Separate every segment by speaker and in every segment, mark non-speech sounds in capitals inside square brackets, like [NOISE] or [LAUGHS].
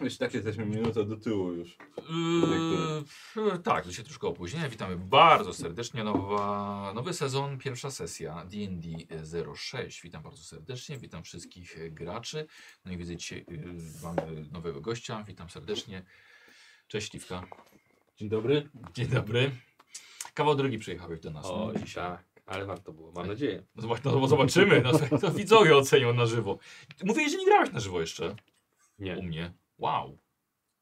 Speaker 1: Już tak jesteśmy minutę do tyłu już.
Speaker 2: Yy, f- tak, to się troszkę opóźnienia. Witamy bardzo serdecznie. Nowa, nowy sezon, pierwsza sesja D&D 06. Witam bardzo serdecznie, witam wszystkich e, graczy. No i widzę dzisiaj yy, mamy nowego gościa. Witam serdecznie. Cześć Liwka.
Speaker 3: Dzień dobry.
Speaker 2: Dzień dobry. Kawał drogi przyjechałeś do nas.
Speaker 3: O,
Speaker 2: no, dzisiaj.
Speaker 3: tak, ale warto było, mam nadzieję.
Speaker 2: No, zobacz- no, zobaczymy. No, [LAUGHS] słuchaj, to widzowie ocenią na żywo. Mówiłeś, że nie grałeś na żywo jeszcze u
Speaker 3: Nie.
Speaker 2: mnie. Wow.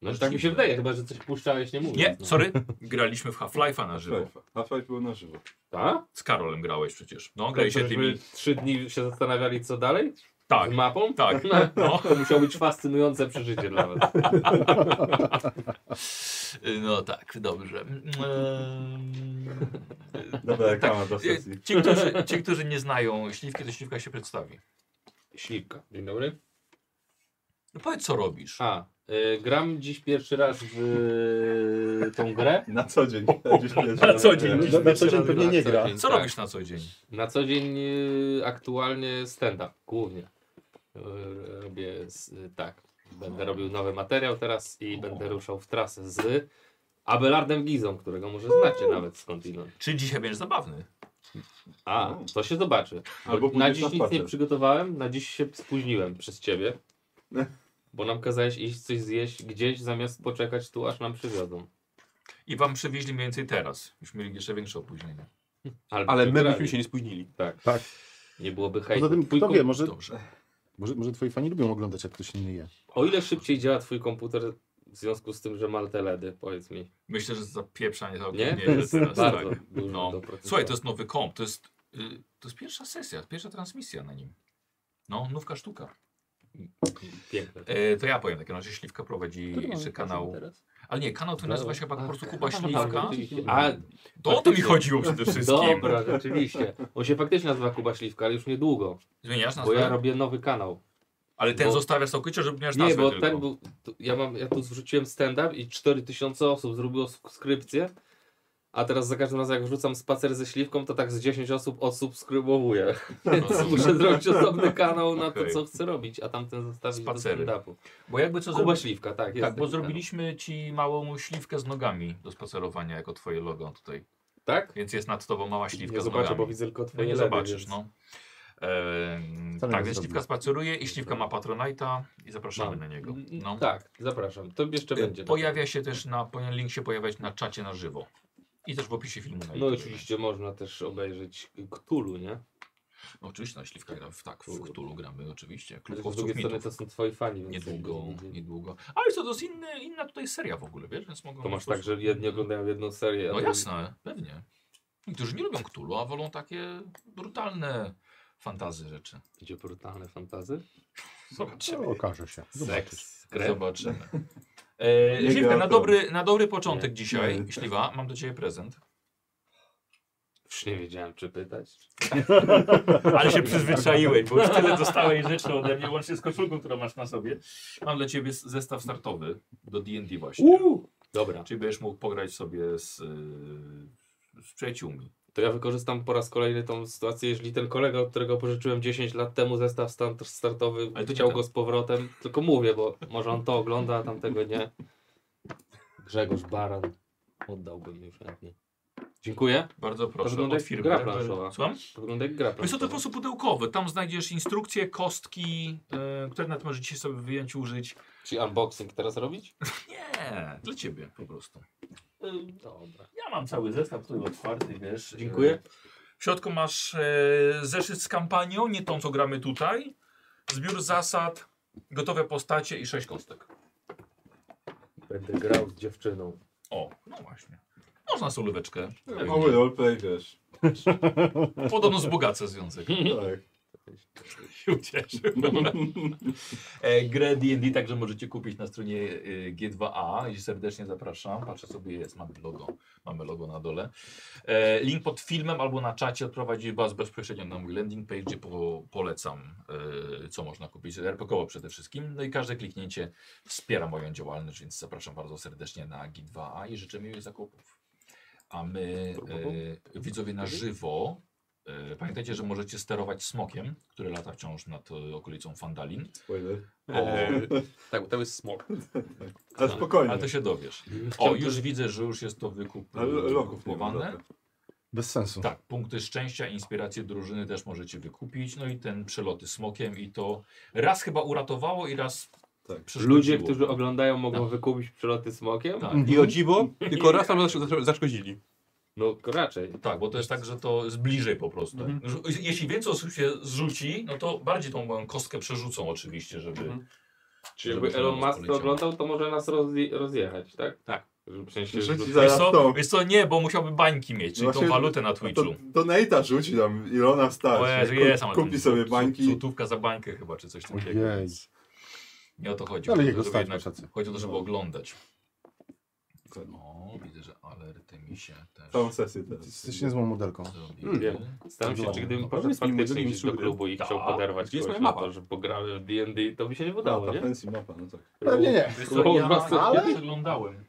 Speaker 3: No że tak mi się wydaje, chyba że coś puszczałeś, nie mówię. No. Tak?
Speaker 2: Nie, sorry. Graliśmy w Half-Life'a na żywo.
Speaker 1: Half-Life. Half-Life było na żywo.
Speaker 3: Tak?
Speaker 2: Z Karolem grałeś przecież. No, graliście tymi.
Speaker 3: Trzy dni się zastanawiali, co dalej?
Speaker 2: Tak,
Speaker 3: Z mapą? [LAUGHS]
Speaker 4: [LAUGHS]
Speaker 2: tak. No,
Speaker 3: To musiało być fascynujące przeżycie dla was.
Speaker 2: no tak,
Speaker 4: [LAUGHS]
Speaker 2: dobrze. Ehm,
Speaker 1: Dobra,
Speaker 2: tak.
Speaker 1: reklama do sesji.
Speaker 2: Ci którzy, ci, którzy nie znają śliwki, to śliwka się przedstawi.
Speaker 3: Śliwka. Dzień dobry.
Speaker 2: No powiedz, co robisz.
Speaker 3: A, y, gram dziś pierwszy raz w y, tą grę.
Speaker 1: Na co
Speaker 2: [LAUGHS]
Speaker 1: dzień. Dziś pierwszy
Speaker 2: Na
Speaker 1: raz
Speaker 2: co dzień.
Speaker 1: grałem.
Speaker 2: Dziś-
Speaker 5: Na, na co dzień pewnie nie
Speaker 3: Co
Speaker 5: gra.
Speaker 3: dzień,
Speaker 2: Co
Speaker 3: tak.
Speaker 2: robisz na co dzień?
Speaker 3: Na co dzień y, aktualnie stand-up, głównie. Y, Robię s- y, tak. Będę robił nowy materiał teraz i będę ruszał w trasę z Abelardem Gizą, którego może znacie nawet skądinąd.
Speaker 2: Czy dzisiaj będziesz zabawny?
Speaker 3: A, to się zobaczy.
Speaker 1: Albo pójdziesz
Speaker 3: na
Speaker 1: na
Speaker 3: dziś nic
Speaker 1: spacer.
Speaker 3: nie przygotowałem, na dziś się spóźniłem przez ciebie. Bo nam kazałeś iść coś zjeść gdzieś zamiast poczekać tu, aż nam przywiozą.
Speaker 2: I wam przywieźli mniej więcej teraz. Już mieli jeszcze większe opóźnienie.
Speaker 3: Albo
Speaker 4: Ale my
Speaker 3: przegrali.
Speaker 4: byśmy się nie spóźnili.
Speaker 3: Tak.
Speaker 5: Tak.
Speaker 3: Nie byłoby hejtu.
Speaker 5: Poza tym,
Speaker 3: Twój
Speaker 5: kto
Speaker 3: kom-
Speaker 5: wie, może,
Speaker 2: Dobrze.
Speaker 5: może, może twoi fani lubią oglądać, jak ktoś inny je.
Speaker 3: O ile szybciej działa twój komputer w związku z tym, że ma te LEDy, powiedz mi.
Speaker 2: Myślę, że zapieprzanie za
Speaker 3: Nie?
Speaker 2: opóźnienie że teraz. Tak.
Speaker 3: [LAUGHS] Bardzo dużo
Speaker 2: No.
Speaker 3: do procesora.
Speaker 2: Słuchaj, to jest nowy komp. To jest, y, to jest pierwsza sesja, pierwsza transmisja na nim. No, nówka sztuka.
Speaker 3: Piękne.
Speaker 2: E, to ja powiem w takim razie, Śliwka prowadzi
Speaker 5: Który mamy
Speaker 2: czy
Speaker 5: poziom
Speaker 2: kanał.
Speaker 5: teraz?
Speaker 2: Ale nie, kanał ten nazywa się
Speaker 3: Tak.
Speaker 2: chyba po prostu Kuba Śliwka.
Speaker 3: A,
Speaker 2: To o to mi chodziło przede wszystkim.
Speaker 3: Tak, dobra, rzeczywiście. On się faktycznie nazywa Kuba Śliwka, ale już niedługo,
Speaker 2: Zmieniasz
Speaker 3: bo
Speaker 2: nazwę?
Speaker 3: ja robię nowy kanał.
Speaker 2: Ale ten
Speaker 3: bo-
Speaker 2: zostawiasz całkowicie, żeby miałeś
Speaker 3: Nie,
Speaker 2: nazwę
Speaker 3: bo
Speaker 2: tylko.
Speaker 3: ten był, tu- ja, mam, ja tu zwróciłem stand-up i 4000 osób zrobiło subskrypcję, a teraz za każdym razem jak wrzucam spacer ze Śliwką, to tak z 10 osób odsubskrybowuję. Więc [LAUGHS] muszę zrobić osobny kanał na to,
Speaker 2: No. Okej.
Speaker 3: co chcę robić, a tamten zostawić
Speaker 2: Spacery.
Speaker 3: do stand-upu.
Speaker 2: Bo jakby co
Speaker 3: Kuba
Speaker 2: zrobić...
Speaker 3: Śliwka, tak, jest
Speaker 2: Tak, bo
Speaker 3: taki
Speaker 2: zrobiliśmy ci małą śliwkę z nogami do spacerowania jako twoje logo tutaj.
Speaker 3: kanał. Tak?
Speaker 2: Więc jest nad tobą mała śliwka
Speaker 3: nie
Speaker 2: z
Speaker 3: zobaczę,
Speaker 2: nogami.
Speaker 3: bo widzę tylko
Speaker 2: No
Speaker 3: twoje
Speaker 2: nie
Speaker 3: ledy,
Speaker 2: zobaczysz,
Speaker 3: więc-
Speaker 2: no. Ehm,
Speaker 5: Samego
Speaker 2: tak, więc
Speaker 5: zrobię.
Speaker 2: śliwka spaceruje i śliwka ma Patronite'a i zapraszamy
Speaker 3: Mam.
Speaker 2: na niego.
Speaker 3: Mm,
Speaker 2: No.
Speaker 3: Tak, zapraszam. To jeszcze
Speaker 2: E,
Speaker 3: będzie.
Speaker 2: Pojawia się też na, powinien link się pojawiać na czacie na żywo. I też w opisie filmu. na
Speaker 3: No
Speaker 2: YouTube.
Speaker 3: oczywiście można też obejrzeć Ktulu, nie?
Speaker 2: No, oczywiście na śliwka gra, w- tak, w
Speaker 3: Cthulhu.
Speaker 2: Cthulhu gramy oczywiście.
Speaker 3: Ale z
Speaker 2: Klubkowców
Speaker 3: drugiej strony
Speaker 2: mitów.
Speaker 3: to są twoi fani. więc
Speaker 2: Niedługo,
Speaker 3: jakby-
Speaker 2: niedługo. Ale jest to dość inny, inna tutaj seria w ogóle, wiesz, więc mogą...
Speaker 3: To masz
Speaker 2: No, po
Speaker 3: tak,
Speaker 2: prostu-
Speaker 3: że jedni oglądają jedną serię. a
Speaker 2: No
Speaker 3: drugi-
Speaker 2: jasne, pewnie. Niektórzy nie lubią Cthulhu, a wolą takie brutalne fantazy rzeczy.
Speaker 3: Gdzie brutalne fantazy?
Speaker 2: Zobaczymy.
Speaker 5: Okaże się. Zobaczysz.
Speaker 3: Seks, krew.
Speaker 2: Zobaczymy.
Speaker 3: [LAUGHS]
Speaker 2: E,
Speaker 1: Nie
Speaker 2: Żywka,
Speaker 1: gra
Speaker 2: na
Speaker 1: to.
Speaker 2: dobry, na dobry początek dzisiaj,
Speaker 1: Nie.
Speaker 2: Śliwa, mam do Ciebie prezent.
Speaker 3: Już nie wiedziałem, czy pytać.
Speaker 2: Ale się przyzwyczaiłeś, bo już tyle dostałeś rzeczy ode mnie, łącznie z koszulką, którą masz na sobie. Mam dla Ciebie s- zestaw startowy do D&D właśnie.
Speaker 3: Uuu! Dobra,
Speaker 2: Czyli będziesz mógł pograć sobie z, y, z przyjaciółmi.
Speaker 3: to ja wykorzystam po raz kolejny tą sytuację, jeżeli ten kolega, od którego pożyczyłem 10 lat temu zestaw stan- startowy,
Speaker 2: Ale to nie
Speaker 3: chciał
Speaker 2: ten.
Speaker 3: go z powrotem, tylko mówię, bo może on to ogląda, a tamtego nie. Grzegorz Baran. Oddałbym już chętnie. Dziękuję.
Speaker 2: Bardzo proszę,
Speaker 3: wygląda
Speaker 2: od
Speaker 3: jak
Speaker 2: firmy.
Speaker 3: gra planszowa.
Speaker 2: Słucham?
Speaker 3: To Wygląda jak gra.
Speaker 2: Wiesz co, to po
Speaker 3: planszowa.
Speaker 2: prostu pudełkowe. Tam znajdziesz instrukcje, kostki, y, które nawet możecie sobie w wyjęciu użyć.
Speaker 3: Czyli unboxing teraz robić?
Speaker 2: Nie, dla Ciebie po prostu.
Speaker 3: Dobra.
Speaker 2: Ja mam cały zestaw tutaj otwarty, wiesz. e,
Speaker 3: Dziękuję.
Speaker 2: W środku masz e, zeszyt z kampanią, nie tą co gramy tutaj. Zbiór zasad, gotowe postacie i sześć kostek.
Speaker 3: Będę grał z dziewczyną.
Speaker 2: O, no właśnie. Można solóweczkę.
Speaker 1: Mały roleplay, wiesz.
Speaker 2: Podobno wzbogaca związek.
Speaker 1: Tak.
Speaker 2: się ucieszył. No, E, Grę D&D także możecie kupić na stronie e, G2A. I serdecznie zapraszam. Patrzę sobie, jest, mamy logo. Mamy logo na dole. E, Link pod filmem albo na czacie odprowadzi Was bezpośrednio na mój landing page, gdzie po, polecam, e, co można kupić. RPKowo przede wszystkim. No i każde kliknięcie wspiera moją działalność, więc zapraszam bardzo serdecznie na G2A i życzę miłych zakupów. A my, e, widzowie na żywo, E, Pamiętajcie, że możecie sterować smokiem, który lata wciąż nad e, okolicą Fandalin.
Speaker 1: Spoiler.
Speaker 2: E,
Speaker 3: Tak, bo tam jest smok.
Speaker 1: Ale
Speaker 3: no
Speaker 1: spokojnie.
Speaker 2: Ale to się dowiesz. O,
Speaker 3: Chciałbym-
Speaker 2: już widzę, że już jest to wykup,
Speaker 1: Ale loków nie ma.
Speaker 2: wykupowane.
Speaker 1: dobra.
Speaker 5: Bez sensu.
Speaker 2: Tak, punkty szczęścia, inspiracje drużyny też możecie wykupić. No i ten przeloty smokiem i to raz chyba uratowało i raz
Speaker 1: Tak.
Speaker 2: przeszkodziło.
Speaker 3: Ludzie, którzy oglądają, mogą wykupić przeloty smokiem?
Speaker 2: Tak.
Speaker 5: Mhm.
Speaker 4: I o dziwo,
Speaker 6: E,
Speaker 4: tylko raz tam zasz- zaszkodzili.
Speaker 3: No to raczej.
Speaker 2: Tak, bo to jest tak, że to jest bliżej po prostu.
Speaker 4: Mhm.
Speaker 2: Że- Jeśli więcej osób się zrzuci, no to bardziej tą moją kostkę przerzucą oczywiście, żeby...
Speaker 4: Mhm.
Speaker 3: Czyli
Speaker 2: żeby
Speaker 3: jakby Elon
Speaker 2: nas
Speaker 3: Musk to
Speaker 2: poleciało.
Speaker 3: oglądał, to może nas rozje rozjechać, tak?
Speaker 4: Tak.
Speaker 3: W sensie,
Speaker 1: Rzuci
Speaker 3: że-
Speaker 2: Wiesz
Speaker 1: zaraz
Speaker 2: co?
Speaker 1: tą.
Speaker 2: Wiesz co, nie, bo musiałby bańki mieć, czyli tą
Speaker 1: Właśnie-
Speaker 2: walutę na
Speaker 1: No To
Speaker 2: Twitchu.
Speaker 1: Donate'a rzuci tam, Ilona
Speaker 2: O
Speaker 1: stać.
Speaker 2: Jezu, jest, ale
Speaker 1: Kupi
Speaker 2: ten
Speaker 1: sobie
Speaker 2: zł-
Speaker 1: bańki.
Speaker 2: Złotówka za bańkę chyba, czy coś takiego.
Speaker 5: Ojej.
Speaker 2: Nie o to chodzi.
Speaker 5: Ale
Speaker 2: Chodzi o
Speaker 5: jego
Speaker 2: to, żeby
Speaker 5: stać,
Speaker 2: jednak-
Speaker 5: patrzacy.
Speaker 2: Chodzi o to, żeby oglądać.
Speaker 1: Dokładnie.
Speaker 2: O, widzę, że alerty mi się też
Speaker 1: Całą sesję teraz.
Speaker 5: Jesteś niezłą modelką.
Speaker 2: zrobiły.
Speaker 3: Wiem. Staram się, czy gdybym
Speaker 4: No,
Speaker 3: poszedł
Speaker 4: powiedz mi,
Speaker 3: faktycznie
Speaker 4: mój
Speaker 3: gdzieś do
Speaker 4: drugi
Speaker 3: klubu i
Speaker 2: Tak.
Speaker 3: chciał poderwać
Speaker 4: Gdzie jest
Speaker 3: kogoś
Speaker 4: moja
Speaker 3: na
Speaker 4: mapa?
Speaker 3: to, że pogramy w D&D, to by się nie
Speaker 1: Mapa,
Speaker 3: udało, nie?
Speaker 1: fancy mapa, no tak.
Speaker 5: Pewnie nie.
Speaker 2: Wiesz
Speaker 3: Bo
Speaker 2: co, ja,
Speaker 3: was-
Speaker 2: ja
Speaker 5: ale-
Speaker 2: przeglądałem.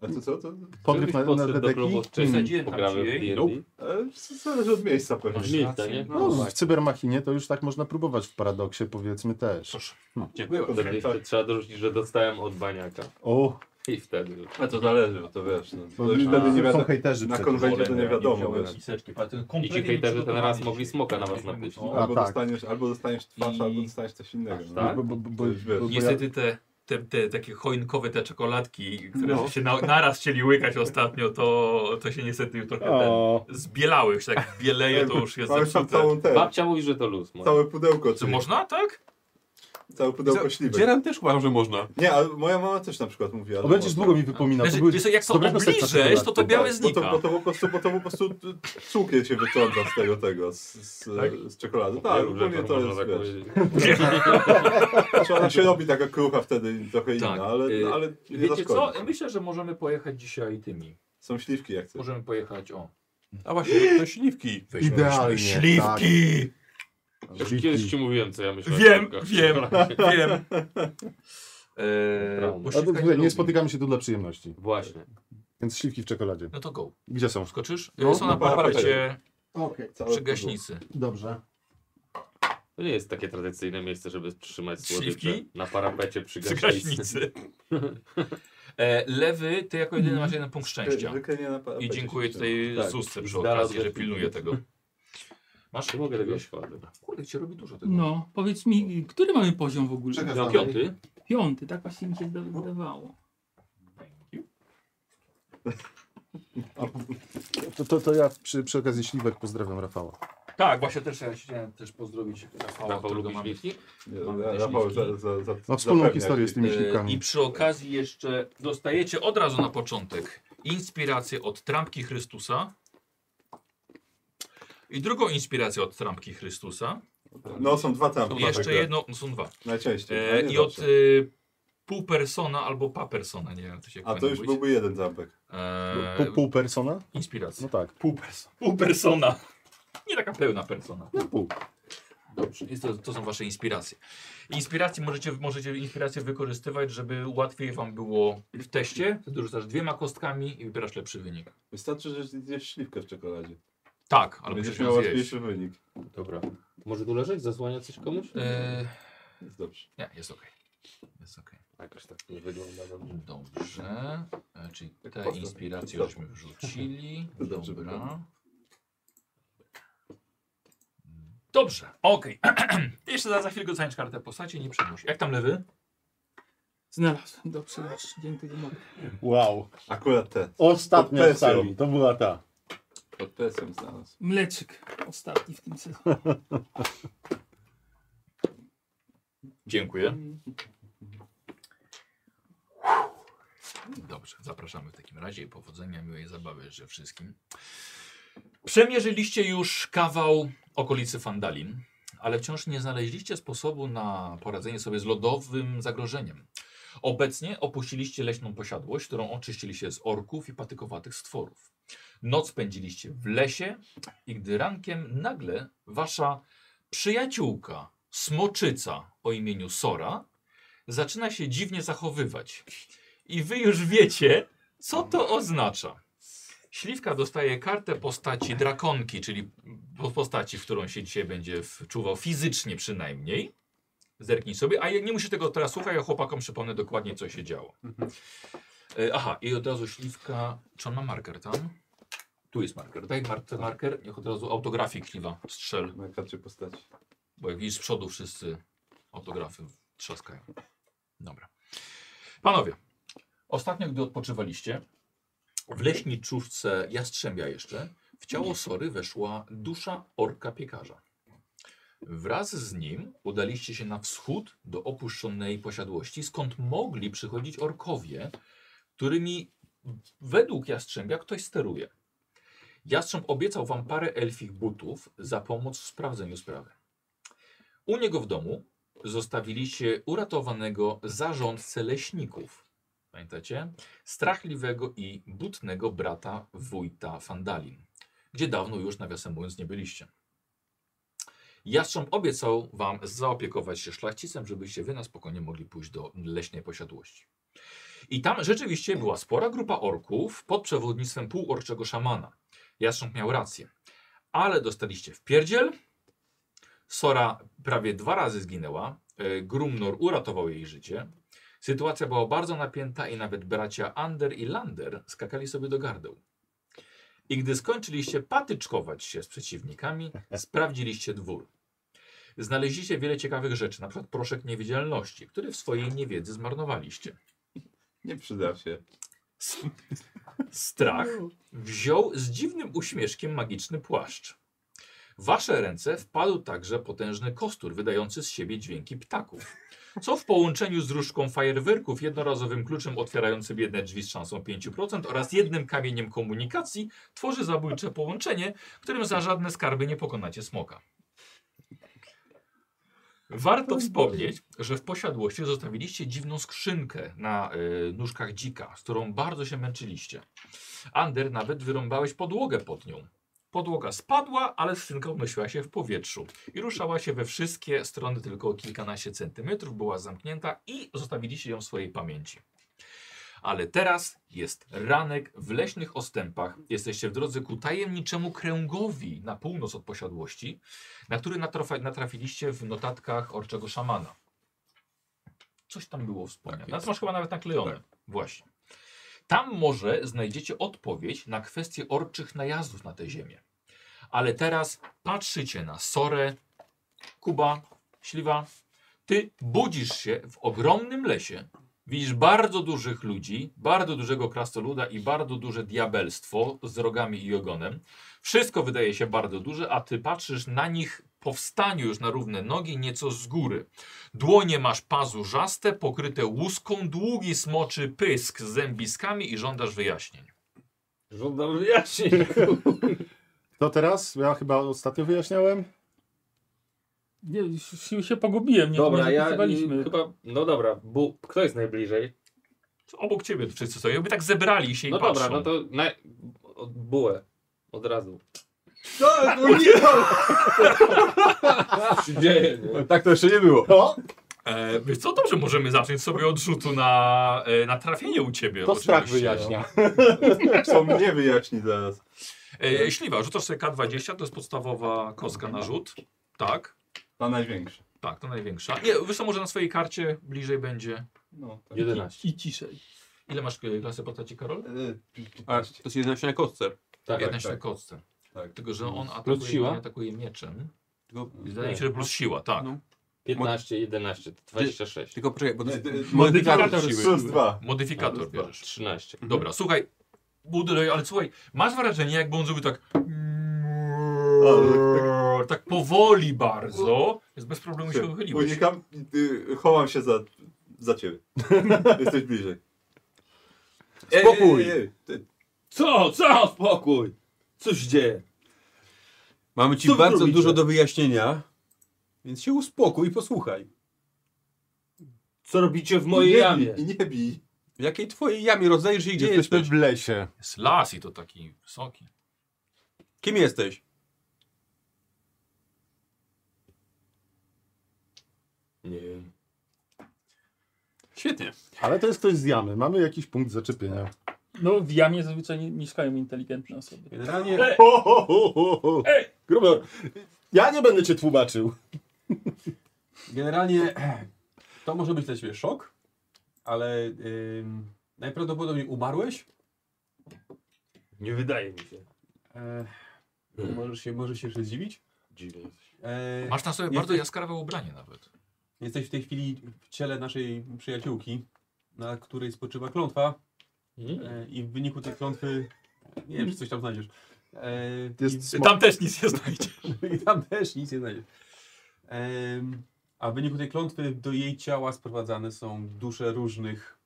Speaker 1: A to co? To,
Speaker 5: Podryw na, na
Speaker 3: Podszedł do klubu
Speaker 5: dedeki.
Speaker 3: wcześniej,
Speaker 2: Hmm.
Speaker 3: pogramy w D&D.
Speaker 1: Nope. ale zależy od miejsca
Speaker 3: Masz
Speaker 1: pewnie.
Speaker 2: Znaczy,
Speaker 3: miejsce, nie?
Speaker 5: No,
Speaker 3: No,
Speaker 5: w cybermachinie to już tak można próbować w paradoksie, powiedzmy też.
Speaker 2: Cóż,
Speaker 4: Dziękuję bardzo.
Speaker 3: Wtedy jeszcze
Speaker 1: tak.
Speaker 3: trzeba dorzucić, że dostałem od baniaka.
Speaker 5: O,
Speaker 3: I wtedy już.
Speaker 1: A to zależy, to wiesz. No,
Speaker 5: bo
Speaker 1: to już wtedy nie
Speaker 5: są
Speaker 1: wiadomo.
Speaker 5: hejterzy
Speaker 1: na
Speaker 5: przecież.
Speaker 1: konwencie
Speaker 2: wolę,
Speaker 1: to
Speaker 2: ja
Speaker 1: nie wiadomo.
Speaker 2: wziąłem
Speaker 1: wiesz.
Speaker 2: miseczki, patrz, ten
Speaker 3: I ci
Speaker 2: kompletnie
Speaker 3: hejterzy ten raz
Speaker 2: przygotowany
Speaker 3: mogli
Speaker 2: się.
Speaker 3: smoka na was
Speaker 2: No,
Speaker 3: nabyć.
Speaker 2: no.
Speaker 5: A,
Speaker 1: Albo,
Speaker 5: tak.
Speaker 1: dostaniesz, albo dostaniesz twarz,
Speaker 2: I-
Speaker 1: albo dostaniesz coś innego. no.
Speaker 3: tak?
Speaker 5: Bo, bo, bo, bo, bo, bo ja,
Speaker 2: Niestety te, te, te takie choinkowe te czekoladki, które
Speaker 4: No.
Speaker 2: się na, naraz chcieli łykać ostatnio, to, to się niestety już trochę ten,
Speaker 5: o,
Speaker 2: zbielały. Już tak bieleje, to już jest
Speaker 1: Ale tam
Speaker 2: zepsute.
Speaker 1: całą tę,
Speaker 3: Babcia mówi, że to luz. moja.
Speaker 1: całe pudełko.
Speaker 2: Czy
Speaker 1: czyli-
Speaker 2: można, tak?
Speaker 1: Całe pudełko śliwek.
Speaker 4: Dzieran też uważam, że można.
Speaker 1: Nie, ale moja mama też na przykład mówiła.
Speaker 5: o,
Speaker 1: że
Speaker 5: będziesz
Speaker 1: można. Tak,
Speaker 5: długo mi wypominał.
Speaker 2: Znaczy,
Speaker 5: były
Speaker 2: wiesz co, jak są
Speaker 5: dobrego serca
Speaker 2: obliżesz, to to
Speaker 5: czekolady.
Speaker 2: białe
Speaker 1: Bo to,
Speaker 2: znika.
Speaker 1: bo to po prostu, bo to po prostu cukier się wyciąga z tego, tego, z, z,
Speaker 2: Tak?
Speaker 1: z czekolady. Tak, ogólnie to
Speaker 3: Można
Speaker 1: jest,
Speaker 3: tak
Speaker 1: wiesz,
Speaker 3: powiedzieć.
Speaker 1: Znaczy ona się robi taka krucha wtedy trochę
Speaker 2: Tak.
Speaker 1: inna, ale,
Speaker 2: Y,
Speaker 1: ale nie
Speaker 2: Wiecie co?
Speaker 1: zaszkodzi.
Speaker 2: Myślę, że możemy pojechać dzisiaj tymi.
Speaker 1: Są śliwki jak chcesz.
Speaker 2: Możemy pojechać, o.
Speaker 4: A właśnie, to śliwki.
Speaker 2: Weźmy
Speaker 5: Idealnie,
Speaker 2: Śliwki!
Speaker 3: Kiedyś ci mówiłem, co ja myślałem.
Speaker 2: Wiem,
Speaker 3: Tylko-
Speaker 2: wiem, wiem. Eee,
Speaker 3: Trauma.
Speaker 2: bo
Speaker 5: A,
Speaker 2: śliwka
Speaker 5: słuchaj,
Speaker 2: lubi.
Speaker 5: nie spotykamy się tu dla przyjemności.
Speaker 3: [LAUGHS] Właśnie.
Speaker 5: Więc śliwki w czekoladzie.
Speaker 2: No to go.
Speaker 5: Gdzie są?
Speaker 2: Skoczysz?
Speaker 5: No,
Speaker 2: Są na
Speaker 1: na parapecie.
Speaker 2: parapecie
Speaker 5: Okej,
Speaker 1: Całe
Speaker 2: przy
Speaker 1: pudełko.
Speaker 2: gaśnicy.
Speaker 5: dobrze.
Speaker 3: To nie jest takie tradycyjne miejsce, żeby trzymać
Speaker 2: Śliwki?
Speaker 3: słodycze na parapecie przy
Speaker 2: Przy
Speaker 3: gaśnicy.
Speaker 2: gaśnicy. [LAUGHS] E, lewy, ty jako jedyny masz jeden punkt szczęścia.
Speaker 1: Zwykle nie na parapecie
Speaker 2: I dziękuję
Speaker 1: się
Speaker 2: tutaj
Speaker 3: Tak.
Speaker 2: Zusce przy
Speaker 3: Znalazł
Speaker 2: okazji, że
Speaker 3: gaśnicę.
Speaker 2: pilnuje tego. Masz?
Speaker 3: Czy mogę robić fajne?
Speaker 2: Kurde, cię robi dużo tego.
Speaker 6: No, powiedz mi, który mamy poziom w ogóle?
Speaker 5: Czekaj,
Speaker 3: Na
Speaker 5: Dobra.
Speaker 3: piąty?
Speaker 6: Piąty, tak właśnie mi się zda- wydawało.
Speaker 5: To, to, to ja przy, przy okazji śliwek pozdrawiam Rafała.
Speaker 2: Tak, właśnie też ja chciałem też pozdrowić Rafała,
Speaker 3: Rafał
Speaker 2: którego
Speaker 3: lubi
Speaker 2: mamy.
Speaker 3: śliwki?
Speaker 1: Nie,
Speaker 2: Mamy
Speaker 1: ja-
Speaker 2: te
Speaker 1: Rafał,
Speaker 2: śliwki.
Speaker 1: za, za, za,
Speaker 5: No wspólną
Speaker 1: zapewnia
Speaker 5: historię
Speaker 1: ci-
Speaker 4: e,
Speaker 5: z tymi śliwkami.
Speaker 2: E, I przy okazji jeszcze dostajecie od razu na początek inspirację od trampki Chrystusa i drugą inspirację od trampki Chrystusa
Speaker 1: No są dwa
Speaker 2: i
Speaker 1: tam.
Speaker 2: jeszcze jedno, no są dwa.
Speaker 1: Najczęściej.
Speaker 2: E,
Speaker 1: a nie
Speaker 2: I od
Speaker 1: zawsze.
Speaker 2: y, pół persona albo pa persona, nie wiem jak to się
Speaker 1: A to
Speaker 2: powinno
Speaker 1: już
Speaker 2: mówić.
Speaker 1: byłby jeden zampek.
Speaker 2: E,
Speaker 5: Pół, pół persona?
Speaker 2: Inspiracja.
Speaker 5: No tak,
Speaker 2: Pół, perso- pół persona. Nie taka pełna persona.
Speaker 5: no pół.
Speaker 2: Dobrze, jest to, to są wasze inspiracje. Inspiracje możecie, możecie inspiracje wykorzystywać, żeby łatwiej wam było w teście. Wtedy rzucasz dwiema kostkami i wybierasz lepszy wynik.
Speaker 1: Wystarczy, że zjesz śliwkę w czekoladzie.
Speaker 2: Tak, ale musisz
Speaker 1: Będziesz
Speaker 2: ją
Speaker 1: miał
Speaker 2: zjeść.
Speaker 1: łatwiejszy wynik.
Speaker 3: Dobra. Może tu leżeć? Zasłania coś komuś?
Speaker 2: Yy,
Speaker 1: Jest dobrze.
Speaker 2: E, nie, jest okej. Jest okej.
Speaker 3: Jakoś tak nie wygląda dobrze.
Speaker 2: Dobrze. E, Czyli te
Speaker 1: postaw-
Speaker 2: inspiracje
Speaker 1: postaw.
Speaker 2: żeśmy wrzucili.
Speaker 1: [LAUGHS] Dobrze
Speaker 2: Dobra.
Speaker 1: wygląda.
Speaker 2: Dobrze, okej. [CLEARS THROAT] Jeszcze za, za chwilę dostaniesz kartę postaci, nie przejmuj się. Jak tam lewy?
Speaker 6: Znalazłem, dobrze, już, dzięki, dzięki.
Speaker 5: Wow.
Speaker 1: Akurat te.
Speaker 5: Ostatnia
Speaker 1: Pod
Speaker 5: w sali, to była ta.
Speaker 1: Pod presją znalazł.
Speaker 6: Mleczyk ostatni w tym sezonie.
Speaker 2: Dziękuję. Dobrze, zapraszamy w takim razie. Powodzenia, miłej zabawy życzę wszystkim. Przemierzyliście już kawał okolicy Fandalin, ale wciąż nie znaleźliście sposobu na poradzenie sobie z lodowym zagrożeniem. Obecnie opuściliście leśną posiadłość, którą oczyściliście z orków i patykowatych stworów. Noc spędziliście w lesie i gdy rankiem nagle wasza przyjaciółka, smoczyca o imieniu Sora, zaczyna się dziwnie zachowywać. I wy już wiecie, co to oznacza. Śliwka dostaje kartę postaci drakonki, czyli po- postaci, w którą się dzisiaj będzie wczuwał fizycznie przynajmniej. Zerknij sobie, a ja- nie musisz tego teraz słuchać, ja chłopakom przypomnę dokładnie, co się działo. E, aha, i od razu śliwka. Czy on ma marker tam? Tu jest marker. Daj Martę marker, niech od razu autografik śliwa strzel.
Speaker 7: Na karcie postaci.
Speaker 2: Bo jak widzisz z przodu wszyscy autografy trzaskają. Dobra. Panowie, ostatnio gdy odpoczywaliście, w leśniczówce Jastrzębia jeszcze, w ciało Sory weszła dusza orka piekarza. Wraz z nim udaliście się na wschód do opuszczonej posiadłości, skąd mogli przychodzić orkowie, którymi według Jastrzębia ktoś steruje. Jastrząb obiecał wam parę elfich butów za pomoc w sprawdzeniu sprawy. U niego w domu zostawiliście uratowanego zarządcę leśników. Pamiętacie? Strachliwego i butnego brata wójta Fandalin, gdzie dawno już, nawiasem mówiąc, nie byliście. Jastrząb obiecał wam zaopiekować się szlachcicem, żebyście wy na spokojnie mogli pójść do leśnej posiadłości. I tam rzeczywiście była spora grupa orków pod przewodnictwem półorczego szamana. Jastrząb miał rację. Ale dostaliście w pierdziel, Sora prawie dwa razy zginęła. E, Grumnor uratował jej życie. Sytuacja była bardzo napięta i nawet bracia Ander i Lander skakali sobie do gardeł. I gdy skończyliście patyczkować się z przeciwnikami, sprawdziliście dwór. Znaleźliście wiele ciekawych rzeczy, na przykład proszek niewidzialności, który w swojej niewiedzy zmarnowaliście.
Speaker 7: Nie przyda się.
Speaker 1: Tak.
Speaker 2: Strach wziął z dziwnym uśmieszkiem magiczny płaszcz. W wasze ręce wpadł także potężny kostur wydający z siebie dźwięki ptaków, co w połączeniu z różdżką fajerwerków, jednorazowym kluczem otwierającym jedne drzwi z szansą 5% oraz jednym kamieniem komunikacji tworzy zabójcze połączenie, którym za żadne skarby nie pokonacie smoka. Warto wspomnieć, że w posiadłości zostawiliście dziwną skrzynkę na y, nóżkach dzika, z którą bardzo się męczyliście. Ander, nawet wyrąbałeś podłogę pod nią. Podłoga spadła, ale skrzynka unosiła się w powietrzu i ruszała się we wszystkie strony tylko o kilkanaście centymetrów, była zamknięta i zostawiliście ją w swojej pamięci. Ale teraz jest ranek w leśnych ostępach. Jesteście w drodze ku tajemniczemu kręgowi na północ od posiadłości, na który natrafa- natrafiliście w notatkach orczego szamana. Coś tam było wspomniane. Tak masz chyba nawet naklejone. Właśnie. Tam może znajdziecie odpowiedź na kwestię orczych najazdów na tę ziemię. Ale teraz patrzycie na Sorę, Kuba, Śliwa. Ty budzisz się w ogromnym lesie. Widzisz bardzo dużych ludzi, bardzo dużego krastoluda i bardzo duże diabelstwo z rogami i ogonem. Wszystko wydaje się bardzo duże, a ty patrzysz na nich po wstaniu już na równe nogi, nieco z góry. Dłonie masz pazurzaste, pokryte łuską, długi smoczy pysk z zębiskami i żądasz wyjaśnień.
Speaker 3: Żądam wyjaśnień.
Speaker 5: To teraz? Ja chyba ostatnio wyjaśniałem.
Speaker 6: Nie, już już się pogubiłem, nie
Speaker 3: Dobra,
Speaker 6: nie
Speaker 3: ja
Speaker 6: zapisywaliśmy.
Speaker 3: y, chyba. No dobra, bu, kto jest najbliżej?
Speaker 2: Obok ciebie wszyscy stoją, jakby tak zebrali się i
Speaker 3: No
Speaker 2: patrzą.
Speaker 3: dobra, no to na, od, bułę. Od razu.
Speaker 7: Tak, no nie!
Speaker 1: [LAUGHS]
Speaker 7: się dzieje, nie?
Speaker 4: Tak to jeszcze nie było.
Speaker 5: To?
Speaker 2: E, wiesz co, dobrze, możemy zacząć sobie od rzutu na, e, na trafienie u ciebie.
Speaker 5: To strach
Speaker 2: oczywiście.
Speaker 5: wyjaśnia.
Speaker 1: Co mnie wyjaśni zaraz.
Speaker 2: E, śliwa, rzucasz sobie K20, to jest podstawowa kostka na rzut. Tak,
Speaker 1: Ta największa.
Speaker 2: tak, to największa. Nie, wiesz co, może na swojej karcie bliżej będzie.
Speaker 1: No, tak.
Speaker 3: 11.
Speaker 6: I ciszej.
Speaker 2: Ile masz e, klasy postaci, Karol?
Speaker 1: Y,
Speaker 4: A, to jest 11 na kostce.
Speaker 7: Tak,
Speaker 2: Jeden
Speaker 7: tak,
Speaker 2: tak,
Speaker 7: tak.
Speaker 2: kostce.
Speaker 7: Tak.
Speaker 2: Tylko, że on
Speaker 3: Plus
Speaker 2: atakuje,
Speaker 3: siła?
Speaker 2: nie atakuje mieczem.
Speaker 4: Tylko,
Speaker 7: No.
Speaker 2: Wydaje mi się, że plus siła, tak.
Speaker 4: No.
Speaker 3: 15, 11, 26.
Speaker 4: tylko poczekaj, bo to
Speaker 1: Nie,
Speaker 4: jest
Speaker 1: to jest
Speaker 4: modyfikator
Speaker 6: modyfikator
Speaker 4: siły.
Speaker 1: E, Plus dwa.
Speaker 2: Modyfikator bierzesz.
Speaker 3: 13.
Speaker 2: Mhm. Dobra, słuchaj. Buduj, ale słuchaj, masz wrażenie, jakby on zrobił tak. Tak powoli bardzo. Więc bez problemu się wychyliłeś.
Speaker 1: Unikam, y, chowam się za, za ciebie. Jesteś bliżej.
Speaker 4: Spokój!
Speaker 1: Ej, ej, ej, ty-
Speaker 7: Co? Co? Spokój! Co się dzieje?
Speaker 4: Mamy ci
Speaker 7: Co wy
Speaker 4: bardzo
Speaker 7: robicie?
Speaker 4: dużo do wyjaśnienia, więc się uspokój i posłuchaj.
Speaker 7: Co robicie w mojej
Speaker 1: nie bij,
Speaker 7: jamie?
Speaker 1: I nie bij.
Speaker 4: W jakiej twojej jamie rozdajesz i gdzie
Speaker 5: Jesteśmy
Speaker 4: jesteś?
Speaker 5: w lesie.
Speaker 2: Jest las i to taki wysoki.
Speaker 4: Kim jesteś?
Speaker 7: Nie wiem.
Speaker 4: Świetnie.
Speaker 5: Ale to jest ktoś z jamy. Mamy jakiś punkt zaczepienia.
Speaker 6: No w jamie zazwyczaj nie- mieszkają inteligentne osoby.
Speaker 4: Generalnie
Speaker 7: Ej!
Speaker 5: Ho, ho, ho, ho, ho.
Speaker 7: Ej!
Speaker 5: Grubo. Ja nie będę cię tłumaczył.
Speaker 4: Generalnie [CLEARS THROAT] to może być dla ciebie szok, ale ym, najprawdopodobniej umarłeś.
Speaker 7: Nie wydaje mi się.
Speaker 4: E, możesz, się, możesz się jeszcze zdziwić.
Speaker 7: Dziwne.
Speaker 4: E,
Speaker 2: Masz na sobie
Speaker 4: Nie.
Speaker 2: bardzo jaskrawe ubranie nawet.
Speaker 4: jesteś w tej chwili w ciele naszej przyjaciółki, na której spoczywa klątwa.
Speaker 3: Hmm?
Speaker 4: E, I w wyniku tej klątwy. Nie wiem, czy coś tam znajdziesz. E,
Speaker 5: Jest
Speaker 4: i,
Speaker 5: Tam
Speaker 2: też nic nie znajdzie.
Speaker 4: [LAUGHS] I tam też nic nie znajdziesz. Em, a w wyniku tej klątwy do jej ciała sprowadzane są dusze różnych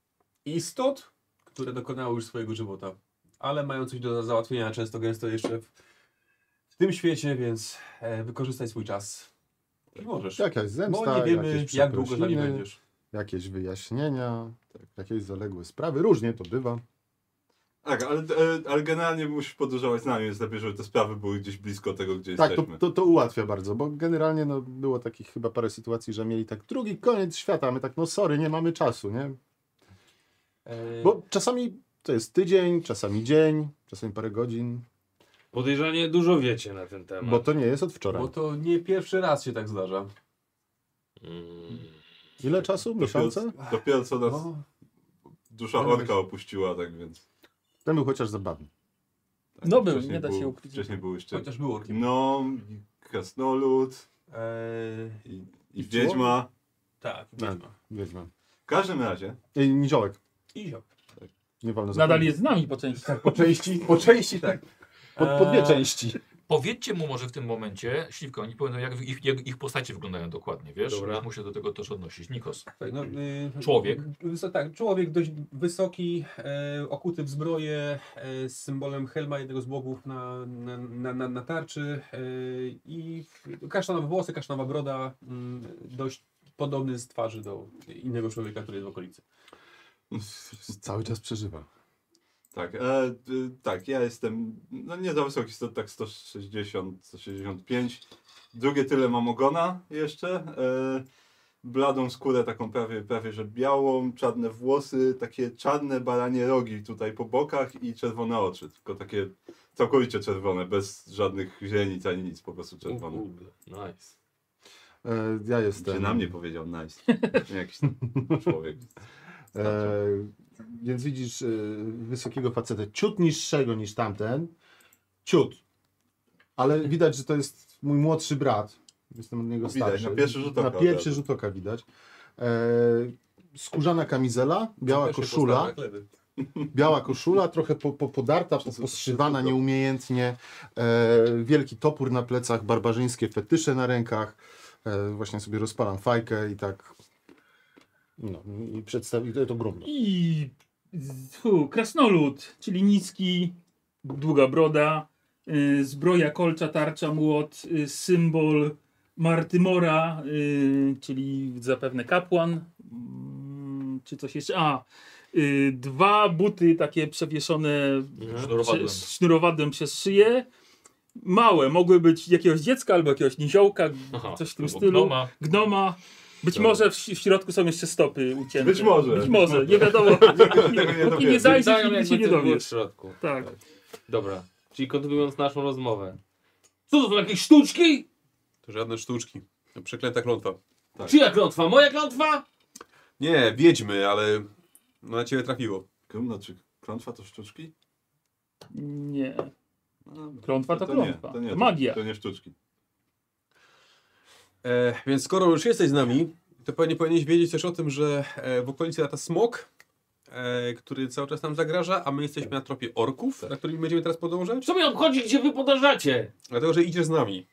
Speaker 4: istot, które dokonały już swojego żywota. Ale mają coś do załatwienia często gęsto jeszcze w, w tym świecie, więc e, wykorzystaj swój czas. I możesz.
Speaker 5: Jakaś
Speaker 4: Bo
Speaker 5: zemsta,
Speaker 4: No, nie wiemy,
Speaker 5: jakieś
Speaker 4: jak długo za nim
Speaker 5: przeprosiny,
Speaker 4: będziesz.
Speaker 5: Jakieś wyjaśnienia, tak, jakieś zaległe sprawy. Różnie to bywa.
Speaker 1: Tak, ale, ale, ale generalnie musisz podróżować z nami, więc lepiej, żeby te sprawy były gdzieś blisko tego, gdzie
Speaker 5: Tak, to,
Speaker 1: jesteśmy.
Speaker 5: to, to ułatwia bardzo, bo generalnie no, było takich chyba parę sytuacji, że mieli tak drugi koniec świata, a my tak, no sorry, nie mamy czasu, nie?
Speaker 4: E,
Speaker 5: Bo czasami to jest tydzień, czasami dzień, czasami parę godzin,
Speaker 7: Podejrzanie dużo wiecie na ten temat.
Speaker 5: bo to nie jest od wczoraj.
Speaker 4: bo to nie pierwszy raz się tak zdarza.
Speaker 3: Mm,
Speaker 5: Ile czasu? Miesiące?
Speaker 1: Dopiero, dopiero co nas
Speaker 4: No,
Speaker 1: dusza orka opuściła, tak więc...
Speaker 5: Ten był chociaż zabawny.
Speaker 1: Tak,
Speaker 6: No był,
Speaker 1: wcześniej
Speaker 6: nie da się
Speaker 1: był-
Speaker 6: ukryć. tak.
Speaker 1: Wcześniej był jeszcze
Speaker 4: chociaż było orkiem.
Speaker 1: gnom, i krasnolud
Speaker 4: E,
Speaker 1: i, i
Speaker 5: I
Speaker 1: wiedźma.
Speaker 5: Tak.
Speaker 4: tak, wiedźma.
Speaker 5: Wiedźma.
Speaker 1: W każdym razie,
Speaker 5: Ej, niziołek.
Speaker 4: I zioł.
Speaker 5: Nie wolno
Speaker 6: Nadal
Speaker 5: zapomnieć.
Speaker 6: jest z nami po części.
Speaker 5: Po części?
Speaker 4: Po części tak.
Speaker 5: Po, po dwie
Speaker 4: E,
Speaker 5: części.
Speaker 2: Powiedzcie mu może w tym momencie, Śliwko, oni powiedzą jak ich, jak ich postacie wyglądają dokładnie, wiesz?
Speaker 7: Dobra.
Speaker 2: Muszę się do tego też odnosić. Nikos.
Speaker 4: Tak, no, y,
Speaker 2: Człowiek.
Speaker 4: Wyso, tak, człowiek dość wysoki, e, okuty w zbroję e, z symbolem helma jednego z bogów na, na, na, na, na tarczy e, i kasztanowe włosy, kasztanowa broda, mm, dość podobny z twarzy do innego człowieka, który jest w okolicy.
Speaker 5: Cały czas przeżywa.
Speaker 1: tak, e,
Speaker 6: No.
Speaker 1: y, tak, ja jestem, no nie za wysoki, sto- tak 160, 165. Drugie tyle mam ogona jeszcze. E, bladą skórę, taką prawie, prawie że białą, czarne włosy, takie czarne baranie rogi tutaj po bokach i czerwone oczy, tylko takie całkowicie czerwone, bez żadnych źrenic ani nic, po prostu
Speaker 7: U,
Speaker 1: czerwone.
Speaker 7: kurde, Nice.
Speaker 5: E, ja jestem.
Speaker 1: Czy na mnie powiedział nice. Jakiś człowiek.
Speaker 5: E,
Speaker 1: Znaczy.
Speaker 5: więc widzisz e, wysokiego facetę, ciut niższego niż tamten. Ciut. Ale
Speaker 1: [LAUGHS]
Speaker 5: widać, że to jest mój młodszy brat. Jestem od niego
Speaker 1: No Widać,
Speaker 5: starszy.
Speaker 1: na pierwszy rzut oka
Speaker 5: Na
Speaker 1: od
Speaker 5: pierwszy
Speaker 1: razu.
Speaker 5: rzut oka widać. E, skórzana kamizela, biała
Speaker 4: Też się
Speaker 5: koszula.
Speaker 4: postawa klewy.
Speaker 5: [LAUGHS] Biała koszula, trochę po, po, podarta, po- poszywana nieumiejętnie. E, wielki topór na plecach, barbarzyńskie fetysze na rękach. E, właśnie sobie rozpalam fajkę i tak. No, i przedstawi to, to grubno.
Speaker 6: I fu, krasnolud, czyli niski, długa broda, y, zbroja kolcza, tarcza, młot, y, symbol Martymora, y, czyli zapewne kapłan, mm, czy coś jeszcze. A, y, dwa buty takie przewieszone
Speaker 2: Mhm. Sznurowadłem.
Speaker 6: prze- sznurowadłem przez szyję. Małe, mogły być jakiegoś dziecka albo jakiegoś niziołka,
Speaker 2: Aha,
Speaker 6: coś w tym
Speaker 2: albo
Speaker 6: stylu.
Speaker 2: Gnoma.
Speaker 6: Gnoma. Być
Speaker 2: Dobra.
Speaker 6: może w, w środku są jeszcze stopy ucięte.
Speaker 1: Być może.
Speaker 6: Być może, nie
Speaker 1: [LAUGHS]
Speaker 6: wiadomo.
Speaker 1: Tego nie
Speaker 6: Póki
Speaker 1: dowiemy.
Speaker 6: nie zajrzysz,
Speaker 3: Wydają,
Speaker 6: nigdy
Speaker 3: jakby
Speaker 6: się nie
Speaker 3: to było w
Speaker 6: dowiesz.
Speaker 3: środku.
Speaker 6: Tak.
Speaker 3: Dobra, czyli kontynuując naszą rozmowę.
Speaker 7: Co to są jakieś sztuczki?
Speaker 4: To żadne sztuczki. To Przeklęta klątwa.
Speaker 7: Czyja klątwa? Moja klątwa?
Speaker 4: Nie, wiedźmy, ale no na ciebie trafiło.
Speaker 1: Krumno, czy klątwa to sztuczki?
Speaker 6: Nie.
Speaker 1: No,
Speaker 6: Klątwa to, klątwa.
Speaker 1: Nie, to nie,
Speaker 6: to magia.
Speaker 1: To nie sztuczki.
Speaker 4: E, więc skoro już jesteś z nami, to pewnie powinieneś wiedzieć też o tym, że e, w okolicy lata smok, e, który cały czas nam zagraża, a my jesteśmy na tropie orków,
Speaker 7: Tak.
Speaker 4: na którymi będziemy teraz podążać.
Speaker 7: Co mnie obchodzi, gdzie wy podążacie?
Speaker 4: Dlatego, że idziesz z nami.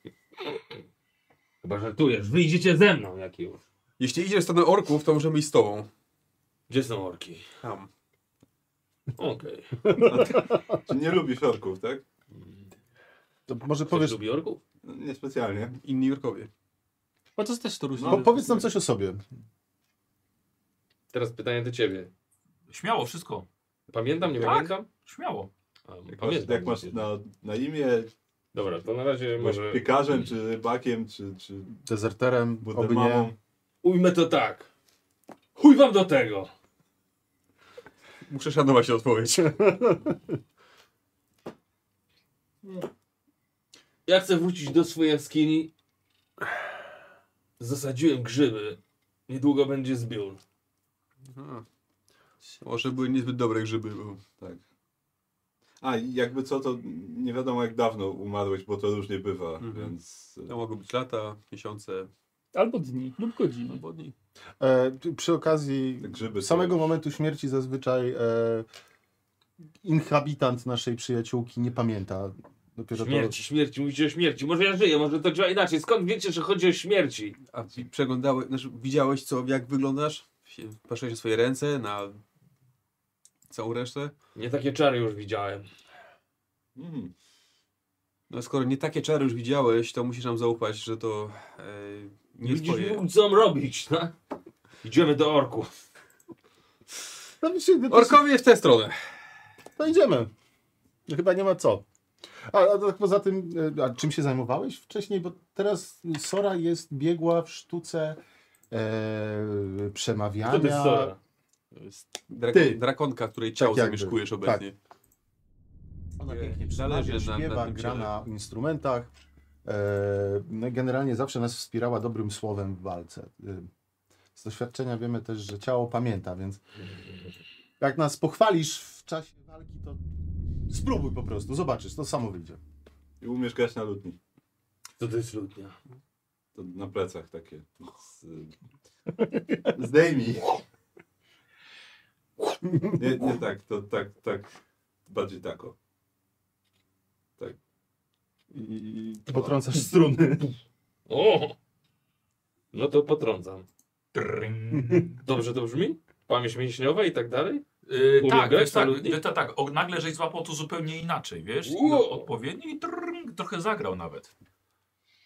Speaker 7: Chyba żartujesz, wyjdziecie ze mną, jak już.
Speaker 4: Jeśli idziesz w stronę orków, to możemy iść z tobą.
Speaker 7: Gdzie są orki?
Speaker 4: Tam.
Speaker 7: Okej. Okay.
Speaker 1: Czy nie lubisz orków, tak?
Speaker 5: To może
Speaker 7: Powiesz...
Speaker 5: powiesz,
Speaker 7: lubi orków?
Speaker 1: No, Niespecjalnie.
Speaker 4: Inni orkowie.
Speaker 6: Chociaż też to
Speaker 1: No,
Speaker 6: różnie.
Speaker 5: po, powiedz nam coś o sobie.
Speaker 3: Teraz pytanie do ciebie.
Speaker 2: Śmiało, wszystko.
Speaker 3: Pamiętam, nie
Speaker 2: Tak.
Speaker 3: pamiętam?
Speaker 2: Śmiało.
Speaker 3: A,
Speaker 1: Jak masz,
Speaker 3: pamiętam.
Speaker 1: jak masz na, na imię,
Speaker 3: Dobra, to na razie
Speaker 1: masz
Speaker 3: może...
Speaker 1: piekarzem, czy rybakiem, czy, czy
Speaker 5: Dezerterem, oby nie.
Speaker 1: budemamą.
Speaker 7: Ujmę to tak. Chuj wam do tego.
Speaker 4: Muszę szanować
Speaker 7: [LAUGHS]
Speaker 4: tę odpowiedź.
Speaker 3: Ja chcę wrócić do swojej jaskini. Zasadziłem grzyby. Niedługo będzie zbiór.
Speaker 4: Może były niezbyt dobre grzyby. Bo...
Speaker 1: Tak. A i jakby co, to nie wiadomo jak dawno umarłeś, bo to różnie bywa,
Speaker 4: Mhm.
Speaker 1: więc... e,
Speaker 5: No,
Speaker 4: To mogą być lata, miesiące,
Speaker 6: Albo dni lub godziny.
Speaker 4: albo dni.
Speaker 5: E, ty- przy okazji
Speaker 1: Te grzyby są
Speaker 5: samego
Speaker 1: już-
Speaker 5: momentu śmierci zazwyczaj e, inhabitant naszej przyjaciółki nie pamięta. Dopiero
Speaker 3: Śmierci, śmierci, mówicie o śmierci. Może ja żyję, może to działa inaczej. Skąd wiecie, że chodzi o śmierci?
Speaker 4: A ty przeglądałeś, znaczy widziałeś co, jak wyglądasz? Się- Patrzyłeś na swoje ręce, na całą resztę?
Speaker 3: Nie takie czary już widziałem.
Speaker 1: Mhm.
Speaker 4: No skoro nie takie czary już widziałeś, to musisz nam zaufać, że to e, nie
Speaker 3: Nie
Speaker 4: twoje.
Speaker 3: Widzisz, co mam robić, no? Idziemy do orków.
Speaker 5: to... No, się, to,
Speaker 4: Orkowie w tę stronę.
Speaker 5: to idziemy. Chyba nie ma co. A, a tak poza tym, e, a czym się zajmowałeś wcześniej? Bo teraz Sora jest biegła w sztuce e, przemawiania.
Speaker 8: To jest Sora.
Speaker 4: Drak-
Speaker 5: Ty.
Speaker 4: Drakonka, której ciało
Speaker 5: Tak jakby,
Speaker 4: sobie szkujesz obecnie.
Speaker 5: Ona
Speaker 4: Nie,
Speaker 5: pięknie
Speaker 4: zależy
Speaker 5: przemawia,
Speaker 4: nam na
Speaker 5: śpiewa,
Speaker 4: tym
Speaker 5: gra
Speaker 4: ciele.
Speaker 5: na instrumentach. E, no i generalnie zawsze nas wspierała dobrym słowem w walce. E, Z doświadczenia wiemy też, że ciało pamięta, więc jak nas pochwalisz w czasie walki, to spróbuj po prostu, zobaczysz, to samo wyjdzie.
Speaker 1: I umiesz grać na ludni.
Speaker 3: Co to jest ludnia?
Speaker 1: To na plecach takie. Z, y, Zdejmij. Nie, nie tak, to tak, tak. Bardziej tako. Tak.
Speaker 5: I, i, i potrącasz stru-
Speaker 3: O! No to potrącam. Dobrze to brzmi? Pamięć mięśniowa i tak dalej?
Speaker 2: Yy,
Speaker 3: Umiem
Speaker 2: tak,
Speaker 3: grać
Speaker 2: wiesz,
Speaker 3: na
Speaker 2: tak,
Speaker 3: ludni?
Speaker 2: wiesz, tak, tak. O, nagle żeś złapał to zupełnie inaczej, wiesz?
Speaker 3: Wow.
Speaker 2: Odpowiednio i drrrng, trochę zagrał nawet.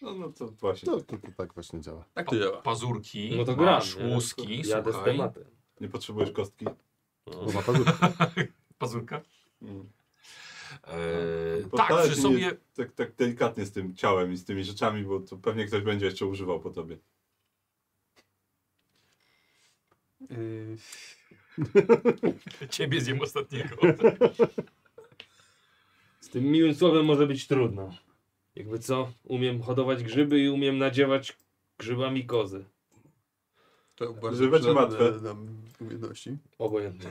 Speaker 1: No, no to właśnie.
Speaker 5: to, to, to tak właśnie działa.
Speaker 4: Tak to działa.
Speaker 2: Pazurki,
Speaker 3: No to gram.
Speaker 2: masz
Speaker 3: nie?
Speaker 2: łuski,
Speaker 3: Jadę z
Speaker 2: słuchaj.
Speaker 3: tematem.
Speaker 1: Nie potrzebujesz kostki.
Speaker 5: Bo ma pazurki.
Speaker 2: Pazurka.
Speaker 1: Mm.
Speaker 2: Eee,
Speaker 3: No,
Speaker 1: Bo
Speaker 2: tak,
Speaker 1: tak,
Speaker 2: przy
Speaker 1: nie-
Speaker 2: sobie...
Speaker 1: Tak, tak delikatnie z tym ciałem i z tymi rzeczami, bo to pewnie ktoś będzie jeszcze używał po tobie.
Speaker 4: Yy,
Speaker 2: Ciebie zjem
Speaker 3: [LAUGHS]
Speaker 2: ostatniego.
Speaker 3: Z tym miłym słowem może być trudno. Jakby co, umiem hodować grzyby i umiem nadziewać grzybami kozy.
Speaker 4: to bardzo
Speaker 1: Żeby być
Speaker 4: przydatne
Speaker 1: łatwe.
Speaker 4: nam umiejętności.
Speaker 3: Obojętnie.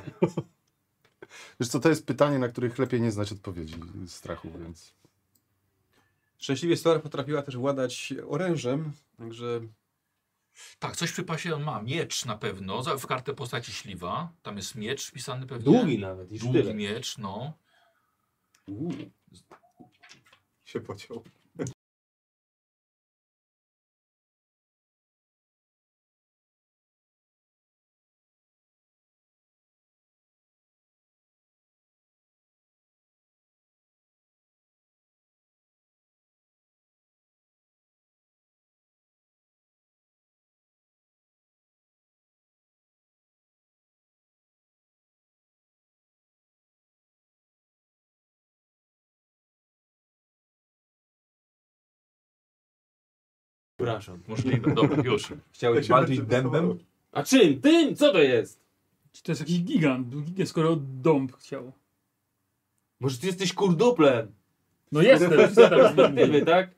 Speaker 5: Wiesz co, to jest pytanie, na których lepiej nie znać odpowiedzi z strachu, więc...
Speaker 4: Szczęśliwie Stora potrafiła też władać orężem, także
Speaker 2: tak, coś przy pasie on ma. Miecz na pewno, za- w kartę postaci śliwa. Tam jest miecz wpisany pewnie.
Speaker 3: Długi nawet, i
Speaker 2: Długi
Speaker 3: sztylet.
Speaker 2: miecz, no.
Speaker 1: Się pociął.
Speaker 3: Przepraszam.
Speaker 2: Możliwe, dobra, już.
Speaker 1: Ja
Speaker 4: chciałeś
Speaker 1: się tak
Speaker 4: walczyć
Speaker 1: będę
Speaker 4: dębem.
Speaker 1: testował.
Speaker 3: A czym? Tym? Co to jest?
Speaker 6: Czy to jest jakiś gigant, gigant skoro dąb chciał.
Speaker 3: Może ty jesteś kurduplem?
Speaker 1: [LAUGHS]
Speaker 6: No jestem,
Speaker 3: Z
Speaker 6: zadam z nimi.
Speaker 3: perspektywy, tak?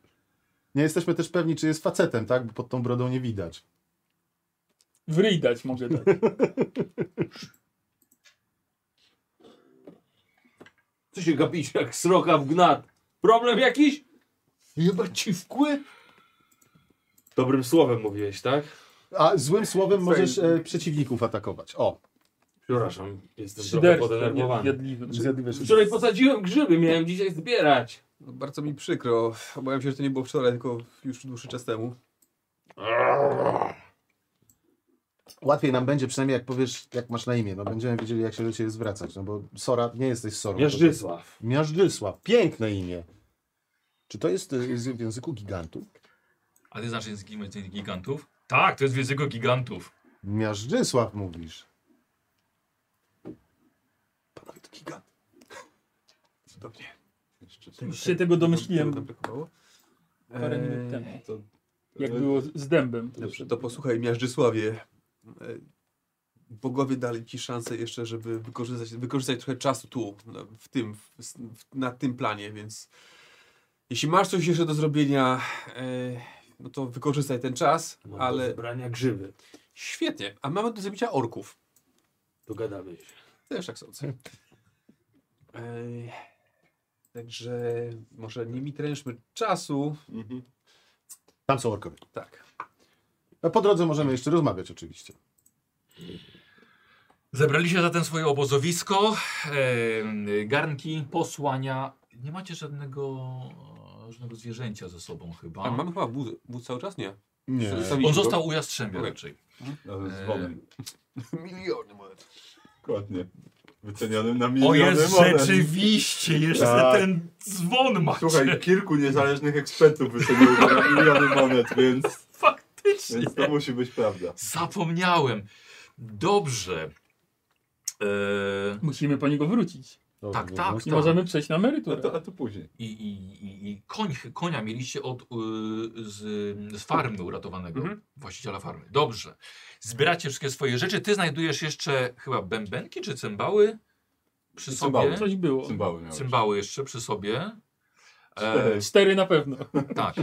Speaker 5: Nie jesteśmy też pewni, czy jest facetem, tak? Bo pod tą brodą nie widać.
Speaker 6: W ryj dać mogę tak. dać.
Speaker 3: Co się gapić jak sroka w gnat? Problem jakiś? Chyba ci wkły? Dobrym słowem mówiłeś, tak?
Speaker 5: A złym słowem
Speaker 4: Słuchaj,
Speaker 5: możesz e, przeciwników atakować. O,
Speaker 3: Przepraszam, jestem trochę
Speaker 6: Szyderstwo
Speaker 3: podenerwowany.
Speaker 6: jadliwe.
Speaker 5: zjadliwe
Speaker 3: Wczoraj posadziłem grzyby, miałem dzisiaj zbierać.
Speaker 4: No, bardzo mi przykro. Obawiam się, że to nie było wczoraj, tylko już dłuższy czas temu.
Speaker 5: Łatwiej nam będzie, przynajmniej jak powiesz, jak masz na imię. No będziemy wiedzieli, jak się do ciebie zwracać. No bo Sora, nie jesteś Sorą.
Speaker 3: Miażdżysław.
Speaker 5: Miażdżysław. Piękne imię. Czy to jest y, z- w języku gigantów?
Speaker 2: A ty znasz język język gigantów? Tak, to jest w języku gigantów.
Speaker 5: Miażdżysław mówisz.
Speaker 4: Panowie, to gigant. Cudownie.
Speaker 1: Jeszcze
Speaker 6: Już się tego
Speaker 4: Tego nam
Speaker 6: domyśliłem
Speaker 4: brakowało.
Speaker 6: parę
Speaker 4: Eee,
Speaker 6: minut temu.
Speaker 1: to-
Speaker 6: Jak było z dębem.
Speaker 4: Dobrze, to posłuchaj Miażdżysławie. Eee, E, bogowie dali ci szansę jeszcze, żeby wykorzystać, wykorzystać trochę czasu tu, na- w tym, w, w, na tym planie, więc jeśli masz coś jeszcze do zrobienia, e, no to wykorzystaj ten czas,
Speaker 7: Mam Ale...
Speaker 4: ale
Speaker 7: do zebrania grzyby.
Speaker 4: świetnie. A mamy do zabicia orków.
Speaker 7: Dogadamy się.
Speaker 4: Też tak
Speaker 7: [LAUGHS]
Speaker 4: sądzę. Ej, Także może nimi trężmy czasu.
Speaker 1: Mhm.
Speaker 5: Tam są orkowie.
Speaker 4: Tak.
Speaker 5: A po drodze możemy jeszcze rozmawiać oczywiście.
Speaker 2: Zebraliście zatem swoje obozowisko, em, garnki, posłania. Nie macie żadnego, żadnego zwierzęcia ze sobą chyba.
Speaker 4: A mamy chyba wóz, wóz cały czas? Nie.
Speaker 5: Nie.
Speaker 2: On został u Jastrzębia
Speaker 4: Okej.
Speaker 2: raczej.
Speaker 1: Z wonem.
Speaker 4: miliony monet.
Speaker 1: Dokładnie. Wycenionym na
Speaker 2: O
Speaker 1: miliony
Speaker 2: jest
Speaker 1: monet.
Speaker 2: rzeczywiście, jeszcze
Speaker 1: Tak.
Speaker 2: ten dzwon macie.
Speaker 1: Słuchaj, kilku niezależnych ekspertów wyceniło go na miliony monet, więc,
Speaker 2: Faktycznie.
Speaker 1: więc to musi być prawda.
Speaker 2: Zapomniałem. Dobrze. E,
Speaker 6: Musimy po niego wrócić.
Speaker 5: No,
Speaker 2: tak,
Speaker 5: no,
Speaker 2: tak.
Speaker 5: no.
Speaker 6: Nie możemy przejść na
Speaker 1: A
Speaker 6: emeryturę.
Speaker 1: No to, a to później.
Speaker 2: I, i, i, i koń, konia mieliście od, y, z, z farmy uratowanego,
Speaker 4: Mhm.
Speaker 2: właściciela farmy. Dobrze. Zbieracie wszystkie swoje rzeczy. Ty znajdujesz jeszcze chyba bębenki czy cymbały przy
Speaker 1: Cymbały.
Speaker 2: sobie.
Speaker 6: Coś było.
Speaker 1: Cymbały miałeś.
Speaker 2: Cymbały jeszcze przy sobie. E,
Speaker 1: Cztery.
Speaker 6: Cztery na pewno.
Speaker 2: tak.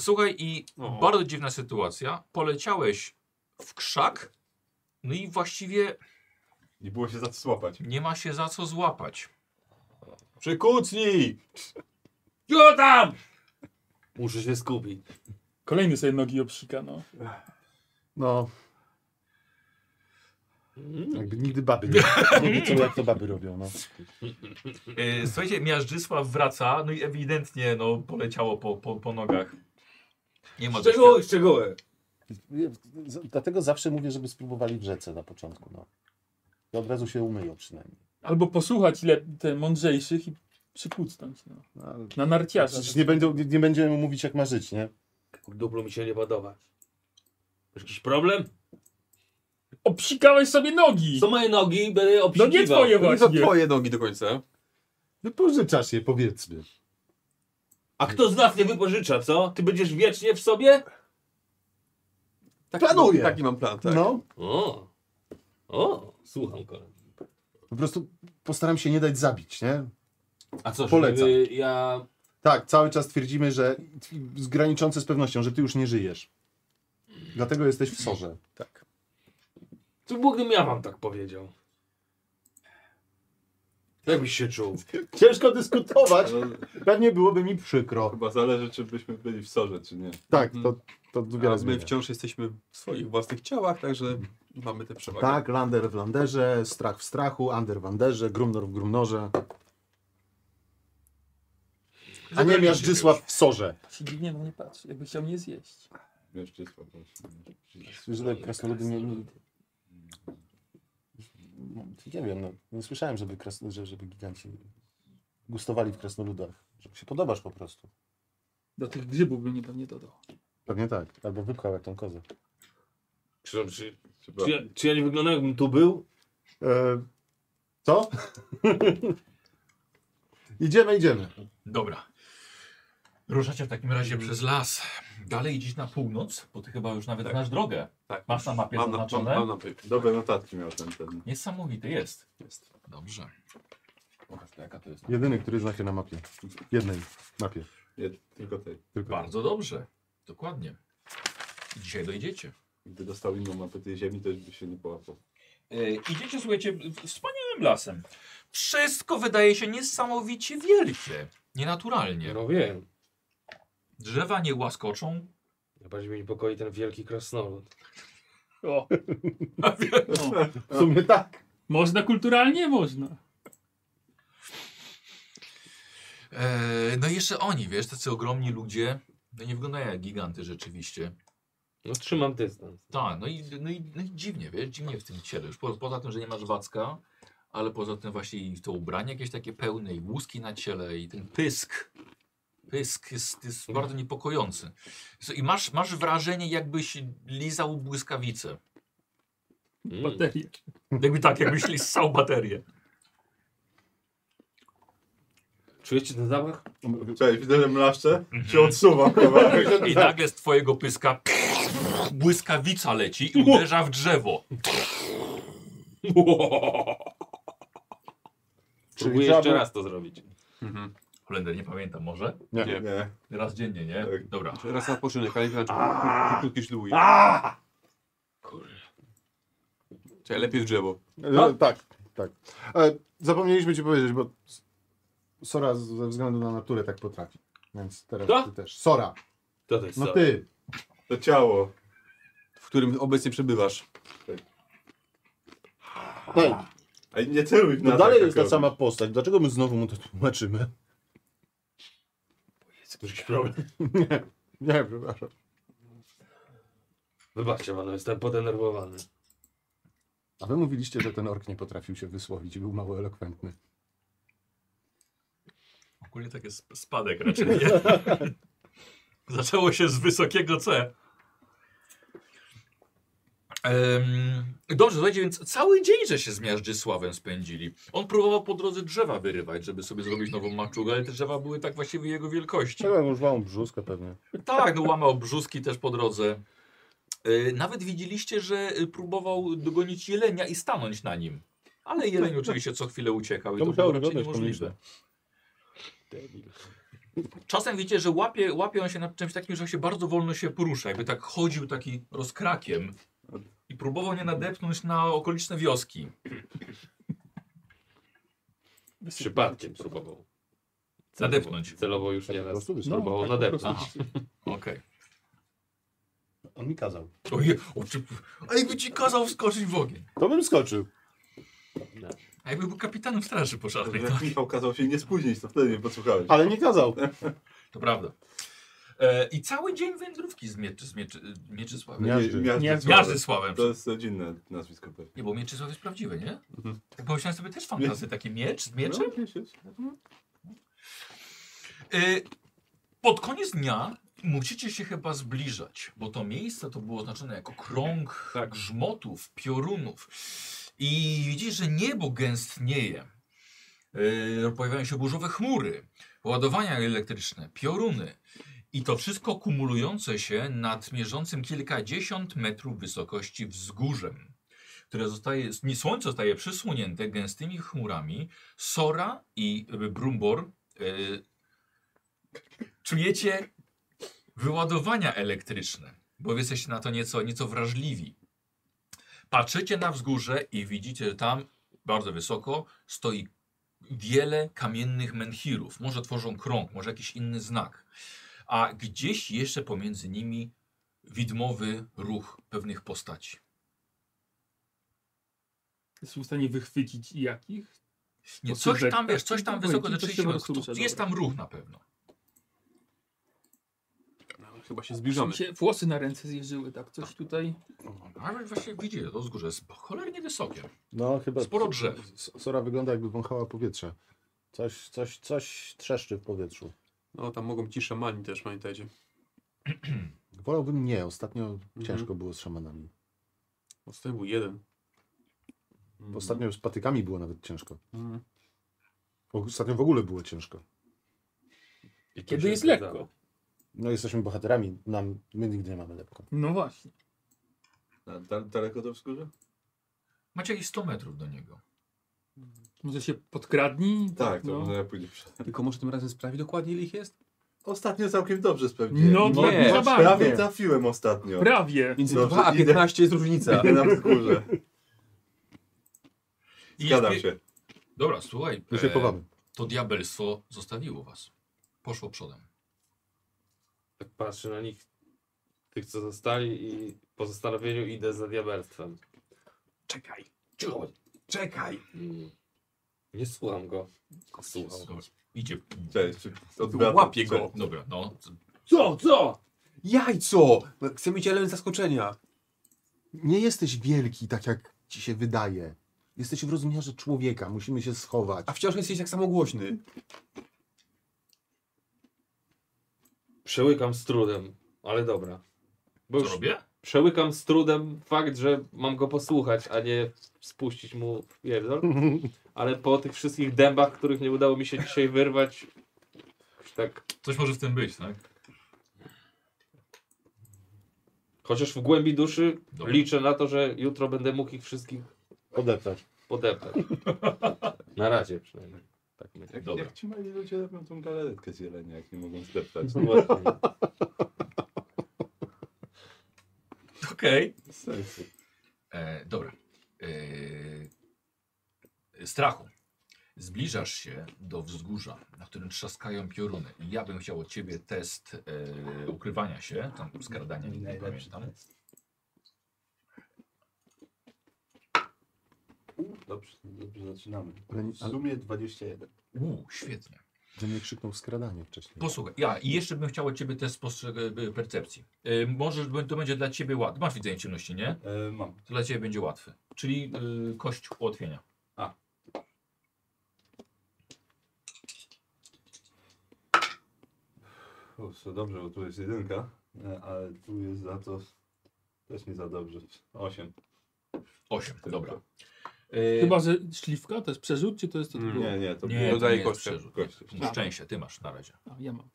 Speaker 2: Słuchaj, i
Speaker 4: O.
Speaker 2: bardzo dziwna sytuacja. Poleciałeś w krzak, no i właściwie
Speaker 1: Nie było się za co złapać.
Speaker 2: nie ma się za co złapać.
Speaker 7: Przykucnij!
Speaker 2: Jo tam!
Speaker 7: Muszę się skupić.
Speaker 6: Kolejny sobie nogi obszyka, no.
Speaker 5: No,
Speaker 7: Mm.
Speaker 5: jakby nigdy baby nie, nie wiedzą jak to baby robią. No.
Speaker 2: E, Słuchajcie, Miażdżysław wraca, no i ewidentnie no, poleciało po, po, po nogach. Nie ma
Speaker 7: Szczegóły, szczegóły.
Speaker 5: Z- Dlatego zawsze mówię, żeby spróbowali w rzece na początku. No. I od razu się umyją przynajmniej.
Speaker 6: Albo posłuchać ile te mądrzejszych i przykucnąć, no.
Speaker 5: No, ale...
Speaker 6: Na narciarza.
Speaker 5: Przecież nie, będą, nie, nie będziemy mówić jak ma żyć, nie?
Speaker 7: Duplo mi się nie podoba. Masz jakiś problem?
Speaker 6: Obsikałeś sobie nogi!
Speaker 7: Co moje nogi będę
Speaker 6: No
Speaker 7: obsikiwał.
Speaker 6: nie twoje
Speaker 4: Nie za
Speaker 6: właśnie.
Speaker 4: twoje nogi do końca.
Speaker 5: No pożyczasz je, powiedzmy.
Speaker 7: A kto z nas nie wypożycza, co? Ty będziesz wiecznie w sobie?
Speaker 4: Taki,
Speaker 5: Planuję.
Speaker 4: Taki mam plan, tak.
Speaker 5: No,
Speaker 7: O, o, słucham kolegi.
Speaker 5: po prostu postaram się nie dać zabić, nie?
Speaker 7: A co,
Speaker 5: Polecam.
Speaker 7: żeby ja...
Speaker 5: Tak, cały czas twierdzimy, że z graniczące z pewnością, że ty już nie żyjesz. Dlatego jesteś w sorze.
Speaker 4: Tak.
Speaker 7: To Bóg ja wam tak powiedział. Jak byś się czuł?
Speaker 5: Ciężko dyskutować.
Speaker 1: No,
Speaker 5: Pewnie byłoby mi przykro.
Speaker 1: chyba zależy, czy byśmy byli w sorze, czy nie.
Speaker 5: Tak,
Speaker 7: Mhm.
Speaker 5: to, to wiele
Speaker 4: A my
Speaker 5: zmienia.
Speaker 4: wciąż jesteśmy w swoich własnych ciałach, także mamy te przewagi.
Speaker 5: Tak, lander w landerze, strach w strachu, under w anderze, grumnor w grumnorze. A nie
Speaker 2: Zabraliście
Speaker 5: Miażdżysław w sorze.
Speaker 6: Się dziwnie na mnie patrzy, no jakby chciał mnie zjeść.
Speaker 1: Miażdżysław właśnie. No
Speaker 5: Że krasnoludy nie... Nie wiem, no, nie słyszałem, żeby, kras... że- żeby giganci gustowali w krasnoludach. Że się podobasz po prostu.
Speaker 6: Do tych grzybów bym nie pewnie dodał.
Speaker 5: Pewnie tak. Albo wypchał jak tą kozę.
Speaker 7: Czy, czy,
Speaker 1: Chyba.
Speaker 7: czy, ja, czy ja nie wyglądam jakbym tu był?
Speaker 5: E, co? [LAUGHS] idziemy, idziemy.
Speaker 2: Dobra. Ruszacie w takim razie przez las. Dalej idziesz na północ, bo ty chyba już nawet znasz drogę.
Speaker 4: Tak.
Speaker 2: Masz na mapie
Speaker 4: Mam na, mam,
Speaker 2: zaznaczone?
Speaker 4: mam na
Speaker 1: Dobre notatki miał ten ten.
Speaker 2: Niesamowity jest. Jest. Dobrze. Pokaż to jaka to jest.
Speaker 5: Jedyny, który zna się na mapie. Jednej mapie.
Speaker 1: Nie, tylko tej.
Speaker 5: Tylko.
Speaker 2: Bardzo dobrze. Dokładnie. I Dzisiaj dojdziecie.
Speaker 1: Gdy dostał inną mapę tej ziemi, to już by się nie połapał.
Speaker 2: E, Idziecie, słuchajcie, w- wspaniałym lasem. Wszystko wydaje się niesamowicie wielkie. Nienaturalnie.
Speaker 7: No wiem.
Speaker 2: Drzewa nie [LAUGHS] łaskoczą.
Speaker 7: Bardziej mnie niepokoi ten wielki krasnolud.
Speaker 6: O,
Speaker 5: W sumie tak.
Speaker 6: można kulturalnie? Można.
Speaker 2: E, no i jeszcze oni, wiesz, tacy ogromni ludzie. No nie wyglądają jak giganty rzeczywiście.
Speaker 7: No trzymam dystans.
Speaker 2: Tak, no i, no, i, no i dziwnie, wiesz, dziwnie w tym ciele. Już po, poza tym, że nie masz wacka, ale poza tym właśnie i to ubranie jakieś takie pełne i łuski na ciele i ten pysk. Pysk jest, jest bardzo niepokojący. So, I masz, masz wrażenie, jakbyś lizał błyskawicę.
Speaker 7: Mm.
Speaker 6: Baterie.
Speaker 2: Jakby tak, jakbyś lizał baterię.
Speaker 7: Czujecie ten zapach?
Speaker 1: Cześć, widelem laszczę, się odsuwam chyba.
Speaker 2: I nagle z twojego pyska Błyskawica leci i uderza w drzewo.
Speaker 3: Próbuję
Speaker 5: trzeba
Speaker 3: jeszcze
Speaker 5: było-
Speaker 3: raz to zrobić.
Speaker 2: Holender, nie pamiętam, może?
Speaker 1: Nie. nie.
Speaker 2: Raz dziennie, nie?
Speaker 1: Tak.
Speaker 2: Dobra.
Speaker 4: Raz na odpoczynek, ale nie wiem, czy krótki czy długi. Czyli lepiej w drzewo.
Speaker 5: E, tak, tak. E, zapomnieliśmy ci powiedzieć, bo s- Sora z- ze względu na naturę tak potrafi. Więc teraz
Speaker 3: Kto?
Speaker 5: ty też. Sora.
Speaker 3: To to jest
Speaker 5: No
Speaker 3: co?
Speaker 5: ty.
Speaker 1: To ciało.
Speaker 4: w którym obecnie przebywasz.
Speaker 5: Ej,
Speaker 1: A nie celuj w
Speaker 5: no
Speaker 1: nas,
Speaker 5: dalej
Speaker 1: tak jak
Speaker 5: jest ta
Speaker 1: robi.
Speaker 5: sama postać. Dlaczego my znowu mu to tłumaczymy?
Speaker 7: Jest jakiś problem.
Speaker 5: [LAUGHS] Nie, przepraszam.
Speaker 3: Wybaczcie panu, jestem podenerwowany.
Speaker 5: A wy mówiliście, że ten ork nie potrafił się wysłowić i był mało elokwentny.
Speaker 2: Ogólnie tak jest spadek raczej, nie? Zaczęło się z wysokiego C. Em, dobrze, słuchajcie, więc cały dzień, że się z Miażdżysławem spędzili. On próbował po drodze drzewa wyrywać, żeby sobie zrobić nową maczugę, ale te drzewa były tak właściwie jego wielkości.
Speaker 5: Czego używałem brzuskę pewnie.
Speaker 2: Tak, no łamał brzuski też po drodze. Y, Nawet widzieliście, że y, próbował dogonić jelenia i stanąć na nim. Ale jeleń oczywiście co chwilę uciekał i
Speaker 5: To
Speaker 2: to,
Speaker 5: musiało
Speaker 2: było raczej
Speaker 5: wyglądać
Speaker 2: niemożliwe. Czasem widzicie, że łapie, łapie on się nad czymś takim, że on się bardzo wolno się porusza. Jakby tak chodził taki rozkrakiem i próbował nie nadepnąć na okoliczne wioski.
Speaker 3: Przypadkiem próbował.
Speaker 2: Nadepnąć.
Speaker 3: Celowo już
Speaker 6: Tak,
Speaker 3: nie raz.
Speaker 5: prostu wysłałem.
Speaker 3: Próbował nadepnąć.
Speaker 2: Okej.
Speaker 7: On mi kazał.
Speaker 2: Ojej, o, czy- A jakby ci kazał wskoczyć w ogień.
Speaker 5: To bym skoczył.
Speaker 2: A jakby był kapitanem straży pożarnej.
Speaker 1: Jak Michał kazał się nie spóźnić, to wtedy nie posłuchałeś.
Speaker 5: Ale nie kazał.
Speaker 2: To prawda. E, I cały dzień wędrówki z, Mieczy, z Mieczy, Mieczysławem.
Speaker 5: Nie.
Speaker 2: Nie.
Speaker 1: Mia- Miażdży-
Speaker 6: Miażdży-
Speaker 2: Miażdysławem.
Speaker 1: To jest rodzinne nazwisko pewnie.
Speaker 2: Nie, bo Mieczysław jest prawdziwy, nie? Tak pomyślałem sobie też fantazję, taki miecz z mieczem.
Speaker 1: No, wiesz, jest.
Speaker 5: Mhm.
Speaker 2: E, pod koniec dnia musicie się chyba zbliżać, bo to miejsce to było oznaczone jako krąg grzmotów, piorunów. I widzisz, że niebo gęstnieje. E, pojawiają się burzowe chmury, ładowania elektryczne, pioruny. I to wszystko kumulujące się nad mierzącym kilkadziesiąt metrów wysokości wzgórzem, które zostaje, nie, słońce zostaje przysłonięte gęstymi chmurami. Sora i y, Brumbor y, czujecie wyładowania elektryczne, bo jesteście na to nieco, nieco wrażliwi. Patrzycie na wzgórze i widzicie, że tam bardzo wysoko stoi wiele kamiennych menhirów. Może tworzą krąg, może jakiś inny znak. A gdzieś jeszcze pomiędzy nimi widmowy ruch pewnych postaci.
Speaker 6: Jestem w stanie wychwycić jakich?
Speaker 2: Nie,
Speaker 6: Po
Speaker 2: coś tam,
Speaker 6: sylwetkach.
Speaker 2: wiesz, coś tam
Speaker 6: Dobra,
Speaker 2: wysoko
Speaker 6: to się
Speaker 2: rzeczywiście,
Speaker 6: po prostu
Speaker 2: kto-
Speaker 6: ruszę,
Speaker 2: jest
Speaker 6: dobra.
Speaker 2: tam ruch na pewno.
Speaker 4: Chyba się zbliżamy.
Speaker 6: Mi się włosy na ręce zjeżyły, tak? Coś tutaj.
Speaker 2: No, Ale właśnie widzicie, to wzgórze jest cholernie wysokie.
Speaker 5: No chyba.
Speaker 2: Sporo drzew.
Speaker 5: S- Sora wygląda jakby wąchała powietrze. Coś, coś, coś trzeszczy w powietrzu.
Speaker 4: No tam mogą ci szamani też, pamiętajcie.
Speaker 5: Wolałbym nie. Ostatnio ciężko
Speaker 4: Mhm.
Speaker 5: było z szamanami.
Speaker 4: Ostatnio był jeden.
Speaker 5: Ostatnio z patykami było nawet ciężko.
Speaker 4: Mhm.
Speaker 5: Ostatnio w ogóle było ciężko.
Speaker 3: I to
Speaker 7: Kiedy
Speaker 3: się
Speaker 7: jest
Speaker 3: zgadzało.
Speaker 7: lekko.
Speaker 5: No jesteśmy bohaterami. Nam, my nigdy nie mamy lekko.
Speaker 6: No właśnie.
Speaker 1: A da- Daleko to wzgórze?
Speaker 2: Macie jakieś 100 metrów do niego.
Speaker 6: Może się podkradnij?
Speaker 1: Tak, to
Speaker 6: no.
Speaker 1: może ja pójdę przed.
Speaker 4: Tylko może tym razem sprawi dokładnie ile ich jest?
Speaker 1: Ostatnio całkiem dobrze sprawdziłem.
Speaker 6: No,
Speaker 4: Nie,
Speaker 6: nie, za bardzo.
Speaker 1: Prawie
Speaker 6: Prawie.
Speaker 1: trafiłem ostatnio.
Speaker 6: Prawie.
Speaker 4: Między
Speaker 1: Dobrze,
Speaker 4: 2 a
Speaker 1: idę.
Speaker 4: 15 jest różnica.
Speaker 1: Idę na wzgórze.
Speaker 2: I
Speaker 1: Zgadzam
Speaker 2: jest-
Speaker 1: się.
Speaker 2: Dobra, słuchaj.
Speaker 5: My się
Speaker 2: e,
Speaker 5: chowamy.
Speaker 2: To diabelstwo zostawiło was. Poszło przodem.
Speaker 3: Tak patrzę na nich, tych co zostali i po zastanowieniu idę za diabelstwem.
Speaker 4: Czekaj. Czekaj.
Speaker 3: Mm. Nie słucham go. Słucham go.
Speaker 2: Dobra, Idzie.
Speaker 1: Cześć. czy odwracam?
Speaker 4: Łapię go.
Speaker 1: Cześć.
Speaker 2: Dobra, no.
Speaker 4: Co, co? Jajco! Chcę mieć element zaskoczenia.
Speaker 5: Nie jesteś wielki, tak jak ci się wydaje. Jesteś w rozmiarze człowieka. Musimy się schować.
Speaker 4: A wciąż jesteś tak samo głośny.
Speaker 3: Przełykam z trudem, ale dobra. Bo
Speaker 2: Co
Speaker 3: już
Speaker 2: robię?
Speaker 3: przełykam z trudem fakt, że mam go posłuchać, a nie spuścić mu
Speaker 2: [LAUGHS]
Speaker 3: w pierdol. Ale po tych wszystkich dębach, których nie udało mi się dzisiaj wyrwać, już tak
Speaker 2: Coś może w tym być, tak?
Speaker 3: Chociaż w głębi duszy
Speaker 2: Dobra.
Speaker 3: liczę na to, że jutro będę mógł ich wszystkich
Speaker 7: Podeptać.
Speaker 2: [LAUGHS]
Speaker 3: podeptać. Na razie przynajmniej. Tak będzie.
Speaker 1: Jak,
Speaker 3: [LAUGHS]
Speaker 2: Dobra.
Speaker 1: jak ci mali ludzie robią tą galaretkę z jelenia, jak nie mogą zdeptać.
Speaker 3: No właśnie.
Speaker 2: Okej.
Speaker 1: Bez sensu.
Speaker 2: E, Dobra. E, Strachu. Zbliżasz się do wzgórza, na którym trzaskają pioruny. I Ja bym chciał od ciebie test e, ukrywania się, tam skradania, nigdy nie pamiętam.
Speaker 1: Dobrze, dobrze zaczynamy.
Speaker 5: Ale nie-
Speaker 1: W sumie 21.
Speaker 2: Uuu, świetnie.
Speaker 5: Że nie krzyknął skradanie wcześniej.
Speaker 2: Posłuchaj, ja i jeszcze bym chciał od ciebie test postrzeg- e, percepcji. E, Możesz, bo to będzie dla ciebie łatwe. Masz widzenie ciemności, nie?
Speaker 1: E, mam.
Speaker 2: To dla ciebie będzie łatwy. Czyli y, kość ułatwienia.
Speaker 1: A. Kurczę, dobrze, bo tu jest jedynka, e, ale tu jest za to też nie za dobrze. 8.
Speaker 2: 8, dobra.
Speaker 6: Chyba, że śliwka to jest przerzut, czy to jest to
Speaker 4: Y, Mm,
Speaker 6: tylko-
Speaker 1: Nie, nie, to
Speaker 2: nie,
Speaker 1: było-
Speaker 4: Dodaję
Speaker 2: to nie jest
Speaker 4: kostkę.
Speaker 2: przerzut.
Speaker 1: Kość.
Speaker 2: No, Szczęście, ty masz na razie.
Speaker 6: A, ja mam.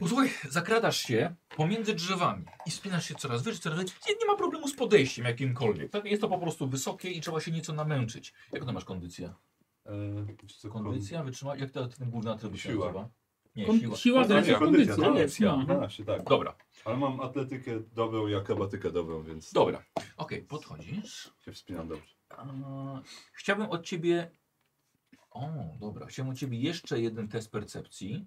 Speaker 2: Posłuchaj, zakradasz się pomiędzy drzewami i spinasz się coraz wyżej, coraz wyżej. Nie, nie ma problemu z podejściem jakimkolwiek. Tak? Jest to po prostu wysokie i trzeba się nieco namęczyć. Jak to masz kondycję?
Speaker 1: E, wiesz co, kon-
Speaker 2: Kondycja, wytrzyma... Jak to ten główny atrybut się
Speaker 1: Siła.
Speaker 2: nazywa? Nie,
Speaker 6: Kon-
Speaker 2: siła.
Speaker 6: siła
Speaker 1: Kondycja, kondycja,
Speaker 6: kondycja, kondycja.
Speaker 2: kondycja.
Speaker 6: No.
Speaker 1: 12, tak.
Speaker 2: Dobra,
Speaker 1: Ale mam atletykę dobrą i akrobatykę dobrą, więc
Speaker 2: dobra. Okej, podchodzisz.
Speaker 1: się wspinam dobrze.
Speaker 2: A, Chciałbym od ciebie... O, dobra. Chciałbym od ciebie jeszcze jeden test percepcji,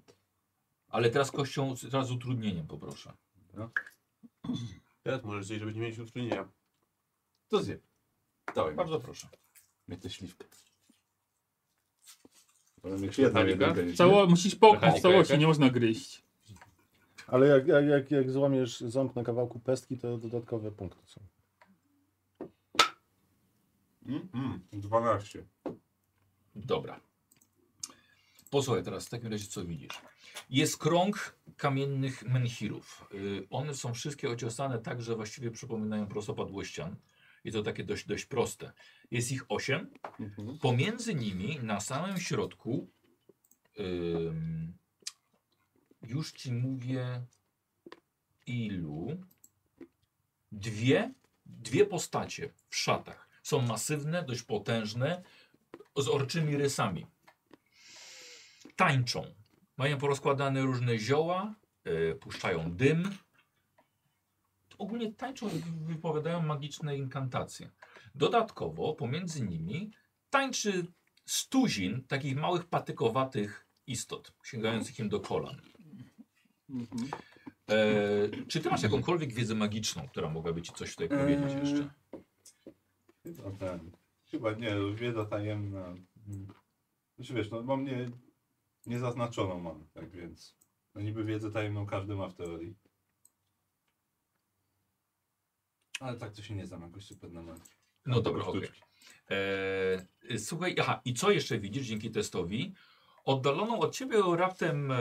Speaker 2: ale teraz kością, teraz z utrudnieniem poproszę.
Speaker 4: Teraz możesz zjeść, żebyśmy mieli utrudnienia.
Speaker 1: To zjem. Dawaj,
Speaker 2: Bardzo proszę.
Speaker 1: mnie tę śliwkę. Ale mieć jedną
Speaker 3: Mechanika?
Speaker 1: jedynkę. nic
Speaker 6: Cało, musisz połknąć w
Speaker 3: Mechanika
Speaker 6: całości,
Speaker 3: jakaś?
Speaker 6: nie można gryźć.
Speaker 5: Ale jak, jak, jak, jak złamiesz ząb na kawałku pestki, to dodatkowe punkty są.
Speaker 1: nie- Mm, mm, 12.
Speaker 2: Dobra. Posłuchaj teraz, w takim razie co widzisz? Jest krąg kamiennych menhirów. Y, one są wszystkie ociosane tak, że właściwie przypominają prostopadłościan. I to takie dość, dość proste. Jest ich osiem.
Speaker 1: Mhm.
Speaker 2: Pomiędzy nimi na samym środku ym, już ci mówię ilu dwie, dwie postacie w szatach. Są masywne, dość potężne, z orczymi rysami. Tańczą. Mają porozkładane różne zioła, y, puszczają dym. Ogólnie tańczą i wypowiadają magiczne inkantacje. Dodatkowo pomiędzy nimi tańczy stuzin takich małych patykowatych istot, sięgających im do kolan. E, czy ty masz jakąkolwiek wiedzę magiczną, która mogłaby ci coś tutaj powiedzieć
Speaker 1: Eee.
Speaker 2: jeszcze?
Speaker 1: Chyba ten. Chyba nie, wiedza tajemna. Mm. Znaczy wiesz, no mam nie, niezaznaczoną mam, tak więc. No niby wiedzę tajemną każdy ma w teorii. Ale tak to się nie znam jakoś super na magii.
Speaker 2: No dobra, okej.
Speaker 1: sztuczki.
Speaker 2: E, Słuchaj, aha, i co jeszcze widzisz dzięki testowi? Oddaloną od ciebie o raptem e,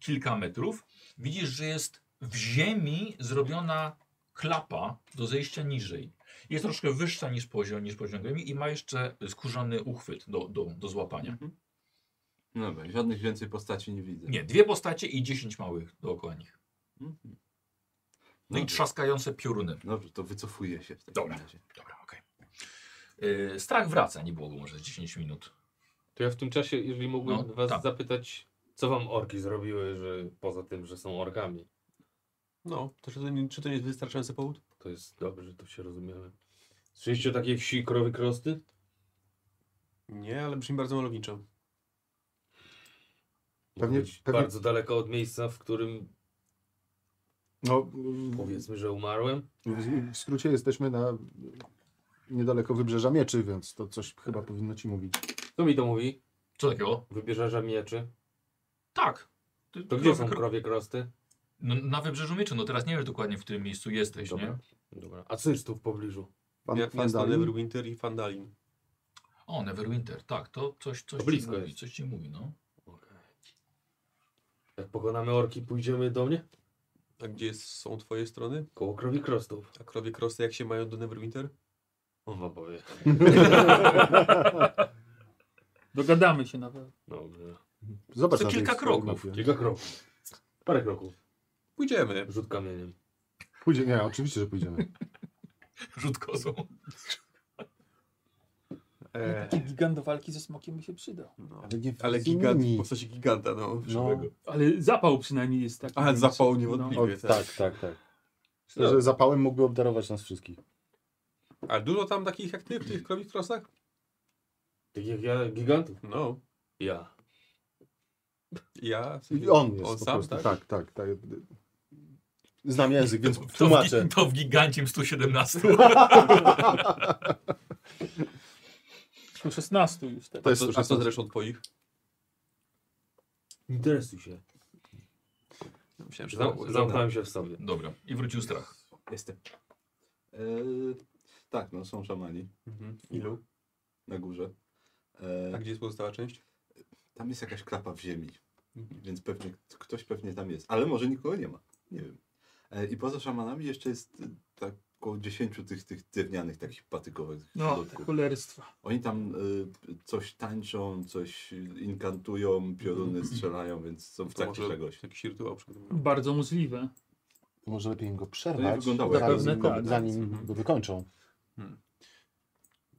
Speaker 2: kilka metrów widzisz, że jest w ziemi zrobiona klapa do zejścia niżej. Jest troszkę wyższa niż poziom, niż poziom ziemi i ma jeszcze skórzany uchwyt do, do, do złapania.
Speaker 7: Mhm.
Speaker 1: No dobra, żadnych więcej postaci nie widzę.
Speaker 2: Nie, dwie postacie i 10 małych dookoła nich.
Speaker 1: Mhm.
Speaker 2: No i
Speaker 1: Dobrze,
Speaker 2: trzaskające pioruny.
Speaker 1: Dobrze, to wycofuję się w takim
Speaker 2: Dobra.
Speaker 1: razie.
Speaker 2: Dobra, okej. E, Strach wraca, nie było go może z 10 minut.
Speaker 3: To ja w tym czasie, jeżeli mógłbym
Speaker 2: No,
Speaker 3: was
Speaker 2: tak.
Speaker 3: zapytać, co wam orki zrobiły, że poza tym, że są orkami.
Speaker 4: No, to czy to, nie- czy to nie jest wystarczający powód?
Speaker 3: To jest dobrze, że to się rozumiemy.
Speaker 7: Słyszeliście o takiej wsi krowy krosty?
Speaker 4: Nie, ale brzmi bardzo malowniczo.
Speaker 5: Pewnie-
Speaker 7: Pewnie, być
Speaker 5: pewnie-
Speaker 7: bardzo daleko od miejsca, w którym
Speaker 5: No,
Speaker 7: powiedzmy, że umarłem.
Speaker 5: w, w skrócie jesteśmy na niedaleko Wybrzeża Mieczy, więc to coś chyba powinno ci mówić.
Speaker 3: Kto mi to mówi?
Speaker 2: Co takiego?
Speaker 7: Wybierzarza mieczy.
Speaker 2: Tak. Ty-
Speaker 7: To gdzie są
Speaker 2: krowy-
Speaker 7: krowie krosty?
Speaker 2: No, na Wybrzeżu Mieczy, no teraz nie wiesz dokładnie, w którym miejscu jesteś, nie?
Speaker 7: Dobra. Dobra. A co jest tu w pobliżu?
Speaker 5: Pan,
Speaker 4: Ja,
Speaker 5: pan
Speaker 4: miasto
Speaker 5: dalej?
Speaker 4: Neverwinter i Fandalin.
Speaker 2: O, Neverwinter, tak, to coś, coś
Speaker 7: To blisko
Speaker 2: ci mówi,
Speaker 7: jest.
Speaker 2: coś ci mówi, no. [LAUGHS]
Speaker 7: Okej. Jak pokonamy orki, pójdziemy do mnie?
Speaker 4: A gdzie jest, są twoje strony?
Speaker 7: Koło krowi krostów.
Speaker 4: A krowie krosy jak się mają do Neverwinter?
Speaker 7: On wam powie.
Speaker 6: Dogadamy się nawet.
Speaker 7: Dobrze.
Speaker 5: Zobacz
Speaker 2: To
Speaker 5: na tej
Speaker 2: kilka
Speaker 5: swojej
Speaker 2: kroków.
Speaker 5: mapie.
Speaker 7: Kilka kroków. Parę kroków.
Speaker 4: Pójdziemy.
Speaker 7: Rzut kamieniem.
Speaker 5: Pójdzie, nie, oczywiście, że pójdziemy.
Speaker 2: Rzut kozą.
Speaker 4: E,
Speaker 6: Taki gigant do walki ze smokiem mi się przyda.
Speaker 4: no.
Speaker 5: Ale, nie
Speaker 4: Ale
Speaker 5: w
Speaker 4: gigant,
Speaker 5: Unii.
Speaker 4: w postaci giganta, no.
Speaker 5: No,
Speaker 6: Ale zapał przynajmniej jest taki. No.
Speaker 4: Ale zapał
Speaker 5: o,
Speaker 4: niewątpliwie, tak.
Speaker 5: tak, tak, tak. Myślę, że zapałem mógłby obdarować nas wszystkich.
Speaker 4: A dużo tam takich jak ty w tych krowich krosach?
Speaker 7: Tak jak ja, gigantów.
Speaker 4: No.
Speaker 7: Ja.
Speaker 4: Ja. w
Speaker 5: I
Speaker 4: sensie-
Speaker 5: on jest
Speaker 4: On
Speaker 5: po
Speaker 4: sam,
Speaker 5: prostu.
Speaker 4: tak?
Speaker 5: tak, tak, tak. Znam język,
Speaker 2: [LAUGHS]
Speaker 5: więc
Speaker 2: To w gi-
Speaker 5: tłumaczę.
Speaker 2: To w gigancie 117.
Speaker 7: [LAUGHS]
Speaker 6: No, 16 już teraz.
Speaker 5: To jest
Speaker 4: A co zresztą twoich?
Speaker 7: Interesuj się.
Speaker 4: Ja Myślałem, że
Speaker 7: Zam, zamknąłem się w sobie.
Speaker 2: Dobra, i wrócił strach.
Speaker 1: Jestem. E, tak, no są szamani
Speaker 4: Mhm. Ilu? Tak.
Speaker 1: na górze.
Speaker 4: A
Speaker 1: E,
Speaker 4: gdzie jest pozostała część?
Speaker 1: tam jest jakaś klapa w ziemi,
Speaker 4: Mhm.
Speaker 1: więc pewnie k- ktoś pewnie tam jest, ale może nikogo nie ma. Nie wiem. E, I poza szamanami jeszcze jest e, tak około 10 tych, tych drewnianych takich patykowych
Speaker 6: No,
Speaker 1: środków.
Speaker 6: cholerstwa.
Speaker 1: Oni tam y, coś tańczą, coś inkantują, pioruny strzelają, więc są w
Speaker 4: Mhm. To
Speaker 1: trakcie
Speaker 4: może
Speaker 1: czegoś.
Speaker 4: Jakiś rytuał przygotowany.
Speaker 6: Bardzo możliwe.
Speaker 5: Może lepiej im go
Speaker 1: To nie
Speaker 5: przerwać,
Speaker 1: wyglądało
Speaker 6: jak
Speaker 5: zanim,
Speaker 6: zapewne tak.
Speaker 5: zanim
Speaker 4: Mhm.
Speaker 5: go wykończą.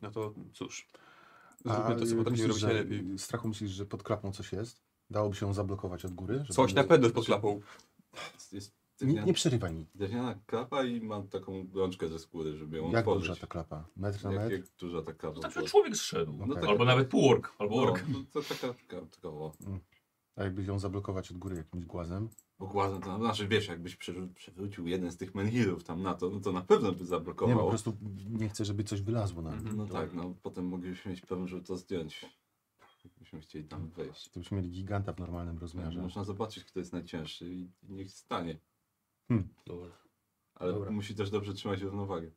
Speaker 4: No to cóż.
Speaker 5: A
Speaker 4: Zróbmy to, tak co potrafimy
Speaker 5: myślisz,
Speaker 4: robić
Speaker 5: że-
Speaker 4: najlepiej.
Speaker 5: Strachu myślisz, że pod klapą coś jest? Dałoby się ją zablokować od góry? żeby-
Speaker 4: Coś na pewno jest pod klapą.
Speaker 1: Jest, jest
Speaker 5: Nie,
Speaker 1: drewniana,
Speaker 5: nie przerywaj mi.
Speaker 1: drewniana klapa i mam taką rączkę ze skóry, żeby ją
Speaker 5: Jak
Speaker 1: otworzyć.
Speaker 5: duża ta klapa? Metr na
Speaker 1: jak,
Speaker 5: metr?
Speaker 1: jak duża ta klapa.
Speaker 2: To tak, że człowiek zszedł.
Speaker 1: No
Speaker 5: Okej.
Speaker 1: tak.
Speaker 2: Albo nawet półork, albo
Speaker 1: No,
Speaker 2: ork.
Speaker 1: to, to taka, taka, taka o,
Speaker 5: A jakby ją zablokować od góry jakimś głazem?
Speaker 1: ogłazem, to znaczy wiesz, jakbyś przerzu- przewrócił jeden z tych menhirów tam na to, no to na pewno by
Speaker 5: Nie, po
Speaker 1: zablokowało.
Speaker 5: prostu nie chcę, żeby coś wylazło na
Speaker 4: Mhm.
Speaker 1: no tak, no potem moglibyśmy mieć problem, żeby to zdjąć. Jakbyśmy chcieli tam wejść.
Speaker 5: Gdybyśmy mieli giganta w normalnym rozmiarze.
Speaker 1: Można zobaczyć, kto jest najcięższy i niech stanie.
Speaker 5: Hm.
Speaker 7: Dobra.
Speaker 1: Ale
Speaker 7: Dobra.
Speaker 1: musi też dobrze trzymać równowagę.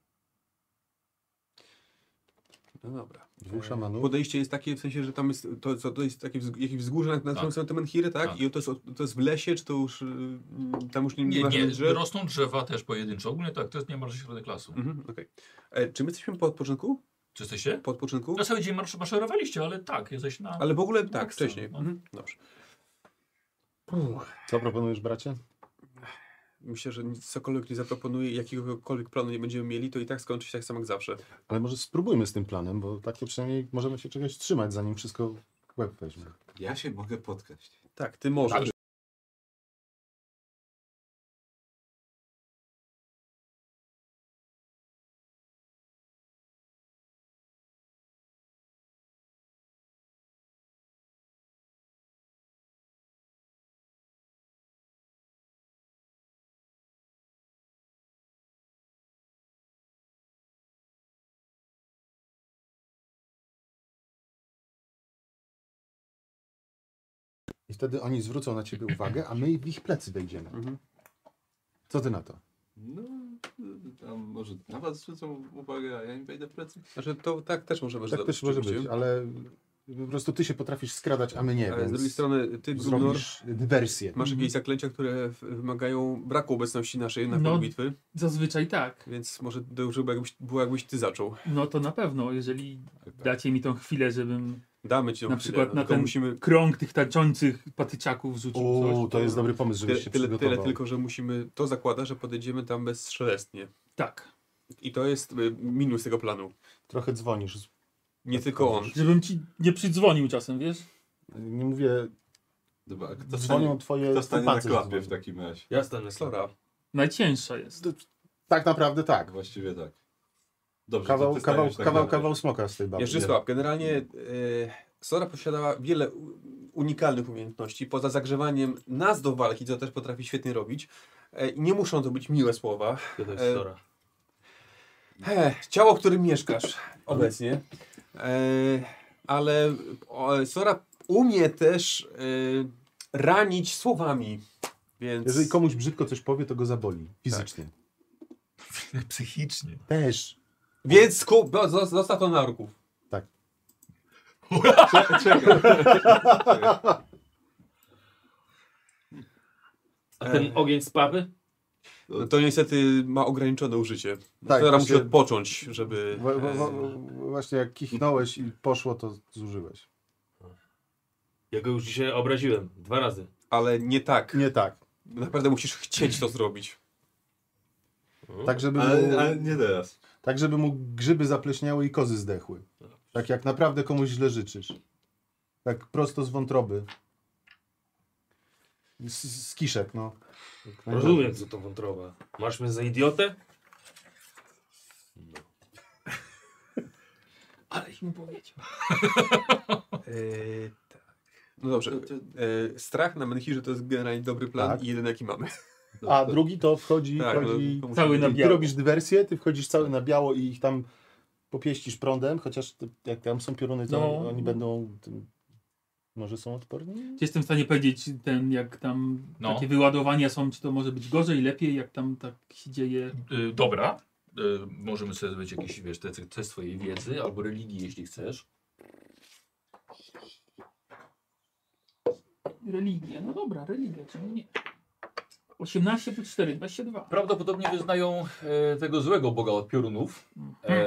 Speaker 4: No dobra.
Speaker 5: Dwóch szamanów?
Speaker 4: Podejście jest takie w sensie, że tam jest, to, co, to jest takie wzg- jakieś wzgórze, na, na którym są te menhiry, tak?
Speaker 2: Tak.
Speaker 4: I to jest, od- to jest w lesie, czy to już, y, mm, tam już nie,
Speaker 2: Nie,
Speaker 4: ma
Speaker 2: nie,
Speaker 4: żadnych drzew?
Speaker 2: rosną drzewa też pojedynczo. Ogólnie tak, to jest niemalże środek lasu.
Speaker 7: Mm.
Speaker 4: Mhm, okej. E, Czy my jesteśmy po odpoczynku?
Speaker 2: Czy jesteście?
Speaker 4: Po odpoczynku?
Speaker 2: Na cały dzień marsz, maszerowaliście, ale tak, jesteś na...
Speaker 4: Ale w ogóle No, tak,
Speaker 2: Tak,
Speaker 4: wcześniej.
Speaker 2: no.
Speaker 4: Mhm, dobrze.
Speaker 5: Co proponujesz, bracie?
Speaker 4: Myślę, że nic, cokolwiek nie zaproponuję, jakiegokolwiek planu nie będziemy mieli, to i tak skończy się tak samo jak zawsze.
Speaker 5: Ale może spróbujmy z tym planem, bo tak to przynajmniej możemy się czegoś trzymać, zanim wszystko w łeb weźmie.
Speaker 1: Ja się mogę podkraść.
Speaker 4: Tak, ty możesz.
Speaker 2: Dobrze.
Speaker 5: I wtedy oni zwrócą na ciebie uwagę, a my w ich plecy wejdziemy.
Speaker 4: Mhm.
Speaker 5: Co ty na to?
Speaker 1: No, y, tam może na was zwrócą uwagę, a ja im wejdę w plecy.
Speaker 4: Znaczy, to tak też możemy
Speaker 5: Tak
Speaker 4: zrobić
Speaker 5: też może
Speaker 4: oczywiście.
Speaker 5: być, ale po prostu ty się potrafisz skradać, a my nie,
Speaker 4: Ale
Speaker 5: więc
Speaker 4: z drugiej strony, ty, Gunnar,
Speaker 5: zrobisz dywersję.
Speaker 4: masz
Speaker 6: Mhm.
Speaker 4: jakieś zaklęcia, które w- wymagają braku obecności naszej na
Speaker 6: No.
Speaker 4: polu bitwy,
Speaker 6: Zazwyczaj tak.
Speaker 4: więc może dobrze by jakbyś, było, jakbyś ty zaczął.
Speaker 6: No to na pewno, jeżeli
Speaker 4: Tak,
Speaker 6: dacie mi tą chwilę, żebym
Speaker 4: Damy ci tą
Speaker 6: Na
Speaker 4: chwilę,
Speaker 6: przykład
Speaker 4: no,
Speaker 6: na
Speaker 4: tylko
Speaker 6: ten-
Speaker 4: musimy
Speaker 6: krąg tych tańczących patyczaków
Speaker 5: O,
Speaker 6: rzucił coś.
Speaker 5: to jest dobry pomysł, żebyś
Speaker 4: tyle,
Speaker 5: się
Speaker 4: tyle,
Speaker 5: przygotował.
Speaker 4: tyle tylko, że musimy, to zakłada, że podejdziemy tam bezszelestnie.
Speaker 6: Tak.
Speaker 4: I to jest y, minus tego planu.
Speaker 5: Trochę dzwonisz. Tak,
Speaker 4: Nie tylko on.
Speaker 6: Żebym ci nie przydzwonił czasem, wiesz?
Speaker 5: Nie mówię,
Speaker 1: Dobra, a kto
Speaker 5: dzwonią
Speaker 1: stanie,
Speaker 5: twoje
Speaker 1: kto stanie na
Speaker 5: palce
Speaker 1: klapie w
Speaker 5: zadzwonią.
Speaker 1: takim razie?
Speaker 7: Ja stanę sobie.
Speaker 4: Slora.
Speaker 6: Najcięższa jest.
Speaker 5: Tak naprawdę tak.
Speaker 1: Właściwie tak. Dobrze, to
Speaker 5: Kawał,
Speaker 1: ty
Speaker 5: kawał,
Speaker 1: staniesz na
Speaker 5: kawał,
Speaker 1: klapie.
Speaker 5: kawał smoka z tej baby.
Speaker 4: Mieczysław, generalnie y, Sora posiadała wiele u- unikalnych umiejętności. Poza zagrzewaniem nas do walki, co też potrafi świetnie robić. y, I nie muszą to być miłe słowa.
Speaker 7: To jest
Speaker 4: E,
Speaker 7: Sora.
Speaker 4: He, ciało, w którym mieszkasz obecnie. E, ale o, Sora umie też e, ranić słowami. Więc
Speaker 5: Jeżeli komuś brzydko coś powie, to go zaboli fizycznie.
Speaker 2: Psychicznie.
Speaker 5: Też.
Speaker 4: więc ku, bo- zo- zostaw to na ruków.
Speaker 1: Cze- Czekaj.
Speaker 7: A ten ogień z papy?
Speaker 4: No to niestety ma ograniczone użycie.
Speaker 5: Tak,
Speaker 4: Sora
Speaker 5: właśnie-
Speaker 4: musi odpocząć, żeby.
Speaker 5: Wa- wa- wa-
Speaker 4: e,
Speaker 5: Właśnie jak kichnąłeś i poszło, to zużyłeś.
Speaker 7: Ja go już dzisiaj obraziłem. Dwa razy.
Speaker 4: ale nie tak.
Speaker 5: Nie tak.
Speaker 4: Naprawdę musisz chcieć to zrobić.
Speaker 5: Tak żeby, mu,
Speaker 1: Ale, ale nie teraz.
Speaker 5: tak, żeby mu grzyby zapleśniały i kozy zdechły. Tak jak naprawdę komuś źle życzysz. Tak prosto z wątroby. Z, z kiszek, no.
Speaker 7: Rozumiem, co to wątroba. Masz mnie za idiotę?
Speaker 4: Aleś mu powiedział.
Speaker 5: E,
Speaker 4: [LAUGHS] Eee, tak. No dobrze. Eee, strach na Menhirze to jest generalnie dobry plan
Speaker 5: Tak.
Speaker 4: i jeden jaki mamy.
Speaker 5: A drugi to wchodzi,
Speaker 4: Tak,
Speaker 5: wchodzi
Speaker 4: no, to
Speaker 6: Cały
Speaker 4: musimy-
Speaker 6: na
Speaker 5: I ty
Speaker 6: biało.
Speaker 5: robisz dywersję, ty wchodzisz cały na biało i ich tam popieścisz prądem, chociaż ty, jak tam są pioruny, to
Speaker 6: No.
Speaker 5: oni będą... Tym, może są odporni?
Speaker 6: Czy jestem w stanie powiedzieć, ten, jak tam
Speaker 2: No.
Speaker 6: takie wyładowania są, czy to może być gorzej, lepiej, jak tam tak się dzieje?
Speaker 2: Y, dobra. Y, możemy sobie zrobić jakieś, wiesz, te, te swojej wiedzy albo religii, jeśli chcesz.
Speaker 6: Religia, no dobra, religia, czemu nie? 18 plus 4, 22.
Speaker 2: Prawdopodobnie wyznają e, tego złego Boga od piorunów e,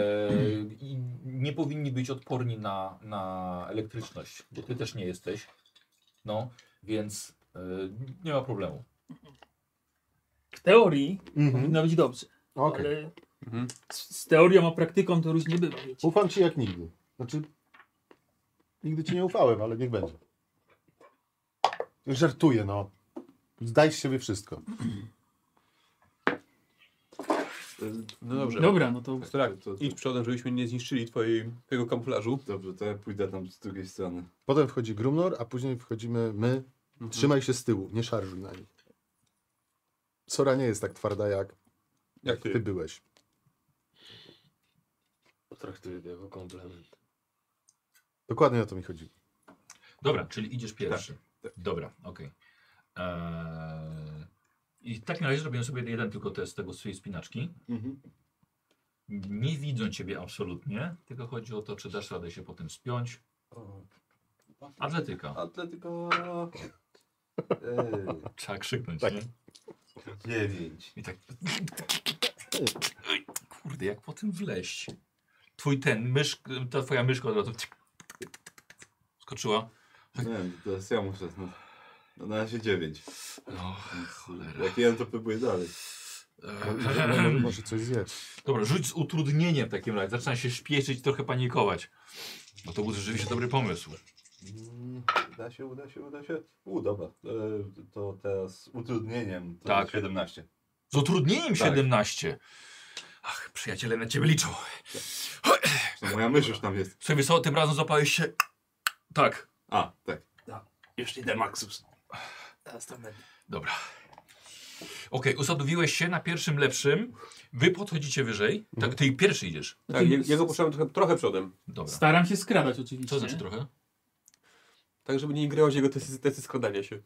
Speaker 2: i nie powinni być odporni na, na elektryczność, bo ty też nie jesteś. No, więc e, nie ma problemu.
Speaker 6: W teorii
Speaker 5: Mhm.
Speaker 6: powinno być dobrze,
Speaker 5: Okej.
Speaker 6: ale
Speaker 4: Mhm.
Speaker 6: z, z teorią a praktyką to różnie bywa, wiecie.
Speaker 5: Ufam ci jak nigdy. Znaczy, nigdy ci nie ufałem, ale niech będzie. Żartuję, no. Zdaj z siebie wszystko.
Speaker 4: No dobrze.
Speaker 6: Dobra, no to
Speaker 4: Strach,
Speaker 1: To, to,
Speaker 4: idź Tak, przodem, żebyśmy nie zniszczyli twojej, twojego kamuflażu.
Speaker 1: dobrze, to ja pójdę tam z drugiej strony.
Speaker 5: Potem wchodzi Grumnor, a później wchodzimy my.
Speaker 6: Mhm.
Speaker 5: Trzymaj się z tyłu, nie szarżuj na nich. Sora nie jest tak twarda jak
Speaker 4: Jak
Speaker 5: ty
Speaker 4: ty?
Speaker 5: byłeś.
Speaker 7: Potraktuję to jako komplement.
Speaker 5: Dokładnie o to mi chodzi.
Speaker 2: Dobra, czyli idziesz pierwszy. Dobra, okej. Eee, I w takim razie zrobiłem sobie jeden tylko test tego swojej spinaczki.
Speaker 1: Mhm.
Speaker 2: Nie widzą ciebie absolutnie, tylko chodzi o to, czy dasz radę się potem spiąć. Atletyka.
Speaker 1: Atletyko... [LAUGHS] Ej,
Speaker 2: Trzeba krzyknąć,
Speaker 5: Tak.
Speaker 2: nie?
Speaker 1: dziewięć.
Speaker 2: I tak. Oj, Kurde, jak po tym wleść? Twój ten mysz, ta twoja myszka od razu skoczyła.
Speaker 1: Nie wiem, teraz ja muszę... No, no na razie dziewięć.
Speaker 2: No,
Speaker 1: Więc,
Speaker 2: cholera.
Speaker 1: Jak ja to próbuję dalej.
Speaker 5: Może, może, może coś zjedz.
Speaker 2: E, Dobra, rzuć z utrudnieniem w takim razie. Zaczyna się śpieszyć, trochę panikować. No to był rzeczywiście dobry pomysł.
Speaker 1: Mm, Uda się, uda się, uda się. U, dobra. E, To teraz z utrudnieniem. To
Speaker 2: Tak.
Speaker 1: 17.
Speaker 2: Z utrudnieniem
Speaker 1: Tak.
Speaker 2: 17. Ach, przyjaciele na ciebie liczą.
Speaker 1: To moja mysz już tam jest.
Speaker 2: Słuchaj, wiesz co, tym razem złapałeś się... Tak.
Speaker 1: A, tak.
Speaker 7: Już idę, Maxus. Teraz to będę.
Speaker 2: Dobra. Okej, usadowiłeś się na pierwszym lepszym. Wy podchodzicie wyżej. Tak, ty pierwszy idziesz.
Speaker 4: Tak, je- jego puszczamy trochę, trochę przodem.
Speaker 2: Dobra.
Speaker 6: staram się skradać oczywiście.
Speaker 2: Co znaczy trochę?
Speaker 4: Tak, żeby nie grało się jego testy, testy składania się.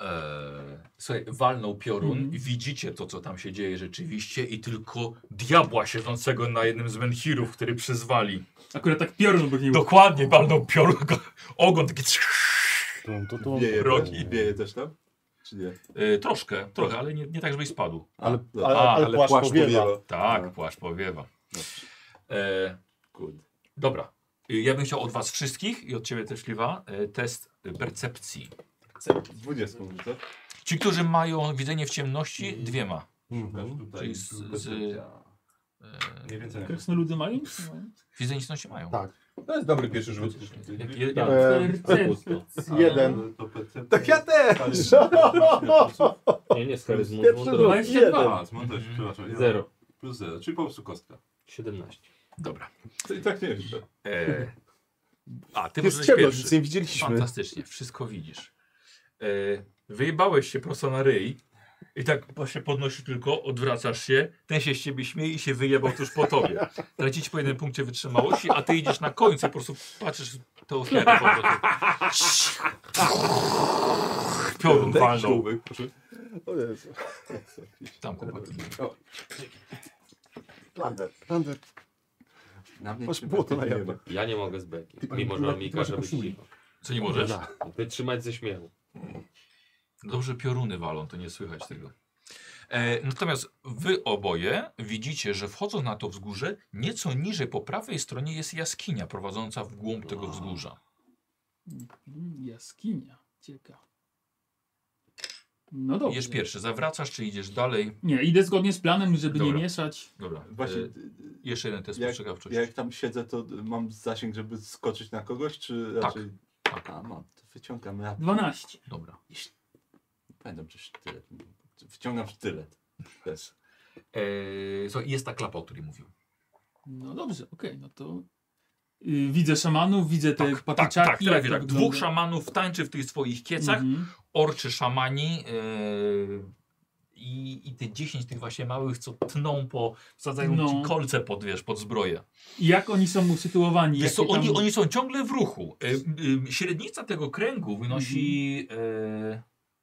Speaker 2: Eee, słuchaj, walnął piorun.
Speaker 6: Mhm.
Speaker 2: Widzicie to, co tam się dzieje rzeczywiście i tylko diabła siedzącego na jednym z menhirów, który przyzwali.
Speaker 6: Akurat tak piorun brnił.
Speaker 2: Dokładnie, walnął piorun. go- Ogon taki...
Speaker 5: Tum, tu, tum.
Speaker 1: Wieje,
Speaker 2: Rogi.
Speaker 1: też- wieje też tam? Czy nie?
Speaker 2: Eee, troszkę, trochę, ale nie, nie tak, żebyś spadł.
Speaker 1: A,
Speaker 5: Ale,
Speaker 1: dobra.
Speaker 5: ale,
Speaker 2: A,
Speaker 5: ale,
Speaker 1: ale
Speaker 5: płaszcz
Speaker 1: płaszcz
Speaker 5: powiewa.
Speaker 1: powiewa.
Speaker 2: Tak,
Speaker 1: No.
Speaker 2: płaszcz powiewa.
Speaker 1: Dobrze.
Speaker 2: Eee,
Speaker 1: Kurde.
Speaker 2: dobra. Eee, Ja bym chciał od was wszystkich i od ciebie też, Liwa, eee, test eee, percepcji.
Speaker 1: 20 mówisz, tak?
Speaker 2: Ci, którzy mają widzenie w ciemności, dwiema.
Speaker 1: Masz
Speaker 2: Mhm. Czyli
Speaker 1: tutaj
Speaker 2: z-
Speaker 1: grupę
Speaker 2: z-
Speaker 1: życia.
Speaker 2: Eee,
Speaker 1: Nie więcej.
Speaker 6: Krasnoludy Tak, mają? No.
Speaker 2: widzenie w ciemności mają.
Speaker 5: Tak.
Speaker 4: To jest dobry pierwszy rzut.
Speaker 2: Je- je-
Speaker 5: Tak.
Speaker 2: je-
Speaker 5: Jeden.
Speaker 1: Ale to percepcja- [LAUGHS]
Speaker 4: Tak ja też!
Speaker 1: Ale- Przepraszam,
Speaker 7: Nie, nie, z charyzmą.
Speaker 5: Pierwszy
Speaker 7: wątroba.
Speaker 5: rzut. Jeden.
Speaker 1: mam też, przepraszam. jeden.
Speaker 7: Zero.
Speaker 1: Plus 0, czyli po prostu kostka.
Speaker 7: 17.
Speaker 2: Dobra.
Speaker 1: To i tak nie wiem.
Speaker 2: E, a, ty
Speaker 5: Jest
Speaker 2: możesz
Speaker 5: ciemność, nic
Speaker 2: pierwszy.
Speaker 5: nie widzieliśmy.
Speaker 2: Fantastycznie, wszystko widzisz. E, wyjebałeś się prosto na ryj i tak się podnosisz tylko, odwracasz się, ten się z ciebie śmieje i się wyjebał tuż po tobie. Tracić po jednym punkcie wytrzymałości, a ty idziesz na końcu, po prostu patrzysz w te ofiary po prostu. Piorun walnął.
Speaker 5: O Jezu.
Speaker 2: Tam chłopaki.
Speaker 5: Lander,
Speaker 1: Na mnie
Speaker 5: Masz
Speaker 1: się
Speaker 5: błoto
Speaker 1: tak
Speaker 5: na
Speaker 1: nie
Speaker 5: jabłku.
Speaker 1: ma.
Speaker 7: Ja nie mogę z beki.
Speaker 5: Ty-
Speaker 7: Mimo,
Speaker 5: ty-
Speaker 7: że
Speaker 5: ty
Speaker 7: on mi
Speaker 5: masz
Speaker 7: każe być
Speaker 5: koszuli.
Speaker 7: cicho.
Speaker 2: Co nie możesz?
Speaker 7: Wytrzymać ze śmiechu.
Speaker 2: Dobrze pioruny walą, to nie słychać tego. E, natomiast wy oboje widzicie, że wchodząc na to wzgórze, nieco niżej po prawej stronie jest jaskinia prowadząca w głąb tego wzgórza.
Speaker 6: Mm, Jaskinia. Ciekawe. No dobrze.
Speaker 2: Idziesz pierwszy, zawracasz czy idziesz dalej?
Speaker 6: Nie, idę zgodnie z planem, żeby
Speaker 2: Dobra.
Speaker 6: nie mieszać.
Speaker 2: Dobra.
Speaker 1: Właśnie,
Speaker 2: E, jeszcze jeden test
Speaker 1: jak-
Speaker 2: spostrzegawczości.
Speaker 1: jak tam siedzę, to mam zasięg, żeby skoczyć na kogoś, czy raczej...
Speaker 2: Tak.
Speaker 1: A, mam, to wyciągam, ja
Speaker 6: 12.
Speaker 2: Dobra.
Speaker 1: pamiętam, czy sztylet. Wyciągam sztylet. Też.
Speaker 2: E, so, jest ta klapa, o której mówił.
Speaker 6: No dobrze, okej, no to... y, Widzę szamanów, widzę te
Speaker 2: Tak, tak,
Speaker 6: patyczaki.
Speaker 2: tak,
Speaker 6: jak
Speaker 2: trafię,
Speaker 6: to
Speaker 2: tak.
Speaker 6: wygląda.
Speaker 2: Dwóch szamanów tańczy w tych swoich kiecach,
Speaker 6: Mhm.
Speaker 2: orczy szamani e, i, i te 10 tych właśnie małych, co tną po, wsadzają
Speaker 6: No.
Speaker 2: ci kolce pod, wiesz, pod zbroję.
Speaker 6: I Jak oni są usytuowani?
Speaker 2: Wiesz
Speaker 6: Jakie
Speaker 2: co, oni,
Speaker 6: tam-
Speaker 2: oni są ciągle w ruchu. E, e, średnica tego kręgu wynosi,
Speaker 6: Mhm.
Speaker 2: e,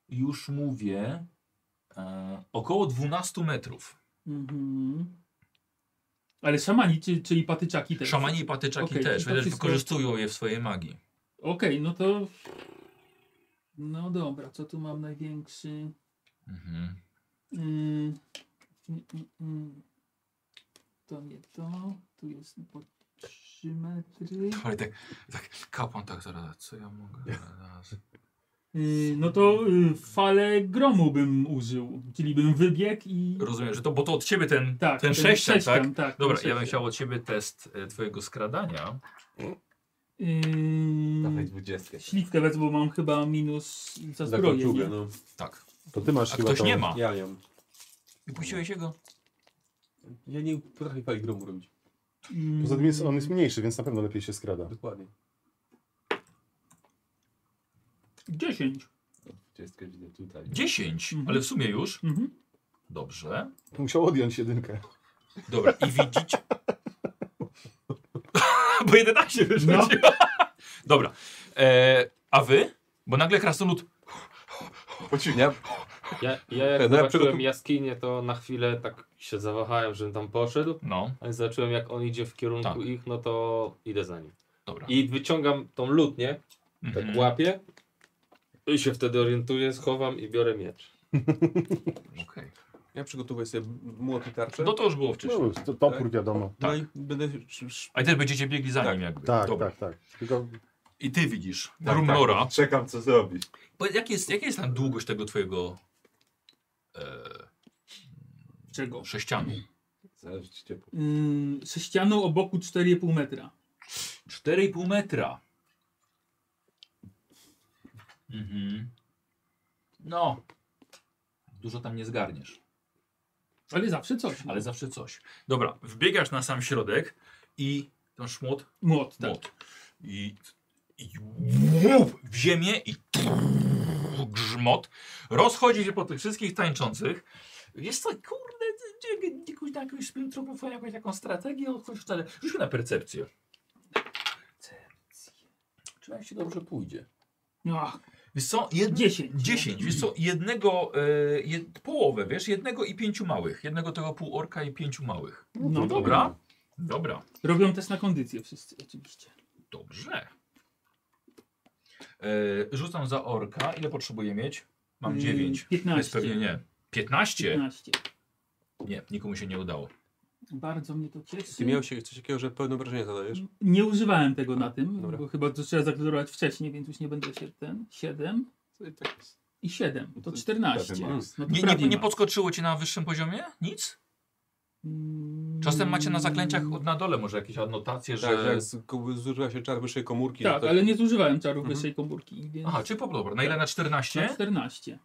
Speaker 2: już mówię, e, około 12 metrów.
Speaker 6: Mhm. Ale szamani, czy, czyli patyczaki też.
Speaker 2: Szamani i patyczaki
Speaker 6: Okej,
Speaker 2: też,
Speaker 6: to
Speaker 2: wiesz,
Speaker 6: wszystko-
Speaker 2: wykorzystują je w swojej magii.
Speaker 6: Okej, no to... No dobra, co tu mam największy?
Speaker 2: Mhm.
Speaker 6: Mm, mm, mm, mm. To nie to. Tu jest po 3 metry.
Speaker 2: Ale tak, tak, kapłan tak zaraz, co ja mogę teraz?
Speaker 6: Y, no to y, falę gromu bym użył. Czyli bym wybiegł i.
Speaker 2: Rozumiem, że to, bo to od ciebie ten,
Speaker 6: Tak,
Speaker 2: ten, sześcian, tak?
Speaker 6: tak
Speaker 2: Dobra,
Speaker 6: ten
Speaker 2: ja bym
Speaker 6: sześcian.
Speaker 2: chciał od ciebie test e, twojego skradania.
Speaker 1: Dawaj
Speaker 6: Yy,
Speaker 1: dwudziestkę.
Speaker 6: śliwkę wezmę, bo mam chyba minus za
Speaker 4: Za
Speaker 6: zbroję.
Speaker 4: kolczugę,
Speaker 6: nie?
Speaker 4: no.
Speaker 2: Tak.
Speaker 5: To ty masz
Speaker 2: A
Speaker 5: chyba
Speaker 2: ktoś
Speaker 5: tą-
Speaker 2: nie ma.
Speaker 4: Ja ją.
Speaker 2: Wypuściłeś jego?
Speaker 4: Ja nie potrafię fali gromu robić.
Speaker 6: Mm,
Speaker 5: Poza tym jest, on jest mniejszy, więc na pewno lepiej się skrada.
Speaker 4: Dokładnie.
Speaker 6: 10.
Speaker 1: Dwudziestkę widzę tutaj.
Speaker 2: 10,
Speaker 6: Mhm.
Speaker 2: ale w sumie już.
Speaker 6: Mhm.
Speaker 2: Dobrze.
Speaker 5: Musiał odjąć jedynkę.
Speaker 2: Dobra, i widzicie. [LAUGHS] Bo 11 wyszło.
Speaker 6: No.
Speaker 2: ci. [LAUGHS] Dobra. E, a wy? Bo nagle krasnolud.
Speaker 1: Pocinia.
Speaker 3: Ja, ja jak
Speaker 1: Ja
Speaker 3: zobaczyłem
Speaker 1: przygotu-
Speaker 3: jaskinię, to na chwilę tak się zawahałem, żebym tam poszedł.
Speaker 2: No,
Speaker 3: Ale zobaczyłem, jak on idzie w kierunku
Speaker 2: Tak.
Speaker 3: ich, no to idę za nim.
Speaker 2: dobra.
Speaker 3: I wyciągam tą lutnię, tak
Speaker 2: Mhm.
Speaker 3: łapię. I się wtedy orientuję, schowam i biorę miecz.
Speaker 2: Okej.
Speaker 4: Ja przygotowuję sobie młot i tarczę.
Speaker 2: No tak. to już było wcześniej.
Speaker 5: No, to topór wiadomo.
Speaker 4: No i będę sz- sz-
Speaker 2: A i też będziecie biegli za nim jakby.
Speaker 5: Tak,
Speaker 2: Dobra.
Speaker 5: tak, tak. Tylko
Speaker 2: I ty widzisz.
Speaker 1: tak.
Speaker 2: Rumnora.
Speaker 1: Czekam, co zrobi.
Speaker 2: Powiedz, jak jest, jaka jest tam długość tego twojego e,
Speaker 6: Czego?
Speaker 2: sześcianu?
Speaker 1: Zależy ci ciepło.
Speaker 6: Yy, ze ścianą o boku 4,5 metra.
Speaker 2: 4,5 metra. Mhm. No. Dużo tam nie zgarniesz,
Speaker 6: Ale zawsze coś.
Speaker 2: ale zawsze coś. Dobra, wbiegasz na sam środek i ten szmot,
Speaker 6: Młot, tak.
Speaker 2: młot. I, i łup w ziemię i grzmot. Rozchodzi się po tych wszystkich tańczących. Jest to, kurde, jakiegoś- jakąś, jakąś spintropofonia, jakąś taką strategię, jakąś, wcale- rzućmy na percepcję. Percepcję. Czy nam się dobrze pójdzie?
Speaker 6: No, Ach,
Speaker 2: Wiesz co, jed...
Speaker 6: 10.
Speaker 2: 10, wiesz co, jednego, e, jed... połowę, wiesz, jednego i pięciu małych, jednego tego półorka i pięciu małych.
Speaker 6: No dobra.
Speaker 2: Dobra, dobra,
Speaker 6: Robią test na kondycję wszyscy, oczywiście.
Speaker 2: dobrze. E, rzucam za orka, ile potrzebuję mieć? Mam
Speaker 4: Mm,
Speaker 6: Yy,
Speaker 2: 9, więc
Speaker 6: 15.
Speaker 2: pewnie nie. 15?
Speaker 6: 15.
Speaker 2: Nie, nikomu się nie udało.
Speaker 6: Bardzo mnie to cieszy.
Speaker 4: Ty miał się coś takiego, że pełne wrażenie zadajesz?
Speaker 6: Nie używałem tego na tym,
Speaker 4: dobra.
Speaker 6: bo chyba to trzeba zaklarować wcześniej, więc już nie będę się ten. 7
Speaker 1: Co i tak jest.
Speaker 6: i 7. To
Speaker 1: To
Speaker 6: 14.
Speaker 1: prawie max.
Speaker 6: No to
Speaker 2: Nie,
Speaker 6: prawie
Speaker 2: nie, nie
Speaker 6: max.
Speaker 2: podskoczyło cię na wyższym poziomie? Nic?
Speaker 6: Mm.
Speaker 2: Czasem macie na zaklęciach od- na dole może jakieś anotacje,
Speaker 4: Tak, że
Speaker 2: że...
Speaker 4: jak z- ko- zużywa się czar wyższej komórki. no
Speaker 6: Tak,
Speaker 4: to-
Speaker 6: ale nie zużywałem czarów
Speaker 4: Mhm.
Speaker 6: wyższej komórki, więc
Speaker 2: Aha, czy po dobra, na ile na
Speaker 6: na
Speaker 4: Tak.
Speaker 2: 14?
Speaker 6: 14.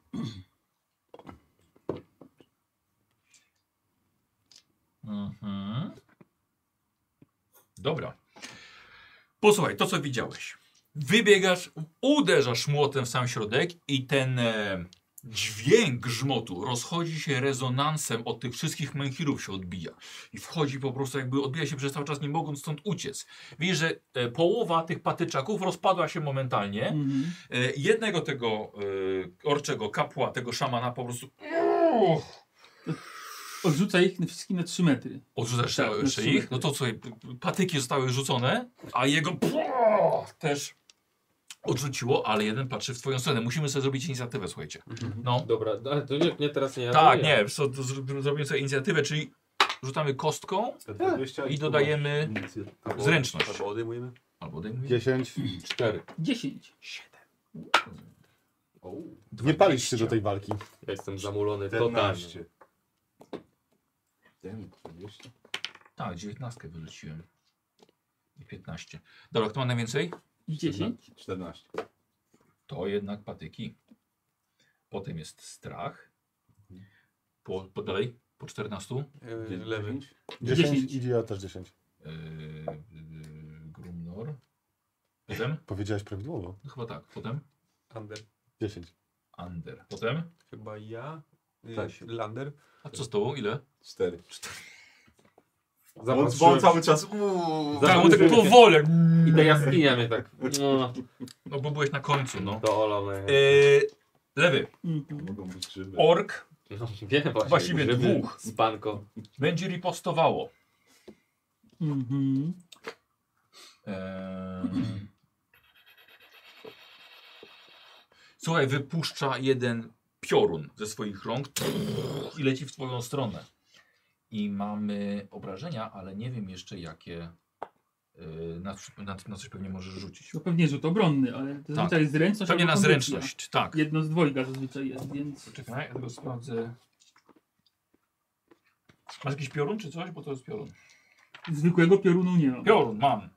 Speaker 2: Mhm. Dobra. Posłuchaj, to co widziałeś. Wybiegasz, uderzasz młotem w sam środek i ten e, dźwięk grzmotu rozchodzi się rezonansem od tych wszystkich menhirów się odbija. I wchodzi po prostu jakby odbija się przez cały czas, nie mogąc stąd uciec. Widzisz, że e, połowa tych patyczaków rozpadła się momentalnie.
Speaker 6: Mhm.
Speaker 2: E, jednego tego e, orczego kapła, tego szamana po prostu Uuu!
Speaker 6: Odrzuca ich na wszystkich na 3 metry.
Speaker 2: Odrzucasz
Speaker 6: Tak,
Speaker 2: tak,
Speaker 6: na
Speaker 2: jeszcze
Speaker 6: trzy
Speaker 2: ich?
Speaker 6: metry.
Speaker 2: No to co, patyki zostały rzucone, a jego też odrzuciło, ale jeden patrzy w twoją stronę. Musimy sobie zrobić inicjatywę, słuchajcie. No.
Speaker 3: Dobra, no, ale to nie, nie teraz nie.
Speaker 2: Tak, nie, wiesz co, to zro- zrobimy sobie inicjatywę, czyli rzucamy kostką Tak. i dodajemy
Speaker 4: Albo-
Speaker 2: zręczność.
Speaker 4: Albo odejmujemy.
Speaker 2: Albo odejmujemy.
Speaker 5: 10.
Speaker 7: 4.
Speaker 6: 10.
Speaker 5: Nie palisz się do tej walki.
Speaker 3: Ja jestem zamulony totalnie.
Speaker 1: 14. Damn, 20.
Speaker 2: Tak, 19 wyrzuciłem. I 15. Dobra, kto ma najwięcej?
Speaker 6: 10?
Speaker 1: 14.
Speaker 2: To jednak patyki. Potem jest strach. Po, po dalej, po 14.
Speaker 4: Yy, lewy.
Speaker 5: 10 idzie, ja też 10.
Speaker 2: Yy, yy, Grumnor. Potem?
Speaker 5: Powiedziałeś prawidłowo.
Speaker 2: No chyba tak. Potem?
Speaker 4: Ander.
Speaker 5: 10.
Speaker 2: Under. Potem?
Speaker 4: Chyba ja. Yy,
Speaker 1: Tak.
Speaker 4: Lander.
Speaker 2: A co z tobą? Ile?
Speaker 1: 4.
Speaker 3: Zapatrz-
Speaker 1: Bo on cały czas. Uuu,
Speaker 3: Tak,
Speaker 2: mu tak powoli.
Speaker 3: I ta jaskinia mnie tak. No,
Speaker 2: No bo byłeś na końcu, no.
Speaker 3: to olone.
Speaker 2: Yy, lewy.
Speaker 6: Mhm.
Speaker 1: mogą być grzyby.
Speaker 2: Ork.
Speaker 3: No, [LAUGHS] wiem właśnie.
Speaker 2: Właściwie
Speaker 3: żeby
Speaker 2: dwóch.
Speaker 3: Z panką.
Speaker 2: będzie ripostowało.
Speaker 6: Mhm.
Speaker 2: Eee... Słuchaj, wypuszcza jeden piorun ze swoich rąk i leci w twoją stronę. I mamy obrażenia, ale nie wiem jeszcze jakie. Eee, Na, na, na coś pewnie możesz rzucić.
Speaker 6: No pewnie rzut obronny, ale to zazwyczaj jest zręczność.
Speaker 2: Tak. Pewnie
Speaker 6: albo
Speaker 2: na
Speaker 6: kondycja.
Speaker 2: zręczność, tak.
Speaker 6: Jedno z dwojga zazwyczaj jest, więc...
Speaker 2: Poczekaj, ja tylko sprawdzę. Masz jakiś piorun czy coś? Bo to jest piorun.
Speaker 6: Zwykłego piorunu nie mam.
Speaker 2: Piorun mam.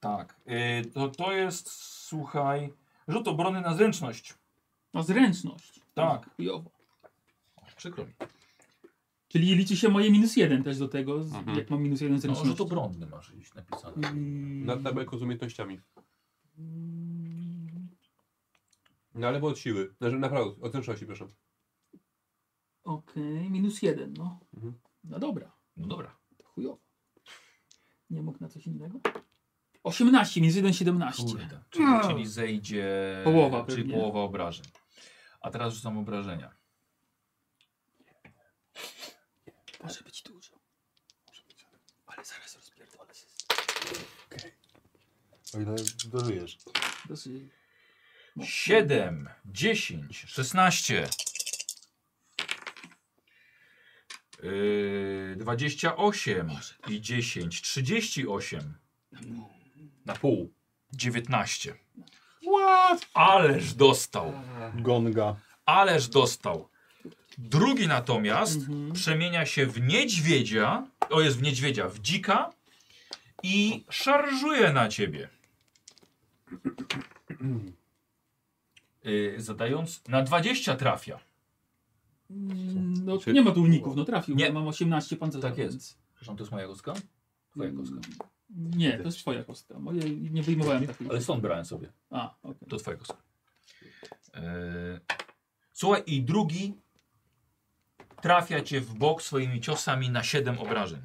Speaker 2: Tak. Yy, to, to jest, słuchaj, rzut obrony na zręczność.
Speaker 6: Na No, zręczność.
Speaker 2: Tak.
Speaker 6: Chujowo.
Speaker 2: O, przykro mi.
Speaker 6: Czyli liczy się moje minus jeden też do tego, z,
Speaker 4: Mhm.
Speaker 6: jak mam minus jeden
Speaker 2: No,
Speaker 6: zręczności.
Speaker 2: rzut obronny masz gdzieś napisane.
Speaker 6: Mm.
Speaker 4: Na tabelką z umiejętnościami.
Speaker 6: Mm.
Speaker 4: No ale bo od siły. Znaczy naprawdę, od zręczności, proszę.
Speaker 6: Okej, minus jeden, no.
Speaker 4: Mhm.
Speaker 6: No dobra,
Speaker 2: No dobra.
Speaker 6: to chujowo. Nie mógł na coś innego? 18, minus jeden 17.
Speaker 2: Kurde. Czyli,
Speaker 6: No.
Speaker 2: czyli zejdzie.
Speaker 6: Połowa
Speaker 2: Czyli
Speaker 6: pewnie.
Speaker 2: połowa obrażeń. A teraz rzucam obrażenia.
Speaker 6: Może być dużo. Ale zaraz rozpierdolę się.
Speaker 5: O ile dożyjesz.
Speaker 6: Dosyć.
Speaker 2: 7, 10, 16. Yy, 28 i 10, 38. Na pół. 19. What? Ależ dostał.
Speaker 4: Tak.
Speaker 5: Gonga.
Speaker 2: Ależ dostał. Drugi natomiast
Speaker 6: Mhm.
Speaker 2: przemienia się w niedźwiedzia. O, jest w niedźwiedzia, w dzika. I szarżuje na ciebie. Yy, zadając. Na 20 trafia.
Speaker 6: Mm, No
Speaker 1: Czy-
Speaker 6: nie ma tu uników, no trafił,
Speaker 2: Nie.
Speaker 6: nie. mam 18 pancerza.
Speaker 2: Tak jest.
Speaker 6: więc-
Speaker 2: Przepraszam, to jest moja kostka? Twoja
Speaker 6: Mm.
Speaker 2: kostka.
Speaker 6: Nie, to jest twoja kostka. Moje, nie wyjmowałem takich.
Speaker 2: Ale stąd brałem sobie.
Speaker 6: A, okej.
Speaker 2: Do twojego są. Eee, Słuchaj, i drugi trafia cię w bok swoimi ciosami na 7 obrażeń.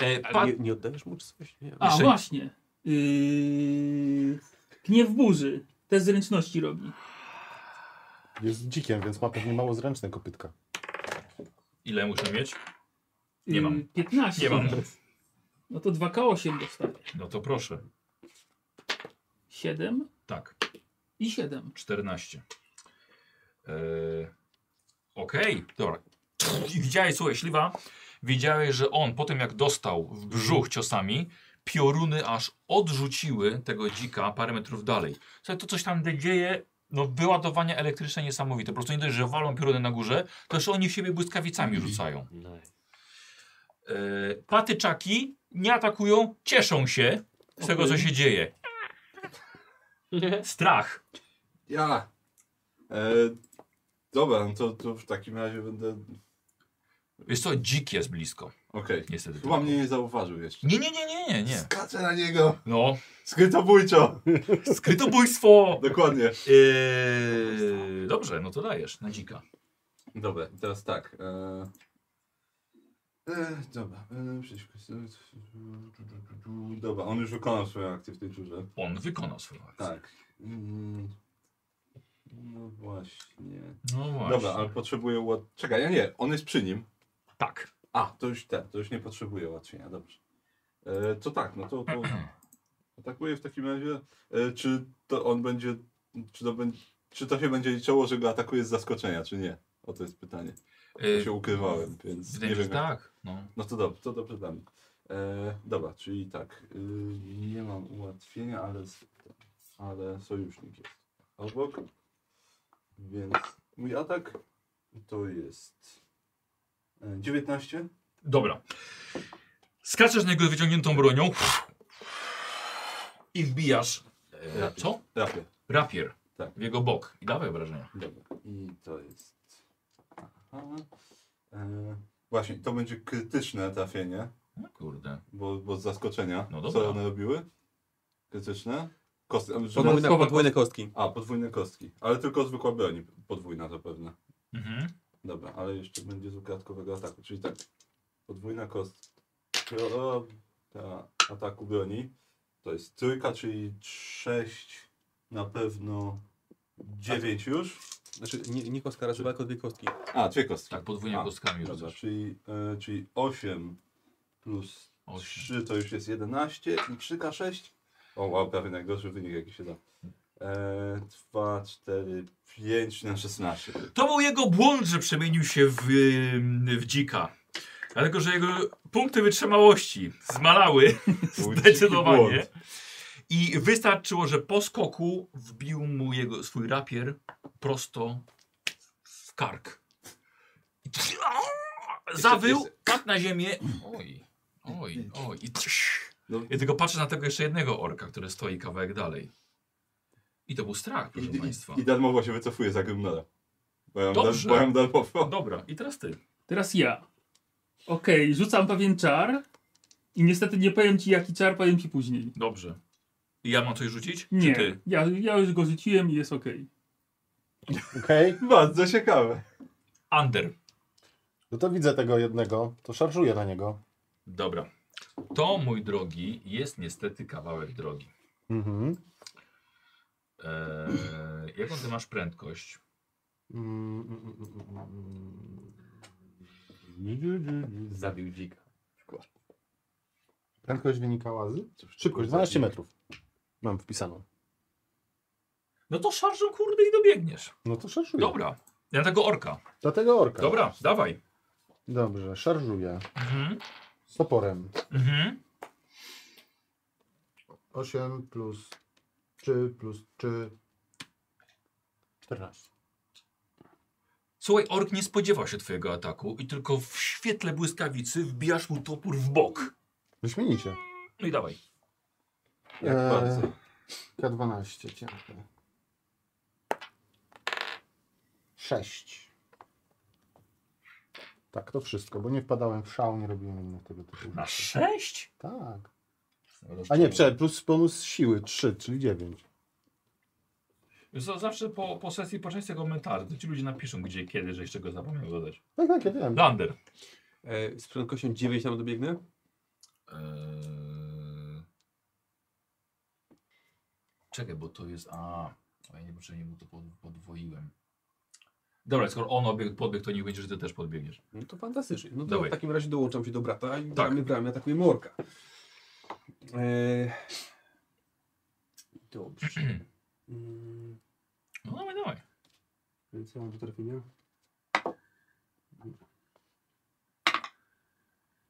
Speaker 2: E, pa...
Speaker 4: nie, nie oddajesz mu czy coś? Nie.
Speaker 6: A,
Speaker 2: Jeszcze-
Speaker 6: właśnie. Yy... Gniew burzy. Te zręczności robi.
Speaker 5: Jest dzikiem, więc ma pewnie mało zręczne kopytka.
Speaker 2: Ile muszę mieć?
Speaker 6: Yy,
Speaker 2: Nie mam.
Speaker 6: 15.
Speaker 2: Nie
Speaker 6: [LAUGHS]
Speaker 2: mam.
Speaker 6: No to 2K8 dostaję.
Speaker 2: No to proszę.
Speaker 6: 7
Speaker 2: Tak,
Speaker 6: i 7.
Speaker 2: 14. Eee, Okej, dobra. I widziałeś, słuchaj, śliwa. Widziałeś, że on po tym jak dostał w brzuch ciosami, pioruny aż odrzuciły tego dzika parę metrów dalej. Słuchaj, to coś tam dzieje, no wyładowanie elektryczne niesamowite. Po prostu nie dość, że walą pioruny na górze, to jeszcze oni w siebie błyskawicami rzucają.
Speaker 3: Nice.
Speaker 2: Eee, patyczaki nie atakują, cieszą się z tego, co się dzieje. Strach.
Speaker 1: Ja. E, dobra, no to, to w takim razie będę.
Speaker 2: Wiesz co, dzik jest blisko,
Speaker 1: Okej.
Speaker 2: niestety.
Speaker 1: Chyba mnie nie zauważył jeszcze.
Speaker 2: Nie, nie, nie, nie, nie, nie.
Speaker 1: Skaczę na niego.
Speaker 2: No,
Speaker 1: Skrytobójczo.
Speaker 2: skrytobójstwo!
Speaker 1: [LAUGHS] Dokładnie.
Speaker 2: Eee, dobrze, no to dajesz na dzika.
Speaker 1: Dobra, i teraz tak. E... E, dobra, e, przeciwko. Dobra, on już wykonał swoją akcję w tej turze.
Speaker 2: On wykonał swoją akcję.
Speaker 1: Tak. Mm. No właśnie.
Speaker 2: No właśnie.
Speaker 1: Dobra, ale potrzebuję ład... Czekaj, ja nie, on jest przy nim.
Speaker 2: Tak.
Speaker 1: A, to już ten, to już nie potrzebuje ułatwienia, dobrze. E, to tak, no
Speaker 2: [CLEARS THROAT]
Speaker 1: to, to atakuję w takim razie. E, czy to on będzie, czy to, będzie, czy to się będzie liczyło, że go atakuje z zaskoczenia, czy nie? O to jest pytanie.
Speaker 2: Eee,
Speaker 1: Ja się ukrywałem, więc
Speaker 2: Wydaje
Speaker 1: nie
Speaker 2: mi się,
Speaker 1: wiem.
Speaker 2: że
Speaker 1: jak-
Speaker 2: tak. No.
Speaker 1: No to dobrze, to dobrze dla mnie. E, E, dobra, czyli tak. y, nie mam ułatwienia, ale, s- ale sojusznik jest obok. Więc mój atak to jest e, 19.
Speaker 2: Dobra. Skaczesz na niego wyciągniętą bronią i wbijasz. E,
Speaker 1: Rapier.
Speaker 2: co?
Speaker 1: Trafię.
Speaker 2: Rapier.
Speaker 1: Tak.
Speaker 2: W jego bok. I dawaj obrażenia.
Speaker 1: Dobra. I to jest. Aha. E, właśnie, to będzie krytyczne trafienie,
Speaker 2: No kurde.
Speaker 1: bo, bo z zaskoczenia.
Speaker 2: No dobra.
Speaker 1: Co one robiły? Krytyczne? Kosty. a, że-
Speaker 4: Podwójne, podwójne kostki.
Speaker 1: A, podwójne kostki. Ale tylko zwykła broni. Podwójna zapewne.
Speaker 2: Mhm.
Speaker 1: Dobra, ale jeszcze będzie z ukradkowego ataku, czyli tak. Podwójna kost. O, Ta ataku broni. To jest trójka, czyli sześć na pewno dziewięć już.
Speaker 4: Znaczy, nie, nie kostka raz, chyba tylko dwie kostki.
Speaker 1: A, dwie kostki.
Speaker 2: Tak, podwójnie
Speaker 1: A,
Speaker 2: kostkami
Speaker 1: Dobra,
Speaker 2: rzucasz.
Speaker 1: czyli, e, czyli 8 plus
Speaker 2: Osiem.
Speaker 1: 3 to już jest 11 i 3K6. O wow, prawie najgorszy wynik jaki się da. E, 2, 4, 5 na 16.
Speaker 2: To był jego błąd, że przemienił się w, ym, w dzika. Dlatego, że jego punkty wytrzymałości zmalały
Speaker 1: Był dziki
Speaker 2: zdecydowanie.
Speaker 1: błąd.
Speaker 2: I wystarczyło, że po skoku wbił mu jego, swój rapier prosto w kark. I Zawył, padł na ziemię. Oj, oj, oj. I
Speaker 1: No.
Speaker 2: ja tylko patrzę na tego jeszcze jednego orka, który stoi kawałek dalej. I to był strach,
Speaker 1: I,
Speaker 2: proszę Państwa.
Speaker 1: i, I darmowo się wycofuje za Grymnora. Bo ja mam
Speaker 2: Dobrze.
Speaker 1: dar- bo ja mam darmowo. [LAUGHS]
Speaker 2: Dobra, i teraz ty.
Speaker 6: Teraz ja. Okej, rzucam pewien czar i niestety nie powiem ci jaki czar, powiem ci później.
Speaker 2: Dobrze. I ja mam coś rzucić? Czy
Speaker 6: Nie,
Speaker 2: ty?
Speaker 6: ja, ja już go rzuciłem i jest okej.
Speaker 5: Okej.
Speaker 1: Bardzo ciekawe.
Speaker 2: Under.
Speaker 5: No to widzę tego jednego, to szarżuję na niego.
Speaker 2: Dobra. To, mój drogi, jest niestety kawałek drogi.
Speaker 5: Mhm.
Speaker 2: Eee, jaką ty masz prędkość?
Speaker 5: Mm, mm, mm, mm, mm.
Speaker 3: Zabił dzika.
Speaker 5: Prędkość wynikała z? Szybkość, 12 metrów. Mam wpisaną.
Speaker 2: No to szarżą, kurde, i dobiegniesz.
Speaker 5: No to szarżuję.
Speaker 2: Dobra. Ja tego orka.
Speaker 5: Dlatego orka.
Speaker 2: Dobra, dawaj.
Speaker 5: Dobrze, szarżuję.
Speaker 2: Mhm.
Speaker 5: Z toporem.
Speaker 2: Mhm.
Speaker 5: 8 plus 3 plus 3. 14.
Speaker 2: Słuchaj, ork nie spodziewał się twojego ataku i tylko w świetle błyskawicy wbijasz mu topór w bok.
Speaker 5: Wyśmienicie.
Speaker 2: No i dawaj.
Speaker 1: Jak
Speaker 5: Eee.
Speaker 1: bardzo.
Speaker 5: K12, cięte. 6. Tak, to wszystko, bo nie wpadałem w szał, nie robiłem innych tego typu
Speaker 2: Na
Speaker 5: rzeczy.
Speaker 2: sześć?
Speaker 5: Tak. A nie, prze, plus bonus siły 3, czyli 9.
Speaker 2: Wiesz co, zawsze po, po sesji poczęstej komentarzy, to ci ludzie napiszą gdzie, kiedy, że jeszcze go zapomniał dodać.
Speaker 5: Tak, tak, ja wiem.
Speaker 2: Lander.
Speaker 4: E, z prędkością 9 tam dobiegnę.
Speaker 2: Eee... Czekaj, bo to jest... A, a ja nie potrzebuję, bo to pod, podwoiłem. Dobra, skoro on obiegł, podbiegł, to niech będzie, że ty też podbiegniesz.
Speaker 4: No to fantastycznie. No to
Speaker 2: Dawaj.
Speaker 4: w takim razie dołączam się do brata i tak. gramy w ramię, atakujemy orka. E, [CLEARS THROAT] dobrze. Mm,
Speaker 2: No dawaj, dawaj.
Speaker 4: Więc ja mam do trafienia.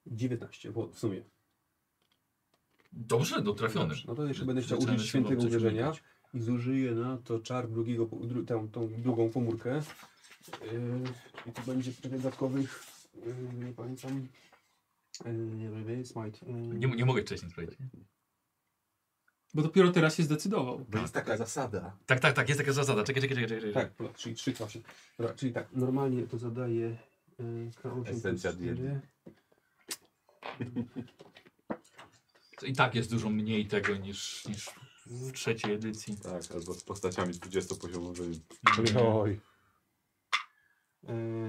Speaker 4: 19, bo w sumie.
Speaker 2: Dobrze, dotrafiony.
Speaker 4: No to jeszcze
Speaker 2: Że-
Speaker 4: będę chciał
Speaker 2: że
Speaker 4: użyć
Speaker 2: trzeba
Speaker 4: świętego
Speaker 2: coś
Speaker 4: uderzenia
Speaker 2: unikać.
Speaker 4: i zużyję na to czar drugiego, po- dru, tę, tą drugą komórkę. Yy, I to będzie czekaj, dodatkowych, yy, nie pamiętam, yy, nie wiem, smite. Yy.
Speaker 2: Nie, nie mogę wcześniej sprawdzić.
Speaker 6: Bo dopiero teraz się zdecydował.
Speaker 1: Bo jest taka zasada.
Speaker 2: Tak, tak, tak, jest taka zasada. Czekaj, czekaj, czekaj. czekaj.
Speaker 4: Tak, pla- czyli 3 klasie. Dobra, czyli tak, normalnie to zadaje yy, K8
Speaker 1: Esencja
Speaker 4: plus cztery.
Speaker 1: diety.
Speaker 2: I tak jest dużo mniej tego niż, niż w trzeciej edycji.
Speaker 1: Tak, albo z postaciami 20-poziomowymi.
Speaker 5: Oj.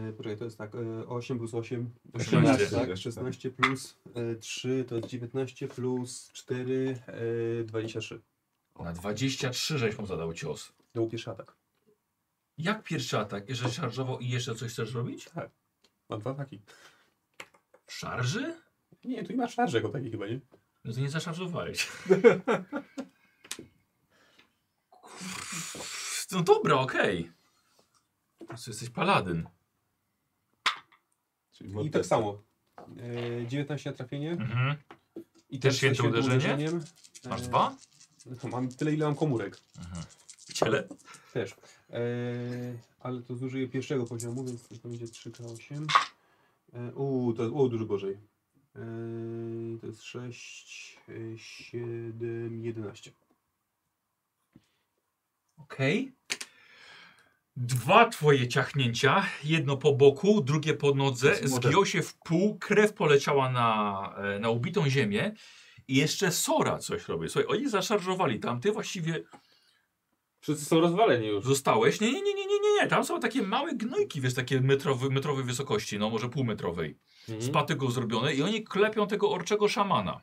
Speaker 4: Yy, poczekaj, to jest tak, yy, 8 plus 8,
Speaker 2: 18.
Speaker 4: 18, tak, 16 plus yy, 3 to jest 19 plus 4, yy, 23.
Speaker 2: Na 23 żeś mu zadał cios.
Speaker 4: To był pierwszy atak.
Speaker 2: Jak pierwszy atak? Jeżeli szarżował i jeszcze coś chcesz robić?
Speaker 4: Mam dwa ataki.
Speaker 2: W szarży?
Speaker 4: Nie, tu nie ma szarży jako takiej chyba, nie?
Speaker 2: No to nie zaszarżowałeś. No dobra, okej. Po prostu jesteś paladyn.
Speaker 1: Czyli
Speaker 4: I
Speaker 1: morderca.
Speaker 4: tak samo. E, 19 na trafienie, tak
Speaker 2: Mhm. I też święte
Speaker 4: świętym
Speaker 2: uderzenie?
Speaker 4: uderzeniem.
Speaker 2: Masz
Speaker 4: E,
Speaker 2: dwa?
Speaker 4: no To mam tyle, ile mam komórek.
Speaker 2: Ciele.
Speaker 4: Też. E, ale to zużyję pierwszego poziomu, więc to będzie 3K8. E, u, to o, dużo gorzej. E, to jest 6, 7, 11.
Speaker 2: Okej. Dwa twoje ciachnięcia, jedno po boku, drugie po nodze,
Speaker 1: Z młotem.
Speaker 2: zgiął się w pół, krew poleciała na, e, na ubitą ziemię i jeszcze Sora coś robi. Słuchaj, oni zaszarżowali tam, ty właściwie
Speaker 3: Wszyscy są rozwaleni już.
Speaker 2: zostałeś. Nie, nie, nie, nie, nie, nie, nie. tam są takie małe gnojki, wiesz, takie metrowy, metrowej wysokości, no może półmetrowej. Z
Speaker 3: Mhm.
Speaker 2: patyką zrobione i oni klepią tego orczego szamana.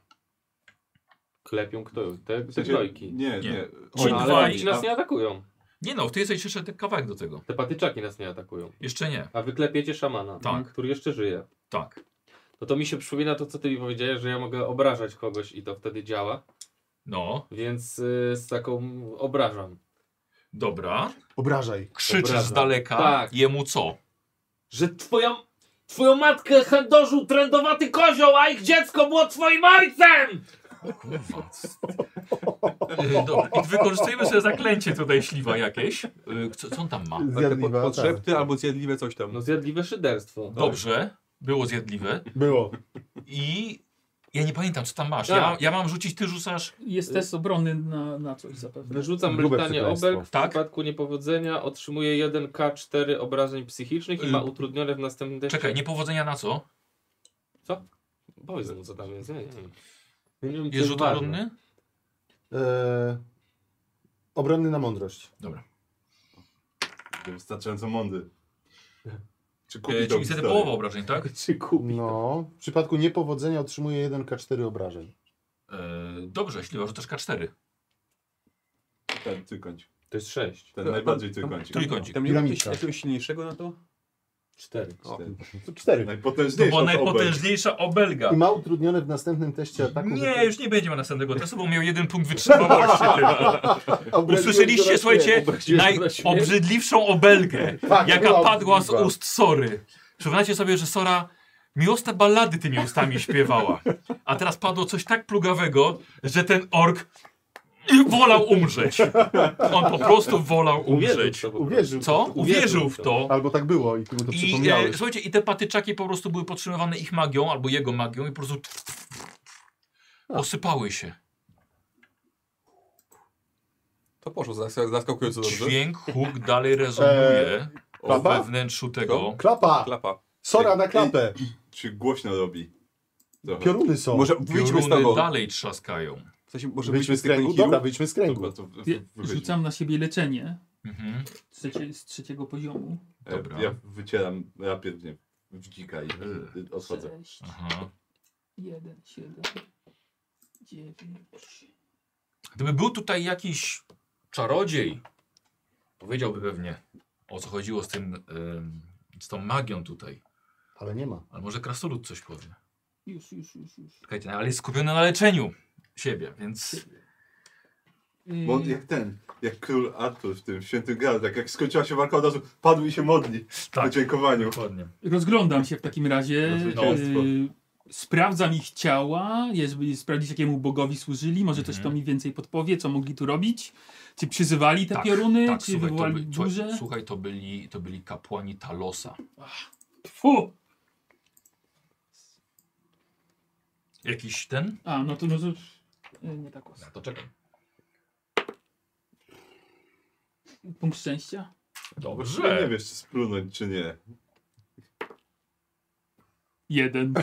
Speaker 3: Klepią kto? Te,
Speaker 1: W
Speaker 3: te
Speaker 1: sensie-
Speaker 3: grojki.
Speaker 1: Nie,
Speaker 2: Nie.
Speaker 1: nie.
Speaker 2: Ci
Speaker 1: Oni-
Speaker 2: dwaj-
Speaker 3: no, Ale oni nas nie atakują.
Speaker 2: Nie no, ty jesteś jeszcze ten kawałek do tego.
Speaker 3: Te patyczaki nas nie atakują.
Speaker 2: Jeszcze nie.
Speaker 3: A wy klepiecie szamana,
Speaker 2: Tak.
Speaker 3: który jeszcze żyje.
Speaker 2: Tak.
Speaker 3: No to mi się przypomina to, co ty mi powiedziałeś, że ja mogę obrażać kogoś i to wtedy działa.
Speaker 2: No,
Speaker 3: Więc y, z taką obrażam.
Speaker 2: dobra.
Speaker 5: Obrażaj.
Speaker 2: Krzyczysz
Speaker 3: Obraza.
Speaker 2: z daleka
Speaker 3: Tak.
Speaker 2: jemu
Speaker 3: [LAUGHS]
Speaker 2: co?
Speaker 7: Że twoja, twoją matkę chędożył trędowaty kozioł, a ich dziecko było twoim ojcem!
Speaker 2: Kurwa. Y, Dobra, i wykorzystujemy sobie zaklęcie tutaj śliwa jakieś. Y, Co, co on tam ma?
Speaker 5: Zjadliwa, tak.
Speaker 4: Podszepty albo zjadliwe coś tam.
Speaker 3: No zjadliwe szyderstwo.
Speaker 2: Dobrze, było zjadliwe.
Speaker 5: Było.
Speaker 2: I ja nie pamiętam, co tam masz.
Speaker 3: Tak.
Speaker 2: Ja, ja mam rzucić, ty rzucasz.
Speaker 6: Jest test obrony na, na coś zapewne.
Speaker 3: Wyrzucam
Speaker 5: Grube
Speaker 3: brytanie
Speaker 5: przekleństwo.
Speaker 3: obelg. W
Speaker 2: Tak.
Speaker 3: przypadku niepowodzenia otrzymuje 1K4 obrażeń psychicznych i
Speaker 2: Y,
Speaker 3: ma utrudnione w następnym teście.
Speaker 2: Czekaj, niepowodzenia na co?
Speaker 3: Powiedz mu, co tam jest. Ja nie wiem. Ja nie wiem, co
Speaker 2: Jest rzut
Speaker 3: ważne. [LAUGHS]
Speaker 2: obronny?
Speaker 5: E, obronny na mądrość.
Speaker 2: Dobra.
Speaker 1: Wystarczająco mądry. Czy
Speaker 2: Y,
Speaker 1: kupi tą
Speaker 2: Czyli wtedy
Speaker 1: historię?
Speaker 2: połowa obrażeń, tak?
Speaker 7: Czy kupi?
Speaker 5: No. W przypadku niepowodzenia otrzymuje 1K4 obrażeń.
Speaker 2: Y, Dobrze, śliwa rzucasz K4.
Speaker 5: Tak.
Speaker 1: Ten trójkącik.
Speaker 3: To jest 6.
Speaker 1: Ten najbardziej trójkącik.
Speaker 2: Trójkącik.
Speaker 4: Tam nie ma jakiegoś,
Speaker 5: Piramidka.
Speaker 4: jakiegoś silniejszego na to?
Speaker 3: 4.
Speaker 1: O, ten
Speaker 5: To 4.
Speaker 2: To
Speaker 1: Najpotężniejszy.
Speaker 2: była najpotężniejsza obelga.
Speaker 5: I ma utrudnione w następnym teście ataku.
Speaker 2: Nie, już nie będzie miał następnego testu, bo miał jeden punkt
Speaker 5: [LAUGHS]
Speaker 2: wytrzymałości. Usłyszeliście, słuchajcie, najobrzydliwszą obelgę,
Speaker 5: Tak,
Speaker 2: jaka
Speaker 5: była
Speaker 2: padła z
Speaker 5: obrzydliwa.
Speaker 2: ust Sory. Przypominacie sobie, że Sora miłosne ballady tymi ustami śpiewała. A teraz padło coś tak plugawego, że ten ork wolał umrzeć. On po prostu wolał umrzeć.
Speaker 5: Uwierzył.
Speaker 2: Co? Uwierzył w to.
Speaker 5: Albo tak było i ty mu to
Speaker 2: I e,
Speaker 5: przypomniałeś.
Speaker 2: słuchajcie, i te patyczaki po prostu były podtrzymywane ich magią albo jego magią i po prostu osypały się.
Speaker 4: To poszło zask- zaskakująco dobrze. E,
Speaker 2: Dźwięk, huk dalej rezonuje o
Speaker 5: klapa?
Speaker 2: wewnętrzu tego.
Speaker 5: Klapa!
Speaker 4: Klapa.
Speaker 5: Sora na klapę!
Speaker 1: Czy głośno robi? Trochę.
Speaker 5: Pioruny są.
Speaker 4: Może wyjdźmy z
Speaker 2: Pioruny
Speaker 4: tego.
Speaker 2: dalej trzaskają.
Speaker 4: W sensie, może
Speaker 5: Wyjdźmy z kręgu.
Speaker 4: kręgu?
Speaker 5: Dobra, wyjdźmy z kręgu.
Speaker 1: Dobra, to w- w-
Speaker 6: Ja
Speaker 1: wychodzi.
Speaker 6: Rzucam na siebie leczenie
Speaker 2: Mhm.
Speaker 6: z, trzecie, z trzeciego poziomu.
Speaker 1: E,
Speaker 2: Dobra.
Speaker 1: Ja wycieram rapier w nie- w dzika i y, odchodzę.
Speaker 6: 6,
Speaker 2: Aha.
Speaker 6: 1, 7, 9.
Speaker 2: Gdyby był tutaj jakiś czarodziej, powiedziałby pewnie o co chodziło z tym, em, z tą magią tutaj.
Speaker 5: Ale nie [LAUGHS] ma.
Speaker 2: Ale może krasnolud coś powie.
Speaker 6: Już, już, już, już.
Speaker 2: Czekajcie, no, ale jest skupiony na leczeniu siebie, więc
Speaker 1: Bo
Speaker 6: Y,
Speaker 1: on jak ten, jak król Artur w tym świętym Graal, tak jak skończyła się walka od razu, padł i się modli w
Speaker 2: tak,
Speaker 1: podziękowaniu.
Speaker 2: dokładnie.
Speaker 6: Rozglądam się w takim razie.
Speaker 1: No, zwycięstwo.
Speaker 6: y, sprawdzam ich ciała, żeby sprawdzić, jakiemu bogowi służyli. Może coś to
Speaker 2: Mhm.
Speaker 6: mi więcej podpowie, co mogli tu robić. Czy przyzywali te pioruny,
Speaker 2: tak,
Speaker 6: czy
Speaker 2: słuchaj, to,
Speaker 6: wywołali
Speaker 2: by, słuchaj,
Speaker 6: burzę.
Speaker 2: słuchaj to, byli, to byli kapłani Talosa.
Speaker 6: Fu!
Speaker 2: Jakiś ten?
Speaker 6: A, no to no to... y, Nie tak
Speaker 2: No
Speaker 6: łatwo.
Speaker 2: to czekaj.
Speaker 6: Punkt szczęścia.
Speaker 1: Że No nie
Speaker 2: Dobrze.
Speaker 1: wiesz, czy splunąć, czy nie.
Speaker 6: Jeden.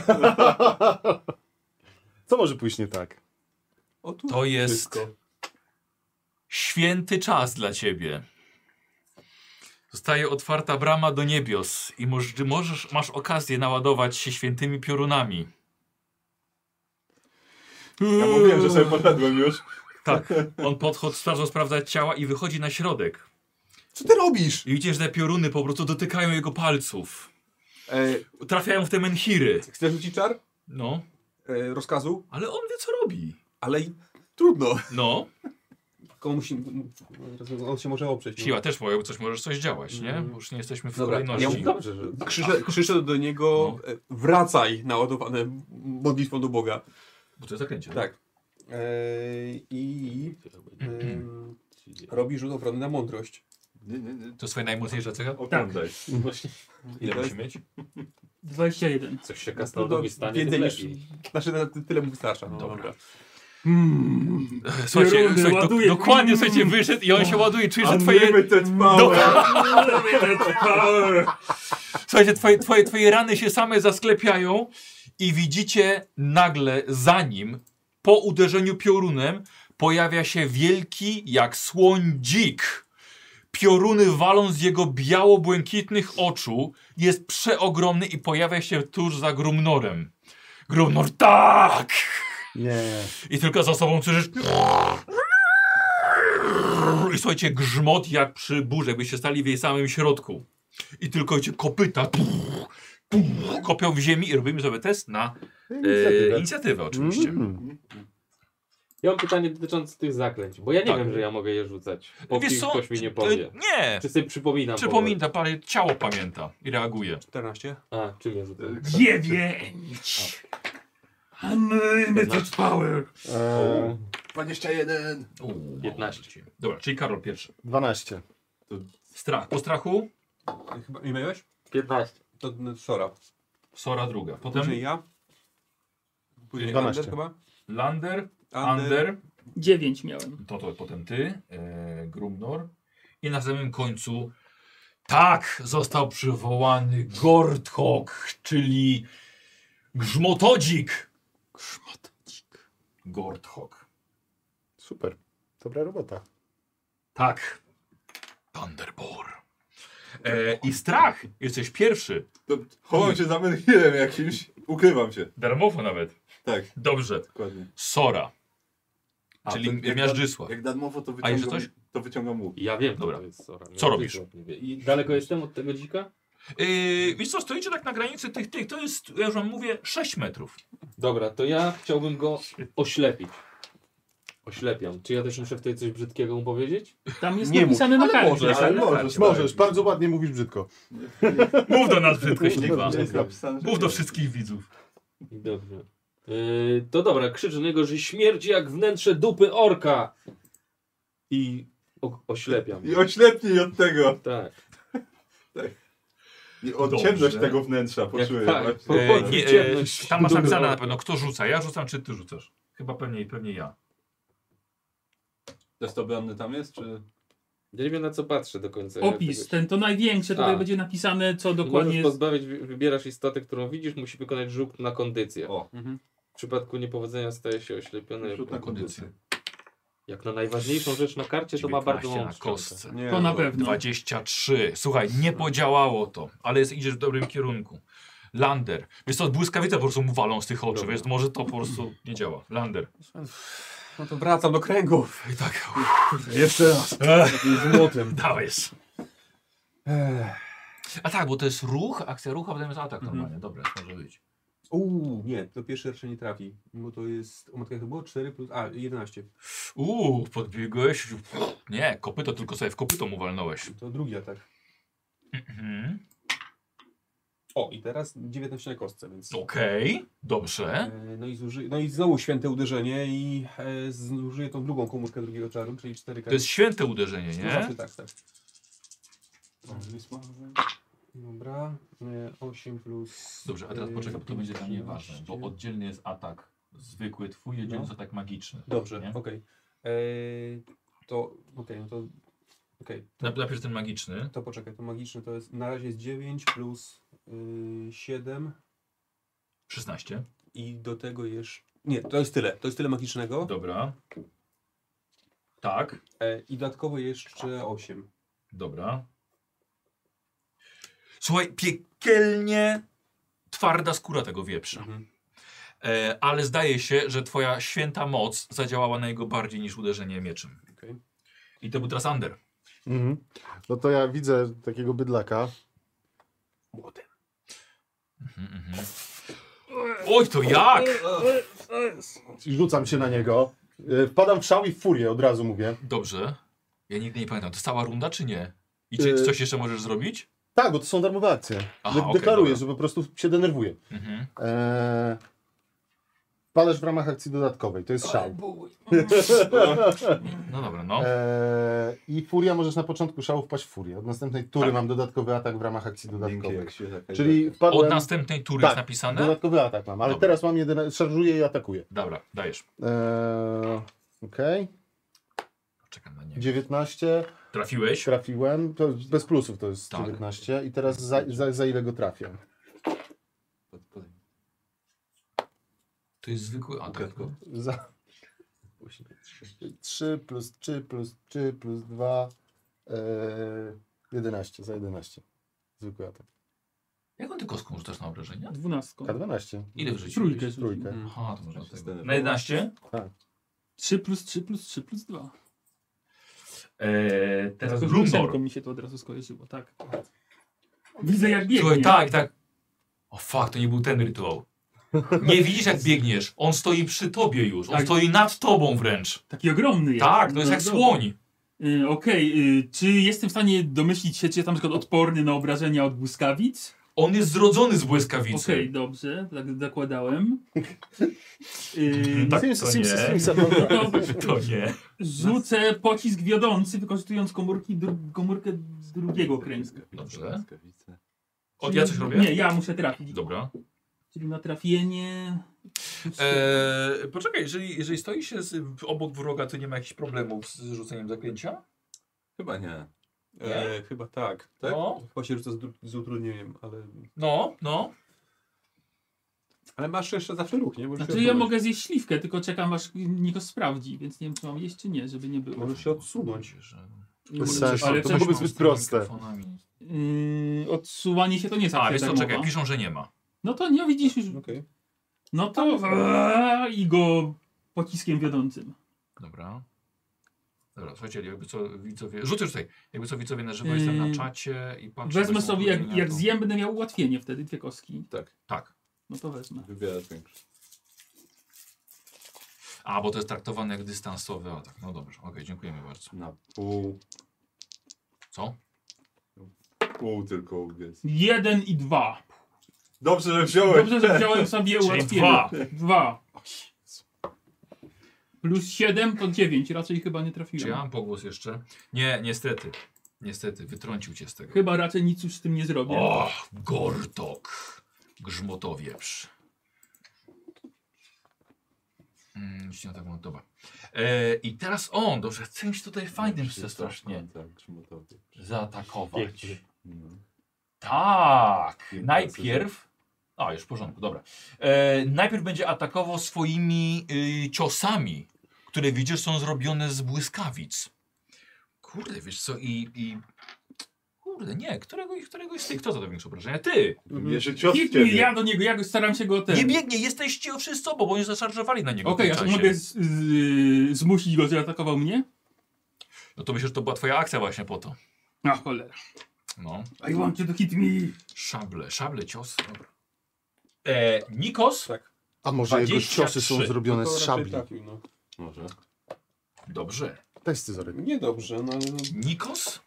Speaker 5: Co może pójść nie tak?
Speaker 4: O, tu.
Speaker 2: To jest
Speaker 4: Wszystko.
Speaker 2: święty czas dla ciebie. Zostaje otwarta brama do niebios i moż, możesz, masz okazję naładować się świętymi piorunami.
Speaker 1: Ja mówiłem, że sobie poszedłem już.
Speaker 2: Tak, on podchodzi, sprawdza, sprawdza ciała i wychodzi na środek.
Speaker 4: Co ty robisz?
Speaker 2: I widzisz, że te pioruny po prostu dotykają jego palców.
Speaker 4: E,
Speaker 2: Trafiają w te menhiry.
Speaker 4: chcesz rzucić czar?
Speaker 2: No,
Speaker 4: E, rozkazu?
Speaker 2: ale on wie co robi.
Speaker 4: Ale i trudno.
Speaker 2: No,
Speaker 4: Tylko musi, on się może oprzeć. no.
Speaker 2: siła też może, coś możesz coś działać, nie? Bo już nie jesteśmy w
Speaker 4: Dobra, ja
Speaker 2: kolejności. No.
Speaker 4: mu-
Speaker 3: Dobrze, że...
Speaker 4: Tak. Krzyże, przyszedł do niego, e, wracaj naładowany modlitwą do Boga.
Speaker 2: Bo to jest zakręcie, tak?
Speaker 4: Tak. Eee, I em, robi rzut obronny na mądrość.
Speaker 1: Nie, nie, nie.
Speaker 2: To swoje najmocniejsze cecha?
Speaker 1: Oglądaj.
Speaker 3: [LAUGHS] Właśnie.
Speaker 2: Ile musi mieć?
Speaker 6: 21.
Speaker 3: Coś się Kastardowi stanie,
Speaker 4: Więcej
Speaker 3: No to
Speaker 4: niż...
Speaker 3: lepiej.
Speaker 4: Znaczy, na ty- tyle mu wystarcza. No,
Speaker 2: Dobra.
Speaker 4: dobra.
Speaker 1: Hmm.
Speaker 2: Słuchajcie,
Speaker 6: Pieruny,
Speaker 2: słuchaj, do,
Speaker 6: ładuje.
Speaker 2: dokładnie słuchajcie, wyszedł i on się ładuje, czujesz, że twoje, No.
Speaker 1: Unlimited
Speaker 2: [LAUGHS]
Speaker 1: power!
Speaker 2: słuchajcie, twoje, twoje, twoje rany się same zasklepiają i widzicie nagle za nim, po uderzeniu piorunem, pojawia się wielki jak słoń dzik. Pioruny walą z jego biało-błękitnych oczu, jest przeogromny i pojawia się tuż za Grumnorem. Grumnor, tak!
Speaker 5: Nie.
Speaker 2: I tylko za sobą słyszysz... I słuchajcie, grzmot jak przy burze, jakbyście stali w jej samym środku. I tylko cię kopyta kopią w ziemi i robimy sobie test na e, inicjatywę oczywiście.
Speaker 3: Mhm.
Speaker 5: Mm.
Speaker 3: Ja mam pytanie dotyczące tych zaklęć, bo ja nie
Speaker 2: Tak.
Speaker 3: wiem, że ja mogę je rzucać. Póki
Speaker 2: Wiesz co?
Speaker 3: ktoś mi nie
Speaker 2: E,
Speaker 3: powie.
Speaker 2: nie!
Speaker 3: Czy sobie przypominam? powoli?
Speaker 2: Przypomina, parę ciało pamięta i reaguje.
Speaker 4: 14.
Speaker 3: A, czym je rzucam?
Speaker 6: 9.
Speaker 1: Tak.
Speaker 2: Znaczy-
Speaker 6: Unlimited power.
Speaker 5: Eee,
Speaker 1: 21!
Speaker 2: U, mało
Speaker 3: 15.
Speaker 2: rzuci. Dobra, czyli Karol pierwszy.
Speaker 5: 12.
Speaker 2: Strach. Po strachu
Speaker 4: Chyba, nie miałeś?
Speaker 3: 15.
Speaker 4: To no, Sora.
Speaker 2: Sora druga.
Speaker 4: Później
Speaker 2: Potem
Speaker 4: ja. Później
Speaker 5: 12.
Speaker 4: Ander chyba.
Speaker 2: Lander,
Speaker 4: Ander.
Speaker 2: Ander
Speaker 6: 9 miałem.
Speaker 2: to, to potem ty, e, Grumnor. I na samym końcu tak został przywołany Gordhog, czyli grzmotodzik. Grzmotodzik. Gordhog.
Speaker 5: Super. Dobra robota.
Speaker 2: Tak. Thunderbore. E, I strach. Jesteś pierwszy.
Speaker 1: To Chowam się za menhirem jakimś. Ukrywam się.
Speaker 2: Darmowo nawet.
Speaker 1: Tak,
Speaker 2: Dobrze.
Speaker 1: dokładnie.
Speaker 2: Sora.
Speaker 1: A,
Speaker 2: czyli
Speaker 1: to jak
Speaker 2: Miażdżysław.
Speaker 1: Jak darmowo to
Speaker 2: A jeszcze
Speaker 1: wyciągam,
Speaker 2: coś?
Speaker 1: to wyciągam łuk.
Speaker 3: Ja wiem,
Speaker 2: Dobra.
Speaker 3: to jest Sora.
Speaker 2: Co
Speaker 3: Ja
Speaker 2: robisz?
Speaker 3: też nie wiem. I daleko jestem od tego dzika?
Speaker 2: Yy, wiesz co, stoicie tak na granicy tych, tych, to jest, ja już wam mówię, 6 metrów.
Speaker 3: Dobra, to ja chciałbym go oślepić. Oślepiam. Czy ja też muszę wtedy coś brzydkiego mu powiedzieć?
Speaker 6: Tam jest
Speaker 5: Nie mów,
Speaker 6: napisane na karcie.
Speaker 1: możesz, ale
Speaker 5: Możesz, możesz. Bardzo ładnie mówisz brzydko.
Speaker 2: Mów do nas brzydko, śliwa.
Speaker 1: Jest napisane, że
Speaker 2: Mów do
Speaker 1: nie.
Speaker 2: wszystkich widzów.
Speaker 3: Dobrze. Yy, to dobra, krzyczę na niego, że śmierdzi jak wnętrze dupy orka. I o- oślepiam.
Speaker 1: I oślepnij od tego.
Speaker 3: Tak.
Speaker 1: I od
Speaker 2: Dobrze.
Speaker 1: ciemność tego wnętrza poczuję.
Speaker 3: tak.
Speaker 1: właśnie.
Speaker 2: E, nie, e,
Speaker 3: Ciemność.
Speaker 2: tam masz
Speaker 3: Dobra.
Speaker 2: napisane na pewno, kto rzuca. Ja rzucam, czy ty rzucasz? Chyba pewnie, pewnie ja.
Speaker 1: Test obronny tam jest, czy...
Speaker 3: Ja nie wiem na co patrzę do końca.
Speaker 6: Opis,
Speaker 3: Ja
Speaker 6: ten to największe, tutaj
Speaker 3: A.
Speaker 6: będzie napisane co
Speaker 3: tego... Dokładnie.
Speaker 6: dokładnie
Speaker 3: Możesz
Speaker 6: jest.
Speaker 3: pozbawić, wy- wybierasz istotę, którą widzisz, musi wykonać rzut na kondycję.
Speaker 1: O.
Speaker 4: Mhm.
Speaker 3: W przypadku niepowodzenia staje się oślepiony.
Speaker 1: Rzut na kondycję.
Speaker 3: Jak na najważniejszą rzecz na karcie, to ma
Speaker 2: 19
Speaker 3: bardzo
Speaker 2: na
Speaker 3: małą kostkę.
Speaker 2: kostce.
Speaker 1: Nie,
Speaker 6: To na pewno.
Speaker 2: 23. Słuchaj, nie podziałało to, ale jest, idziesz w dobrym kierunku. Lander. Wiesz co, błyskawice po prostu mu walą z tych oczu,
Speaker 3: Dobra.
Speaker 2: więc może to po prostu nie działa. Lander.
Speaker 4: No to wracam do kręgów.
Speaker 2: I tak,
Speaker 5: Jeszcze raz.
Speaker 2: [LAUGHS] uff,
Speaker 4: Z młotem.
Speaker 2: dałeś. A tak, bo to jest ruch, akcja ruchu, a potem jest atak
Speaker 3: Mhm.
Speaker 2: normalnie. Dobra, może być.
Speaker 4: Uuu, nie, to pierwszy raczej nie trafi. Bo to jest. O matka, to było 4 plus. A, 11.
Speaker 2: Uuu, podbiegłeś. Nie, kopyto tylko sobie w kopyto mu walnąłeś.
Speaker 4: To drugi atak.
Speaker 2: Mhm.
Speaker 4: O, i teraz 19 na kostce, więc.
Speaker 2: Okej, dobrze.
Speaker 4: E, No i, zuży... no i znowu święte uderzenie i e, zużyję tą drugą komórkę drugiego czaru, czyli 4
Speaker 2: To jest święte uderzenie, nie?
Speaker 4: Zawsze tak, tak. Dobra, 8 plus...
Speaker 2: Dobrze, a teraz
Speaker 4: e,
Speaker 2: poczekaj, bo to będzie dla mnie ważne, bo
Speaker 4: 13.
Speaker 2: oddzielny jest atak zwykły twój, oddzielny
Speaker 4: No.
Speaker 2: jest atak magiczny.
Speaker 4: Dobrze,
Speaker 2: nie?
Speaker 4: okej. Okay. To, okej, no to... Okej,
Speaker 2: Na- Najpierw ten magiczny.
Speaker 4: to poczekaj, to magiczne to jest... Na razie jest 9 plus y, 7
Speaker 2: 16.
Speaker 4: i do tego jeszcze... Nie, to jest tyle, to jest tyle magicznego
Speaker 2: Dobra. Tak,
Speaker 4: e, i dodatkowo jeszcze 8.
Speaker 2: dobra. Słuchaj, piekielnie twarda skóra tego wieprza.
Speaker 4: Mhm.
Speaker 2: E, ale zdaje się, że twoja święta moc zadziałała na jego bardziej niż uderzenie mieczem.
Speaker 4: Okej.
Speaker 2: I to był teraz Ander.
Speaker 5: Mhm. No to ja widzę takiego bydlaka.
Speaker 2: Oj, to jak?
Speaker 5: i Rzucam się na niego. E, Wpadam w szał i w furię, od razu mówię.
Speaker 2: Dobrze. Ja nigdy nie pamiętam, to jest cała runda czy nie? I czy
Speaker 5: Y-
Speaker 2: coś jeszcze możesz zrobić?
Speaker 5: Tak, bo to są darmowe akcje.
Speaker 2: Aha,
Speaker 5: De-
Speaker 2: okej,
Speaker 5: deklaruję,
Speaker 2: dobra.
Speaker 5: że po prostu się denerwuję.
Speaker 2: Mhm.
Speaker 5: Eee, Wpadasz E, w ramach akcji dodatkowej, to jest szał.
Speaker 2: No dobra, no.
Speaker 5: Eee, I furia możesz na początku szału wpaść w furię. Od następnej tury mam dodatkowy atak w ramach akcji
Speaker 1: Tak. Dzięki,
Speaker 5: dodatkowej.
Speaker 1: jak się taka
Speaker 5: Czyli wpadłem,
Speaker 2: Od następnej tury
Speaker 5: Tak.
Speaker 2: jest napisane?
Speaker 5: dodatkowy atak mam, ale
Speaker 2: Dobra.
Speaker 5: teraz mam jeden, szarżuję i atakuję.
Speaker 2: Dobra, dajesz.
Speaker 5: Eee, Okej,
Speaker 2: Czekam na niego.
Speaker 5: 19,
Speaker 2: Trafiłeś?
Speaker 5: trafiłem, to bez plusów to jest
Speaker 2: Tak.
Speaker 5: 19 i teraz za, za, za ile go trafię?
Speaker 2: To jest zwykły atak.
Speaker 5: Za... 3 plus 3 plus 3 plus 2, eee, 11, za 11. Zwykły atak.
Speaker 2: Jak on tylko skurczasz na obrażenia?
Speaker 6: Dwunastką.
Speaker 5: K12,
Speaker 2: Ile w życiu?
Speaker 6: Trójkę.
Speaker 5: trójkę.
Speaker 2: Aha, to można tego.
Speaker 1: zdenerwować.
Speaker 2: Na 11?
Speaker 6: 3 plus 3 plus 3 plus 2.
Speaker 2: Eee, teraz
Speaker 6: Tylko
Speaker 2: Grumbor.
Speaker 6: mi się to od razu skojarzyło, tak. Widzę jak biegnie.
Speaker 2: Słuchaj, tak, tak. O fuck, to nie był ten rytuał. Nie widzisz jak biegniesz. On stoi przy tobie już. On
Speaker 6: Tak.
Speaker 2: stoi nad tobą wręcz.
Speaker 6: Taki ogromny jest.
Speaker 2: Tak, to jest
Speaker 6: No
Speaker 2: jak
Speaker 6: dobra.
Speaker 2: słoń.
Speaker 6: Y, Okej, y, czy jestem w stanie domyślić się, czy jest tam na przykład odporny na obrażenia od błyskawic?
Speaker 2: On jest zrodzony z
Speaker 6: Okej,
Speaker 2: błyskawicy.
Speaker 6: dobrze, tak zakładałem. Y,
Speaker 2: Tak,
Speaker 5: Sims-
Speaker 2: to
Speaker 5: Sims-
Speaker 2: nie.
Speaker 5: Simsa,
Speaker 6: [LAUGHS]
Speaker 5: dobra.
Speaker 2: To nie.
Speaker 6: Rzucę pocisk wiodący, wykorzystując komórki dru komórkę drugiego kręga.
Speaker 2: Dobrze.
Speaker 1: Skawice.
Speaker 2: O, ja coś robię?
Speaker 6: Nie, ja muszę trafić.
Speaker 2: Dobra.
Speaker 6: Czyli na trafienie.
Speaker 2: Eee, poczekaj, jeżeli, jeżeli stoi się z, obok wroga, to nie ma jakichś problemów z rzuceniem zaklęcia?
Speaker 1: Chyba nie.
Speaker 2: Nie?
Speaker 1: E, chyba tak. tak?
Speaker 2: No,
Speaker 4: Chyba się rzuca z, dru- z utrudnieniem, ale...
Speaker 2: no, no.
Speaker 4: Ale masz jeszcze zawsze ruch, nie? Możesz
Speaker 6: Znaczy
Speaker 4: się
Speaker 6: ja
Speaker 4: odsunąć.
Speaker 6: mogę zjeść śliwkę, tylko czekam aż Nikos sprawdzi, więc nie wiem czy mam jeść czy nie, żeby nie było.
Speaker 4: Możesz się odsunąć.
Speaker 6: Yy,
Speaker 5: Bez sensu,
Speaker 6: ale
Speaker 5: to
Speaker 6: przecież-
Speaker 5: byłoby zbyt proste.
Speaker 2: Mikrofonami.
Speaker 6: yy, odsuwanie się to nie jest
Speaker 2: A,
Speaker 6: akcja
Speaker 2: wiesz co,
Speaker 6: darmowa.
Speaker 2: czekaj, piszą, że nie ma.
Speaker 6: No to nie widzisz już.
Speaker 4: Okej.
Speaker 6: No to aaa, i go pociskiem wiodącym.
Speaker 2: Dobra. Dobra, słuchajcie, jakby co widzowie... Rzucę tutaj. Jakby co widzowie na żywo jestem
Speaker 6: Yy,
Speaker 2: na czacie i patrzę...
Speaker 6: Wezmę
Speaker 2: bez
Speaker 6: sobie, jak,
Speaker 2: utrudnienia,
Speaker 6: jak
Speaker 2: to-
Speaker 6: zjem, będę miał ułatwienie wtedy, dwie kostki.
Speaker 1: Tak,
Speaker 2: Tak.
Speaker 6: No to wezmę.
Speaker 1: wybierasz większy.
Speaker 2: A, bo to jest traktowane jak dystansowy atak. No dobrze, okej, dziękujemy bardzo.
Speaker 1: Na pół,
Speaker 2: Co?
Speaker 1: pół tylko jest.
Speaker 6: Jeden i dwa.
Speaker 1: Dobrze, że wziąłeś.
Speaker 6: Dobrze, że wziąłem sobie
Speaker 2: Czyli
Speaker 6: ułatwienie.
Speaker 2: dwa.
Speaker 6: Dwa. Plus siedem to dziewięć. Raczej chyba nie
Speaker 2: Czy
Speaker 6: trafiłem.
Speaker 2: ja mam pogłos jeszcze? Nie, niestety. Niestety, wytrącił cię z tego.
Speaker 6: Chyba raczej nic już z tym nie zrobię.
Speaker 2: Och, gortok. Grzmotowieprz. Mm, Nic nie tak dobra. E, I teraz on, dobrze, czymś tutaj fajnym chce strasznie
Speaker 1: Tak, grzmotowy.
Speaker 2: zaatakować.
Speaker 1: No.
Speaker 2: Tak,
Speaker 1: Piękna
Speaker 2: najpierw. A, już w porządku, dobra. E, najpierw będzie atakował swoimi y, ciosami, które widzisz są zrobione z błyskawic. Kurde, wiesz co, i. i... Kurde, nie, którego, któregoś z tych, kto za to większe obrażenia? Ty!
Speaker 1: Mierzy cios w
Speaker 6: Hitnij
Speaker 1: ciebie.
Speaker 6: ja do niego, ja go staram się go ten.
Speaker 2: Nie biegnie, jesteście wszyscy sobą, bo oni zaszarżowali na niego. w
Speaker 6: Okej,
Speaker 2: tym
Speaker 6: a to
Speaker 2: czasie.
Speaker 6: mogę z, z, zmusić go, żeby atakował mnie?
Speaker 2: No to myślę, że to była twoja akcja właśnie po to.
Speaker 6: A cholera.
Speaker 2: No.
Speaker 6: I want you to hit me.
Speaker 2: Szable, szable, cios. Dobra. E, Nikos.
Speaker 4: Tak.
Speaker 5: A może jego
Speaker 2: 23.
Speaker 5: ciosy są zrobione
Speaker 4: to
Speaker 5: z
Speaker 4: raczej
Speaker 5: szabli?
Speaker 4: Trafił, no.
Speaker 1: Może.
Speaker 2: Dobrze.
Speaker 5: Daj scyzoryk.
Speaker 4: Niedobrze, no ale... No,
Speaker 2: Nikos.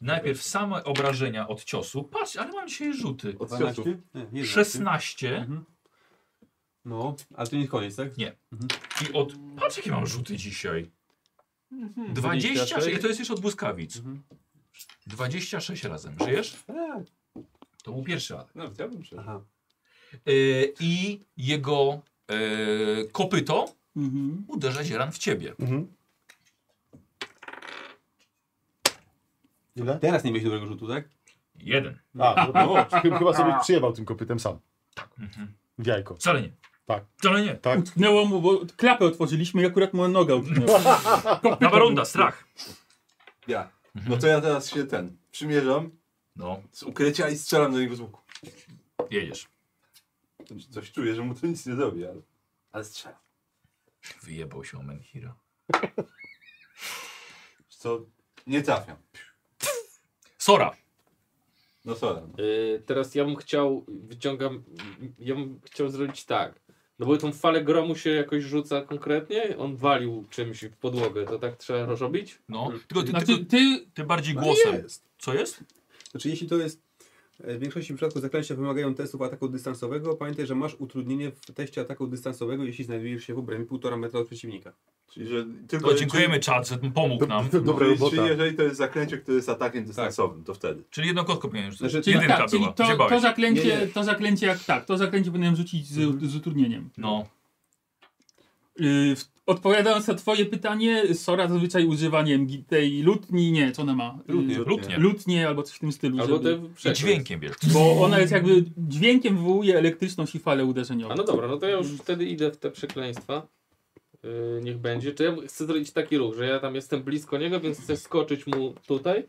Speaker 2: Najpierw same obrażenia od ciosu. Patrz, ale mam dzisiaj rzuty.
Speaker 1: Od
Speaker 4: 12?
Speaker 1: ciosu.
Speaker 4: Nie, nie 12.
Speaker 2: 16
Speaker 4: Mhm. No, ale to nie koniec, tak?
Speaker 2: i od... Patrz jakie mam rzuty dzisiaj. 26, i to jest jeszcze od błyskawic.
Speaker 4: Mhm.
Speaker 2: 26 razem. Żyjesz?
Speaker 4: Tak.
Speaker 2: To był pierwszy atak.
Speaker 1: Nawet ja bym przeżył.
Speaker 4: Aha.
Speaker 2: Yy, I jego yy, kopyto
Speaker 6: Mhm.
Speaker 2: uderza dzieran w ciebie.
Speaker 5: Mhm. Ile?
Speaker 4: Teraz nie miałeś dobrego rzutu, tak?
Speaker 2: Jeden.
Speaker 5: A, no, no, chyba sobie przyjebał tym kopytem sam. Tak.
Speaker 2: Mhm.
Speaker 5: W jajko.
Speaker 2: Wcale nie.
Speaker 5: Tak.
Speaker 2: Wcale nie.
Speaker 6: Utknęło mu, bo klapę otworzyliśmy i akurat moja noga utknęła.
Speaker 2: Nowa runda, strach.
Speaker 1: Ja. No to ja teraz się ten przymierzam
Speaker 2: No,
Speaker 1: z ukrycia i strzelam do niego z łuku.
Speaker 2: jedziesz.
Speaker 1: Coś czuję, że mu to nic nie zrobi, ale, ale strzelam.
Speaker 2: Wyjebał się o Menhira.
Speaker 1: Co? Nie trafiam.
Speaker 2: Sora.
Speaker 1: No sorry.
Speaker 3: Yy, teraz ja bym chciał, wyciągam, ja bym chciał zrobić tak. No bo tą falę gromu się jakoś rzuca konkretnie, on walił czymś w podłogę, to tak trzeba robić?
Speaker 2: No, tylko ty,
Speaker 6: Znaczy
Speaker 2: ty,
Speaker 6: ty,
Speaker 2: ty bardziej głosem. Co jest?
Speaker 4: Znaczy, jeśli to jest E, W większości przypadków zaklęcia wymagają testów ataku dystansowego. Pamiętaj, że masz utrudnienie w teście ataku dystansowego, jeśli znajdujesz się w obrębie 1,5 metra od przeciwnika.
Speaker 1: Czyli, że tylko,
Speaker 2: To dziękujemy czat, że pomógł nam.
Speaker 5: [LAUGHS] Dobra
Speaker 1: Czyli, czyli
Speaker 5: robota.
Speaker 1: jeżeli to jest zaklęcie, które jest atakiem dystansowym, to wtedy.
Speaker 2: Czyli jedno kostko powinien już
Speaker 4: Znaczy,
Speaker 6: Czyli,
Speaker 2: Jedynka
Speaker 6: tak, czyli
Speaker 2: była. Się
Speaker 6: to, to,
Speaker 2: bałeś.
Speaker 6: zaklęcie,
Speaker 4: Nie, nie.
Speaker 6: to zaklęcie jak tak, to zaklęcie powinienem rzucić z, z utrudnieniem.
Speaker 2: No.
Speaker 6: Yy, w- odpowiadając na twoje pytanie, Sora zazwyczaj używa nie, wiem, gi- tej lutni, nie, co ona ma? Yy,
Speaker 4: Lutnie.
Speaker 2: Lutnie.
Speaker 6: lutnie albo coś w tym stylu.
Speaker 3: Albo
Speaker 6: żeby,
Speaker 3: te
Speaker 2: I
Speaker 3: przekrój.
Speaker 2: dźwiękiem wiesz.
Speaker 6: Bo ona jest jakby dźwiękiem wywołuje elektryczność i falę uderzeniowe.
Speaker 3: A no dobra, no to ja już wtedy idę w te przekleństwa. Yy, niech będzie. Czy ja chcę zrobić taki ruch, że ja tam jestem blisko niego, więc chcę skoczyć mu tutaj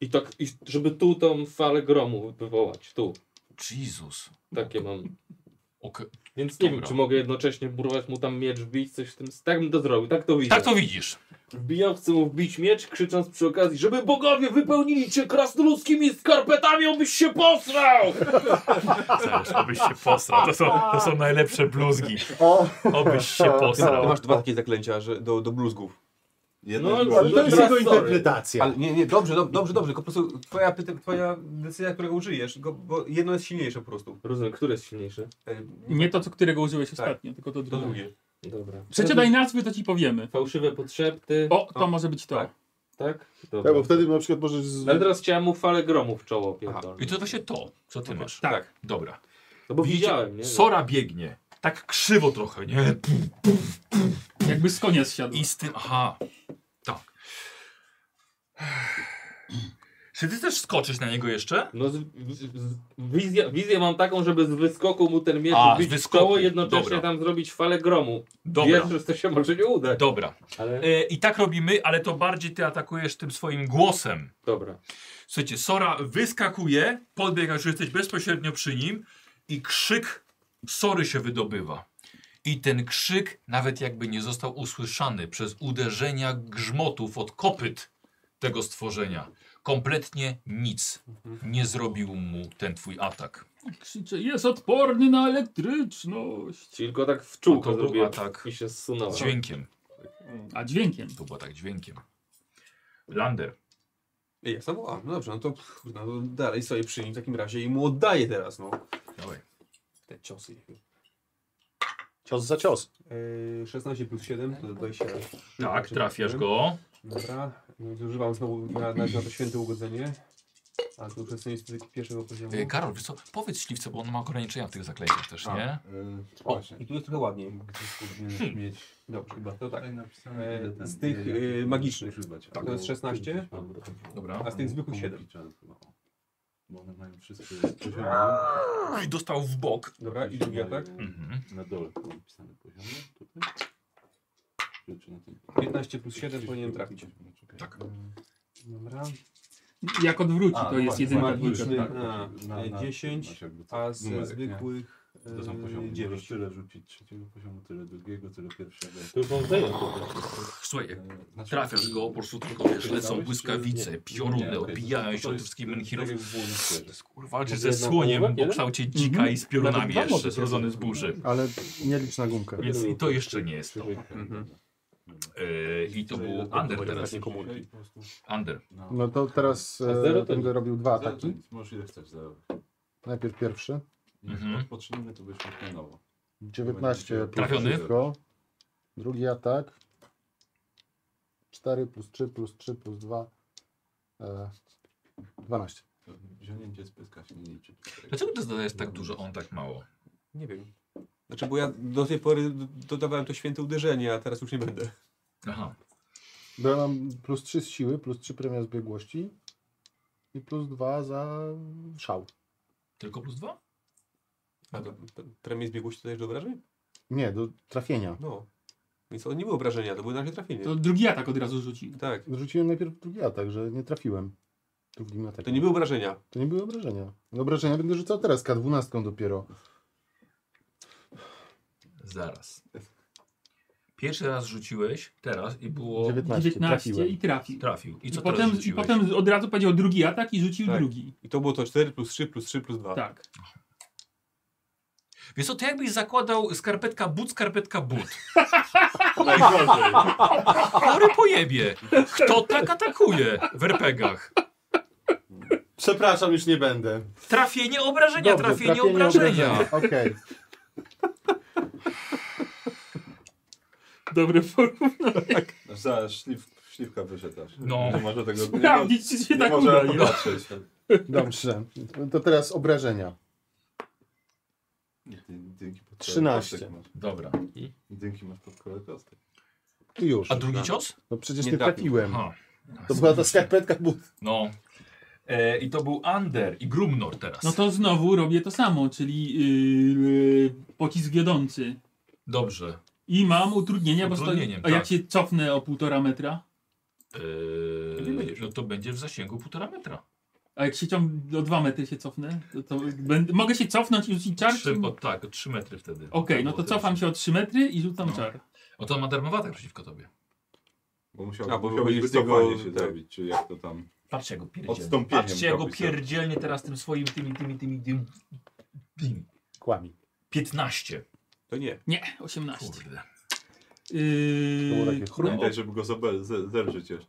Speaker 3: i tak, i żeby tu tą falę gromu wywołać, tu.
Speaker 2: Jezus.
Speaker 3: Takie mam.
Speaker 2: Ok.
Speaker 3: Więc nie wiem,
Speaker 2: Dobra.
Speaker 3: czy mogę jednocześnie burować mu tam miecz, wbić coś w tym. Tak bym to zrobił, tak to widzę.
Speaker 2: Tak to widzisz.
Speaker 3: Wbijam, chcę mu wbić miecz, krzycząc przy okazji, żeby bogowie wypełnili cię krasnoludzkimi skarpetami, obyś się posrał!
Speaker 2: Chcesz, obyś się posrał. To są, to są najlepsze bluzgi.
Speaker 5: O,
Speaker 2: Obyś się
Speaker 4: Ty
Speaker 2: posrał.
Speaker 4: masz dwa takie zaklęcia że do, do bluzgów.
Speaker 1: Jedno
Speaker 3: No,
Speaker 1: jest
Speaker 3: ale
Speaker 5: ale
Speaker 1: było-
Speaker 5: to jest
Speaker 3: Dobra,
Speaker 5: jego
Speaker 3: sorry.
Speaker 5: interpretacja.
Speaker 4: Ale nie, nie, dobrze, dob- dobrze, dobrze. Tylko po prostu twoja, pyta- twoja decyzja, którego użyjesz, go, bo jedno jest silniejsze po prostu.
Speaker 3: Rozumiem, które jest silniejsze?
Speaker 4: E,
Speaker 6: Nie to, co którego użyłeś
Speaker 4: Tak.
Speaker 6: ostatnio, tylko to
Speaker 4: To
Speaker 6: drugie.
Speaker 4: drugie.
Speaker 3: Dobra.
Speaker 6: Przeczytaj nazwy, to ci powiemy.
Speaker 3: Fałszywe podszepty,
Speaker 6: O, to może być to.
Speaker 4: Tak.
Speaker 3: tak? Dobra.
Speaker 5: Tak, bo wtedy na przykład możesz... Z...
Speaker 3: Ale teraz chciałem mu falę gromu w czoło pierdolnąć.
Speaker 2: I to właśnie to, co ty masz.
Speaker 6: Tak.
Speaker 2: Dobra.
Speaker 3: No bo
Speaker 2: Widzicie?
Speaker 3: widziałem, nie?
Speaker 2: Sora biegnie. Tak krzywo trochę, nie?
Speaker 6: Jakby z konia zsiadł.
Speaker 2: I z tym. Aha. Tak. Czy ty też skoczysz na niego jeszcze?
Speaker 3: No z, z, z, wizję, wizję mam taką, żeby z wyskoku mu ten miecz
Speaker 2: A, z
Speaker 3: wbić w
Speaker 2: wyskoku.
Speaker 3: czoło, jednocześnie
Speaker 2: Dobra.
Speaker 3: tam zrobić falę gromu.
Speaker 2: Dobra.
Speaker 3: Wiesz, że to się może nie udać.
Speaker 2: Dobra.
Speaker 3: Ale
Speaker 2: E, I tak robimy, ale to bardziej ty atakujesz tym swoim głosem.
Speaker 3: dobra.
Speaker 2: Słuchajcie, Sora wyskakuje, podbiega, że jesteś bezpośrednio przy nim i krzyk Sory się wydobywa. I ten krzyk nawet jakby nie został usłyszany przez uderzenia grzmotów od kopyt tego stworzenia. Kompletnie nic nie zrobił mu ten twój atak.
Speaker 6: Tak, Krzyczę, jest odporny na elektryczność.
Speaker 3: Czyli go tak w
Speaker 2: A to
Speaker 3: czółko
Speaker 2: był
Speaker 3: zrobiłem
Speaker 2: atak.
Speaker 3: i się zsunąłem.
Speaker 2: Z dźwiękiem.
Speaker 6: A dźwiękiem.
Speaker 2: To było tak dźwiękiem. Lander.
Speaker 4: Ej, Jak zawoła? No dobrze, no to, pff, no to dalej sobie przy nim w takim razie i mu oddaję teraz, no.
Speaker 2: Dawaj.
Speaker 4: Te ciosy.
Speaker 5: Cios za cios.
Speaker 4: Eee, 16 plus 7 to 20.
Speaker 2: Tak, trafiasz go.
Speaker 4: Dobra, no, to używam znowu na, na, na to święte ugodzenie. A to już jest z pierwszego poziomu.
Speaker 1: Yy,
Speaker 2: Y, Karol, wiesz co? powiedz śliwce, bo on ma ograniczenia w tych zaklejkach też,
Speaker 6: Tak.
Speaker 1: A,
Speaker 2: nie?
Speaker 1: y,
Speaker 4: O,
Speaker 1: właśnie.
Speaker 4: i tu jest trochę ładniej.
Speaker 1: Powinieneś mieć
Speaker 4: Dobrze, chyba to tak.
Speaker 1: tutaj napisane,
Speaker 4: E,
Speaker 1: ile ten-
Speaker 4: z tych,
Speaker 1: ile
Speaker 4: y,
Speaker 1: jakiś
Speaker 4: magicznych.
Speaker 1: używać.
Speaker 4: Tak. To jest 16?
Speaker 1: Dobra.
Speaker 2: Dobra.
Speaker 4: A z tych zwykłych 7.
Speaker 1: Bo one mają wszystkie poziomy.
Speaker 2: No I dostał w bok.
Speaker 4: Dobra, i drugi atak.
Speaker 2: Mhm.
Speaker 1: Na dole są napisane poziomy. Tutaj. Czy- czy na tym?
Speaker 4: 15 plus 7 powinien trafić.
Speaker 1: Czekaj.
Speaker 2: Tak.
Speaker 4: Dobra.
Speaker 6: Jak odwróci,
Speaker 1: A,
Speaker 6: to
Speaker 1: no
Speaker 6: jest
Speaker 1: właśnie,
Speaker 6: jedynka,
Speaker 1: magiczny,
Speaker 6: dwójka.
Speaker 4: dwójka,
Speaker 1: tak.
Speaker 4: tak.
Speaker 1: Na-
Speaker 4: E,
Speaker 1: na-
Speaker 4: 10,
Speaker 1: masz jakby to
Speaker 4: A z
Speaker 1: numerek, nie?
Speaker 4: zwykłych
Speaker 1: To są poziomy.
Speaker 4: e,
Speaker 1: Możesz
Speaker 4: 9.
Speaker 1: tyle rzucić trzeciego poziomu, tyle drugiego, tyle pierwszego.
Speaker 3: To już mam zająć.
Speaker 2: Słuchaj, jak
Speaker 1: E, znaczy-
Speaker 2: trafiasz go, po prostu tylko wiesz, lecą
Speaker 1: Dałeś,
Speaker 2: błyskawice,
Speaker 1: czy-
Speaker 2: pioruny,
Speaker 1: Nie, okej, to- to
Speaker 2: obijają się od
Speaker 1: jest-
Speaker 2: wszystkich
Speaker 1: to jest
Speaker 2: menhirów.
Speaker 1: tak jak było na sferze.
Speaker 2: Walczysz
Speaker 3: Może
Speaker 2: ze
Speaker 3: jedna
Speaker 2: słońiem
Speaker 3: połówek,
Speaker 2: o
Speaker 3: jeden?
Speaker 2: kształcie dzika
Speaker 6: Mhm.
Speaker 2: i z piorunami jeszcze, zrodzony z burzy.
Speaker 5: Ale nie licz na gumkę.
Speaker 2: Więc i to jeszcze nie jest to.
Speaker 4: Mhm.
Speaker 2: Mm-hmm. Yy, I to był Under teraz.
Speaker 1: Komórki. Po prostu,
Speaker 2: Under.
Speaker 1: No,
Speaker 5: No to teraz
Speaker 3: A zero to
Speaker 5: e, będę
Speaker 3: nie.
Speaker 5: robił dwa
Speaker 1: Zero to
Speaker 5: ataki.
Speaker 1: nic, Możesz ile chcesz zero.
Speaker 5: Najpierw pierwszy.
Speaker 2: Mhm.
Speaker 1: Mhm. Potrzebny to byśmy na nowo.
Speaker 5: 19 plus
Speaker 2: Trafiony.
Speaker 5: wszystko. Drugi atak. 4 plus 3 plus 3 plus 2. E, 12.
Speaker 1: To Wziągnięcie z pyska się nie liczy.
Speaker 2: Dlaczego ty dodajesz tak dużo, a on tak mało?
Speaker 4: Nie wiem. Znaczy, bo ja do tej pory d- dodawałem to święte uderzenie, a teraz już nie będę.
Speaker 2: Aha.
Speaker 5: Bo ja mam plus 3 z siły, plus 3 premia z biegłości i plus 2 za szał.
Speaker 2: Tylko plus dwa?
Speaker 4: A to p- premię zbiegłości to też do obrażeń?
Speaker 5: Nie, do trafienia.
Speaker 4: No. Więc to nie było obrażenia, to były na razie trafienie.
Speaker 6: To drugi atak od razu rzucił.
Speaker 4: Tak.
Speaker 5: Rzuciłem najpierw drugi atak, że nie trafiłem. Drugim
Speaker 4: To
Speaker 5: atakiem.
Speaker 4: nie były obrażenia.
Speaker 5: to nie były obrażenia. No Obrażenia będę rzucał teraz, K12 dopiero.
Speaker 2: Zaraz. Pierwszy raz rzuciłeś, teraz i było...
Speaker 5: 19,
Speaker 6: 19
Speaker 5: trafiłem.
Speaker 6: i trafił.
Speaker 2: Trafił. I
Speaker 6: I,
Speaker 2: co teraz
Speaker 6: potem, I
Speaker 2: rzuciłeś?
Speaker 6: potem od razu powiedział drugi atak i rzucił
Speaker 4: Tak.
Speaker 6: drugi.
Speaker 4: I to było to 4 plus 3 plus 3 plus 2.
Speaker 6: Tak.
Speaker 2: Wiesz co, to jakbyś zakładał skarpetka but, skarpetka but.
Speaker 1: Najgorzej.
Speaker 2: Chory pojebie. Kto tak atakuje w RPGach?
Speaker 7: Przepraszam, już nie będę.
Speaker 2: Trafienie obrażenia,
Speaker 5: Dobrze,
Speaker 2: trafienie, obrażenia.
Speaker 5: Okej.
Speaker 6: Dobre porównanie.
Speaker 1: Aż za szlif, śliwka wyszedł aż.
Speaker 2: No.
Speaker 6: [LAUGHS]
Speaker 1: Nie może tego... Nie, mo-
Speaker 6: Sprawdzić, czy się
Speaker 1: nie
Speaker 6: tak
Speaker 1: może
Speaker 6: uda. nie?
Speaker 1: popatrzeć.
Speaker 5: Dobrze. To teraz obrażenia.
Speaker 1: Dy- Dynki pod kolor
Speaker 5: 13.
Speaker 1: kostek masz.
Speaker 2: Dobra.
Speaker 1: Dynki masz pod kolor kostek.
Speaker 5: I Już.
Speaker 2: A drugi cios?
Speaker 5: No przecież
Speaker 1: Nie
Speaker 5: nie,
Speaker 1: trafił.
Speaker 5: trafiłem.
Speaker 2: Aha.
Speaker 5: To była ta skarpetka but.
Speaker 2: No. E, I to był Ander i Grumnor teraz.
Speaker 6: No to znowu robię to samo, czyli yy, pocisk wiodący.
Speaker 2: Dobrze.
Speaker 6: I mam utrudnienia, bo stoi.
Speaker 2: Utrudnieniem,
Speaker 6: A jak
Speaker 2: tak.
Speaker 6: się cofnę o półtora metra?
Speaker 1: Nie
Speaker 2: Eee,
Speaker 1: będziesz.
Speaker 2: E, no to będzie w zasięgu półtora metra.
Speaker 6: A jak się ciąg o dwa metry się cofnę, to, to będę, mogę się cofnąć i rzucić czar?
Speaker 2: Trzy,
Speaker 6: czy-
Speaker 2: o,
Speaker 6: Okej,
Speaker 2: tak, o trzy metry wtedy.
Speaker 6: no to cofam się o trzy metry i rzucam
Speaker 2: No.
Speaker 6: czar.
Speaker 2: O to ma darmowatek przeciwko tobie.
Speaker 1: Bo musiał,
Speaker 9: A, bo
Speaker 1: musiał
Speaker 9: jest
Speaker 1: wycofanie
Speaker 9: jego-
Speaker 1: się
Speaker 9: tak.
Speaker 1: zrobić, czy jak to tam...
Speaker 2: Patrzcie jak go pierdzielnie.
Speaker 1: Odstąpieniem
Speaker 2: Patrzcie jak go
Speaker 1: robi sobie.
Speaker 2: pierdzielnie teraz tym swoim tymi, tymi, tymi, tymi. tymi.
Speaker 5: Kłami.
Speaker 2: 15.
Speaker 9: To nie.
Speaker 6: Nie, 18.
Speaker 2: Kurde.
Speaker 5: To było takie
Speaker 6: Yy,
Speaker 5: chrum.
Speaker 1: Pamiętaj, żeby go zobe- ze- zerżyć jeszcze.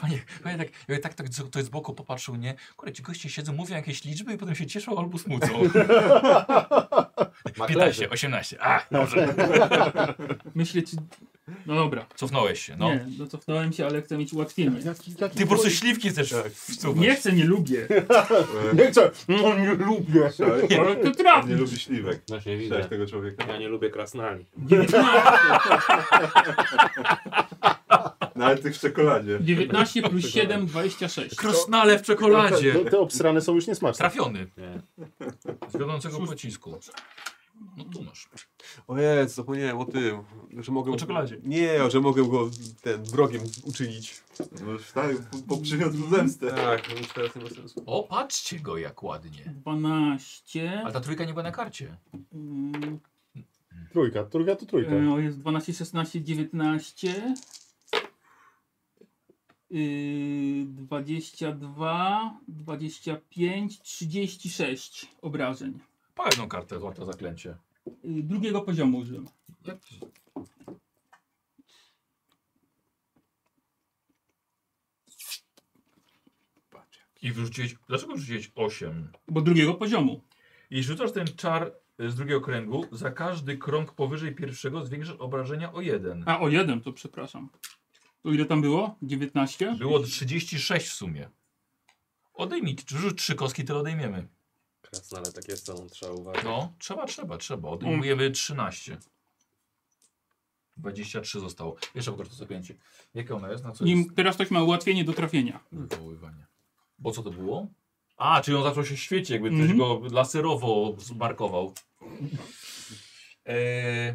Speaker 2: Panie, panie tak, ja tak, tak to z boku popatrzył, nie? Kurde, ci goście siedzą, mówią jakieś liczby i potem się cieszą albo smucą. 15, 18. A, dobrze.
Speaker 6: myślę, czy... No dobra,
Speaker 2: Cofnąłeś się, no.
Speaker 6: nie, no cofnąłem się, ale chcę mieć ułatwienie.
Speaker 5: Jaki, jaki
Speaker 2: Ty po prostu śliwki chcesz wsuwać.
Speaker 6: Nie chcę, nie lubię,
Speaker 1: E,
Speaker 5: Nie chcę. No, nie lubię.
Speaker 1: Słyszałeś?
Speaker 6: ale to
Speaker 1: On nie
Speaker 6: trafi.
Speaker 1: lubi śliwek.
Speaker 7: No się
Speaker 1: Słyszałeś tego człowieka?
Speaker 7: Ja nie lubię krasnali.
Speaker 6: 19,
Speaker 1: Nawet tych No, w czekoladzie.
Speaker 6: 19 plus 7, 26.
Speaker 2: Krosnale w czekoladzie.
Speaker 5: No, te obsrane są już niesmaczne.
Speaker 2: Trafiony.
Speaker 7: Nie.
Speaker 2: Z wiodącego pocisku. No tu masz.
Speaker 9: O jest, zapomniałem o tym. Że mogę...
Speaker 2: O czekoladzie.
Speaker 9: Nie, że mogę go ten wrogiem uczynić.
Speaker 1: No, tak, bo przyniósł zemstę.
Speaker 9: Tak, no już teraz nie ma sensu.
Speaker 2: O, patrzcie go jak ładnie.
Speaker 6: 12.
Speaker 2: Ale ta trójka nie była na karcie.
Speaker 6: mm,
Speaker 5: Trójka, trójka to trójka.
Speaker 2: Mm.
Speaker 6: e, O jest 12, 16, 19. Yy, 22, 25, 36 obrażeń.
Speaker 2: Pa jedną kartę, złota zaklęcie.
Speaker 6: Yy, drugiego poziomu użyłem.
Speaker 2: Jak- I wrzuciłeś. Dlaczego wrzuciłeś 8?
Speaker 6: Bo drugiego poziomu.
Speaker 2: I rzucasz ten czar y, z drugiego kręgu. Za każdy krąg powyżej pierwszego zwiększasz obrażenia o 1.
Speaker 6: A o jeden to przepraszam. To ile tam było? 19?
Speaker 2: Było 36 w sumie. Odejmij, rzuć trzy kostki, tyle odejmiemy.
Speaker 7: Krasnale takie są, trzeba uważać.
Speaker 2: No, trzeba, trzeba, trzeba. Odejmujemy 13. 23 zostało. Jeszcze pokaż to zapięcie. Jakie ono jest? Na co jest?
Speaker 6: Nim, teraz ktoś ma ułatwienie do trafienia.
Speaker 2: Wywoływanie. Bo co to było? A, czyli on zaczął się świecić, jakby ktoś
Speaker 6: Mhm.
Speaker 2: go laserowo zmarkował. Eee,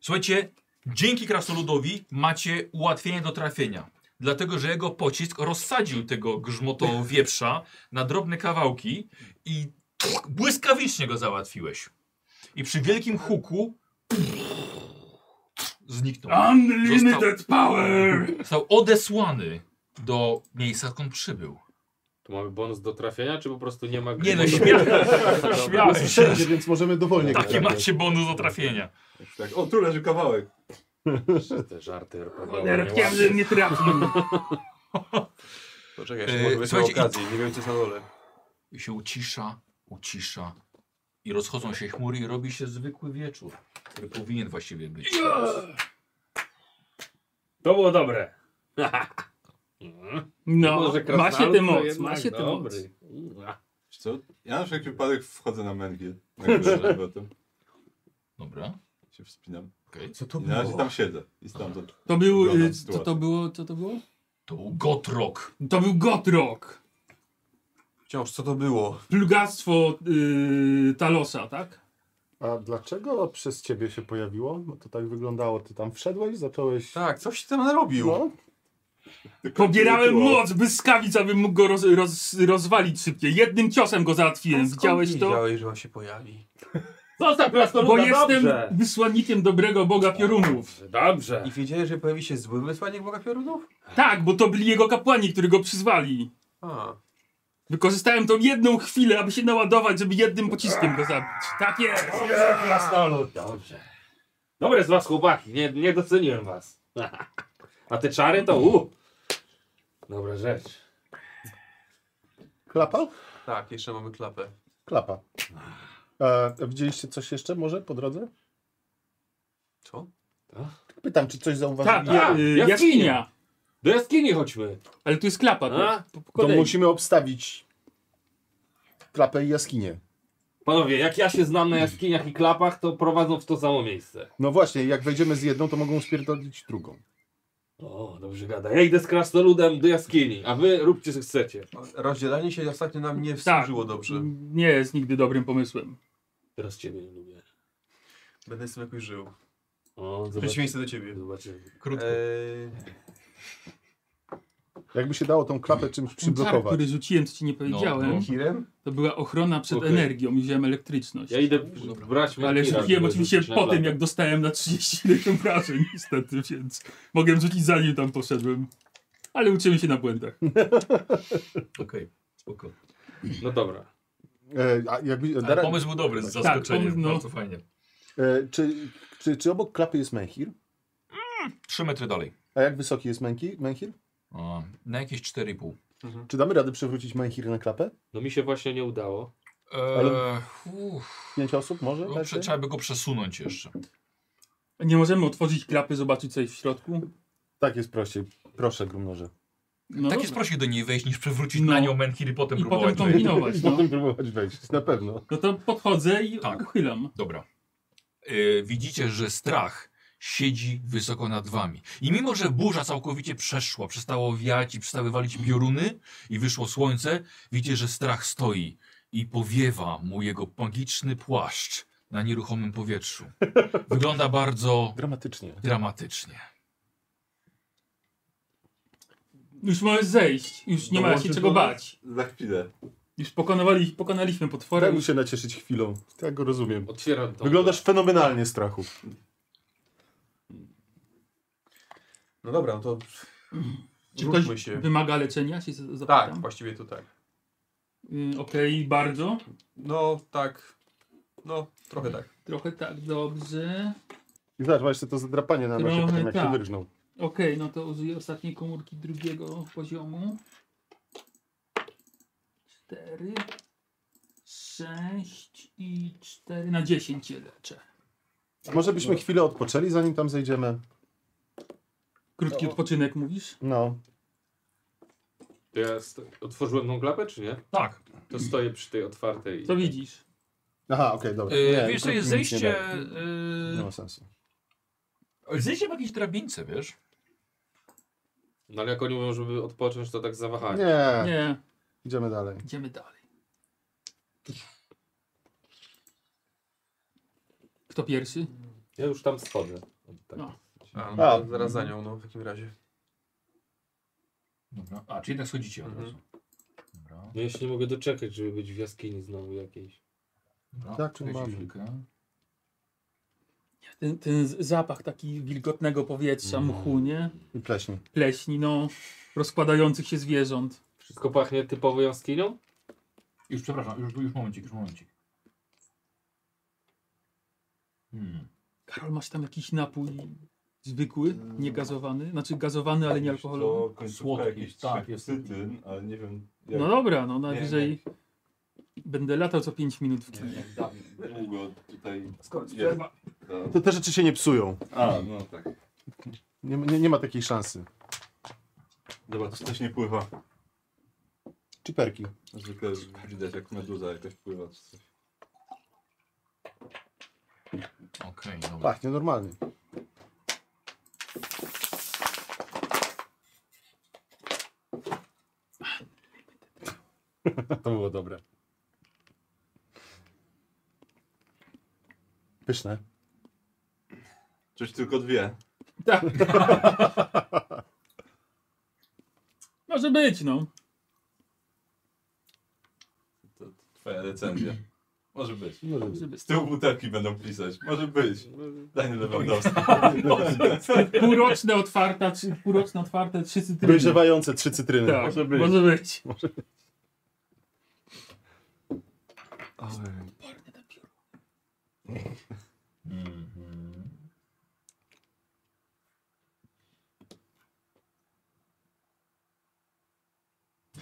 Speaker 2: słuchajcie, dzięki krasnoludowi macie ułatwienie do trafienia. Dlatego, że jego pocisk rozsadził tego grzmoto wieprza na drobne kawałki i błyskawicznie go załatwiłeś. I przy wielkim huku zniknął.
Speaker 6: Unlimited power!
Speaker 2: Został odesłany do miejsca, skąd przybył.
Speaker 7: Tu mamy bonus do trafienia, czy po prostu nie ma
Speaker 2: Nie no,
Speaker 7: gry?
Speaker 2: śmiało, śmiało
Speaker 5: Jest
Speaker 2: się.
Speaker 5: wszędzie, więc możemy dowolnie
Speaker 2: Takie
Speaker 5: grać.
Speaker 2: macie bonus do trafienia.
Speaker 1: Tak, o, tu leży kawałek.
Speaker 7: Te żarty
Speaker 6: Chciałem,
Speaker 7: robią.
Speaker 6: żeby mnie trafił.
Speaker 9: Poczekaj, jeszcze
Speaker 2: Yy,
Speaker 9: może być na
Speaker 2: słuchajcie, i-
Speaker 9: okazji. Nie wiem, co jest na dole.
Speaker 2: I się ucisza, ucisza. I rozchodzą się chmury i robi się zwykły wieczór, który powinien właściwie być. teraz.
Speaker 7: To było dobre.
Speaker 6: No,
Speaker 7: Może
Speaker 6: ma się
Speaker 7: krasnalud
Speaker 6: tę
Speaker 7: to
Speaker 6: moc,
Speaker 7: jednak
Speaker 6: ma się tę moc.
Speaker 7: dobry. Ua.
Speaker 1: Wiesz Co? Ja na wszelki wypadek wchodzę na męgiel. Na górę, bo tam
Speaker 2: Dobra,
Speaker 1: się wspinam.
Speaker 2: okej.
Speaker 4: Co to
Speaker 1: I na razie
Speaker 4: było?
Speaker 1: tam siedzę. I stamtąd.
Speaker 6: To był,
Speaker 1: Wygląda
Speaker 6: y, co to
Speaker 1: sytuacja.
Speaker 6: było, co to było?
Speaker 2: To był Gotrok.
Speaker 6: To był Gotrok,
Speaker 9: Wciąż, co to było?
Speaker 6: plugactwo y, Talosa, tak?
Speaker 5: A dlaczego przez ciebie się pojawiło? Bo to tak wyglądało. Ty tam wszedłeś, zacząłeś...
Speaker 9: Tak, coś tam narobił.
Speaker 5: No,
Speaker 6: Pobierałem
Speaker 1: było.
Speaker 6: moc, błyskawic, abym mógł go roz, roz, rozwalić szybciej. Jednym ciosem go załatwiłem,
Speaker 9: Skąd
Speaker 6: widziałeś to?
Speaker 9: Wiedziałeś, że on się pojawi.
Speaker 7: Zostaw krasnoluda,
Speaker 6: Bo jestem
Speaker 7: dobrze.
Speaker 6: wysłannikiem dobrego boga piorunów.
Speaker 7: Dobrze.
Speaker 9: I wiedziałeś, że pojawi się zły wysłannik Boga Piorunów?
Speaker 6: Tak, bo to byli jego kapłani, którzy go przyzwali.
Speaker 9: A,
Speaker 6: Wykorzystałem tą jedną chwilę, aby się naładować, żeby jednym pociskiem go zabić. Tak jest!
Speaker 7: Krasnolud, dobrze. Dobre z was chłopaki, nie, nie doceniłem was. [LAUGHS] A te czary to u. Dobra rzecz.
Speaker 5: Klapa?
Speaker 4: Tak, jeszcze mamy klapę.
Speaker 5: Klapa. E, widzieliście coś jeszcze może po drodze?
Speaker 4: Co?
Speaker 5: Pytam, czy coś
Speaker 6: Tak,
Speaker 5: zauważyliście?
Speaker 6: ja,
Speaker 7: Ja-
Speaker 6: y,
Speaker 7: jaskinia.
Speaker 6: jaskinia.
Speaker 7: Do jaskini chodźmy.
Speaker 6: Ale tu jest klapa.
Speaker 7: A?
Speaker 6: To,
Speaker 7: Po, po
Speaker 5: To
Speaker 7: kolei.
Speaker 5: musimy obstawić klapę i jaskinię.
Speaker 7: Panowie, jak ja się znam na jaskiniach i klapach, to prowadzą w to samo miejsce.
Speaker 5: No właśnie, jak wejdziemy z jedną, to mogą spierdolić drugą.
Speaker 7: O, dobrze gada. Ja idę z krasnoludem do jaskini, a wy róbcie co chcecie.
Speaker 9: Rozdzielanie się ostatnio nam nie służyło
Speaker 6: Tak.
Speaker 9: dobrze.
Speaker 6: nie jest nigdy dobrym pomysłem.
Speaker 7: Teraz ciebie nie lubię.
Speaker 9: Będę z tym jakoś żył.
Speaker 7: O,
Speaker 9: W
Speaker 7: zobaczymy.
Speaker 9: przeciwieństwie do ciebie.
Speaker 7: zobaczymy.
Speaker 2: No
Speaker 4: Krótko.
Speaker 3: E,
Speaker 9: Eee,
Speaker 5: Jakby się dało tą klapę czymś
Speaker 6: Ten czar,
Speaker 5: przyblokować.
Speaker 6: który rzuciłem, to ci nie powiedziałem.
Speaker 2: no.
Speaker 9: Kirem?
Speaker 6: To była ochrona przed
Speaker 7: Okej.
Speaker 6: energią i wziąłem elektryczność.
Speaker 7: Ja idę b- brać
Speaker 6: Ale
Speaker 7: Mekira,
Speaker 6: rzuciłem
Speaker 7: żeby
Speaker 6: oczywiście
Speaker 7: rzucić na
Speaker 6: po tym,
Speaker 7: klapę.
Speaker 6: jak dostałem na 30 ileś tam wrażeń, [LAUGHS] niestety, więc mogłem rzucić zanim tam poszedłem. Ale uczymy się na błędach.
Speaker 2: Okej, spoko.
Speaker 7: No dobra.
Speaker 5: E, a jakby,
Speaker 2: Ale
Speaker 5: Dara,
Speaker 2: pomysł był dobry, z
Speaker 6: Tak,
Speaker 2: zaskoczeniem,
Speaker 6: pomysł, no.
Speaker 2: bardzo fajnie.
Speaker 5: e, czy, czy, czy obok klapy jest menhir?
Speaker 2: Trzy metry dalej.
Speaker 5: A jak wysoki jest menki, menhir?
Speaker 2: O, na jakieś 4,5.
Speaker 6: Mhm.
Speaker 5: Czy damy radę przewrócić menhir na klapę?
Speaker 3: No mi się właśnie nie udało.
Speaker 2: Eee, uff,
Speaker 5: Pięć osób może?
Speaker 2: no,
Speaker 5: tak?
Speaker 2: prze, trzeba by go przesunąć jeszcze.
Speaker 6: No Nie możemy otworzyć klapy, zobaczyć co jest w środku.
Speaker 5: tak jest prościej. Proszę, Grumnorze.
Speaker 6: No
Speaker 2: tak
Speaker 6: dobra.
Speaker 2: jest prościej do niej wejść niż przewrócić
Speaker 6: No.
Speaker 2: na nią Menhir i potem
Speaker 6: I potem
Speaker 2: próbować. wejść.
Speaker 5: [LAUGHS]
Speaker 6: kombinować. No.
Speaker 5: Potem próbować wejść, na pewno.
Speaker 6: no to podchodzę i
Speaker 2: Tak.
Speaker 6: uchylam.
Speaker 2: Dobra. E, widzicie, że strach siedzi wysoko nad wami. I mimo, że burza całkowicie przeszła, przestało wiać i przestały walić pioruny i wyszło słońce, widzicie, że strach stoi i powiewa mu jego magiczny płaszcz na nieruchomym powietrzu. Wygląda bardzo
Speaker 5: Dramatycznie.
Speaker 2: dramatycznie.
Speaker 6: Już możesz zejść, już nie
Speaker 1: No,
Speaker 6: ma się
Speaker 1: może
Speaker 6: czego
Speaker 1: to-
Speaker 6: bać.
Speaker 1: Za chwilę.
Speaker 6: Już pokonali, pokonaliśmy potwora.
Speaker 5: Daj się nacieszyć chwilą. Tak go rozumiem.
Speaker 3: Otwieram to.
Speaker 5: Wyglądasz fenomenalnie strachu.
Speaker 9: No dobra, no to
Speaker 6: Czy
Speaker 9: wróćmy
Speaker 6: ktoś
Speaker 9: się.
Speaker 6: wymaga leczenia? Się z-
Speaker 4: Tak,
Speaker 6: zapytam.
Speaker 4: właściwie to tak.
Speaker 6: Y, Okej, bardzo.
Speaker 4: No tak. No, trochę tak.
Speaker 6: Trochę tak, dobrze.
Speaker 5: I zobacz, masz to zadrapanie na nosie,
Speaker 6: Trochę
Speaker 5: potem jak się
Speaker 6: tak.
Speaker 5: wyrżnął.
Speaker 6: Okej, no to użyję ostatniej komórki drugiego poziomu. Cztery, sześć i cztery na 10 cię leczę.
Speaker 5: Może byśmy chwilę odpoczęli, zanim tam zejdziemy?
Speaker 6: Krótki odpoczynek mówisz?
Speaker 5: No.
Speaker 3: To ja sto... otworzyłem tą klapę, czy nie?
Speaker 2: Tak.
Speaker 3: To stoję przy tej otwartej.
Speaker 6: Co widzisz?
Speaker 5: Aha, okej, dobra.
Speaker 2: E,
Speaker 5: Nie,
Speaker 2: wiesz, to
Speaker 5: krótki
Speaker 2: jest
Speaker 5: nic nie
Speaker 2: zejście.
Speaker 5: da. Nie ma sensu. No.
Speaker 2: E, zejście w jakiejś drabince, wiesz?
Speaker 3: No ale jak oni mówią, żeby odpocząć, to tak zawahanie.
Speaker 5: Nie,
Speaker 6: Nie,
Speaker 5: idziemy dalej.
Speaker 6: idziemy dalej. Kto pierwszy?
Speaker 3: Ja już tam schodzę. Tak.
Speaker 6: No.
Speaker 4: A,
Speaker 5: A.
Speaker 4: no, to zaraz za nią, no w takim razie.
Speaker 2: Dobra. A, czyli jednak schodzicie od
Speaker 4: Mhm.
Speaker 2: razu. Dobra.
Speaker 3: No ja się nie mogę doczekać, żeby być w jaskini znowu jakiejś.
Speaker 2: Dobra.
Speaker 5: Tak, tu
Speaker 2: Czekajcie
Speaker 5: mamy.
Speaker 2: chwilkę.
Speaker 6: Ten, ten z- zapach taki wilgotnego powietrza, mchu, nie?
Speaker 5: I pleśni.
Speaker 6: Pleśni, no, rozkładających się zwierząt.
Speaker 3: Wszystko pachnie typowo jaskinią?
Speaker 2: Już przepraszam, już, już momencik, już momencik. Hmm.
Speaker 6: Karol, masz tam jakiś napój zwykły, niegazowany? Znaczy gazowany, ale nie
Speaker 1: To
Speaker 6: alkoholowy?
Speaker 1: końcówka
Speaker 2: Słodki,
Speaker 1: jakiś
Speaker 2: tak,
Speaker 1: tak, jest cytyn, ale nie wiem jak
Speaker 6: No dobra, no
Speaker 1: nie,
Speaker 6: najwyżej będę latał co 5 minut w kinie.
Speaker 1: jak dawno- długo tutaj...
Speaker 4: Skąd?
Speaker 1: Nie.
Speaker 5: To te rzeczy się nie psują.
Speaker 1: A, no tak.
Speaker 5: Nie, nie, nie ma takiej szansy.
Speaker 1: Dobra, to coś nie pływa.
Speaker 5: Czyperki.
Speaker 1: Zwykle widać jak meduza jakaś pływa czy coś.
Speaker 2: Okej, dobra.
Speaker 5: Pachnie normalnie. To było dobre. Pyszne.
Speaker 1: Coś tylko dwie.
Speaker 6: Tak. Może być, no.
Speaker 1: To twoja recenzja. Może być.
Speaker 5: Może być.
Speaker 6: Może być.
Speaker 1: Z tyłu butelki będą pisać. Może być. Daniel Lewandowski.
Speaker 6: Półroczne otwarta, czy półroczne otwarte, trzy cytryny.
Speaker 5: Dojrzewające trzy cytryny.
Speaker 6: Tak, może być. Może być.
Speaker 2: Mhm.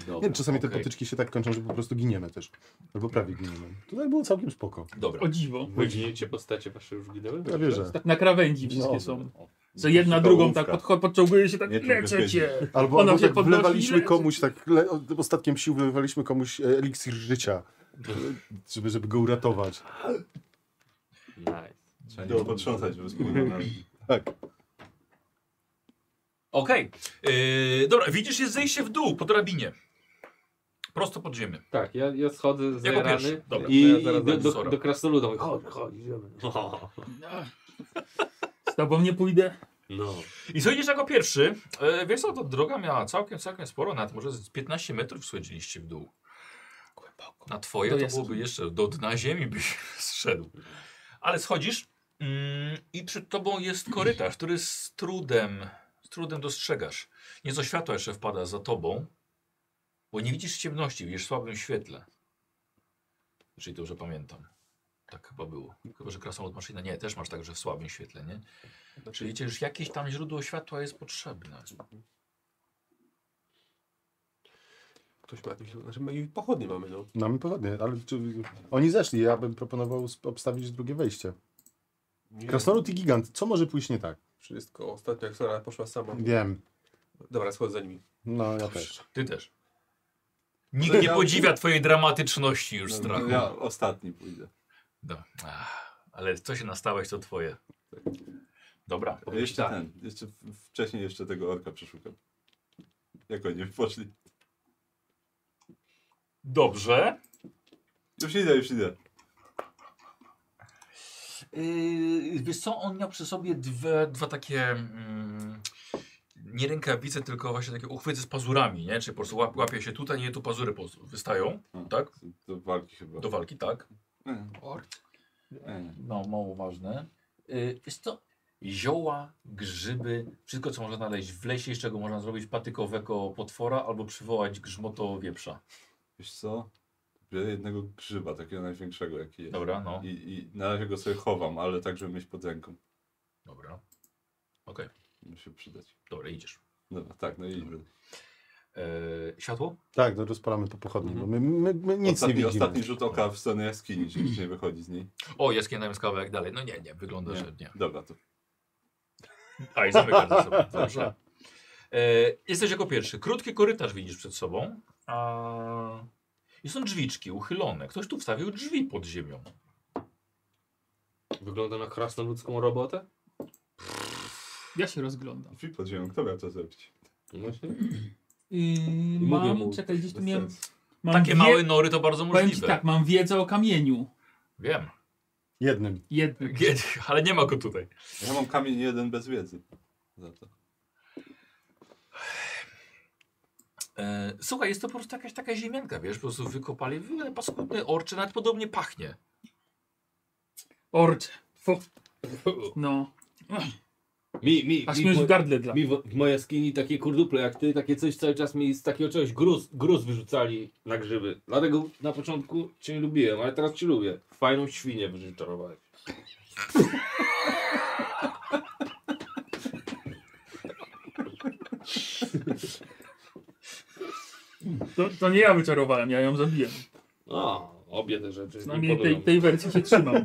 Speaker 7: Dobra.
Speaker 5: Nie, czasami te
Speaker 2: Okej.
Speaker 5: potyczki się tak kończą, że po prostu giniemy też. Albo prawie giniemy. Tutaj było całkiem spoko.
Speaker 2: Dobra.
Speaker 6: O dziwo.
Speaker 3: Wy giniecie postacie wasze już ginęły?
Speaker 5: Ja wierzę.
Speaker 6: Tak na krawędzi wszystkie
Speaker 5: No.
Speaker 6: są. Że jedna drugą tak podcho- podciąguje się, tak
Speaker 1: Nie, to
Speaker 6: leczę cię.
Speaker 5: Albo,
Speaker 6: Ona
Speaker 5: albo
Speaker 6: się
Speaker 5: tak
Speaker 6: podnosi i
Speaker 5: wlewaliśmy
Speaker 6: leci.
Speaker 5: komuś, tak le, ostatkiem sił wlewaliśmy komuś e, eliksir życia, żeby, żeby go uratować.
Speaker 3: Nice.
Speaker 1: Trzeba było potrząsać, żeby spłynął na
Speaker 5: Tak.
Speaker 2: Okej. Yy, dobra, widzisz jest zejście w dół po drabinie. Prosto pod ziemię.
Speaker 3: Tak, ja, ja schodzę z
Speaker 2: Jako
Speaker 3: rany
Speaker 2: pierwszy. Dobra,
Speaker 3: i
Speaker 2: to ja zaraz
Speaker 3: do,
Speaker 2: dam
Speaker 3: do,
Speaker 2: Sora.
Speaker 3: do krasnoluda mówię, chodź, chodź, idziemy. No,
Speaker 6: Z tobą nie pójdę.
Speaker 3: [LAUGHS] no.
Speaker 2: I sądzisz jako pierwszy. E, wiesz co, to droga miała całkiem, całkiem sporo, nawet może z 15 metrów schodziliście w dół. Głęboko. Na twoje to, byłoby jeszcze, do dna ziemi byś [LAUGHS] zszedł. Ale schodzisz mm, i przed tobą jest korytarz, który z trudem, z trudem dostrzegasz. Nieco światła jeszcze wpada za tobą, bo nie widzisz ciemności, widzisz w słabym świetle. Jeżeli dobrze pamiętam. Tak chyba było. Chyba, że krasnolud maszyna. Nie, też masz także w słabym świetle, nie? Czyli przecież Znaczy, jakieś Znaczy, tam źródło światła jest potrzebne.
Speaker 9: Ktoś ma jakieś... Znaczy my i pochodnie mamy, no.
Speaker 5: Mamy pochodnie, ale czy, oni zeszli, ja bym proponował sp- obstawić drugie wejście.
Speaker 9: Nie,
Speaker 5: Krasnolud i gigant, co może pójść nie tak?
Speaker 9: Wszystko. Ostatnio jak Sara poszła sama.
Speaker 5: Wiem.
Speaker 9: Dobra, schodzę za nimi.
Speaker 5: No, ja też.
Speaker 2: Ty też. Nikt nie
Speaker 1: Ja-
Speaker 2: podziwia twojej dramatyczności już strachu.
Speaker 1: Ja ostatni pójdę.
Speaker 2: No. Ach, Ale co się nastałeś, to twoje. Dobra.
Speaker 1: Jeszcze ten, jeszcze w- wcześniej jeszcze tego orka przeszukam. Jak oni poszli.
Speaker 2: Dobrze.
Speaker 1: Już idę, już idę.
Speaker 2: Yy, wiesz co, on miał przy sobie dwie, dwa takie... Mm, nie rękawice, tylko właśnie takie uchwyty z pazurami, nie? Czyli po prostu łap, łapie się tutaj, nie tu pazury po prostu wystają,
Speaker 1: Hmm.
Speaker 2: tak?
Speaker 1: Do walki chyba.
Speaker 2: Do walki, tak?
Speaker 1: E, e.
Speaker 2: No, mało ważne. Y, Jest to zioła, grzyby, wszystko co można znaleźć w lesie, z czego można zrobić patykowego potwora albo przywołać grzmoto wieprza.
Speaker 1: Wiesz co? Biorę jednego grzyba, takiego największego jaki jest.
Speaker 2: Dobra, no.
Speaker 1: I, I na razie go sobie chowam, ale tak, żeby mieć pod ręką.
Speaker 2: Dobra,
Speaker 1: Może się przydać.
Speaker 2: dobra, idziesz.
Speaker 1: Dobra, tak, no i
Speaker 2: Yy, światło?
Speaker 5: Tak, no rozpalamy po pochodni, bo my, my, my nic
Speaker 1: ostatni,
Speaker 5: nie widzimy.
Speaker 1: ostatni rzut oka w stronę jaskini, czy nikt nie wychodzi z niej.
Speaker 2: O, jaskinia tam jest kawałek dalej. No nie, nie, wygląda,
Speaker 1: Nie.
Speaker 2: że nie.
Speaker 1: Dobra, to
Speaker 2: A i zamykasz za sobą. [LAUGHS] Dobrze. E, jesteś jako pierwszy. Krótki korytarz widzisz przed sobą. A... I są drzwiczki uchylone. Ktoś tu wstawił drzwi pod ziemią.
Speaker 3: Wygląda na krasnoludzką robotę?
Speaker 6: Ja się rozglądam.
Speaker 1: drzwi pod ziemią, kto miał to zrobić?
Speaker 3: No Właśnie.
Speaker 6: Yy,
Speaker 3: mówię
Speaker 6: mam,
Speaker 3: mu,
Speaker 6: czekaj, gdzieś tu
Speaker 1: Bez
Speaker 6: miałem...
Speaker 1: sensu.
Speaker 6: Mam
Speaker 2: Takie
Speaker 6: wie-
Speaker 2: małe nory to bardzo
Speaker 6: powiem ci
Speaker 2: możliwe.
Speaker 6: tak, mam wiedzę o kamieniu.
Speaker 2: Wiem.
Speaker 5: Jednym.
Speaker 6: Jednym.
Speaker 2: Kiedy, [LAUGHS] ale nie ma go tutaj.
Speaker 1: Ja mam kamień jeden bez wiedzy. Za to.
Speaker 2: E, słuchaj, jest to po prostu jakaś taka ziemianka, wiesz, po prostu wykopali, w ogóle paskudny orczy, nawet podobnie pachnie.
Speaker 6: Orcze. Fu. No.
Speaker 7: Mi, mi,
Speaker 6: Aż
Speaker 7: mi,
Speaker 6: mi już
Speaker 7: mo-
Speaker 6: w gardle dla.
Speaker 7: mi w, w mojej jaskini takie kurduple jak ty, takie coś cały czas mi z takiego czegoś gruz, gruz wyrzucali na grzyby. Dlatego na początku cię nie lubiłem, ale teraz cię lubię. Fajną świnię wyżyczarowałeś.
Speaker 6: To, to nie ja wyczarowałem, ja ją zabiłem.
Speaker 7: A, No, obie te rzeczy.
Speaker 6: Przynajmniej
Speaker 7: imponują
Speaker 6: tej,
Speaker 7: mi.
Speaker 6: tej wersji się trzymam.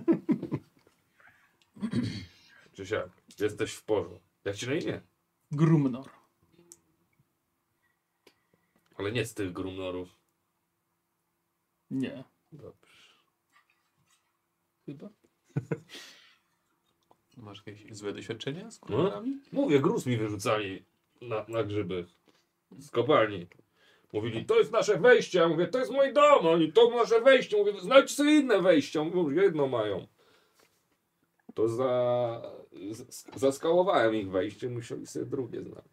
Speaker 7: Krzysiek, jesteś w porządku. Jak ci na imię?
Speaker 6: [LAUGHS] Grumnor.
Speaker 7: Ale nie z tych grumnorów.
Speaker 6: Nie.
Speaker 7: Dobrze.
Speaker 6: Chyba.
Speaker 9: Masz jakieś złe doświadczenia z
Speaker 7: No. Mówię, gruz mi wyrzucali na, na grzyby z kopalni. Mówili, to jest nasze wejście. Ja mówię, to jest mój dom. Oni, to nasze wejście. Mówię, znajdź sobie inne wejście. Mówią, że jedno mają. To za, z- zaskałowałem ich wejście. Musieli sobie drugie znaleźć.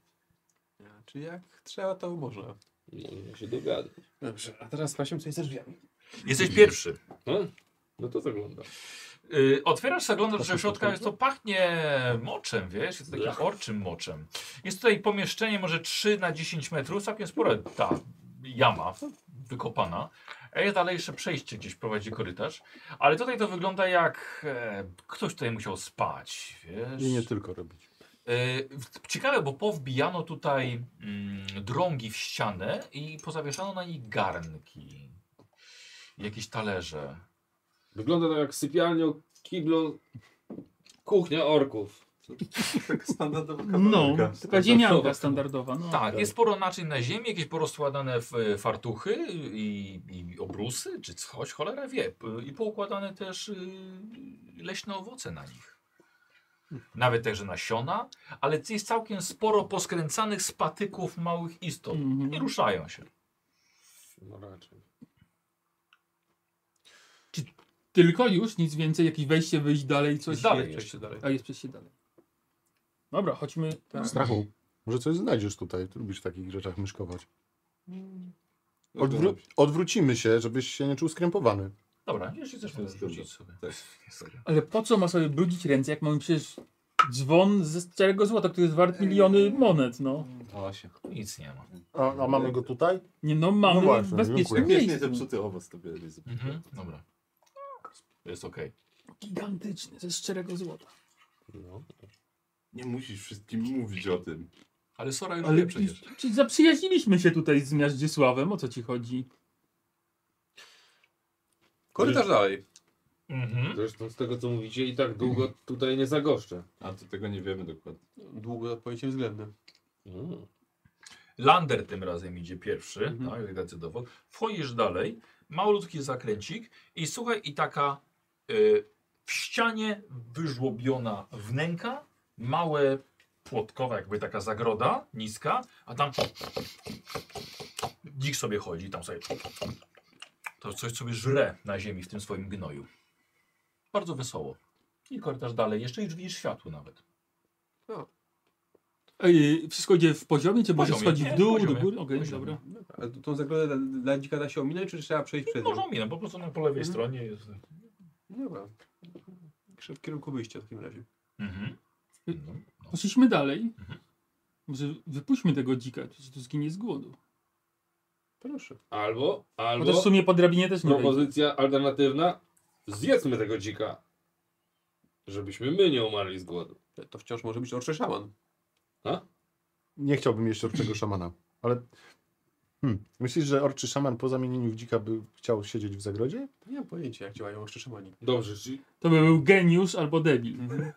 Speaker 9: Czy jak trzeba, to można.
Speaker 7: Nie nie się dogadać.
Speaker 9: Dobrze, a teraz sprawdźmy, co jest ze drzwiami.
Speaker 2: Jesteś pierwszy.
Speaker 7: No, no to wygląda.
Speaker 2: Y, otwierasz, zaglądasz do środka, jest to pachnie moczem, wiesz, jest to takim orczym moczem. Jest tutaj pomieszczenie może 3 na 10 metrów, całkiem spora ta jama wykopana. A jest dalej jeszcze przejście gdzieś prowadzi korytarz. Ale tutaj to wygląda jak e, ktoś tutaj musiał spać, wiesz.
Speaker 5: I nie tylko robić.
Speaker 2: E, w- Ciekawe, bo powbijano tutaj mm, drągi w ścianę i pozawieszano na nich garnki. Jakieś talerze.
Speaker 3: Wygląda
Speaker 7: tak
Speaker 3: to jak sypialnia kiblu kuchnia orków.
Speaker 1: Taka standardowa
Speaker 6: No,
Speaker 1: kawalerka.
Speaker 6: taka ziemianka standardowa. No.
Speaker 2: Tak, jest sporo naczyń na ziemi, jakieś porozkładane w e, fartuchy i, i obrusy, czy coś, cholera wie. P- I poukładane też y, leśne owoce na nich. Nawet także nasiona, ale jest całkiem sporo poskręcanych z patyków małych istot.
Speaker 6: Mhm.
Speaker 2: I ruszają się.
Speaker 3: No raczej.
Speaker 6: Tylko już, nic więcej, jakieś wejście, wyjść dalej, coś.
Speaker 2: Dalej
Speaker 4: Jeszcze
Speaker 2: jeszcze.
Speaker 4: dalej.
Speaker 6: A jest przejście dalej. Dobra, chodźmy. Tak.
Speaker 5: Strachu. Może coś znajdziesz tutaj, ty lubisz w takich rzeczach myszkować.
Speaker 1: No,
Speaker 5: Odwró odwrócimy się, żebyś się nie czuł skrępowany.
Speaker 2: Dobra, jeśli chcesz,
Speaker 1: To
Speaker 2: możesz
Speaker 1: jest dobre.
Speaker 2: rzucić sobie.
Speaker 1: Tak.
Speaker 6: Ale po co ma sobie brudzić ręce, jak mamy przecież dzwon ze starego złota, który jest wart miliony monet, no.
Speaker 1: Osiem.
Speaker 2: Nic nie ma.
Speaker 5: A, a mamy go tutaj?
Speaker 6: Nie no, mamy
Speaker 5: No właśnie,
Speaker 6: w
Speaker 5: dziękuję.
Speaker 6: bezpiecznym
Speaker 1: Jak jest
Speaker 6: miejscu.
Speaker 1: niezepsuty owoc, to bierze
Speaker 2: Mhm. Dobra. To jest okej.
Speaker 6: Gigantyczny, ze szczerego złota.
Speaker 1: Nie musisz wszystkim mówić o tym.
Speaker 2: Ale Sora już
Speaker 6: Ale
Speaker 2: wie przecież.
Speaker 6: czy zaprzyjaźniliśmy się tutaj z Miażdżysławem, o co ci chodzi?
Speaker 4: Korytarz dalej.
Speaker 2: Mhm.
Speaker 3: Zresztą z tego co mówicie i tak długo tutaj nie zagoszczę.
Speaker 1: A to tego nie wiemy dokładnie.
Speaker 4: Długo pojęcie względne.
Speaker 2: Lander tym razem idzie pierwszy, tak, jak decydował. Wchodzisz dalej, malutki zakręcik i słuchaj, i taka y, w ścianie wyżłobiona wnęka, małe płotkowa jakby taka zagroda, niska, a tam dzik sobie chodzi, tam sobie to coś sobie żre na ziemi w tym swoim gnoju. Bardzo wesoło. I korytarz dalej, jeszcze już widzisz światło nawet.
Speaker 6: Ej, wszystko idzie w poziomie, czy może
Speaker 2: Poziomie,
Speaker 6: schodzi
Speaker 2: nie,
Speaker 6: w dół, do
Speaker 2: poziomie,
Speaker 6: góry? Okej,
Speaker 2: poziomie.
Speaker 6: dobra.
Speaker 4: A t- tą zagrodę dla, dla dzika da się ominąć, czy trzeba przejść przed nią?
Speaker 2: Może minę, po prostu na po lewej stronie jest.
Speaker 4: Dobra. Krzy- W kierunku wyjścia w takim razie.
Speaker 2: Mhm. No.
Speaker 6: Poszliśmy dalej.
Speaker 2: Mhm.
Speaker 6: Może wypuśćmy tego dzika, czy tu zginie z głodu.
Speaker 4: Proszę.
Speaker 3: Albo,
Speaker 6: Bo też w
Speaker 3: albo
Speaker 6: sumie po drabinie też nie wejdzie.
Speaker 3: propozycja alternatywna. Zjedzmy tego dzika. Żebyśmy my nie umarli z głodu.
Speaker 4: To wciąż może być orczy szaman.
Speaker 5: Nie chciałbym jeść orczego szamana, ale... Hmm. Myślisz, że orczy szaman po zamienieniu w dzika by chciał siedzieć w zagrodzie?
Speaker 4: Nie mam pojęcia jak działają orczy szamani.
Speaker 3: Dobrze, czyli,
Speaker 6: To by był geniusz albo debil.
Speaker 3: Mhm.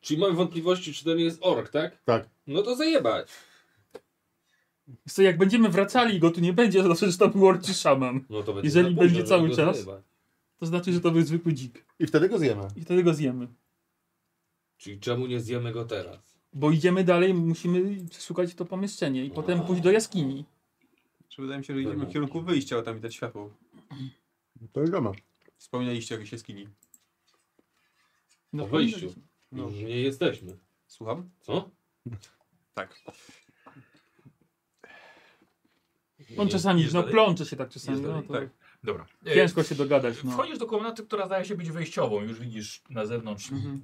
Speaker 3: czyli mam wątpliwości, czy to nie jest ork, tak?
Speaker 5: Tak.
Speaker 3: No to zajebać.
Speaker 6: Wiesz Co, jak będziemy wracali i go tu nie będzie, to znaczy, że to był orczy szaman.
Speaker 3: No to będzie
Speaker 6: Jeżeli
Speaker 3: za późno,
Speaker 6: będzie
Speaker 3: żeby
Speaker 6: cały
Speaker 3: go
Speaker 6: czas?
Speaker 3: zajebać.
Speaker 6: To znaczy, że to był zwykły dzik.
Speaker 5: I wtedy go zjemy.
Speaker 6: I wtedy go zjemy.
Speaker 3: Czyli czemu nie zjemy go teraz?
Speaker 6: Bo idziemy dalej, musimy przeszukać to pomieszczenie i potem pójść do jaskini.
Speaker 4: Czy wydaje mi się, że idziemy w kierunku wyjścia, bo tam widać światło.
Speaker 5: To idziemy.
Speaker 4: Wspominaliście o jakiejś jaskini.
Speaker 6: No,
Speaker 3: Po wejściu.
Speaker 4: No.
Speaker 3: Już nie jesteśmy.
Speaker 4: Słucham?
Speaker 3: Co?
Speaker 4: Tak.
Speaker 6: On czasami,
Speaker 2: Jest
Speaker 6: no
Speaker 2: dalej?
Speaker 6: plącze się tak czasami,
Speaker 2: Jest
Speaker 6: no
Speaker 2: dalej,
Speaker 6: to
Speaker 4: tak.
Speaker 2: Dobra. E,
Speaker 6: ciężko się dogadać. No.
Speaker 2: Wchodzisz do komnaty, która zdaje się być wejściową. Już widzisz na zewnątrz
Speaker 6: Mhm.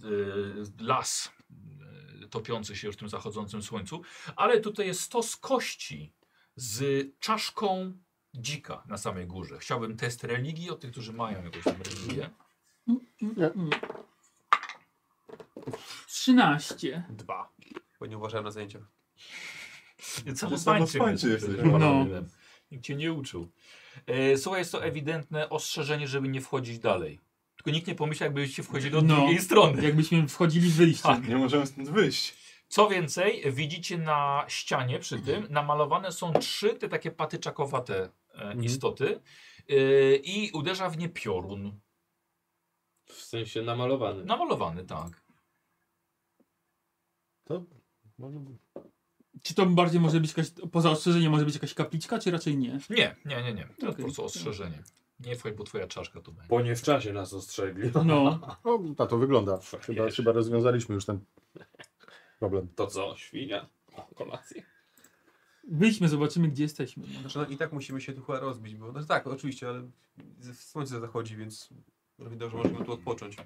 Speaker 2: e, las e, topiący się już w tym zachodzącym słońcu. Ale tutaj jest stos kości z czaszką dzika na samej górze. Chciałbym test religii od tych, którzy mają jakąś tam religię.
Speaker 6: Mm. 13.
Speaker 2: Dwa.
Speaker 4: Bo nie uważałem na zajęciach.
Speaker 2: Cały
Speaker 1: To samo
Speaker 2: pańcie
Speaker 1: pańcie
Speaker 2: jesteś,
Speaker 1: jesteś.
Speaker 2: no. Nikt cię nie uczył. E, słuchaj, jest to ewidentne ostrzeżenie, żeby nie wchodzić dalej. Tylko nikt nie pomyślał, jakbyście wchodzili od
Speaker 6: No.
Speaker 2: drugiej strony.
Speaker 6: Jakbyśmy wchodzili w wyjście.
Speaker 3: Tak.
Speaker 1: Nie możemy stąd wyjść.
Speaker 2: Co więcej, widzicie na ścianie przy tym namalowane są trzy te takie patyczakowate e, istoty e, i uderza w nie piorun.
Speaker 3: W sensie namalowany.
Speaker 2: Namalowany, tak.
Speaker 6: Czy to bardziej może być jakaś, poza ostrzeżeniem może być jakaś kapliczka, czy raczej nie?
Speaker 2: Nie, nie, nie, nie. To po
Speaker 6: Okej.
Speaker 2: prostu ostrzeżenie. Nie wchodź, bo twoja czaszka tu będzie.
Speaker 3: Bo nie w czasie nas ostrzegli.
Speaker 6: No,
Speaker 5: O, na to wygląda. Chyba,
Speaker 2: Jeszcze.
Speaker 5: chyba rozwiązaliśmy już ten problem.
Speaker 3: To co, świnia? O, kolację?
Speaker 6: wyjdźmy, zobaczymy gdzie jesteśmy. No.
Speaker 4: Znaczy, no i tak musimy się tu chyba rozbić, bo znaczy, tak, oczywiście, ale z- słońce zachodzi, więc równie dobrze możemy tu odpocząć.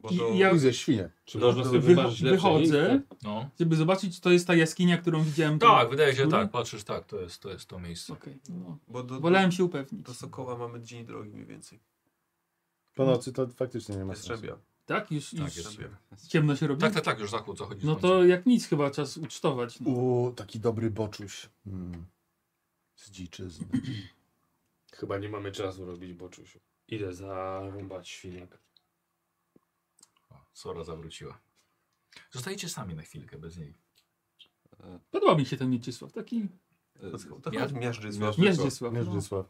Speaker 4: Bo
Speaker 6: I
Speaker 4: to...
Speaker 6: ja-
Speaker 5: I ze świnie.
Speaker 3: Czy można
Speaker 4: to
Speaker 3: sobie
Speaker 4: wycho-
Speaker 3: wymarzyć lepsze
Speaker 6: wychodzę,
Speaker 3: miejsce?
Speaker 2: No.
Speaker 6: żeby zobaczyć, czy to jest ta jaskinia, którą widziałem. tu.
Speaker 2: Tak, wydaje się
Speaker 6: Góry?
Speaker 2: tak. Patrzysz, tak, to jest to, jest to miejsce.
Speaker 6: Okej, no.
Speaker 4: Bo do,
Speaker 6: Wolałem się upewnić.
Speaker 4: do Sokoła mamy dzień drogi mniej więcej.
Speaker 5: Po nocy to faktycznie nie ma
Speaker 4: Jest
Speaker 5: sensu.
Speaker 4: Strzębia.
Speaker 6: Tak? Już,
Speaker 2: Tak,
Speaker 6: już
Speaker 2: jest.
Speaker 6: ciemno się robi?
Speaker 2: tak, tak, tak, już zachód zachodzi.
Speaker 6: No
Speaker 2: słońce.
Speaker 6: to jak nic chyba czas ucztować. No.
Speaker 5: U, taki dobry boczuś. Mm. Z dziczyzny.
Speaker 7: Chyba nie mamy czasu robić boczusiu. Idę zarąbać świniak.
Speaker 2: O, Sora zawróciła. Zostajecie sami na chwilkę bez niej.
Speaker 6: Podoba mi się ten Mieczysław, taki
Speaker 1: E,
Speaker 9: To, to chodź miażdżycław.
Speaker 6: Mierzysław. No.
Speaker 5: Mierzysław.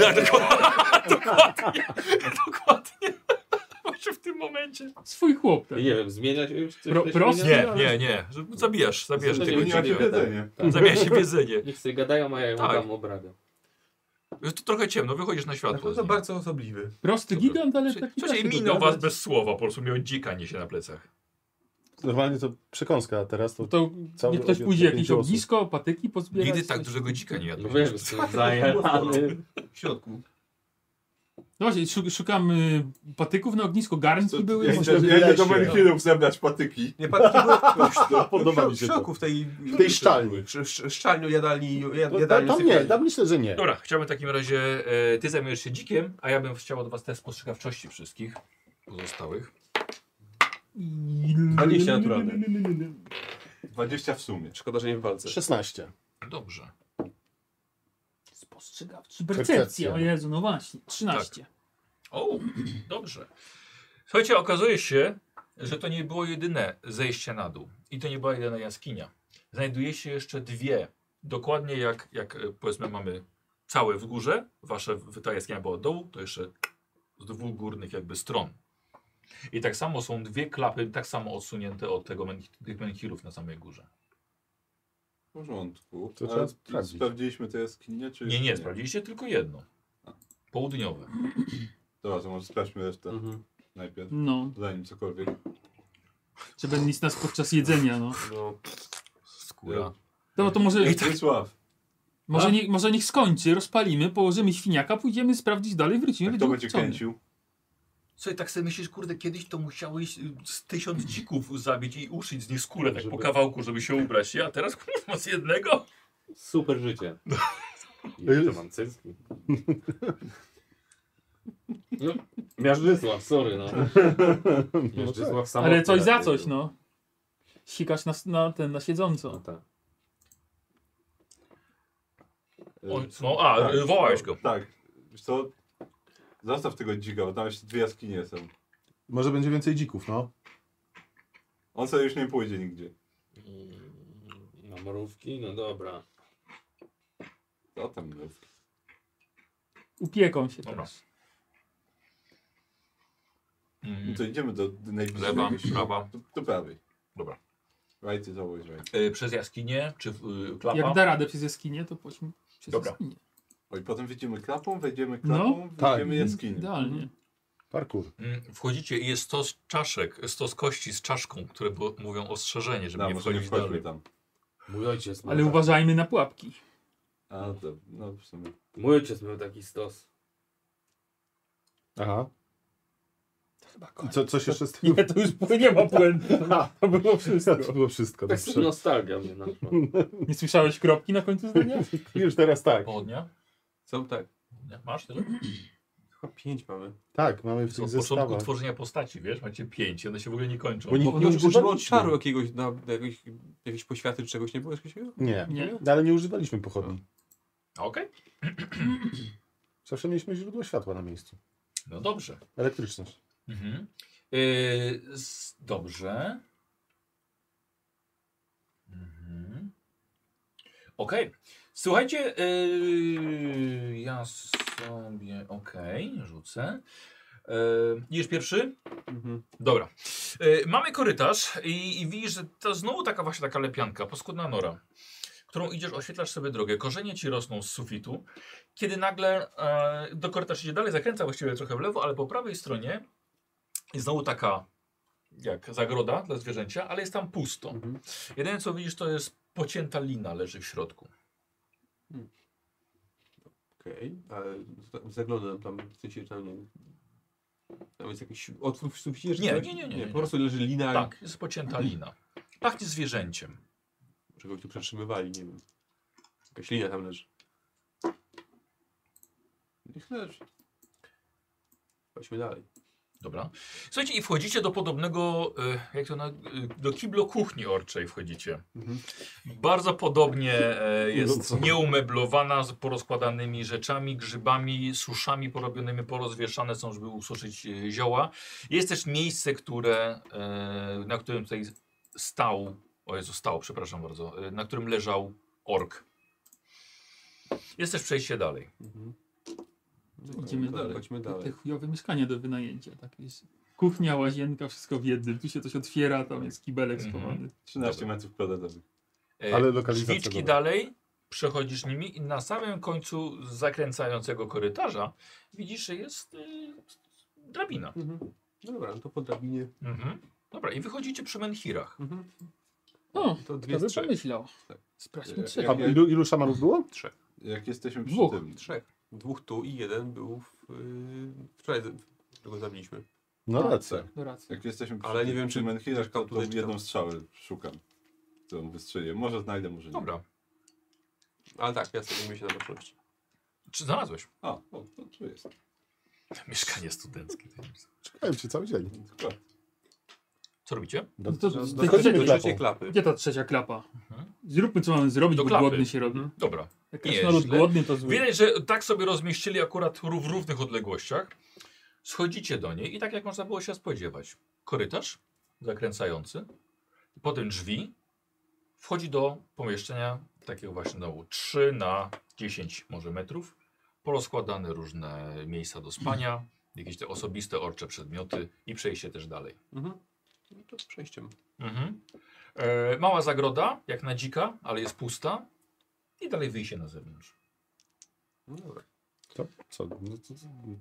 Speaker 2: Tak, dokładnie. dokładnie. dokładnie. [LAUGHS] Właśnie w tym momencie.
Speaker 6: Swój chłop. Tak.
Speaker 3: Nie wiem, zmieniać już coś?
Speaker 6: Pro-
Speaker 3: coś
Speaker 6: prosty?
Speaker 3: zmieniać?
Speaker 2: Nie, nie, nie. Że- Zabijasz, zabijasz
Speaker 3: Zmieniła
Speaker 2: tego
Speaker 1: Zmieniła się
Speaker 3: się
Speaker 2: dziwnego.
Speaker 1: wiedzenie.
Speaker 5: No.
Speaker 3: Tak.
Speaker 2: Zamienia się w jedzenie.
Speaker 3: Niech sobie gadają, a ja ją
Speaker 2: Tak.
Speaker 3: tam obrabiam.
Speaker 2: Jest to trochę ciemno, wychodzisz na
Speaker 4: Tak,
Speaker 9: Na
Speaker 2: światło. z
Speaker 9: pewno
Speaker 2: nim.
Speaker 9: bardzo osobliwy.
Speaker 6: Prosty
Speaker 2: Dobra.
Speaker 6: gigant, ale
Speaker 2: Słuchaj,
Speaker 6: taki da
Speaker 2: Słuchajcie,
Speaker 6: się
Speaker 2: minął was
Speaker 6: dogadać.
Speaker 2: bez słowa, po prostu miał dzikanie się na plecach.
Speaker 5: Normalnie to przekąska, a teraz to...
Speaker 6: No To
Speaker 5: Cały
Speaker 6: niech ktoś
Speaker 5: obiad
Speaker 6: pójdzie
Speaker 5: pięciu
Speaker 6: jakieś
Speaker 5: osób.
Speaker 6: ognisko, patyki pozbierać.
Speaker 2: Nigdy tak
Speaker 6: coś.
Speaker 2: dużego dzika nie
Speaker 3: No
Speaker 2: jadłem.
Speaker 3: wiem, jestem zajarany.
Speaker 9: W środku.
Speaker 6: No właśnie, szu- szukam y, patyków na ognisko, garnki
Speaker 1: Co-
Speaker 6: były.
Speaker 1: Ja
Speaker 6: może-
Speaker 1: idę, ja idę do
Speaker 5: lesie.
Speaker 1: Mankinów zebrać patyki.
Speaker 9: Nie patrz, nie było
Speaker 5: Podoba mi
Speaker 9: w
Speaker 5: się
Speaker 9: środku, w tej...
Speaker 5: W tej szczalni.
Speaker 9: Sz- sz- Szczalniu, jadalni, jad-
Speaker 5: No,
Speaker 9: jadalni.
Speaker 5: tam, tam nie, tam myślę, że nie.
Speaker 2: Dobra, chciałbym w takim razie, e, ty zajmujesz się dzikiem, a ja bym chciał od was test postrzegawczości wszystkich pozostałych.
Speaker 6: I-
Speaker 4: 20
Speaker 5: No,
Speaker 4: naturalne.
Speaker 1: 20 w sumie.
Speaker 9: Szkoda, że nie w walce.
Speaker 5: 16.
Speaker 2: Dobrze.
Speaker 6: Spostrzegawczy. Percepcja, o Jezu, no właśnie, 13.
Speaker 2: Tak. O, dobrze. Słuchajcie, okazuje się, że to nie było jedyne zejście na dół i to nie była jedyna jaskinia. Znajduje się jeszcze dwie, dokładnie jak, jak e, powiedzmy mamy całe w górze, wasze, w- ta jaskinia była od dołu, to jeszcze z dwóch górnych jakby stron. I tak samo są dwie klapy, tak samo odsunięte od tego men, tych menhirów na samej górze.
Speaker 1: W porządku.
Speaker 5: To trzeba
Speaker 1: A
Speaker 5: sprawdzić.
Speaker 1: Sprawdziliśmy tę jaskinię, czy...
Speaker 2: Nie, nie, sprawdziliście tylko jedno. Południowe.
Speaker 1: Dobra, to może sprawdźmy resztę
Speaker 9: Mhm.
Speaker 1: najpierw,
Speaker 6: No,
Speaker 1: zanim cokolwiek.
Speaker 6: czy będzie nic nas podczas jedzenia, no.
Speaker 9: No,
Speaker 2: Skóra.
Speaker 6: No to może,
Speaker 5: tak.
Speaker 1: Wysław,
Speaker 6: może, nie, może niech skończy, rozpalimy, położymy świniaka, pójdziemy sprawdzić dalej,
Speaker 1: kto
Speaker 6: wrócimy, będziemy
Speaker 1: będzie
Speaker 6: wciągnie.
Speaker 1: kręcił?
Speaker 2: Słuchaj, tak sobie myślisz, kurde, kiedyś to musiałeś y, z tysiąc dzików zabić i uszyć z nich skórę tak po kawałku, żeby się ubrać. Ja teraz kurwa z jednego.
Speaker 3: Super
Speaker 6: [LAUGHS]
Speaker 3: życie. I to mam cycki. No, Miażdżysław, sorry
Speaker 6: [LAUGHS]
Speaker 3: no. Miażdżysław sam.
Speaker 6: Ale coś za coś, no. Sikasz na, na ten, na
Speaker 3: No
Speaker 6: siedząco.
Speaker 3: tak.
Speaker 2: O, no, a, y, wołałeś go.
Speaker 1: Tak. Wiesz co? Zostaw tego dzika, bo tam jeszcze dwie jaskinie są.
Speaker 5: Może będzie więcej dzików, no.
Speaker 1: On sobie już nie pójdzie nigdzie.
Speaker 3: Na mrówki? Mm, No dobra.
Speaker 1: Co tam jest?
Speaker 6: Upieką się tak.
Speaker 2: Dobra.
Speaker 6: teraz.
Speaker 1: No
Speaker 2: Mm,
Speaker 1: to idziemy do najbliższej.
Speaker 2: lewa,
Speaker 1: jakiejś-
Speaker 2: prawa.
Speaker 1: Do, do prawej.
Speaker 2: Dobra.
Speaker 1: Right is always right.
Speaker 2: Y, przez jaskinię, czy y,
Speaker 6: Jak
Speaker 2: klapa?
Speaker 6: da radę przez jaskinię, to pójdźmy przez
Speaker 2: Dobra.
Speaker 6: jaskinię.
Speaker 1: O, i potem wejdziemy klapą, wejdziemy
Speaker 6: No,
Speaker 1: klapą,
Speaker 5: tak.
Speaker 1: wejdziemy jaskinię.
Speaker 6: Idealnie.
Speaker 5: Parkour.
Speaker 2: Mm, Wchodzicie i jest stos czaszek, stos kości z czaszką, które bo- mówią ostrzeżenie, żeby
Speaker 1: No,
Speaker 2: nie
Speaker 1: może nie
Speaker 2: wchodzić dalej.
Speaker 1: wchodźmy tam.
Speaker 3: Mój ojciec miał
Speaker 6: Ale
Speaker 3: tak-
Speaker 6: uważajmy na pułapki.
Speaker 1: A, to, no w sumie.
Speaker 3: Mój ojciec miał taki stos.
Speaker 5: Aha. I co, coś jeszcze z tego?
Speaker 6: [LAUGHS] Nie, to już pły- [LAUGHS] nie ma błędu. To było wszystko.
Speaker 5: [LAUGHS] To było wszystko.
Speaker 3: Tak
Speaker 5: dobrze.
Speaker 3: sobie nostalgia mnie naszła.
Speaker 6: [LAUGHS] Nie słyszałeś kropki na końcu [LAUGHS] zdania?
Speaker 5: Już teraz tak.
Speaker 2: Południa?
Speaker 9: co tak?
Speaker 2: Nie, Masz tyle?
Speaker 9: Chyba pięć mamy.
Speaker 5: Tak, mamy w
Speaker 2: Od
Speaker 5: tych
Speaker 2: początku
Speaker 5: zestawach.
Speaker 2: tworzenia postaci, wiesz, macie pięć, i one się w ogóle nie kończą.
Speaker 5: Bo nie-
Speaker 9: Bo nie używamy
Speaker 5: używaliśmy.
Speaker 9: odczaru jakiegoś, na, na jakiegoś, jakiejś poświaty czy czegoś, nie było jakiegoś takiego?
Speaker 5: Nie.
Speaker 6: Nie.
Speaker 5: No, ale nie używaliśmy pochodni.
Speaker 2: A, Okej,
Speaker 5: Zawsze mieliśmy źródło światła na miejscu.
Speaker 2: no dobrze.
Speaker 5: Elektryczność.
Speaker 2: Mhm. Yy, s- dobrze. Mhm. Okej. Słuchajcie, yy, ja sobie. Okej, rzucę. Yy, idziesz pierwszy?
Speaker 9: Mhm.
Speaker 2: Dobra. Yy, mamy korytarz i, i widzisz, że to znowu taka właśnie taka lepianka, poskudna nora, którą idziesz, oświetlasz sobie drogę. Korzenie ci rosną z sufitu, kiedy nagle e, do korytarz idzie dalej, zakręca właściwie trochę w lewo, ale po prawej stronie jest znowu taka jak zagroda dla zwierzęcia, ale jest tam pusto. Jedyne co widzisz to jest pocięta lina leży w środku.
Speaker 9: Okej, ale za- zaglądam tam, w sensie tam nie Tam jest jakiś otwór w suficie? czy
Speaker 2: Nie,
Speaker 9: coś?
Speaker 2: nie, nie, nie, nie.
Speaker 9: Po prostu leży lina
Speaker 2: Tak, jest pocięta lina. Pachnie zwierzęciem.
Speaker 9: Czegoś tu przetrzymywali, nie wiem. Jakaś linia tam leży.
Speaker 1: Niech leży.
Speaker 9: Chodźmy dalej.
Speaker 2: Dobra. Słuchajcie, i wchodzicie do podobnego, e, jak to na, e, do kiblo kuchni orczej wchodzicie. Bardzo podobnie e, jest nieumeblowana, z porozkładanymi rzeczami, grzybami, suszami porobionymi, porozwieszane są, żeby ususzyć e, zioła. Jest też miejsce, które, e, na którym tutaj stał, o Jezu, stał, przepraszam bardzo, e, na którym leżał ork. Jest też przejście dalej.
Speaker 6: Idziemy dalej.
Speaker 4: No Chodźmy
Speaker 6: Te, te
Speaker 4: dalej.
Speaker 6: chujowe mieszkania do wynajęcia. Tak jest. Kuchnia, łazienka, wszystko w jednym. Tu się coś otwiera, tam jest kibelek
Speaker 2: Mhm.
Speaker 6: schowany.
Speaker 1: 13 metrów kwadratowych.
Speaker 2: E,
Speaker 5: Ale lokalizacja
Speaker 2: Drzwiczki
Speaker 5: dobra.
Speaker 2: dalej, przechodzisz nimi i na samym końcu zakręcającego korytarza widzisz, że jest y, drabina.
Speaker 4: Mhm. Dobra, no to po drabinie.
Speaker 2: Mhm. Dobra, i wychodzicie przy menhirach.
Speaker 4: Mhm.
Speaker 6: O,
Speaker 4: To
Speaker 6: kto
Speaker 4: dwie
Speaker 6: by
Speaker 4: z trzech.
Speaker 6: pomyślał. E,
Speaker 4: Tak.
Speaker 6: Sprawdźmy
Speaker 1: Ja-
Speaker 6: trzech.
Speaker 5: A ilu, ilu szamanów było?
Speaker 1: Jak jesteśmy przy
Speaker 6: Dwóch.
Speaker 1: tym.
Speaker 4: Trzech. Dwóch tu i jeden był w, yy, wczoraj, z- którego zabiliśmy.
Speaker 5: No
Speaker 1: Tak.
Speaker 5: racja.
Speaker 6: No racja.
Speaker 1: Jak jesteśmy przy
Speaker 4: Ale nie wiem,
Speaker 1: przy
Speaker 4: czy-
Speaker 1: Menhirach,
Speaker 4: czy kto
Speaker 1: to
Speaker 4: tutaj czytał.
Speaker 1: jedną strzałę szukam, którą wystrzeliłem. Może znajdę, może nie.
Speaker 2: Dobra.
Speaker 4: Ale tak, ja sobie się na baczności.
Speaker 2: Czy znalazłeś?
Speaker 1: A, o, to tu jest.
Speaker 2: Mieszkanie studenckie. to jest.
Speaker 5: Czekałem cię cały dzień.
Speaker 1: Dokładnie.
Speaker 2: Co robicie?
Speaker 6: No to, to,
Speaker 4: Do, do,
Speaker 6: to,
Speaker 5: Dochodzimy
Speaker 4: do
Speaker 6: gdzie-
Speaker 5: klapą.
Speaker 4: trzeciej klapy.
Speaker 6: gdzie ta trzecia klapa?
Speaker 2: Mhm.
Speaker 6: Zróbmy co mamy zrobić,
Speaker 2: Do
Speaker 6: bo
Speaker 2: klapy.
Speaker 6: głodny się robi.
Speaker 2: Dobra.
Speaker 6: Jak
Speaker 2: Nie,
Speaker 6: krasnolud
Speaker 2: źle.
Speaker 6: głodny to zły.
Speaker 2: Widać, że tak sobie rozmieścili akurat w równych odległościach. Schodzicie do niej i tak jak można było się spodziewać. Korytarz zakręcający, potem drzwi, wchodzi do pomieszczenia takiego właśnie domu 3 na 10 może metrów, porozkładane różne miejsca do spania, jakieś te osobiste orcze przedmioty i przejście też dalej.
Speaker 4: Mhm. No to z przejściem.
Speaker 2: Mhm. E, mała zagroda, jak na dzika, ale jest pusta i dalej wyjście na zewnątrz.
Speaker 4: No dobra.
Speaker 5: To, co, no, to,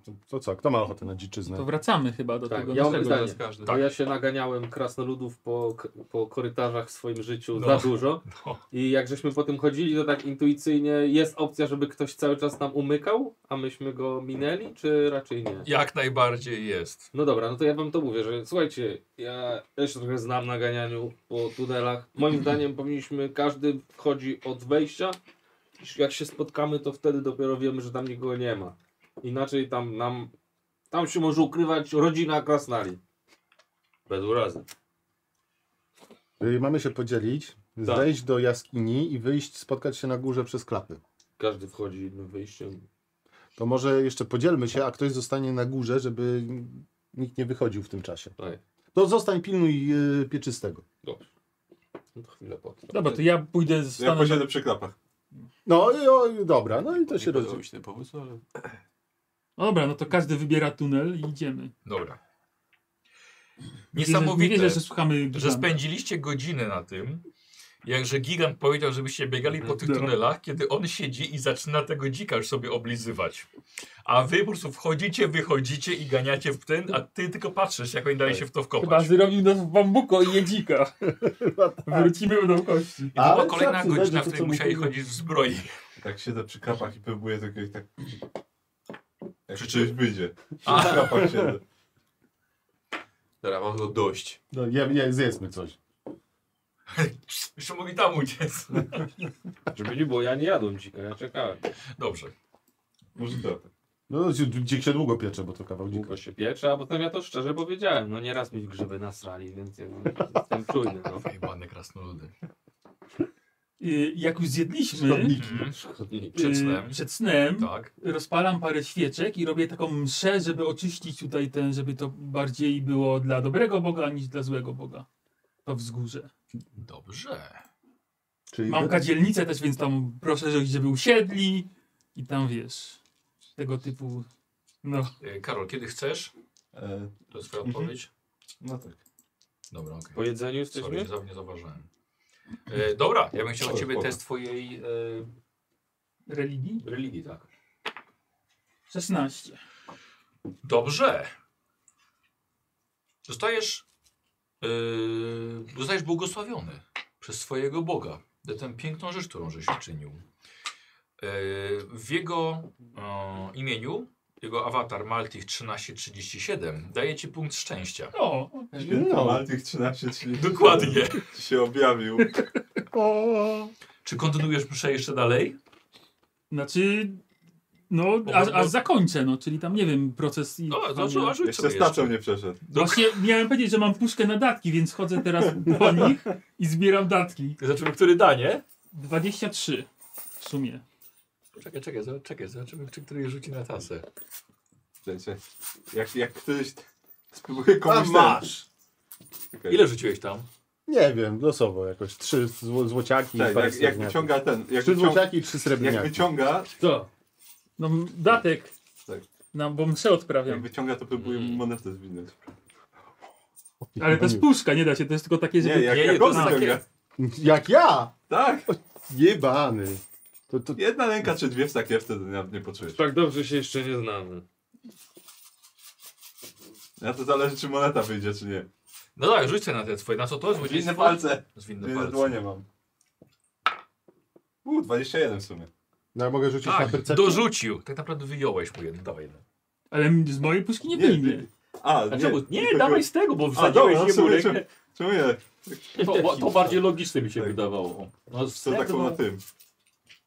Speaker 5: to, to co, kto ma ochotę na dziczyznę?
Speaker 6: To wracamy chyba do
Speaker 3: Tak,
Speaker 6: tego
Speaker 3: ja mam
Speaker 6: naszego.
Speaker 3: zdanie.
Speaker 4: Teraz każdy.
Speaker 7: Tak.
Speaker 2: Tak.
Speaker 3: Bo No ja się naganiałem krasnoludów po, k- po korytarzach w swoim życiu
Speaker 2: No.
Speaker 3: za dużo.
Speaker 2: No.
Speaker 3: I jak żeśmy po tym chodzili, to tak intuicyjnie jest opcja, żeby ktoś cały czas nam umykał, a myśmy go minęli, czy raczej nie?
Speaker 2: Jak najbardziej jest.
Speaker 3: No dobra, no to ja wam to mówię, że słuchajcie, ja też trochę znam naganianiu po tunelach.
Speaker 2: [CLEARS THROAT]
Speaker 3: Moim zdaniem powinniśmy, każdy wchodzi od wejścia. Jak się spotkamy, to wtedy dopiero wiemy, że tam nikogo nie ma. Inaczej tam nam, tam się może ukrywać rodzina Krasnali. Bez urazy.
Speaker 5: Czyli Y, Mamy się podzielić, zejść do jaskini i wyjść, spotkać się na górze przez klapy.
Speaker 3: Każdy wchodzi innym wyjściem.
Speaker 5: To może jeszcze podzielmy się, a ktoś zostanie na górze, żeby nikt nie wychodził w tym czasie.
Speaker 3: Tak.
Speaker 5: To zostań pilnuj yy, pieczystego.
Speaker 3: No to chwilę potrwa.
Speaker 6: Dobra, to ja pójdę,
Speaker 1: Ja
Speaker 6: zostanę
Speaker 1: posiedzę przy klapach.
Speaker 5: No i o, dobra, no i to
Speaker 4: Nie
Speaker 5: się
Speaker 4: podobał
Speaker 5: rozumie.
Speaker 4: mi się ten pomysł, ale...
Speaker 6: No dobra, no to każdy wybiera tunel i idziemy.
Speaker 2: Dobra.
Speaker 6: Nie
Speaker 2: Niesamowite,
Speaker 6: wierzę, że słuchamy
Speaker 2: że
Speaker 6: Giganta.
Speaker 2: spędziliście godzinę na tym, jakże gigant powiedział, żebyście biegali po tych
Speaker 6: No.
Speaker 2: tunelach, kiedy on siedzi i zaczyna tego dzika już sobie oblizywać. A wy po prostu wchodzicie, wychodzicie i ganiacie w ten, a ty tylko patrzysz, jak oni dalej się w to
Speaker 6: Tak. Chyba
Speaker 2: wkopać.
Speaker 6: zrobił nas w bambuko i jedzika. Wrócimy do kości.
Speaker 2: I to była
Speaker 5: Ale
Speaker 2: kolejna
Speaker 5: szacun,
Speaker 2: godzina,
Speaker 5: że
Speaker 2: w
Speaker 5: to,
Speaker 2: której
Speaker 5: co
Speaker 2: musieli
Speaker 5: mówiłem.
Speaker 2: chodzić w zbroi. [LAUGHS]
Speaker 1: Tak siedzę przy klapach i próbuję tylko ich tak... Jak czyś wyjdzie.
Speaker 2: A.
Speaker 1: Przy klapach siedzę.
Speaker 4: Dobra, mam go dość.
Speaker 5: No, je, je, zjedzmy coś.
Speaker 2: Jeszcze mogli tam uciec.
Speaker 3: Żeby nie było, ja nie jadłem dzika, ja czekałem.
Speaker 2: Dobrze.
Speaker 1: Może to. tak.
Speaker 5: No, dzik się długo piecze, bo to kawał dzika.
Speaker 3: Długo się piecze, a potem ja to szczerze powiedziałem. No nieraz mi w grzyby nasrali, więc ja no, jestem czujny.
Speaker 7: [LAUGHS]
Speaker 3: No.
Speaker 2: Jebane krasnoludy.
Speaker 6: Y, Jak już zjedliśmy
Speaker 5: Szkodniki.
Speaker 2: Mhm.
Speaker 6: y,
Speaker 2: Przed snem.
Speaker 6: przed snem
Speaker 2: Tak.
Speaker 6: rozpalam parę świeczek i robię taką mszę, żeby oczyścić tutaj ten, żeby to bardziej było dla dobrego Boga niż dla złego Boga. To wzgórze.
Speaker 2: Dobrze.
Speaker 5: Czyli
Speaker 6: Mam kadzielnicę też, więc tam proszę, żeby- żeby usiedli i tam wiesz, tego typu, no.
Speaker 2: E, Karol, kiedy chcesz?
Speaker 1: E,
Speaker 2: To jest twoja
Speaker 1: Mhm.
Speaker 2: odpowiedź.
Speaker 1: no tak.
Speaker 2: Dobra, okej.
Speaker 3: Po jedzeniu
Speaker 2: Sorry, nie,
Speaker 3: jesteśmy?
Speaker 2: za- nie zauważyłem. E, dobra, ja bym chciał od
Speaker 1: Sorry,
Speaker 2: ciebie
Speaker 1: spoko.
Speaker 2: test twojej e,
Speaker 6: Religii?
Speaker 2: religii, tak.
Speaker 6: 16.
Speaker 2: Dobrze. Zostajesz, e, zostajesz błogosławiony przez swojego Boga za tę piękną rzecz, którą żeś uczynił. E, w jego e, imieniu, jego awatar Maltich 1337 daje ci punkt szczęścia.
Speaker 6: O,
Speaker 1: Święty no. Maltych 13, czyli
Speaker 2: Dokładnie.
Speaker 1: Ci się objawił.
Speaker 2: Czy kontynuujesz mszę jeszcze dalej?
Speaker 6: Znaczy, No, a, a zakończę, no, czyli tam, nie wiem, proces... i-
Speaker 2: No, znaczy, a rzuć
Speaker 1: Jeszcze
Speaker 2: sobie
Speaker 1: z
Speaker 2: jeszcze.
Speaker 1: tacą nie przeszedł.
Speaker 6: Właśnie miałem powiedzieć, że mam puszkę na datki, więc chodzę teraz po nich i zbieram datki.
Speaker 2: Zobaczymy, który da, nie?
Speaker 6: 23 w sumie.
Speaker 2: Czekaj, czekaj, za- czekaj, zobaczymy, czy który rzuci na tasę.
Speaker 1: Słuchajcie, Jak, jak któryś spróbuje
Speaker 5: A
Speaker 1: komuś ten-
Speaker 5: masz!
Speaker 1: Okej.
Speaker 2: Ile rzuciłeś tam?
Speaker 5: Nie wiem, losowo jakoś. Trzy zł złociaki i
Speaker 1: Tak,
Speaker 5: parę
Speaker 1: jak, jak
Speaker 5: srebrniaków.
Speaker 1: wyciąga ten, jak,
Speaker 5: Trzy
Speaker 1: wyciąga,
Speaker 5: złociaki i trzy
Speaker 1: jak
Speaker 5: srebrniaki.
Speaker 1: wyciąga,
Speaker 6: Co? No, m- datek.
Speaker 1: Tak.
Speaker 6: No, bo mszę
Speaker 1: jak
Speaker 6: odprawiam.
Speaker 1: wyciąga to próbuje mu monetę zwinąć.
Speaker 6: Ale to jest puszka, nie da się, to jest tylko takie, żeby...
Speaker 1: Nie, jak,
Speaker 2: nie,
Speaker 1: jak
Speaker 2: to
Speaker 1: on
Speaker 2: jest takie-
Speaker 1: wyciąga.
Speaker 5: Jak ja!
Speaker 1: Tak,
Speaker 5: Jebany. To, to,
Speaker 1: jedna ręka czy dwie w sakiewce to nie, nie poczujesz.
Speaker 7: Tak dobrze się jeszcze nie znamy.
Speaker 1: Na to zależy czy moneta wyjdzie czy nie.
Speaker 2: No tak, rzuć sobie na te swoje. Na co to? Zwinne
Speaker 1: Inne palce,
Speaker 2: Zwinne
Speaker 1: inne
Speaker 2: palce.
Speaker 1: dłonie mam. U, 21 w sumie.
Speaker 5: no, ja mogę rzucić na
Speaker 2: Tak,
Speaker 5: percepcję?
Speaker 2: dorzucił. Tak naprawdę wyjąłeś mu jeden, dawaj jeden.
Speaker 6: Ale m- z mojej puszki nie wyjmie.
Speaker 1: A,
Speaker 2: A
Speaker 1: nie,
Speaker 2: czemu? Nie,
Speaker 1: tylko- [LAUGHS]
Speaker 2: dawaj z tego, bo
Speaker 1: dobra,
Speaker 2: wsadziłeś
Speaker 1: no w
Speaker 2: jemu
Speaker 1: sumie
Speaker 2: rękę.
Speaker 1: Czemu nie?
Speaker 2: To, bo- to bardziej logiczne mi się
Speaker 1: Tak.
Speaker 2: wydawało. No, z
Speaker 1: Co tak
Speaker 2: tego-
Speaker 1: na tym?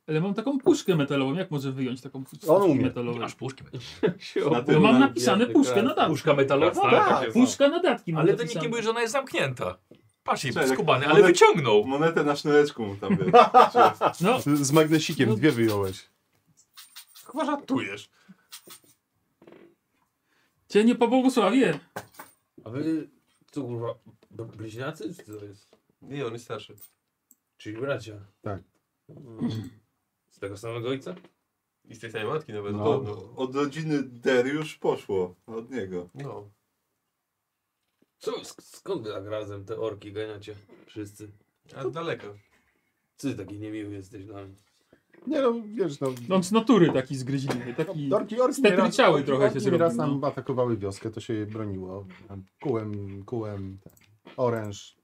Speaker 6: Ale mam taką puszkę metalową, jak może wyjąć taką puszkę
Speaker 5: On umie.
Speaker 6: metalową?
Speaker 2: Aż puszki.
Speaker 1: Na
Speaker 6: No
Speaker 1: tym
Speaker 6: mam
Speaker 1: na-
Speaker 6: napisane puszkę na datki.
Speaker 2: Puszka metalowa?
Speaker 7: Tak,
Speaker 2: Tak.
Speaker 7: się
Speaker 6: Puszka na datki mam
Speaker 2: Ale to nikt
Speaker 6: napisane.
Speaker 2: nie mówi, że ona jest zamknięta. Patrz, jej
Speaker 1: Czekaj,
Speaker 2: skubany, ale
Speaker 1: ale-
Speaker 2: wyciągnął.
Speaker 1: Monetę na sznureczku mu tam wiesz.
Speaker 6: No,
Speaker 5: Z magnesikiem dwie wyjąłeś.
Speaker 2: Chyba żartujesz.
Speaker 6: cię nie pobłogosławię.
Speaker 9: A wy, co kurwa, b- bliźniacy czy to jest?
Speaker 4: Nie, on jest starszy.
Speaker 9: Czyli bracia.
Speaker 7: [CLEARS THROAT] Z tego samego ojca?
Speaker 4: I z tej samej matki nawet.
Speaker 1: No.
Speaker 4: No.
Speaker 1: Od, od rodziny Dariusz poszło, od niego.
Speaker 4: no.
Speaker 7: Co, sk- skąd wy tak razem te orki ganiacie? Wszyscy.
Speaker 4: A daleko.
Speaker 7: Co ty taki niemiły jesteś dla mnie?
Speaker 5: Nie no, wiesz, no...
Speaker 6: No z natury taki zgryźliwy, taki...
Speaker 5: Dorki, orki
Speaker 6: Stepy
Speaker 5: nieraz-
Speaker 6: ciały trochę się
Speaker 5: orki
Speaker 6: zrobił,
Speaker 5: Raz
Speaker 6: no.
Speaker 5: nam atakowały wioskę, to się je broniło. Kułem, kułem, ten, oręż,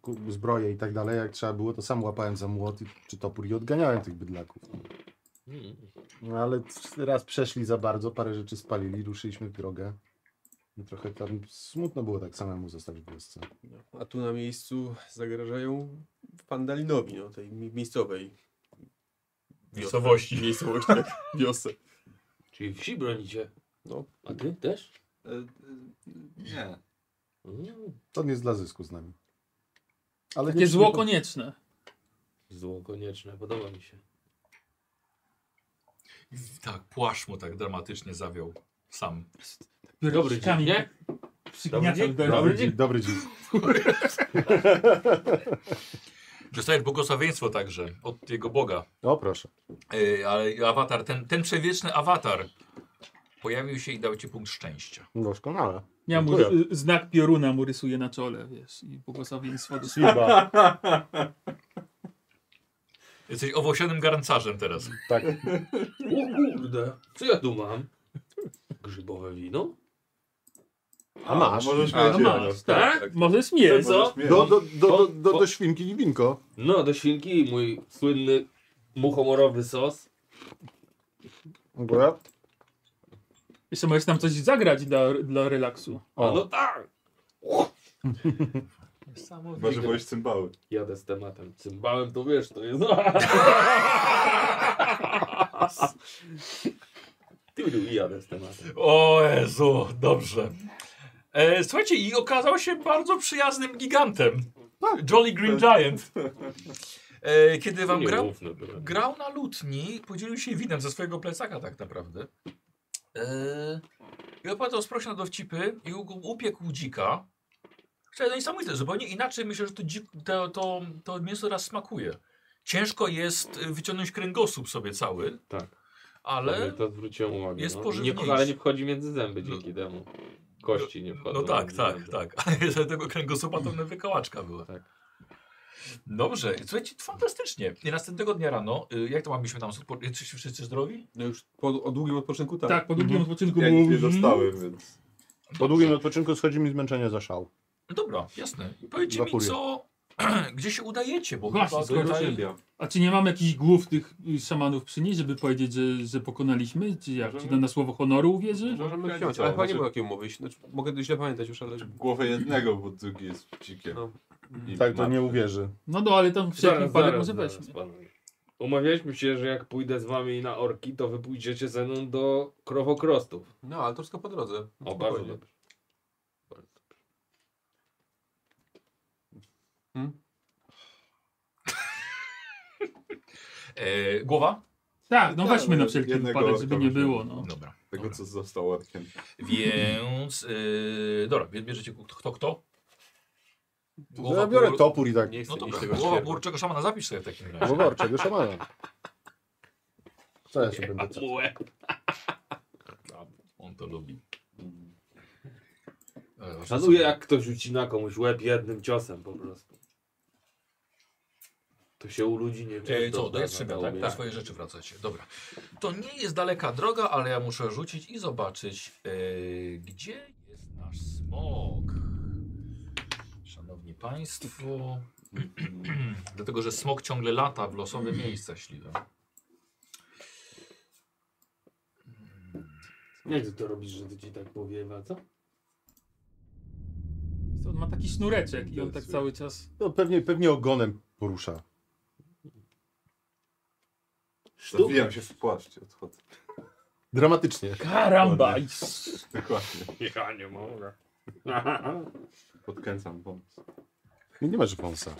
Speaker 5: ku- zbroje i tak dalej. Jak trzeba było, to sam łapałem za młot i- czy topór i odganiałem tych bydlaków. No ale c- raz przeszli za bardzo, parę rzeczy spalili, ruszyliśmy w drogę. I trochę tam smutno było tak samemu zostać w wiosce.
Speaker 4: A tu na miejscu zagrażają pandalinowi, no tej mi- miejscowej.
Speaker 2: Miejscowości.
Speaker 4: Miejscowości, tak. Wiosce.
Speaker 7: Czyli wsi bronicie?
Speaker 4: No.
Speaker 7: A ty też?
Speaker 1: E, e, Nie.
Speaker 7: Mm.
Speaker 5: To nie jest dla zysku z nami. Ale
Speaker 6: Takie zło konieczne.
Speaker 7: Zło konieczne, podoba mi się.
Speaker 2: Tak, płaszcz mu tak dramatycznie zawiał. Sam.
Speaker 7: Dobry dzień,
Speaker 6: Kamień
Speaker 7: nie?
Speaker 6: przygniatał
Speaker 7: Dobry dzień.
Speaker 6: deszcz.
Speaker 5: Dobry dzień. Dobry dzień.
Speaker 2: Dostajesz błogosławieństwo także od jego Boga.
Speaker 5: O proszę.
Speaker 2: Yy, ale awatar, ten, ten przewieczny awatar pojawił się i dał ci punkt szczęścia.
Speaker 5: Doskonale.
Speaker 6: Ja mu,
Speaker 5: Dziękuję.
Speaker 6: y, znak pioruna mu rysuję na czole, wiesz, i błogosławieństwo do
Speaker 5: Chyba.
Speaker 2: Jesteś owosionym garncarzem teraz.
Speaker 5: Tak.
Speaker 7: O kurde, co ja tu mam? Grzybowe wino?
Speaker 5: A masz.
Speaker 1: Możesz
Speaker 4: A,
Speaker 1: mieć
Speaker 4: no
Speaker 1: jedno.
Speaker 6: masz, tak?
Speaker 1: tak.
Speaker 6: Możesz mieć.
Speaker 7: Co?
Speaker 1: Możesz mieć.
Speaker 5: Do, do, do, do, do,
Speaker 7: Bo-
Speaker 5: do świnki i winko.
Speaker 7: No, do świnki i mój słynny muchomorowy sos.
Speaker 5: Akurat.
Speaker 6: Jeszcze możesz tam coś zagrać dla, dla relaksu.
Speaker 7: A no tak!
Speaker 1: Chyba, że byłeś cymbały.
Speaker 7: Jadę z tematem. Cymbałem to wiesz, to jest... Tylu i jadę z tematem.
Speaker 2: O Jezu, dobrze. E, słuchajcie, i okazał się bardzo przyjaznym gigantem. Jolly Green Giant. E, kiedy wam grał,
Speaker 7: Nieufny byłem.
Speaker 2: grał na lutni, podzielił się winem ze swojego plecaka tak naprawdę. E, I opowiadał sprośne dowcipy i u- upiekł dzika. Słuchaj, no niesamowite, zupełnie inaczej myślę, że to, dzik, to, to, to mięso raz smakuje. Ciężko jest y, wyciągnąć kręgosłup sobie cały,
Speaker 7: Tak.
Speaker 2: ale...
Speaker 7: To zwróciłem uwagę.
Speaker 2: jest
Speaker 7: no. nie,
Speaker 2: pożywniejszy.
Speaker 7: wcho- Ale nie wchodzi między zęby dzięki temu. Kości nie wchodzą.
Speaker 2: No tak,
Speaker 7: między
Speaker 2: tak,
Speaker 7: zęby.
Speaker 2: tak. [LAUGHS] Ale z tego kręgosłupa to wykałaczka była.
Speaker 7: Tak.
Speaker 2: Dobrze, słuchajcie, fantastycznie. I następnego dnia rano, y, jak to mamy tam, spo- jesteście wszyscy zdrowi?
Speaker 4: No już po, o długim odpoczynku tak.
Speaker 6: Tak, po długim odpoczynku
Speaker 1: Ja
Speaker 6: było...
Speaker 1: nic nie
Speaker 6: mm,
Speaker 1: dostałem, więc...
Speaker 5: Po długim odpoczynku schodzi mi zmęczenie za szał.
Speaker 2: No Dobra, jasne. Powiedzcie mi,
Speaker 5: Zapurię.
Speaker 2: co, [CLEARS THROAT] gdzie się udajecie, bo
Speaker 6: Właśnie,
Speaker 2: chyba
Speaker 6: skoro
Speaker 2: tutaj...
Speaker 6: A czy nie mam jakichś głów tych y, szamanów przynieść, żeby powiedzieć, że, że pokonaliśmy? Czy jak? Czy to na słowo honoru uwierzy?
Speaker 4: Możemy
Speaker 1: Możemy
Speaker 4: wziąć,
Speaker 1: wziąć,
Speaker 4: ale chyba nie
Speaker 1: znaczy-
Speaker 4: było jakiej umowy. Znaczy, mogę źle pamiętać już, ale...
Speaker 1: Głowę jednego, bo drugi jest dzikiem.
Speaker 4: No.
Speaker 1: I
Speaker 5: Tak, to
Speaker 1: matkę.
Speaker 5: nie uwierzy.
Speaker 6: No do, ale tam wszelki
Speaker 7: Zaraz,
Speaker 6: wypadek
Speaker 7: zaraz,
Speaker 6: może
Speaker 7: zaraz,
Speaker 6: weźmy.
Speaker 7: panowie. Umawialiśmy się, że jak pójdę z wami na orki, to wy pójdziecie ze mną do krowokrostów.
Speaker 9: No, ale to wszystko po drodze.
Speaker 7: O,
Speaker 9: Spokojnie.
Speaker 7: bardzo dobrze.
Speaker 2: E, głowa?
Speaker 6: Tak, no
Speaker 1: Tak,
Speaker 6: weźmy na
Speaker 1: no,
Speaker 6: wszelki
Speaker 1: jednego
Speaker 6: wypadek, żeby nie
Speaker 1: orka
Speaker 6: było. No.
Speaker 2: Dobra.
Speaker 1: Tego,
Speaker 2: Dobra.
Speaker 1: co został orkiem.
Speaker 2: Więc. E, dobra, wie- bierzecie ku- kto kto? Głowa,
Speaker 5: Ja biorę
Speaker 2: pół-
Speaker 5: topór i tak.
Speaker 4: Nie
Speaker 2: No
Speaker 4: chcę mieć
Speaker 2: dobra,
Speaker 4: tego
Speaker 2: głowa
Speaker 4: ścierwa.
Speaker 2: burczego szamana zapisz sobie w takim razie.
Speaker 5: Głowa orczego szamana. Co ja się będę...
Speaker 2: On to lubi. E,
Speaker 7: Szanuję, jak ktoś ucina komuś łeb jednym ciosem po prostu. To się u ludzi nie no
Speaker 2: E,
Speaker 7: wie.
Speaker 2: co, do Jastrzębia, tak? Na swoje rzeczy wracacie. Dobra. To nie jest daleka droga, ale ja muszę rzucić i zobaczyć, e, gdzie jest nasz smok. Szanowni Państwo. [CLEARS THROAT] Dlatego, że smok ciągle lata w losowe miejsca śliwe.
Speaker 7: Jak ty to robisz, że to ci tak powiewa, co?
Speaker 6: On ma taki sznureczek i on tak cały czas...
Speaker 5: No pewnie, pewnie ogonem porusza.
Speaker 1: Zawijam się w płaszcz i odchodzę. [LAUGHS]
Speaker 5: Dramatycznie.
Speaker 6: Karamba! I...
Speaker 1: Dokładnie.
Speaker 7: [LAUGHS] Ja nie [LAUGHS] mogę.
Speaker 1: Podkręcam pomysł.
Speaker 5: Nie, nie masz wąsa.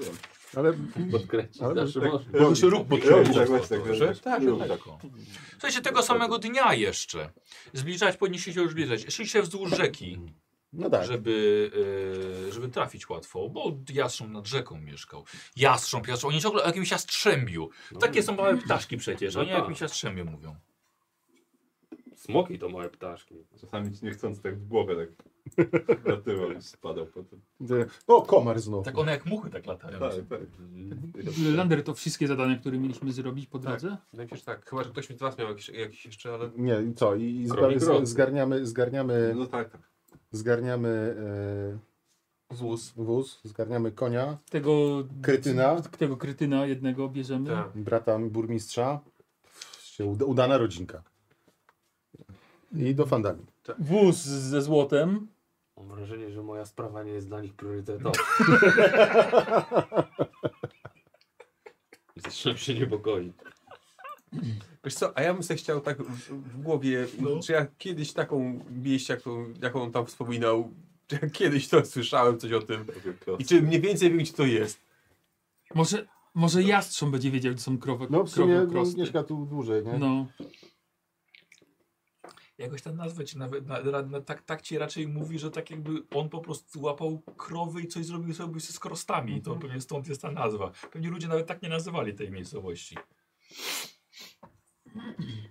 Speaker 1: Wiem.
Speaker 5: Ale
Speaker 3: Podkręcić
Speaker 5: Ale
Speaker 3: zawsze
Speaker 1: tak-
Speaker 3: można.
Speaker 1: Robisz
Speaker 5: Robisz ruch
Speaker 1: ruch,
Speaker 5: potrzebny.
Speaker 1: tak, właśnie, tak,
Speaker 2: Proszę?
Speaker 1: tak, tak, rób tak.
Speaker 2: Słuchajcie, tego samego dnia jeszcze. Zbliżać, powinniście się już zbliżać. Szliście wzdłuż rzeki,
Speaker 5: no tak.
Speaker 2: żeby, e, żeby trafić łatwo, bo jastrząb nad rzeką mieszkał. Jastrząb, jastrząb. Oni ciągle o jakimś jastrzębiu. Takie są małe ptaszki przecież.
Speaker 7: No
Speaker 2: Oni o
Speaker 7: tak.
Speaker 2: jakimś jastrzębiu mówią.
Speaker 7: Smoki to małe ptaszki.
Speaker 1: Czasami ci nie chcąc tak w głowę tak [LAUGHS] latywał i spadał potem.
Speaker 5: O, komar znów.
Speaker 2: Tak one jak muchy tak latają.
Speaker 1: Tak, tak.
Speaker 6: Lander to wszystkie zadania, które mieliśmy zrobić po drodze?
Speaker 9: Wydaje mi się, że tak. Chyba, że ktoś mi z was miał jakiś, jakiś jeszcze, ale...
Speaker 5: Nie, i co? I, i
Speaker 7: Krowi
Speaker 5: zba-
Speaker 7: krok.
Speaker 5: z, zgarniamy, zgarniamy,
Speaker 1: No tak, tak.
Speaker 5: zgarniamy
Speaker 9: Złóz.
Speaker 5: e, wóz, zgarniamy konia,
Speaker 6: Tego...
Speaker 5: Kretyna.
Speaker 6: Tego kretyna jednego bierzemy.
Speaker 9: Tak.
Speaker 5: brata burmistrza. Się uda, udana rodzinka. I do fandami.
Speaker 6: Wóz ze złotem.
Speaker 7: Mam wrażenie, że moja sprawa nie jest dla nich
Speaker 2: [LAUGHS]
Speaker 7: priorytetowa. Zaczynam się niepokoić.
Speaker 9: Wiesz co, a ja bym sobie chciał tak w, w głowie, czy ja kiedyś taką wieść, jaką, jaką on tam wspominał, czy ja kiedyś to słyszałem coś o tym
Speaker 1: Robię klos.
Speaker 9: i czy mniej więcej wiem, gdzie to jest.
Speaker 6: Może, może jastrząb będzie wiedział, gdzie są krowy,
Speaker 5: No w sumie
Speaker 6: krowy krosty.
Speaker 5: mieszka tu dłużej, nie?
Speaker 6: No.
Speaker 2: Jakoś ta nazwa ci nawet, na, na, na, tak, tak ci raczej mówi, że tak jakby on po prostu łapał krowy i coś zrobił sobie z krostami. To pewnie stąd jest ta nazwa. Pewnie ludzie nawet tak nie nazywali tej miejscowości.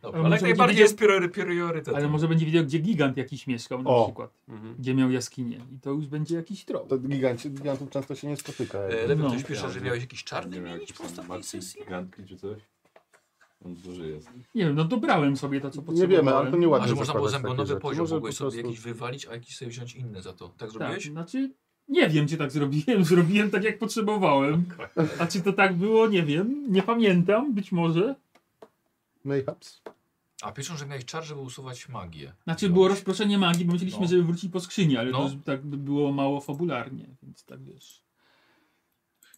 Speaker 2: Dobra,
Speaker 6: Ale
Speaker 2: ale
Speaker 6: może
Speaker 2: jak
Speaker 6: będzie
Speaker 2: najbardziej
Speaker 6: wiedział-
Speaker 2: jest priory, priorytet.
Speaker 6: Ale może będzie wiedział, gdzie gigant jakiś mieszkał na
Speaker 5: tak. O.
Speaker 6: przykład. Gdzie miał jaskinię. I to już będzie jakiś trop.
Speaker 5: To gigant, gigantów często się nie spotyka.
Speaker 2: E, Lewy,
Speaker 6: No.
Speaker 2: ktoś pisze, że
Speaker 1: Ja,
Speaker 2: miałeś jakiś czarny
Speaker 1: Nie wiem,
Speaker 2: mienić
Speaker 1: jakieś
Speaker 2: po
Speaker 1: tam
Speaker 2: ostatniej
Speaker 1: marki,
Speaker 2: sesji?
Speaker 1: gigantki czy coś. On duży jest.
Speaker 6: Nie wiem, no dobrałem sobie to, co
Speaker 5: nie
Speaker 6: potrzebowałem. Tak,
Speaker 5: wiemy, ale to
Speaker 2: A
Speaker 5: nieładnie
Speaker 2: że można było
Speaker 5: zakładać takie
Speaker 2: zębonowy
Speaker 5: rzeczy.
Speaker 2: poziom,
Speaker 5: Może
Speaker 2: mogłeś
Speaker 5: po
Speaker 2: sobie
Speaker 5: prostu-
Speaker 2: jakiś wywalić, a jakiś sobie wziąć inny za to. Tak
Speaker 6: Tak,
Speaker 2: zrobiłeś?
Speaker 6: znaczy nie wiem, czy tak zrobiłem. [LAUGHS] Zrobiłem tak, jak potrzebowałem. A czy to tak było, nie wiem. Nie pamiętam, być może.
Speaker 5: Mayhaps.
Speaker 2: A piszą, że miałeś czar, żeby usuwać magię.
Speaker 6: Znaczy
Speaker 2: No.
Speaker 6: było rozproszenie magii, bo myśleliśmy,
Speaker 2: No.
Speaker 6: żeby wrócić po skrzyni, ale
Speaker 2: No.
Speaker 6: to już tak by było mało fabularnie, więc tak wiesz.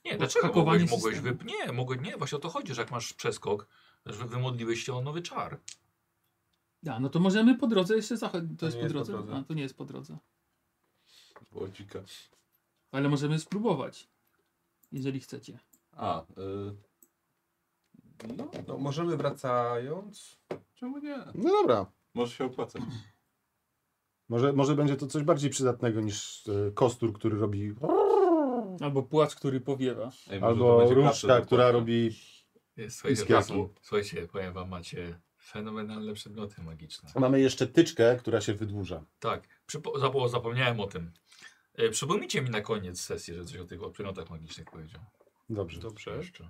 Speaker 2: Nie, dlaczego
Speaker 6: Hakowanie
Speaker 2: mogłeś, mogłeś
Speaker 6: systemu.
Speaker 2: wy... Nie, mogłeś... nie, właśnie o to chodzi, że jak masz przeskok, że wymodliłeś się o nowy czar.
Speaker 6: Da, no to możemy po drodze jeszcze zachodzić. To,
Speaker 9: To
Speaker 6: jest
Speaker 9: nie
Speaker 6: po drodze? A, to nie jest po drodze.
Speaker 1: Było dzika.
Speaker 6: Ale możemy spróbować, jeżeli chcecie.
Speaker 1: A, y... No,
Speaker 9: No, możemy wracając...
Speaker 1: czemu nie?
Speaker 5: No dobra.
Speaker 1: Może się opłacać.
Speaker 5: Może, może będzie to coś bardziej przydatnego niż e, kostur, który robi...
Speaker 6: Albo płacz, który powiewa.
Speaker 1: Ej, może to
Speaker 5: Albo
Speaker 1: będzie kaszel
Speaker 5: różdżka,
Speaker 1: dokładnie.
Speaker 5: która robi...
Speaker 2: Słuchajcie,
Speaker 5: Piskiaki.
Speaker 2: chłopaki, słuchajcie, powiem wam, macie fenomenalne przedmioty magiczne.
Speaker 5: Mamy jeszcze tyczkę, która się wydłuża.
Speaker 2: Tak, przypo... zapo- zapomniałem o tym. E, przypomnijcie mi na koniec sesji, że coś o tych o przedmiotach magicznych powiedział.
Speaker 5: Dobrze.
Speaker 2: Dobrze. Jeszcze.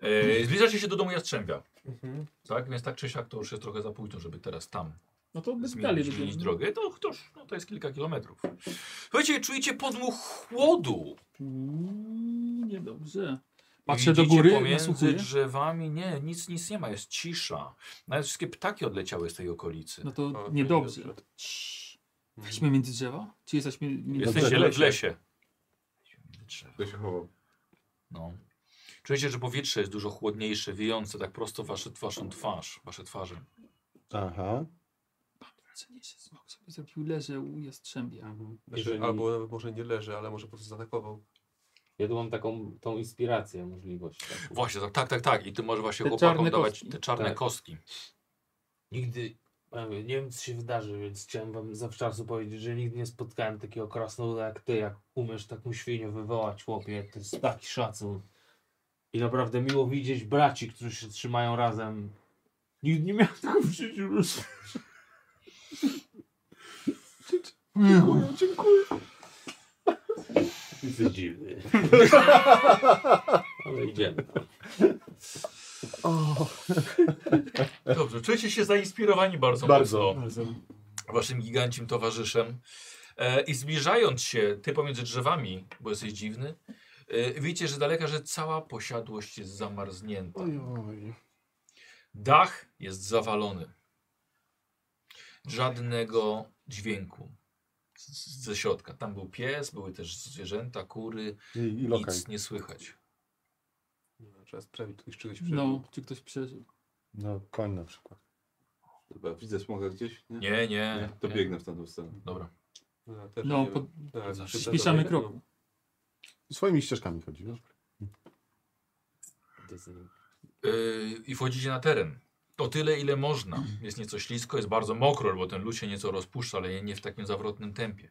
Speaker 2: E, zbliżacie się do domu Jastrzębia.
Speaker 6: Mhm.
Speaker 2: Tak, więc tak czy siak to już jest trochę za późno, żeby teraz tam
Speaker 6: No to bez dalej
Speaker 2: zmienić,
Speaker 6: będziemy.
Speaker 2: zmienić drogę. To, to, już, no, to jest kilka kilometrów. Słuchajcie, czujecie podmuch chłodu.
Speaker 6: Uuu, Mm, niedobrze. Patrzę do
Speaker 2: Widzicie
Speaker 6: góry,
Speaker 2: pomiędzy
Speaker 6: nasłuchuję.
Speaker 2: drzewami. Nie, nic, nic nie ma, jest cisza. Nawet wszystkie ptaki odleciały z tej okolicy.
Speaker 6: No
Speaker 9: to
Speaker 6: to
Speaker 9: nie
Speaker 6: niedobrze.
Speaker 9: dobrze.
Speaker 6: Cii. Weźmy między drzewa? Czy jesteśmy... między-
Speaker 2: Jesteście
Speaker 5: Dobrze.
Speaker 2: le- w lesie.
Speaker 1: To się chował.
Speaker 2: No. Czujecie, że powietrze jest dużo chłodniejsze, wiejące tak prosto wasze, waszą twarz, wasze twarze.
Speaker 5: Aha.
Speaker 6: Ceniszy smok sobie zrobił leże u jastrzębia.
Speaker 9: Znaczy,
Speaker 3: Jeżeli-
Speaker 9: Albo nawet może nie leży, ale może po prostu zaatakował.
Speaker 3: Ja tu mam taką tą inspirację, możliwość. taką.
Speaker 2: Właśnie, tak, tak, tak. tak. I ty możesz właśnie
Speaker 6: Te
Speaker 2: chłopakom
Speaker 6: czarne
Speaker 2: dawać
Speaker 6: kostki.
Speaker 2: te czarne
Speaker 3: Tak.
Speaker 2: kostki.
Speaker 3: Nigdy, ja mówię, nie wiem co się wydarzy, więc chciałem wam zawczasu powiedzieć, że nigdy nie spotkałem takiego krasnoluda jak ty, jak umiesz taką świnię wywołać, chłopie, to jest taki szacun. I naprawdę miło widzieć braci, którzy się trzymają razem. Nigdy nie miałem tego w życiu. Jesteś [LAUGHS] dziwny. Ale idziemy.
Speaker 2: Dobrze, czujecie się zainspirowani bardzo,
Speaker 5: Bardzo.
Speaker 2: mocno waszym gigancim towarzyszem. E, I zbliżając się, ty pomiędzy drzewami, bo jesteś dziwny, e, widzicie, że z daleka, że cała posiadłość jest zamarznięta.
Speaker 5: Ojoj.
Speaker 2: Dach jest zawalony. Żadnego dźwięku z- z- ze środka. Tam był pies, były też zwierzęta, kury,
Speaker 5: I, i lokaj.
Speaker 2: nic nie słychać.
Speaker 9: Trzeba sprawdzić, czy ktoś czegoś przeżył.
Speaker 6: No, czy ktoś przeżył?
Speaker 5: No, koń na przykład.
Speaker 1: Dobra, widzę smoga gdzieś? Nie.
Speaker 2: Nie, nie.
Speaker 1: To
Speaker 2: nie.
Speaker 1: biegnę w tamtą stronę.
Speaker 2: Dobra.
Speaker 9: No, też
Speaker 6: No,
Speaker 9: nie
Speaker 6: po-
Speaker 9: wiem. Tak,
Speaker 4: Znaczy,
Speaker 2: zawsze
Speaker 9: czy
Speaker 6: Spieszamy
Speaker 9: zadowolenie.
Speaker 6: kroku.
Speaker 5: Swoimi ścieżkami chodzi. wiesz?
Speaker 2: Yy, i wchodzicie na teren. O tyle, ile można. Jest nieco ślisko, jest bardzo mokro, bo ten lód się nieco rozpuszcza, ale nie- nie w takim zawrotnym tempie.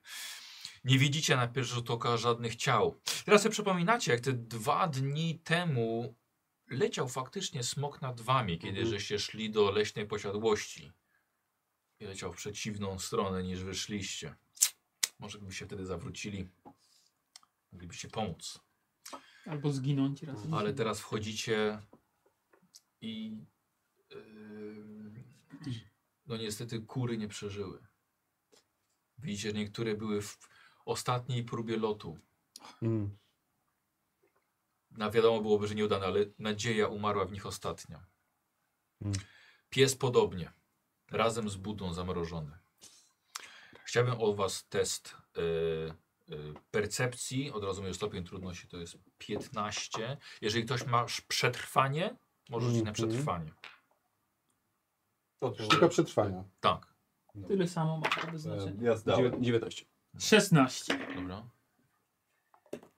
Speaker 2: Nie widzicie na pierwszy rzut oka żadnych ciał. Teraz sobie przypominacie, jak te dwa dni temu leciał faktycznie smok nad wami, kiedy żeście szli do leśnej posiadłości. I leciał w przeciwną stronę niż wyszliście. Może gdybyście wtedy zawrócili, moglibyście pomóc.
Speaker 6: Albo zginąć razem.
Speaker 2: No, Ale teraz wchodzicie i yy, no niestety kury nie przeżyły. Widzicie, niektóre były w ostatniej próbie lotu.
Speaker 5: Mm.
Speaker 2: Na wiadomo byłoby, że nieudane, ale nadzieja umarła w nich ostatnia.
Speaker 5: Mm.
Speaker 2: Pies podobnie. Razem z budą zamrożony. Chciałbym od Was test yy, yy, percepcji. Od razu mówię, stopień trudności to jest 15. Jeżeli ktoś ma sz- przetrwanie, może rzucić na
Speaker 5: Mhm.
Speaker 2: przetrwanie.
Speaker 5: Sztuka przetrwania.
Speaker 2: Tak.
Speaker 6: Tyle samo ma to bez
Speaker 1: E,
Speaker 6: znaczenia.
Speaker 1: ja zdałem.
Speaker 9: No, Dziewię- 19.
Speaker 6: 16.
Speaker 2: Dobra.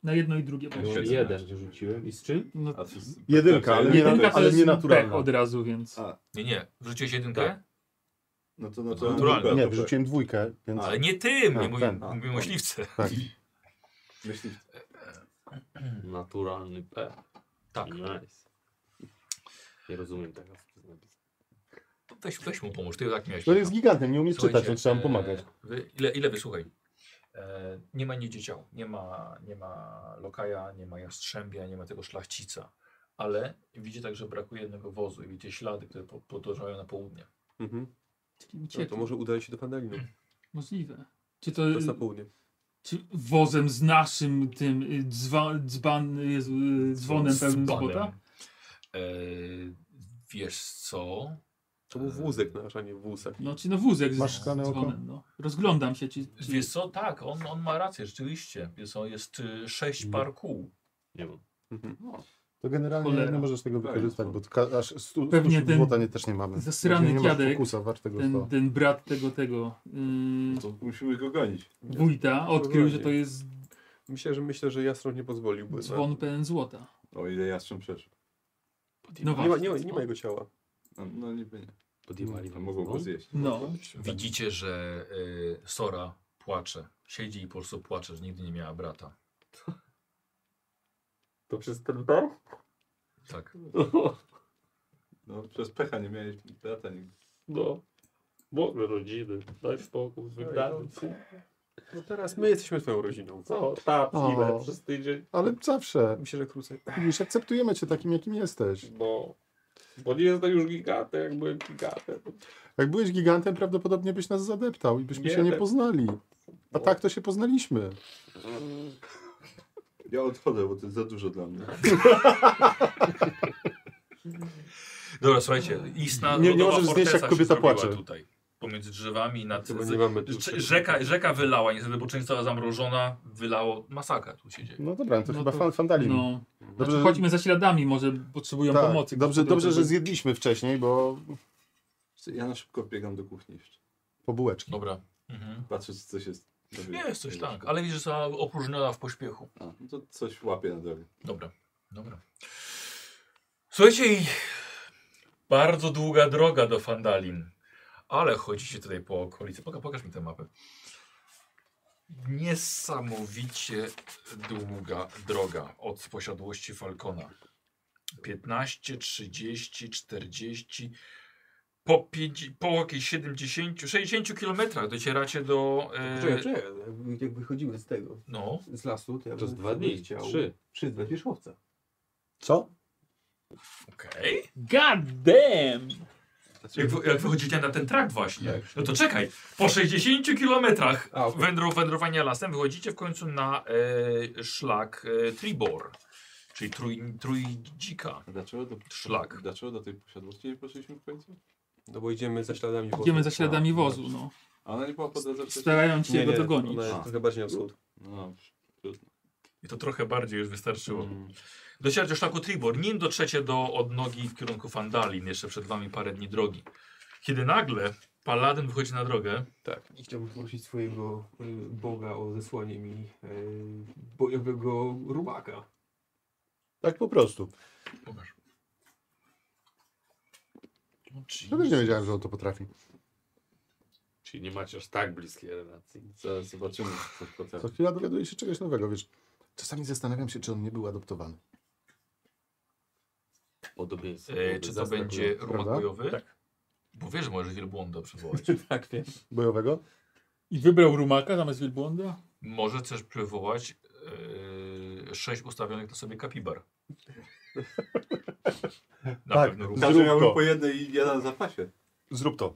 Speaker 6: Na jedno i drugie poszło.
Speaker 1: Świetnie.
Speaker 3: Jeden rzuciłem. I z czym?
Speaker 6: No,
Speaker 1: A ty z-
Speaker 2: Mhm.
Speaker 5: Jedynka, ale nie,
Speaker 1: Jedynka
Speaker 5: natu-
Speaker 6: jedynka to
Speaker 5: ale
Speaker 6: jest
Speaker 5: nie
Speaker 6: pech
Speaker 5: naturalna.
Speaker 6: od razu, więc...
Speaker 1: A,
Speaker 2: Nie, nie. Wrzuciłeś jedynkę?
Speaker 3: Tak.
Speaker 1: No to na
Speaker 2: to
Speaker 1: to
Speaker 2: naturalne.
Speaker 5: Nie,
Speaker 6: tak.
Speaker 5: wyrzuciłem dwójkę, więc...
Speaker 2: Ale nie tym,
Speaker 5: A,
Speaker 2: nie mówię,
Speaker 5: ten,
Speaker 1: a.
Speaker 2: mówię myśliwce.
Speaker 5: Tak.
Speaker 1: Myślisz,
Speaker 3: Naturalny P.
Speaker 2: Tak.
Speaker 3: Nice. Nie rozumiem tego. co to znaczy.
Speaker 2: To Weź, weź mu pomóż, ty tak miałeś.
Speaker 5: To jest gigantem, nie umie czytać,
Speaker 2: Słuchajcie,
Speaker 5: więc trzeba mu
Speaker 2: e,
Speaker 5: pomagać.
Speaker 2: Wy, ile, ile wysłuchaj? E, nie ma nigdzie ciał. Nie ma, nie ma lokaja, nie ma jastrzębia, nie ma tego szlachcica. Ale widzicie także brakuje jednego wozu i widzicie ślady, które po- podążają na południe.
Speaker 9: Mhm.
Speaker 6: Czyli
Speaker 9: No,
Speaker 6: uciekł.
Speaker 9: to może udali się do Pandalinu.
Speaker 6: Możliwe. Czy to... y,
Speaker 9: To jest na południe.
Speaker 6: Czy wozem z naszym tym y, dzwa, dzban, Jezu, y, dzwonem pełnym
Speaker 2: Dzbanem.
Speaker 6: złota?
Speaker 2: E, wiesz co?
Speaker 9: To był wózek nasz, a nie wózek.
Speaker 6: No, czy no wózek
Speaker 5: Masz
Speaker 6: z
Speaker 5: szklane oko?
Speaker 6: dzwonem, no. Rozglądam się, czy... czy...
Speaker 2: Wiesz co, tak, on, on ma rację, rzeczywiście. Jest, jest y, sześć
Speaker 5: Mhm.
Speaker 2: par kół.
Speaker 3: Nie wiem.
Speaker 9: Mhm.
Speaker 5: To generalnie
Speaker 6: Cholera.
Speaker 5: nie możesz tego wykorzystać, bo ka- aż stu,
Speaker 6: Pewnie
Speaker 5: Pewnie
Speaker 6: ten
Speaker 5: złota nie, też nie mamy.
Speaker 6: zasrany
Speaker 5: Właśnie nie masz
Speaker 6: dziadek,
Speaker 5: Fokusa, wartego
Speaker 6: Ten,
Speaker 5: sto.
Speaker 6: ten brat tego, tego
Speaker 1: no
Speaker 6: y,
Speaker 1: to musimy go gonić.
Speaker 6: wójta odkrył, że to jest
Speaker 9: Myślę, że myślę, że Jastrąb nie pozwoliłby. na-
Speaker 6: dzwon pełen złota.
Speaker 1: O ile jastrząb przeszedł.
Speaker 6: No
Speaker 9: Nie ma,
Speaker 6: właśnie.
Speaker 9: nie, ma, nie ma jego ciała.
Speaker 1: No, no niby nie.
Speaker 3: Podjęli
Speaker 1: To mogą go zjeść.
Speaker 6: No,
Speaker 2: Widzicie, że y, Sora płacze. Siedzi i po prostu płacze, że nigdy nie miała brata.
Speaker 3: To przez ten P? [LAUGHS]
Speaker 2: Tak.
Speaker 1: No przez pecha nie miałeś brata nigdy.
Speaker 3: No. Boże rodziny, daj spokój, wygrałem.
Speaker 7: no.
Speaker 9: No teraz my jesteśmy twoją rodziną.
Speaker 3: Co? Tap,
Speaker 5: O.
Speaker 3: ile No, przez tydzień,
Speaker 5: Ale zawsze,
Speaker 9: Myślę, że krócej.
Speaker 5: już akceptujemy cię takim, jakim jesteś.
Speaker 3: bo... Bo nie jestem już gigantem, jak byłem gigantem.
Speaker 5: Jak byłeś gigantem, prawdopodobnie byś nas zadeptał i byśmy
Speaker 3: Nie,
Speaker 5: się nie
Speaker 3: tak.
Speaker 5: poznali.
Speaker 6: No.
Speaker 5: A tak to się poznaliśmy.
Speaker 1: Ja odchodzę, bo to jest za dużo dla mnie.
Speaker 2: Dobra, słuchajcie, istna
Speaker 5: Nie- nie
Speaker 2: lodowa
Speaker 5: możesz znieść, jak
Speaker 2: forteca się
Speaker 5: kobieta
Speaker 2: zrobiła
Speaker 5: płacze.
Speaker 2: Tutaj. pomiędzy drzewami, nad,
Speaker 7: Chyba nie mamy tu
Speaker 2: Rze- Rzeka, rzeka wylała, niestety, bo część cała zamrożona, wylało, masakra tu się dzieje.
Speaker 5: No dobra, to
Speaker 6: No
Speaker 5: chyba
Speaker 6: to-
Speaker 5: fan fandalizm.
Speaker 6: No.
Speaker 5: Dobrze,
Speaker 6: Znaczy,
Speaker 5: że-
Speaker 6: chodźmy za śladami, może potrzebują
Speaker 5: tak,
Speaker 6: pomocy.
Speaker 5: Dobrze,
Speaker 6: Które-
Speaker 5: dobrze, że zjedliśmy wcześniej, bo
Speaker 1: Ja na szybko biegam do kuchni jeszcze.
Speaker 5: po bułeczki.
Speaker 2: Dobra. Mhm.
Speaker 1: Patrzę, czy coś jest.
Speaker 2: Jest coś tak, ale widzisz, że została opróżniona w pośpiechu.
Speaker 1: A, no to coś łapię na drogę.
Speaker 2: Dobra, dobra. Słuchajcie, i bardzo długa droga do Fandalin, ale chodzicie tutaj po okolicy. Poka, pokaż mi tę mapę. Niesamowicie długa droga od posiadłości Falcona. 15, 30, 40, po, 5, po jakieś 70, 60 kilometrach docieracie do...
Speaker 9: Czekaj,
Speaker 2: E,
Speaker 9: czekaj, jakby- jak wychodzimy z tego,
Speaker 2: no,
Speaker 9: z lasu, to ja
Speaker 3: To
Speaker 9: bym
Speaker 3: jest dwa dni,
Speaker 9: chciał...
Speaker 3: trzy.
Speaker 9: Trzy, dwa wierzchowca.
Speaker 5: Co?
Speaker 2: okej.
Speaker 6: God damn!
Speaker 2: Znaczy, Jak, wy- jak wychodzicie na ten trakt właśnie, no to czekaj, po 60 kilometrach
Speaker 9: A, okej.
Speaker 2: wędru, wędrowania lasem wychodzicie w końcu na e, szlak e, Tribor, czyli trój, trójdzika.
Speaker 1: A dlaczego do,
Speaker 2: Szlak.
Speaker 1: dlaczego do tej posiadłości nie poszliśmy w końcu?
Speaker 9: No bo idziemy za śladami wozu.
Speaker 6: Idziemy za
Speaker 5: Tak.
Speaker 6: śladami wozu, no.
Speaker 1: A ona nie była po drodze wcześniej.
Speaker 6: Starając się
Speaker 9: Nie, no,
Speaker 6: go
Speaker 9: nie,
Speaker 6: dogonić.
Speaker 9: ona jest trochę bardziej na wschód.
Speaker 1: No,
Speaker 2: I to trochę bardziej już wystarczyło. Docieracie do szlaku Tribor, nim dotrzecie do odnogi w kierunku Fandalin, jeszcze przed wami parę dni drogi. Kiedy nagle Paladyn wychodzi na drogę, e,
Speaker 9: Tak. I chciałbym prosić swojego y, Boga o zesłanie mi y, bojowego rubaka.
Speaker 5: Tak po prostu.
Speaker 2: pokaż.
Speaker 5: Ja No też nie wiedziałem, że on to potrafi.
Speaker 7: Czyli nie macie aż tak bliskiej relacji.
Speaker 1: zaraz zobaczymy, co potrafi.
Speaker 5: Co chwila dowiaduje się czegoś nowego, wiesz. Czasami zastanawiam się, czy on nie był adoptowany.
Speaker 7: Podobieństwo.
Speaker 2: E, czy to będzie rumak
Speaker 5: Prawda?
Speaker 2: bojowy? Tak. Bo wiesz, że możesz wielbłąda przywołać.
Speaker 9: [LAUGHS] Tak, wiem.
Speaker 5: Bojowego?
Speaker 6: I wybrał rumaka zamiast wielbłąda?
Speaker 2: Może też przywołać e, sześć ustawionych na sobie kapibar. Na
Speaker 5: Tak.
Speaker 2: pewno rumak.
Speaker 1: Każdy
Speaker 5: Zrób
Speaker 1: miałby
Speaker 5: to.
Speaker 1: po jednej i jeden w zapasie.
Speaker 5: Zrób to.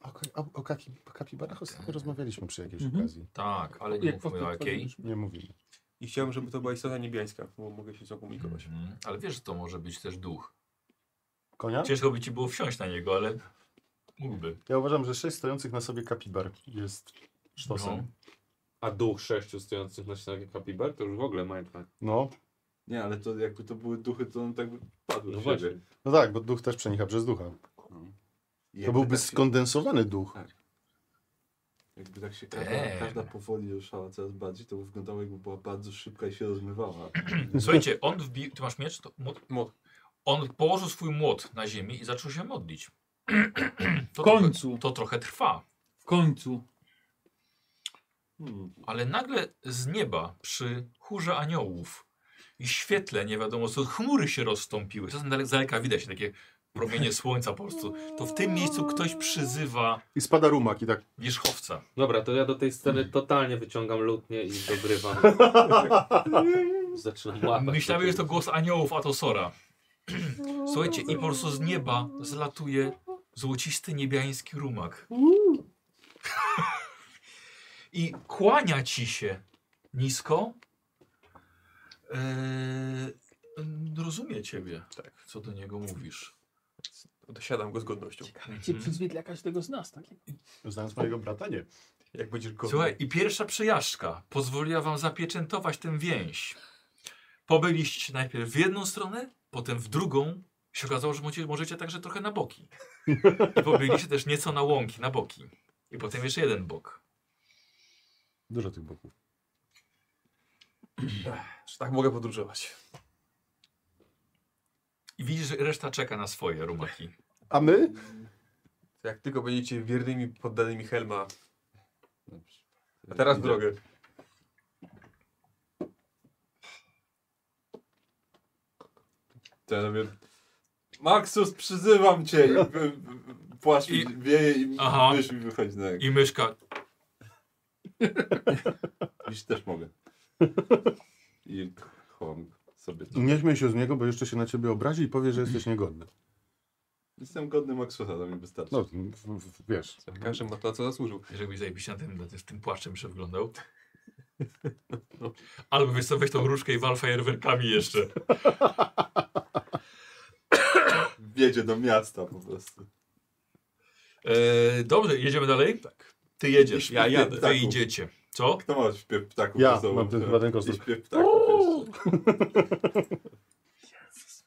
Speaker 5: O, ka- o, o kaki, kapibarach
Speaker 1: Tak.
Speaker 5: ostatnio rozmawialiśmy przy jakiejś
Speaker 6: Mhm.
Speaker 5: okazji.
Speaker 2: Tak, ale nie
Speaker 6: Jak
Speaker 2: mówmy o
Speaker 6: powtórzy-
Speaker 2: jakiej.
Speaker 5: Nie mówimy.
Speaker 9: I chciałem, żeby to była istota niebiańska, bo mogę się zakomunikować.
Speaker 2: Mhm. Ale wiesz, że to może być też duch.
Speaker 5: Konia?
Speaker 2: Ciężko by ci było wsiąść na niego, ale mógłby.
Speaker 5: Ja uważam, że sześć stojących na sobie kapibar jest
Speaker 2: No.
Speaker 5: sztosem.
Speaker 7: A duch sześciu stojących na ścianie kapibar to już w ogóle mindfuck.
Speaker 5: No.
Speaker 1: Nie, ale to jakby to były duchy, to one tak by padły
Speaker 7: No
Speaker 1: no
Speaker 7: właśnie.
Speaker 1: siebie.
Speaker 5: no tak, bo duch też przenika przez ducha.
Speaker 1: I
Speaker 5: To
Speaker 1: jakby
Speaker 5: byłby
Speaker 1: tak się-
Speaker 5: skondensowany duch.
Speaker 1: Jakby tak się
Speaker 2: Damn.
Speaker 1: każda, każda powoli ruszała coraz bardziej, to by wyglądało jakby była bardzo szybka i się
Speaker 5: [CLEARS THROAT]
Speaker 1: rozmywała.
Speaker 2: Słuchajcie, on wbił. Ty masz miecz? To młot?
Speaker 9: Młot.
Speaker 2: On położył swój młot na ziemi i zaczął się modlić. [CLEARS THROAT]
Speaker 6: W
Speaker 2: To trochę,
Speaker 6: końcu,
Speaker 2: to trochę trwa.
Speaker 6: w końcu.
Speaker 1: Hmm.
Speaker 2: Ale nagle z nieba przy chórze aniołów i świetle nie wiadomo co, chmury się rozstąpiły. Czasem dale- z daleka widać takie promienie słońca po prostu. To w tym miejscu ktoś przyzywa
Speaker 5: I spada rumak i tak.
Speaker 2: wierzchowca.
Speaker 7: Dobra, to ja do tej sceny totalnie wyciągam lutnię i [LAUGHS] dogrywam. Zaczynam
Speaker 3: tak,
Speaker 7: łapać.
Speaker 2: Myślałem, że to głos aniołów Atosora. Słuchajcie, i po prostu z nieba zlatuje złocisty niebiański rumak. I kłania ci się nisko. Eee, rozumie ciebie, tak. co do niego mówisz.
Speaker 9: Dosiadam go z godnością.
Speaker 6: Cię
Speaker 2: Mhm.
Speaker 6: przyzwiedla każdego z nas, tak?
Speaker 5: Znając mojego brata, nie.
Speaker 9: Jak będziesz godny.
Speaker 2: Słuchaj, i pierwsza przejażdżka pozwoliła wam zapieczętować tę więź. Pobyliście najpierw w jedną stronę, potem w drugą. Się okazało, że możecie, możecie także trochę na boki. I pobyliście też nieco na łąki, na boki. I potem jeszcze jeden bok.
Speaker 5: Dużo tych boków.
Speaker 9: Że tak mogę podróżować.
Speaker 2: I widzisz, że reszta czeka na swoje rumaki.
Speaker 5: A my?
Speaker 9: Jak tylko będziecie wiernymi poddanymi Helma.
Speaker 1: Dobrze.
Speaker 9: A teraz w
Speaker 1: Idę.
Speaker 9: drogę.
Speaker 1: To ja robię, Maxus, przyzywam cię! I, wy- wy- płaszcz mi
Speaker 2: I-
Speaker 1: wieje i
Speaker 2: Aha.
Speaker 1: mysz mi wychodzi na rękę.
Speaker 2: I myszka.
Speaker 1: Iść też mogę. I chowam sobie to.
Speaker 5: Nie śmiej się z niego, bo jeszcze się na ciebie obrazi i powie, że jesteś niegodny.
Speaker 1: Jestem godny Maxusa, to mi wystarczy.
Speaker 5: No, w, w, wiesz.
Speaker 9: Każdy ma to, na co zasłużył.
Speaker 2: Żebyś zajebiście na tym, na tym, z tym płaszczem jeszcze wyglądał. Albo wiesz co, weź tą różkę i wal fajerwerkami jeszcze.
Speaker 1: Wiedzie do miasta po prostu.
Speaker 2: E, dobrze, jedziemy dalej? Tak. Ty tak. jedziesz, ja
Speaker 1: Śpiew
Speaker 2: jadę, wy
Speaker 1: ptaków.
Speaker 2: idziecie. Co?
Speaker 1: Kto ma śpiew ptaków
Speaker 5: Ja
Speaker 1: ze sobą?
Speaker 5: mam ten- mam ten kostur.
Speaker 1: I śpiew ptaków jeszcze. [LAUGHS]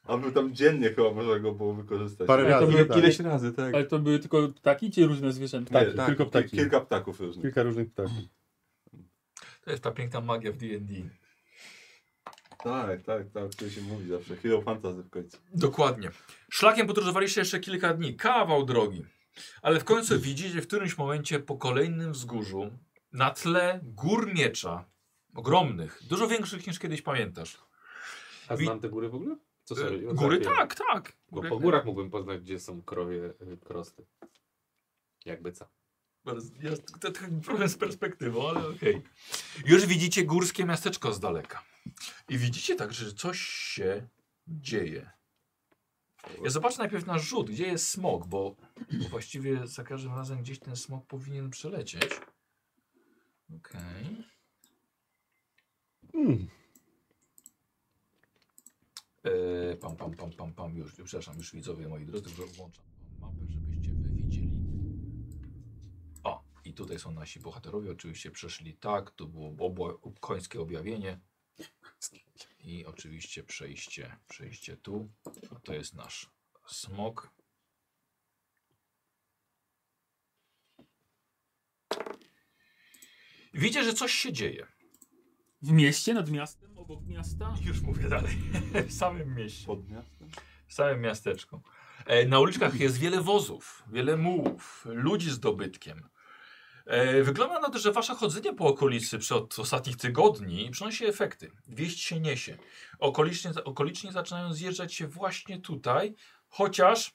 Speaker 1: A był tam dziennie chyba można go było wykorzystać.
Speaker 5: Parę
Speaker 6: Ale to
Speaker 5: razy.
Speaker 6: były
Speaker 5: tak.
Speaker 9: Ileś razy, tak.
Speaker 6: Ale to były tylko ptaki czy różne zwierzęta?
Speaker 5: Ptaki,
Speaker 1: tak,
Speaker 5: tylko ptaki.
Speaker 1: Kilka ptaków różnych.
Speaker 5: Kilka różnych ptaków.
Speaker 2: To jest ta piękna magia w D&D.
Speaker 1: Tak, tak, tak, to się mówi zawsze. Hero Fantasy w końcu.
Speaker 2: Dokładnie. Szlakiem podróżowaliście jeszcze kilka dni, kawał drogi. Ale w końcu widzicie w którymś momencie po kolejnym wzgórzu na tle gór miecza, ogromnych, dużo większych niż kiedyś pamiętasz.
Speaker 3: A
Speaker 2: Wi-
Speaker 3: znam te góry w ogóle? Co
Speaker 2: E,
Speaker 3: sobie
Speaker 2: Góry
Speaker 3: odtrafiłem?
Speaker 2: tak, tak.
Speaker 3: Bo
Speaker 2: Góry,
Speaker 3: po górach mógłbym poznać, gdzie są krowie, y, krosty. Jakby co.
Speaker 2: Bardzo- ja- To taki problem z perspektywą, ale okej. Już widzicie górskie miasteczko z daleka. I widzicie także, że coś się dzieje. Ja zobaczę najpierw na rzut, gdzie jest smog, bo bo właściwie za każdym razem gdzieś ten smog powinien przelecieć. Okej. E, pam, pam, pam, pam, pam, już, już, przepraszam, już widzowie moi drodzy, że włączam tą mapę, żebyście wy widzieli. O, i tutaj są nasi bohaterowie, oczywiście przeszli tak, tu było obła, końskie objawienie. I oczywiście przejście, przejście tu. A to jest nasz smok. Widzicie, że coś się dzieje.
Speaker 6: W mieście, nad miastem, obok miasta?
Speaker 2: Już mówię dalej. [LAUGHS] W samym mieście.
Speaker 1: Pod miastem?
Speaker 2: w samym miasteczku. E, Na uliczkach jest wiele wozów, wiele mułów, ludzi z dobytkiem. E, Wygląda na to, że wasze chodzenie po okolicy przy od ostatnich tygodni przynosi efekty. Wieść się niesie. Okolicznie, okolicznie zaczynają zjeżdżać się właśnie tutaj, chociaż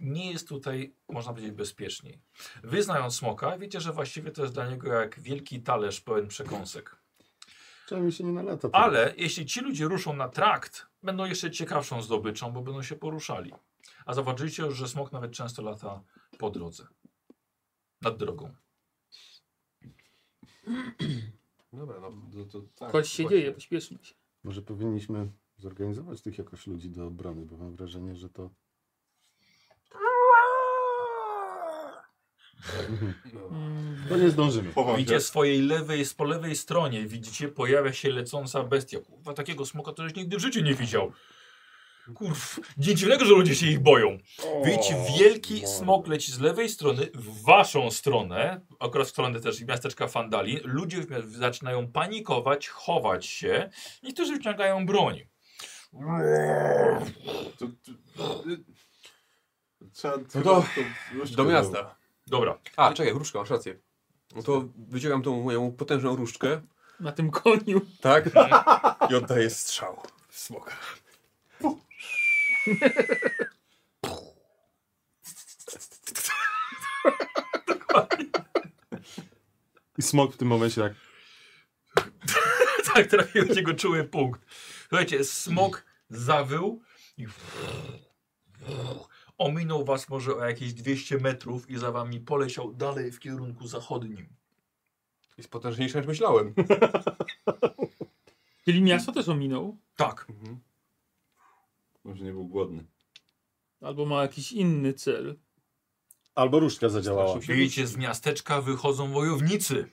Speaker 2: nie jest tutaj, można powiedzieć, bezpieczniej. Wy znając smoka, wiecie, że właściwie to jest dla niego jak wielki talerz pełen przekąsek.
Speaker 5: Czemu mi się nie nalata? teraz?
Speaker 2: Ale jeśli ci ludzie ruszą na trakt, będą jeszcze ciekawszą zdobyczą, bo będą się poruszali. A zauważyliście już, że smok nawet często lata po drodze. Nad drogą.
Speaker 9: Dobra, no.
Speaker 1: No to tak,
Speaker 6: Coś się
Speaker 1: właśnie.
Speaker 6: dzieje, pośpieszmy się.
Speaker 5: Może powinniśmy zorganizować tych jakoś ludzi do obrony, bo mam wrażenie, że to...
Speaker 6: Mm,
Speaker 5: To nie zdążymy.
Speaker 1: Chowam się.
Speaker 2: Widzicie swojej lewej, po lewej stronie widzicie, pojawia się lecąca bestia. Kurwa, takiego smoka to już nigdy w życiu nie widział. Kurw, nic dziwnego, że ludzie się ich boją. Widzicie, wielki smok leci z lewej strony w waszą stronę, akurat w stronę też miasteczka Fandali. Ludzie w mia- zaczynają panikować, chować się. Niektórzy wyciągają broń.
Speaker 1: To, to, y, trzeba
Speaker 9: No
Speaker 1: chyba
Speaker 9: to
Speaker 1: tą różdżkę
Speaker 9: Do miasta.
Speaker 2: Dobra,
Speaker 9: A, czekaj, różdżka, masz rację. No to wyciągam tą moją potężną różdżkę.
Speaker 6: Na tym koniu.
Speaker 9: [LAUGHS] Tak? I oddaję strzał w smoka.
Speaker 5: I smok w tym momencie tak...
Speaker 2: [LAUGHS] tak trafił w jego czuły punkt. Słuchajcie, smok zawył i [SNIFFS] ominął was może o jakieś 200 metrów i za wami poleciał dalej w kierunku zachodnim.
Speaker 9: Jest potężniejsza niż myślałem.
Speaker 6: Czyli miasto też ominął.
Speaker 2: Tak.
Speaker 1: Może nie był głodny.
Speaker 6: Albo ma jakiś inny cel.
Speaker 5: Albo różdżka zadziałała.
Speaker 2: Widzicie, z miasteczka wychodzą wojownicy,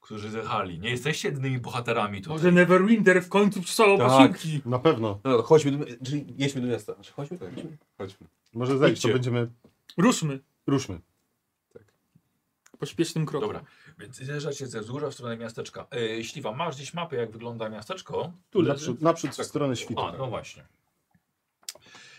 Speaker 2: którzy zjechali. Nie jesteście jedynymi bohaterami tutaj.
Speaker 6: Może Neverwinter w końcu przysłał
Speaker 9: Tak.
Speaker 6: posiłki.
Speaker 5: Na pewno.
Speaker 9: No, no chodźmy, do, czyli jedźmy do miasta. Znaczy, chodźmy do
Speaker 1: Tak.
Speaker 9: miasta.
Speaker 1: Chodźmy.
Speaker 5: Może zejść, to
Speaker 2: Idźcie.
Speaker 5: będziemy...
Speaker 6: Ruszmy.
Speaker 5: Ruszmy.
Speaker 6: Pośpiesznym krokiem.
Speaker 2: Dobra, więc zjeżdżacie ze wzgórza w stronę miasteczka. E, Śliwa, masz gdzieś mapę, jak wygląda miasteczko?
Speaker 6: Tu leży. Tak.
Speaker 5: Naprzód, naprzód w stronę świtu.
Speaker 2: A, no właśnie.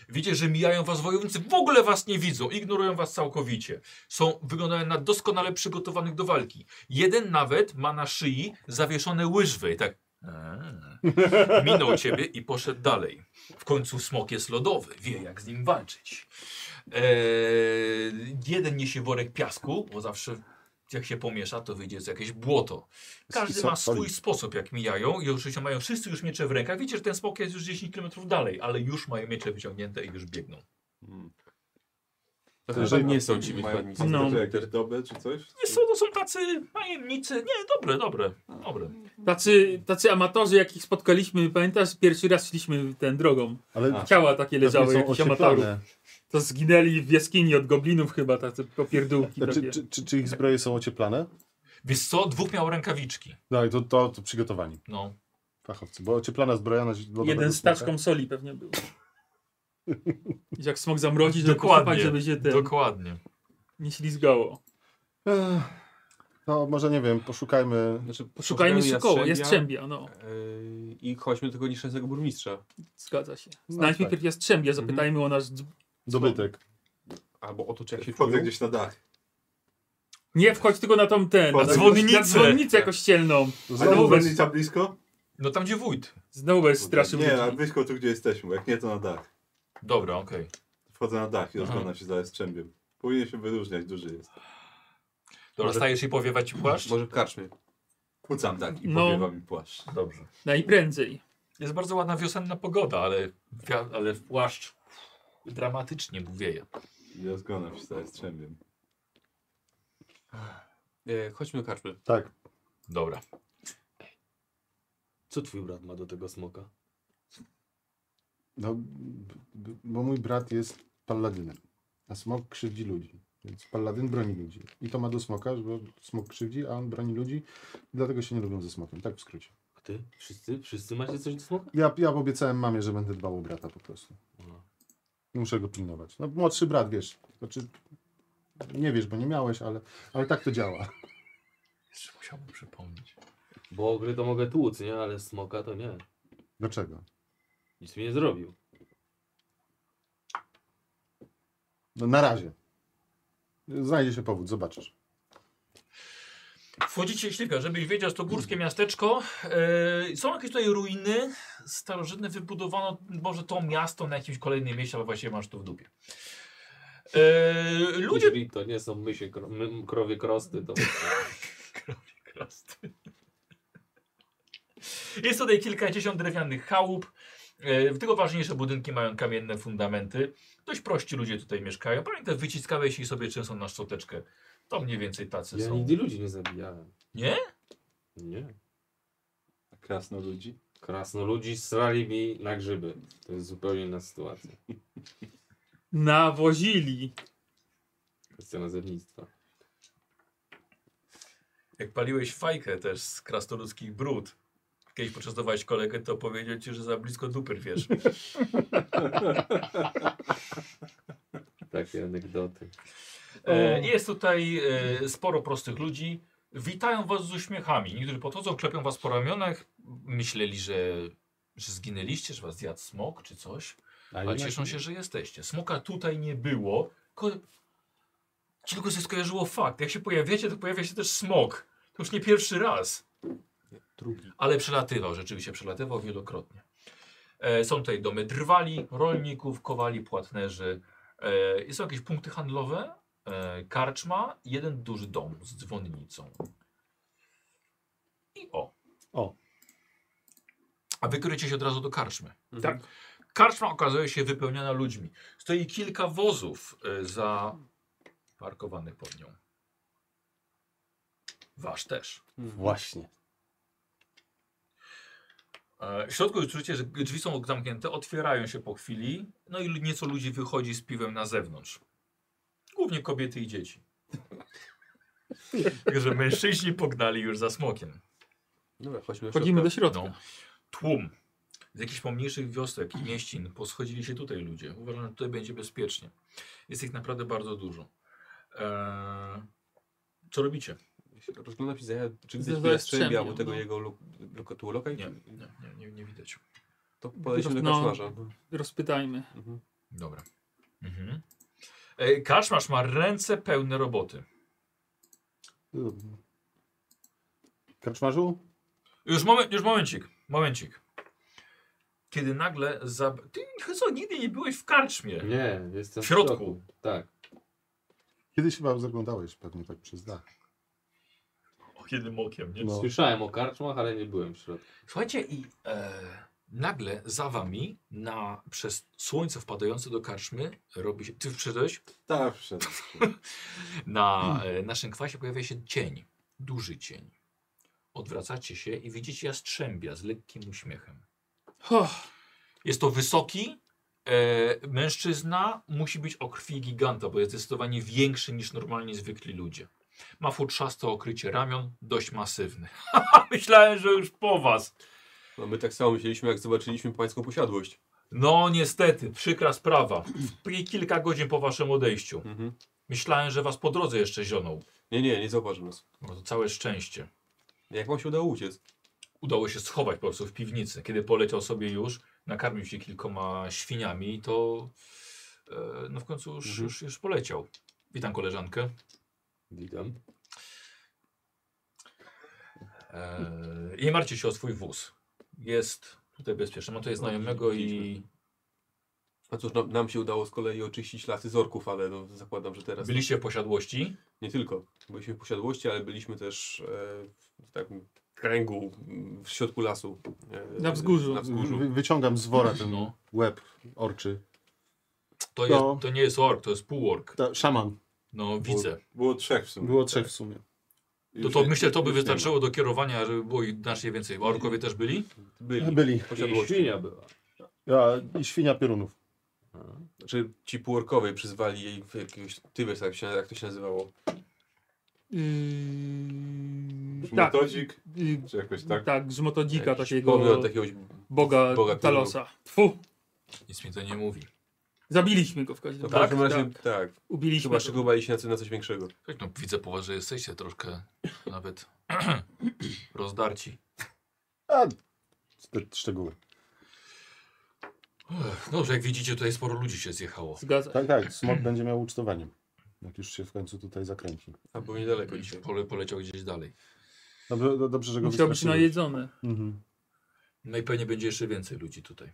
Speaker 2: Widzicie, że mijają was wojownicy, w ogóle was nie widzą, ignorują was całkowicie. Są, wyglądają na doskonale przygotowanych do walki. Jeden nawet ma na szyi zawieszone łyżwy i tak eee. minął ciebie i poszedł dalej. W końcu smok jest lodowy, wie jak z nim walczyć. Eee, jeden niesie worek piasku, bo zawsze jak się pomiesza, to wyjdzie z jakieś błoto. Każdy
Speaker 5: Są-
Speaker 2: ma swój
Speaker 5: soli.
Speaker 2: sposób, jak mijają i oczywiście mają wszyscy już miecze w rękach. Widzicie, że ten smok jest już 10 km dalej, ale już mają miecze wyciągnięte i już biegną.
Speaker 1: Hmm.
Speaker 9: Dlatego, że nie są ci
Speaker 1: Mają
Speaker 9: wykładnicy.
Speaker 1: no.
Speaker 6: No.
Speaker 1: jakieś dobre czy coś?
Speaker 2: Nie są, to są tacy najemnicy. Nie, dobre, dobre, dobre.
Speaker 6: Tacy, tacy amatorzy, jakich spotkaliśmy, pamiętasz, pierwszy raz szliśmy tę drogą.
Speaker 5: Ale
Speaker 1: A.
Speaker 6: Ciała takie
Speaker 5: pewnie
Speaker 6: leżały,
Speaker 5: są
Speaker 6: jakichś amatorów.
Speaker 5: ocieplane.
Speaker 6: To zginęli w jaskini od goblinów chyba, tacy popierdółki
Speaker 5: Czy,
Speaker 6: takie.
Speaker 5: Znaczy, czy, czy, czy ich zbroje są ocieplane?
Speaker 2: Wiesz co, dwóch miał rękawiczki.
Speaker 5: No i to, to, to przygotowani
Speaker 2: No.
Speaker 5: fachowcy, bo ocieplana zbroja na dla dobrego
Speaker 6: Jeden z
Speaker 5: smoka-
Speaker 6: taczką soli pewnie był. I jak smok zamrozi, żeby
Speaker 2: Dokładnie.
Speaker 6: pochopać, żeby się ten
Speaker 2: Dokładnie.
Speaker 6: nie ślizgało.
Speaker 5: Ech, No może nie wiem, poszukajmy.
Speaker 9: Znaczy,
Speaker 6: Szukajmy sukoła,
Speaker 9: jastrzębia,
Speaker 6: jastrzębia, no.
Speaker 9: yy, I chodźmy do tego nieszczęsnego burmistrza.
Speaker 6: Zgadza się.
Speaker 5: tak.
Speaker 6: Znajdźmy najpierw jastrzębia, zapytajmy o nasz... dzb-
Speaker 5: Dobytek.
Speaker 9: Albo o to, czy jak się
Speaker 1: Wchodzę
Speaker 9: czują.
Speaker 1: gdzieś na dach.
Speaker 6: Nie wchodź tylko na tą ten, na
Speaker 1: Potem-
Speaker 6: dzwonnicę, na
Speaker 2: Dzwonnicę.
Speaker 6: dzwonnicę kościelną.
Speaker 1: Znowu
Speaker 6: bez-
Speaker 1: Wennica blisko?
Speaker 2: No tam gdzie wójt.
Speaker 6: Znowu jest straszył
Speaker 1: Nie, a
Speaker 6: ludzi.
Speaker 1: blisko tu, gdzie jesteśmy. bo Jak nie, to na dach.
Speaker 2: Dobra, okej.
Speaker 1: Wchodzę na dach i
Speaker 2: Aha.
Speaker 1: rozglądam się za jastrzębiem. Powinien się wyróżniać, duży jest.
Speaker 2: Dobra, stajesz i powiewać płaszcz?
Speaker 9: Może w karczmie.
Speaker 1: Kłócam tak i
Speaker 6: No.
Speaker 1: powiewa mi płaszcz.
Speaker 2: Dobrze.
Speaker 6: Najprędzej.
Speaker 2: Jest bardzo ładna wiosenna pogoda, ale, wia- ale w płaszcz dramatycznie wieje.
Speaker 1: I rozglądam się za jastrzębiem.
Speaker 9: E, chodźmy do karczmy.
Speaker 5: Tak.
Speaker 2: Dobra.
Speaker 10: Co twój brat ma do tego smoka?
Speaker 5: No, b- b- bo mój brat jest palladynem, a smok krzywdzi ludzi. Więc palladyn broni ludzi. I to ma do smoka, że smok krzywdzi, a on broni ludzi. Dlatego się nie lubią ze smokiem, tak w skrócie.
Speaker 10: A ty? Wszyscy? Wszyscy macie coś do smoka?
Speaker 5: Ja, ja obiecałem mamie, że będę dbał o brata po prostu.
Speaker 10: No.
Speaker 5: Muszę go pilnować. No młodszy brat, wiesz. Znaczy, nie wiesz, bo nie miałeś, ale, ale tak to działa.
Speaker 2: Jeszcze musiałbym przypomnieć.
Speaker 10: Bo ogry to mogę tłuc, nie? Ale smoka to nie.
Speaker 5: Dlaczego?
Speaker 10: Nic mi nie zrobił.
Speaker 5: No na razie. Znajdzie się powód, zobaczysz.
Speaker 2: Wchodzicie ślipia, żebyś wiedział, jest to górskie
Speaker 10: Mm.
Speaker 2: miasteczko. Yy, są jakieś tutaj ruiny starożytne, wybudowano może to miasto na jakimś kolejnym mieście, ale właściwie masz to w dupie. Yy, ludzie...
Speaker 10: Jeżeli to nie są mysie, kro, my, krowie krosty, to...
Speaker 2: Krasny. Jest tutaj kilkadziesiąt drewnianych chałup. E, Tylko ważniejsze budynki mają kamienne fundamenty. Dość prości ludzie tutaj mieszkają. Pamiętaj, wyciskałeś ich sobie często na szczoteczkę. To mniej więcej tacy
Speaker 10: Ja
Speaker 2: są.
Speaker 10: nigdy ludzi nie zabijałem.
Speaker 2: Nie?
Speaker 10: Nie.
Speaker 1: A krasno ludzi?
Speaker 10: Krasnoludzi srali mi na grzyby. To jest zupełnie inna sytuacja.
Speaker 6: Nawozili.
Speaker 10: Kwestia nazewnictwa.
Speaker 2: Jak paliłeś fajkę też z krasnoludzkich brud, kiedyś poczęstowałeś kolegę, to powiedział ci, że za blisko dupy wiesz.
Speaker 10: Takie anegdoty.
Speaker 2: E, Jest tutaj e, sporo prostych ludzi. Witają was z uśmiechami. Niektórzy podchodzą, klepią was po ramionach. Myśleli, że, że zginęliście, że was zjadł smok czy coś. Ale cieszą się, że jesteście. Smoka tutaj nie było. Ko... Ci tylko się skojarzyło fakt. Jak się pojawiacie, to pojawia się też smok. To już nie pierwszy raz. Drugi. Ale przelatywał, rzeczywiście przelatywał wielokrotnie. E, są tutaj domy drwali, rolników, kowali, płatnerzy. E, i są jakieś punkty handlowe, e, karczma, jeden duży dom z dzwonnicą. I o.
Speaker 5: O.
Speaker 2: A wy kierujecie się od razu do karczmy.
Speaker 4: Mhm.
Speaker 2: Tak. Karczma okazuje się wypełniona ludźmi. Stoi kilka wozów e, zaparkowanych pod nią. Wasz też.
Speaker 10: Właśnie.
Speaker 2: E, W środku już czujecie, że drzwi są zamknięte, otwierają się po chwili, no i nieco ludzi wychodzi z piwem na zewnątrz. Głównie kobiety i dzieci. Także mężczyźni pognali już za smokiem.
Speaker 9: Dobra, chodźmy do
Speaker 6: Wchodzimy do
Speaker 9: środka.
Speaker 6: środka.
Speaker 2: No. Tłum. Z jakichś pomniejszych wiosek i mieścin poschodzili się tutaj ludzie. Uważam, że tutaj będzie bezpiecznie. Jest ich naprawdę bardzo dużo. Eee, co robicie?
Speaker 9: Rozglądam się za czy
Speaker 6: Za-
Speaker 9: widać
Speaker 6: za
Speaker 9: tu jastrzębia
Speaker 6: jastrzębia,
Speaker 9: albo tego
Speaker 6: no.
Speaker 9: jego lo, lo, tu lokaj?
Speaker 2: Nie, nie, nie, nie, nie widać.
Speaker 9: To podejdźmy do
Speaker 6: No.
Speaker 9: koszmarza.
Speaker 6: Rozpytajmy.
Speaker 9: Mhm.
Speaker 2: Dobra. Mhm. E, Kaszmarz ma ręce pełne roboty.
Speaker 5: Karczmarzu?
Speaker 2: Już, moment, już momencik, momencik. Kiedy nagle za... Ty co, nigdy nie byłeś w karczmie.
Speaker 10: Nie, jestem
Speaker 2: Tak. W środku.
Speaker 10: Tak.
Speaker 5: Kiedyś chyba zaglądałeś pewnie tak przez dach.
Speaker 2: O, jednym okiem, nie?
Speaker 5: No.
Speaker 10: Słyszałem o karczmach, ale nie byłem w środku.
Speaker 2: Słuchajcie, i e, nagle za wami, na, przez słońce wpadające do karczmy, robi się. Ty wszedłeś?
Speaker 1: Tak, wszedł.
Speaker 2: [LAUGHS] Na e, naszym kwasie pojawia się cień, duży cień. Odwracacie się i widzicie jastrzębia z lekkim uśmiechem.
Speaker 6: Ho,
Speaker 2: Jest to wysoki, E, mężczyzna musi być o krwi giganta, bo jest zdecydowanie większy niż normalnie zwykli ludzie. Ma futrzaste okrycie ramion, dość masywny. [LAUGHS] Myślałem, że już po was.
Speaker 4: No my tak samo myśleliśmy, jak zobaczyliśmy pańską posiadłość.
Speaker 2: No niestety, przykra sprawa. W- Kilka godzin po waszym odejściu.
Speaker 4: Mhm.
Speaker 2: Myślałem, że was po drodze jeszcze zionął.
Speaker 4: Nie, nie, nie zauważył nas.
Speaker 2: No to całe szczęście.
Speaker 4: Jak wam się udało uciec?
Speaker 2: udało się schować po prostu w piwnicy. Kiedy poleciał sobie już, nakarmił się kilkoma świniami, to e, no w końcu już, już, już poleciał. Witam koleżankę.
Speaker 3: Witam.
Speaker 2: E, nie martwcie się o swój wóz. Jest tutaj bezpieczny. Mam tutaj znajomego i
Speaker 4: A cóż, no, nam, nam się udało z kolei oczyścić lasy z orków, ale no, zakładam, że teraz
Speaker 1: tak.
Speaker 2: byliście w posiadłości.
Speaker 4: nie tylko. Byliśmy w posiadłości, ale byliśmy też e, w takim kręgu m, w środku lasu. e,
Speaker 6: Na wzgórzu.
Speaker 4: Na wzgórzu.
Speaker 5: Wy, wyciągam z wora ten
Speaker 2: No,
Speaker 5: łeb orczy.
Speaker 2: to, jest,
Speaker 5: No.
Speaker 2: to nie jest ork, to jest półork.
Speaker 5: Ta, szaman.
Speaker 2: No widzę.
Speaker 1: Było trzech w sumie.
Speaker 5: Było trzech w sumie.
Speaker 2: To,
Speaker 1: Już
Speaker 2: to
Speaker 1: nie-
Speaker 2: myślę, to by
Speaker 1: już nie ma.
Speaker 2: wystarczyło do kierowania, żeby było ich znacznie więcej. Orkowie też byli?
Speaker 4: Byli.
Speaker 5: Byli.
Speaker 4: w
Speaker 3: I
Speaker 4: Posiadłości.
Speaker 3: świnia była.
Speaker 5: A, I świnia piorunów.
Speaker 4: Znaczy ci półorkowie przyzwali jej w jakiegoś tybes, jak, się, jak to się nazywało.
Speaker 6: Yy, tak,
Speaker 1: Metodzik,
Speaker 6: yy,
Speaker 1: czy jakoś tak?
Speaker 6: tak. z Motodika,
Speaker 4: Jakiś
Speaker 6: takiego Tak,
Speaker 4: Pomiot jakiegoś
Speaker 6: boga,
Speaker 4: boga, który
Speaker 6: Talosa. Tfu,
Speaker 2: Nic mi to nie mówi.
Speaker 6: zabiliśmy go w każdym
Speaker 4: No
Speaker 6: razie.
Speaker 4: tak,
Speaker 6: Tak,
Speaker 4: razie, tak.
Speaker 6: Ubiliśmy
Speaker 4: Chyba
Speaker 6: go.
Speaker 4: szykowali się na coś, na coś większego.
Speaker 2: Tak, no widzę po was, że jesteście troszkę nawet [CLEARS THROAT] rozdarci.
Speaker 5: A, te szczegóły.
Speaker 2: Uff, Dobrze, jak widzicie, tutaj sporo ludzi się zjechało.
Speaker 6: Zgadza się.
Speaker 5: Tak, tak. [CLEARS THROAT] Smok będzie miał ucztowanie. Jak już się w końcu tutaj zakręci.
Speaker 4: A było niedaleko
Speaker 2: Gdzieś
Speaker 4: dzisiaj.
Speaker 2: Pole, poleciał gdzieś dalej.
Speaker 5: Dobrze, do- dobrze że go
Speaker 6: Musiał być
Speaker 5: wystraszyłeś.
Speaker 6: najedzony.
Speaker 5: mhm.
Speaker 2: No i pewnie będzie jeszcze więcej ludzi tutaj.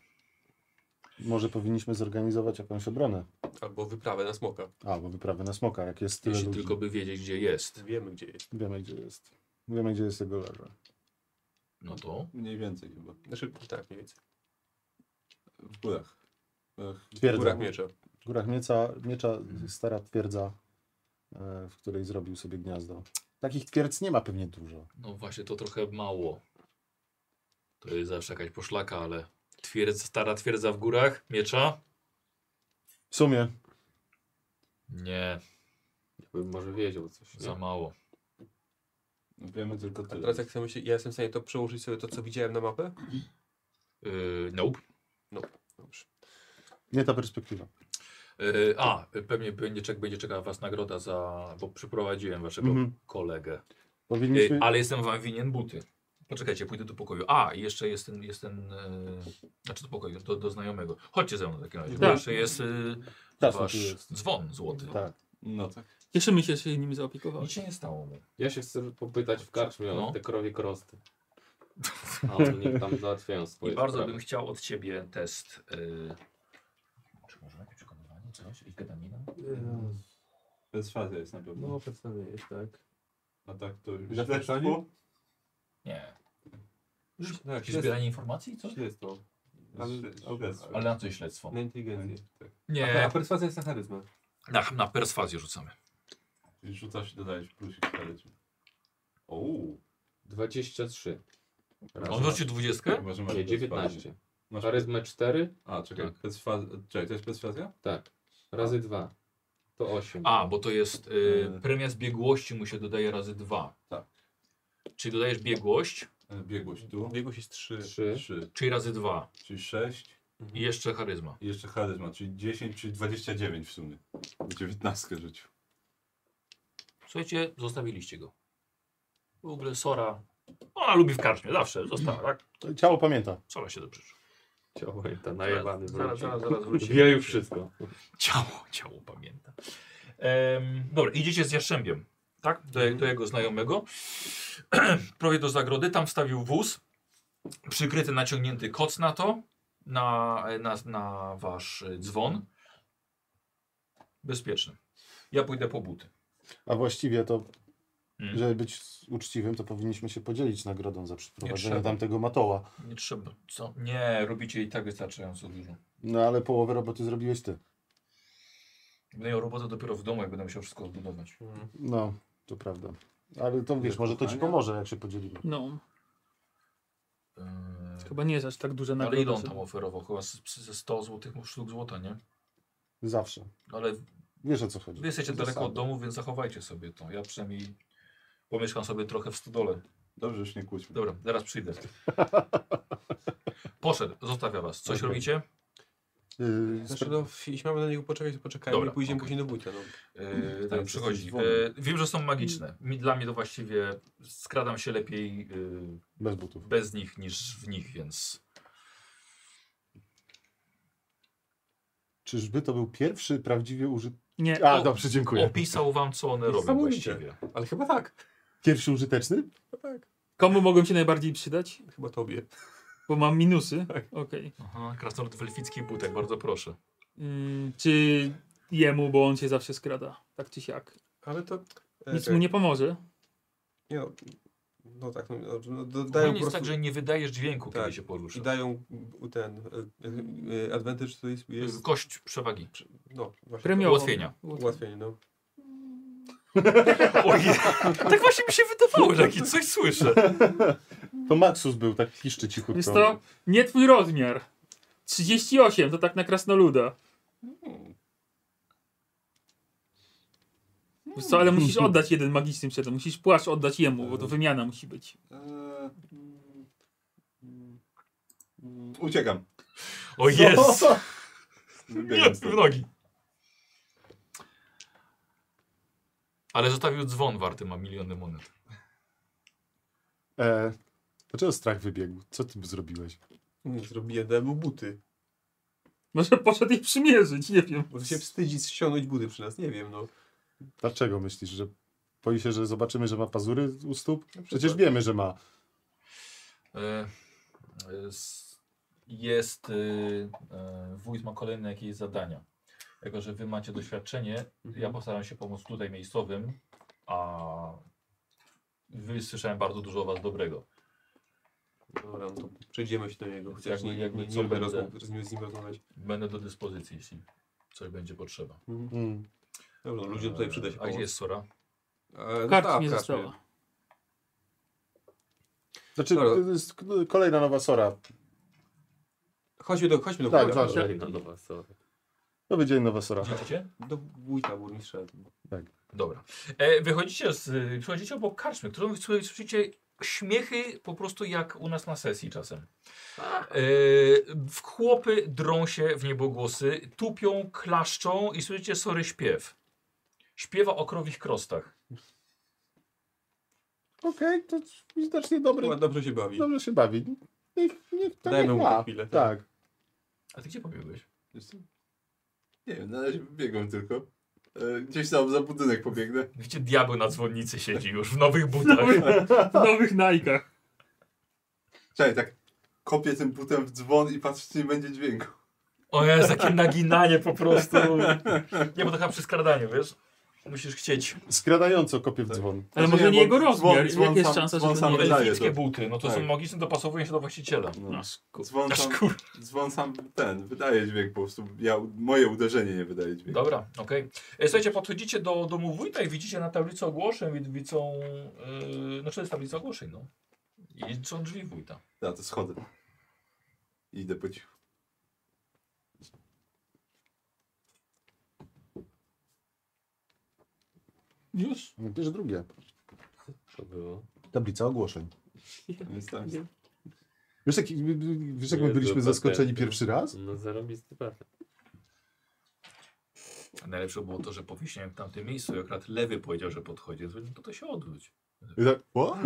Speaker 5: Może powinniśmy zorganizować jakąś obronę.
Speaker 4: Albo wyprawę na smoka.
Speaker 5: Albo wyprawę na smoka, jak jest tyle
Speaker 2: Jeśli
Speaker 5: ludzi.
Speaker 2: tylko by wiedzieć, gdzie jest.
Speaker 4: Wiemy gdzie jest.
Speaker 5: Wiemy, gdzie jest. Wiemy, gdzie jest jego leże.
Speaker 2: No to
Speaker 1: Mniej więcej chyba.
Speaker 4: Znaczy, tak, mniej więcej.
Speaker 1: W górach. Ach,
Speaker 4: W
Speaker 5: Twierdza.
Speaker 4: górach miecza.
Speaker 5: W górach mieca, miecza stara twierdza, e, w której zrobił sobie gniazdo. Takich twierdz nie ma pewnie dużo.
Speaker 2: no właśnie to trochę mało. To jest zawsze jakaś poszlaka, ale twierdza, stara twierdza w górach, miecza?
Speaker 5: W sumie
Speaker 2: Nie,
Speaker 3: Bym może wiedział coś.
Speaker 2: za mało.
Speaker 1: wiemy tylko
Speaker 4: A
Speaker 1: tyle.
Speaker 4: teraz jak sobie, ja jestem w stanie to przełożyć sobie to, co widziałem na mapę?
Speaker 2: Yy, nope.
Speaker 4: Dobrze.
Speaker 5: nie ta perspektywa.
Speaker 2: Yy, a, pewnie będzie, czek, będzie czekała was nagroda za... bo przyprowadziłem waszego
Speaker 5: Mhm.
Speaker 2: kolegę. Ej,
Speaker 5: Powinniśmy...
Speaker 2: ale jestem wam winien buty. Poczekajcie, pójdę do pokoju. A, i jeszcze jest ten, jest ten e, znaczy do pokoju, do, do znajomego. Chodźcie ze mną w takim razie, bo
Speaker 6: Tak.
Speaker 2: jeszcze jest e,
Speaker 5: Jasne,
Speaker 2: wasz
Speaker 5: tu jest.
Speaker 2: dzwon złoty.
Speaker 5: Tak.
Speaker 1: No tak.
Speaker 6: Cieszymy się, że się nim zaopiekowałeś.
Speaker 2: Nic się nie stało mu.
Speaker 3: Ja się chcę popytać w karczmie
Speaker 2: No.
Speaker 3: o te krowie krosty.
Speaker 2: [LAUGHS]
Speaker 3: A oni niech tam załatwiają
Speaker 2: I
Speaker 3: swoje
Speaker 2: bardzo
Speaker 3: sprawy.
Speaker 2: bym chciał od ciebie test. e, czy może jakieś przekonywanie, coś? I gadanina?
Speaker 1: Perswazja jest na pewno.
Speaker 3: No, przedstawię jest, tak.
Speaker 1: A tak to już
Speaker 4: Na
Speaker 1: śledztwo?
Speaker 4: pytanie?
Speaker 2: Nie.
Speaker 4: Tak,
Speaker 2: Jakieś zbieranie informacji? Co?
Speaker 4: jest to.
Speaker 1: Śle- śledztwo.
Speaker 2: Ale na coś śledztwo.
Speaker 4: Na inteligencję.
Speaker 9: E.
Speaker 4: A, a
Speaker 2: Nie,
Speaker 4: perswazja jest na charyzmę.
Speaker 2: na, na perswazję rzucamy.
Speaker 1: Czyli Rzucasz i dodajesz plusik czterecie. Ouu.
Speaker 3: 23. Raz,
Speaker 2: On rzucił dwudziestkę?
Speaker 1: Chyba, że masz
Speaker 3: Nie,
Speaker 1: perswazję.
Speaker 3: 19.
Speaker 1: Masz...
Speaker 3: Charyzmę 4?
Speaker 1: A, czekaj.
Speaker 3: Tak.
Speaker 1: Perswazja- Czekaj, to jest perswazja?
Speaker 3: Tak. Razy 2. To 8.
Speaker 2: A, bo to jest y,
Speaker 1: Yy.
Speaker 2: premia z biegłości mu się dodaje razy dwa.
Speaker 1: Tak.
Speaker 2: Czyli dodajesz biegłość,
Speaker 1: E, Biegłość tu.
Speaker 4: Biegłość jest 3.
Speaker 3: 3.
Speaker 1: Trzy,
Speaker 2: czyli razy dwa.
Speaker 1: czyli sześć.
Speaker 2: I jeszcze charyzma.
Speaker 1: I jeszcze charyzma, czyli 10, czyli 29 w sumie. 19 rzucił.
Speaker 2: Słuchajcie, zostawiliście go. W ogóle Sora. Ona lubi w karczmie, zawsze [CLEARS THROAT] została, tak?
Speaker 5: Ciało pamięta.
Speaker 2: Sora się dobrze czuje.
Speaker 3: Ciało i ta najebany
Speaker 2: zaraz,
Speaker 3: wróci.
Speaker 2: zaraz, zaraz wróci.
Speaker 3: Wie już wszystko.
Speaker 2: Ciało, ciało pamięta. Em, dobra, idziecie z Jaszczębiem, tak? Do, do jego znajomego. [CLEARS THROAT] Prawie do zagrody, tam wstawił wóz, przykryty, naciągnięty koc na to, na, na, na wasz y, dzwon. Bezpieczny. Ja pójdę po buty.
Speaker 5: A właściwie to,
Speaker 2: Mm.
Speaker 5: żeby być uczciwym, to powinniśmy się podzielić nagrodą za
Speaker 2: trzeba.
Speaker 5: przyprowadzenie tamtego matoła.
Speaker 2: Nie trzeba, co? Nie, robicie i tak wystarczająco dużo.
Speaker 5: No ale połowę roboty zrobiłeś ty.
Speaker 2: Będę miał No robotę dopiero w domu, jak będę musiał wszystko odbudować.
Speaker 5: No, to prawda. Ale to wiesz, może to ci pomoże, jak się podzielimy.
Speaker 6: No.
Speaker 2: Eee,
Speaker 6: Chyba nie jest aż tak duże
Speaker 2: Ale ile
Speaker 6: nagroda.
Speaker 2: on tam oferował? Chyba z- z- ze 100 złotych sztuk złota, nie?
Speaker 5: Zawsze.
Speaker 2: No Ale
Speaker 5: Wiesz o co chodzi.
Speaker 2: wy jesteście daleko
Speaker 5: Zasady.
Speaker 2: od domu, więc zachowajcie sobie to. Ja przynajmniej pomieszkam sobie trochę w stodole.
Speaker 1: Dobrze, już nie kłóćmy.
Speaker 2: Dobra, zaraz przyjdę. Poszedł, zostawia was. Coś
Speaker 5: Okej.
Speaker 2: robicie?
Speaker 5: Yy,
Speaker 9: Znaczy, no, jeśli mamy na niego poczekać, to poczekajmy
Speaker 2: Dobra,
Speaker 9: i pójdziemy
Speaker 2: okej.
Speaker 9: później do wójta. No.
Speaker 2: Yy, tak,
Speaker 5: jesteś
Speaker 2: przychodzi.
Speaker 5: dzwonem.
Speaker 2: Yy, wiem, że są magiczne. Mi, dla mnie to właściwie skradam się lepiej yy,
Speaker 5: Bez butów.
Speaker 2: bez nich niż w nich, więc
Speaker 5: Czyżby to był pierwszy prawdziwie użyteczny?
Speaker 6: Nie,
Speaker 5: A,
Speaker 2: O,
Speaker 5: dobrze, dziękuję.
Speaker 2: opisał wam, co one robią
Speaker 9: Niesamowite.
Speaker 2: właściwie.
Speaker 9: Ale chyba tak.
Speaker 5: Pierwszy użyteczny?
Speaker 6: komu mogą się najbardziej przydać?
Speaker 9: Chyba tobie.
Speaker 6: Bo mam minusy.
Speaker 9: Tak.
Speaker 6: Okej.
Speaker 2: Aha, krasnolud w elfickich butach, bardzo proszę.
Speaker 6: Mm, czy jemu, bo on się zawsze skrada. Tak czy siak.
Speaker 9: Ale to... e,
Speaker 6: Nic
Speaker 9: tak.
Speaker 6: mu nie pomoże.
Speaker 9: Nie, no, no tak, no, dobrze, no,
Speaker 2: Dają
Speaker 9: dodają
Speaker 2: jest
Speaker 9: po prostu...
Speaker 2: tak, że nie wydajesz dźwięku,
Speaker 9: Tak.
Speaker 2: kiedy się poruszasz.
Speaker 9: I dają m, ten... E, e, advantage to jest... jest
Speaker 2: Kość przewagi.
Speaker 9: no, właśnie
Speaker 6: Premiowo.
Speaker 2: Ułatwienia.
Speaker 9: to- Ułatwienie, no.
Speaker 2: Ojej, [LAUGHS] tak właśnie mi się wydawało, że taki coś słyszę.
Speaker 5: To Maxus był, tak piszczy cichutko.
Speaker 6: Jest to nie twój rozmiar. 38 to tak na krasnoluda. Hmm. Wiesz co, ale musisz oddać jeden magiczny przedmiot. Musisz płaszcz oddać jemu, bo to wymiana musi być.
Speaker 9: E,
Speaker 1: Eee, mm,
Speaker 9: no.
Speaker 1: mm, mm, Uciekam.
Speaker 5: No.
Speaker 2: O
Speaker 5: [LAUGHS]
Speaker 2: jest!
Speaker 1: Biegam
Speaker 2: Nie,
Speaker 1: stąd.
Speaker 2: w nogi. Ale zostawił dzwon warty, ma miliony monet.
Speaker 5: E, dlaczego strach wybiegł? Co ty zrobiłeś?
Speaker 9: Nie Zrobię demu buty.
Speaker 6: Może poszedł jej przymierzyć, nie wiem.
Speaker 9: Może się wstydzi ściągnąć buty przy nas, nie wiem, no.
Speaker 5: Dlaczego myślisz, że boi się, że zobaczymy, że ma pazury u stóp? Przecież wiemy, że ma.
Speaker 2: E, e, s- Jest. e, e, Wójt ma kolejne jakieś zadania. Jako, że wy macie doświadczenie, ja postaram się pomóc tutaj miejscowym, a wy słyszałem bardzo dużo o was dobrego.
Speaker 9: Dobra, no to przejdziemy się do niego, chociaż
Speaker 2: Jakby-
Speaker 9: nie, nie,
Speaker 2: jakby
Speaker 9: nie,
Speaker 2: co
Speaker 9: lubię
Speaker 2: będę-
Speaker 9: rozmów, z nim- z nim rozmawiać.
Speaker 2: Będę do dyspozycji, jeśli coś będzie potrzeba.
Speaker 5: Mm.
Speaker 9: Dobra, no, ludziom tutaj przyda się
Speaker 2: A
Speaker 9: pomoc.
Speaker 2: gdzie jest Sora?
Speaker 9: E, no
Speaker 6: Kart
Speaker 9: tak,
Speaker 6: nie
Speaker 9: kart
Speaker 6: została.
Speaker 5: Znaczy,
Speaker 9: Dobra.
Speaker 5: to jest k- kolejna nowa Sora.
Speaker 9: Chodźmy do, chodźmy do
Speaker 5: Tak,
Speaker 9: wójta.
Speaker 5: zawsze. Nowy dzień, nowa Sora.
Speaker 2: Idziecie?
Speaker 9: Do wójta burmistrza.
Speaker 2: Dobra. E, wychodzicie, z, wychodzicie obok karczmy, którą słuchaj, słyszycie śmiechy po prostu jak u nas na sesji czasem. E, w- chłopy drą się w niebogłosy, tupią, klaszczą i słyszycie sory śpiew. Śpiewa o krowich krostach.
Speaker 5: Okej, to widocznie dobry,
Speaker 9: Chyba dobrze się bawi.
Speaker 5: dobrze się bawi. Niech, niech, to
Speaker 9: Dajmy
Speaker 5: niech
Speaker 9: mu
Speaker 5: ma.
Speaker 9: chwilę, tak.
Speaker 5: Tak.
Speaker 2: A ty gdzie pobiegłeś?
Speaker 1: Wiesz co? Nie wiem, na razie biegłem tylko. E, Gdzieś tam za budynek pobiegnę.
Speaker 2: Gdzie diabeł na dzwonnicy siedzi już, w nowych butach.
Speaker 6: W nowych najkach.
Speaker 1: Czekaj, tak kopię tym butem w dzwon i patrzę, czy nie będzie dźwięku.
Speaker 2: O jest takie naginanie po prostu. Nie, bo to chyba przy skradaniu, wiesz? Musisz chcieć.
Speaker 5: Skradająco kopie
Speaker 9: Tak.
Speaker 5: w dzwon.
Speaker 6: Ale
Speaker 1: Znaczy,
Speaker 6: może nie
Speaker 1: bo
Speaker 6: jego rozmiar.
Speaker 1: dzwon
Speaker 6: Jaka jest
Speaker 1: sam-
Speaker 6: szansa,
Speaker 1: dzwon
Speaker 6: że to
Speaker 1: sam
Speaker 6: nie
Speaker 1: wydaje
Speaker 2: Elfickie
Speaker 1: to.
Speaker 2: buty, no to są
Speaker 1: Tak.
Speaker 2: magiczne, dopasowują się do właściciela.
Speaker 1: No.
Speaker 6: Aż ku-
Speaker 1: Dzwon
Speaker 2: Aż
Speaker 1: sam,
Speaker 2: kur...
Speaker 1: dzwon sam ten, wydaje dźwięk po prostu. Ja, moje uderzenie nie wydaje dźwięku.
Speaker 2: Dobra, okej. E, Słuchajcie, podchodzicie do domu wójta i widzicie na tablicy ogłoszeń, wid- widzą, yy, znaczy jest tablica ogłoszeń, no. I są drzwi wójta.
Speaker 1: Ja to schodzę. I Idę po cichu.
Speaker 6: Już?
Speaker 5: Bierz drugie.
Speaker 10: To było.
Speaker 5: Tablica ogłoszeń.
Speaker 1: Więc tak.
Speaker 5: Wiesz, jak, wiesz, jak my
Speaker 10: Nie,
Speaker 5: byliśmy
Speaker 10: to
Speaker 5: zaskoczeni
Speaker 10: patent.
Speaker 5: pierwszy raz?
Speaker 10: No zarobisty patent.
Speaker 2: Najlepsze było to, że po wieśniach w tamtym miejscu, jak akurat lewy powiedział, że podchodzi, to, powiedział, no to się odwróć.
Speaker 5: I tak, o?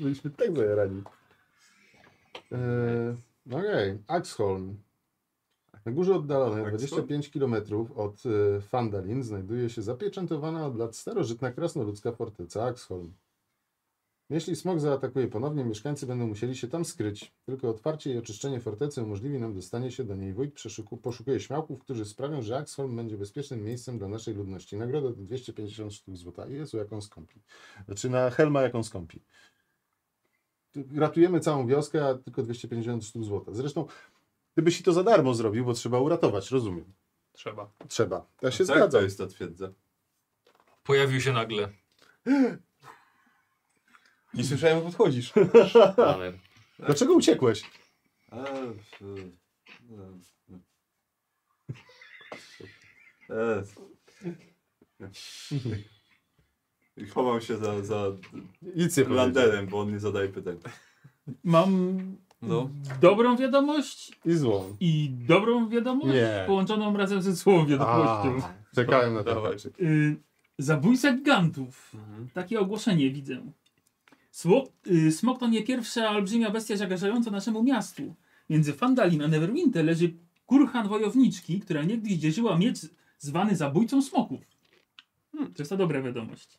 Speaker 5: Byliśmy tak zajarani. Eee, Okej, Axholm. Na górze oddalonej,
Speaker 1: Axholm?
Speaker 5: 25 km od e, Fandalin, znajduje się zapieczętowana od lat starożytna krasnoludzka fortyca Axholm. Jeśli smog zaatakuje ponownie, mieszkańcy będą musieli się tam skryć. Tylko otwarcie i oczyszczenie fortecy umożliwi nam dostanie się do niej. Wójt przeszuku, poszukuje śmiałków, którzy sprawią, że Axholm będzie bezpiecznym miejscem dla naszej ludności. Nagroda to 250 sztuk złota. Jezu, jaką skąpi. Znaczy na Helma jaką skąpi. Tu Ratujemy całą wioskę, a tylko 250 sztuk złota. Zresztą, gdybyś i to za darmo zrobił, bo trzeba uratować, rozumiem.
Speaker 9: Trzeba.
Speaker 5: Trzeba. Ja się
Speaker 1: tak to
Speaker 5: zgadzam.
Speaker 1: jest ta twierdza.
Speaker 2: Pojawił się nagle.
Speaker 9: [LAUGHS] Nie słyszałem, jak podchodzisz.
Speaker 10: Mamy.
Speaker 5: Dlaczego uciekłeś?
Speaker 1: E, w- e, e. I chowam się za, za
Speaker 5: Nic nie powiedział.
Speaker 1: landerem, bo on nie zadaje pytań.
Speaker 6: Mam dobrą wiadomość
Speaker 5: I złą.
Speaker 6: i dobrą wiadomość
Speaker 5: Nie.
Speaker 6: połączoną razem ze złą
Speaker 5: A,
Speaker 6: wiadomością.
Speaker 5: Czekałem na to.
Speaker 9: Dawaj.
Speaker 6: Y, zabójca gigantów.
Speaker 9: Mhm.
Speaker 6: Takie ogłoszenie widzę. Sło, y, smok to nie pierwsza olbrzymia bestia zagrażająca naszemu miastu. Między Fandalim a Neverwinter leży kurhan wojowniczki, która niegdyś dzierżyła miecz zwany zabójcą smoków. Hmm, to jest ta dobra wiadomość.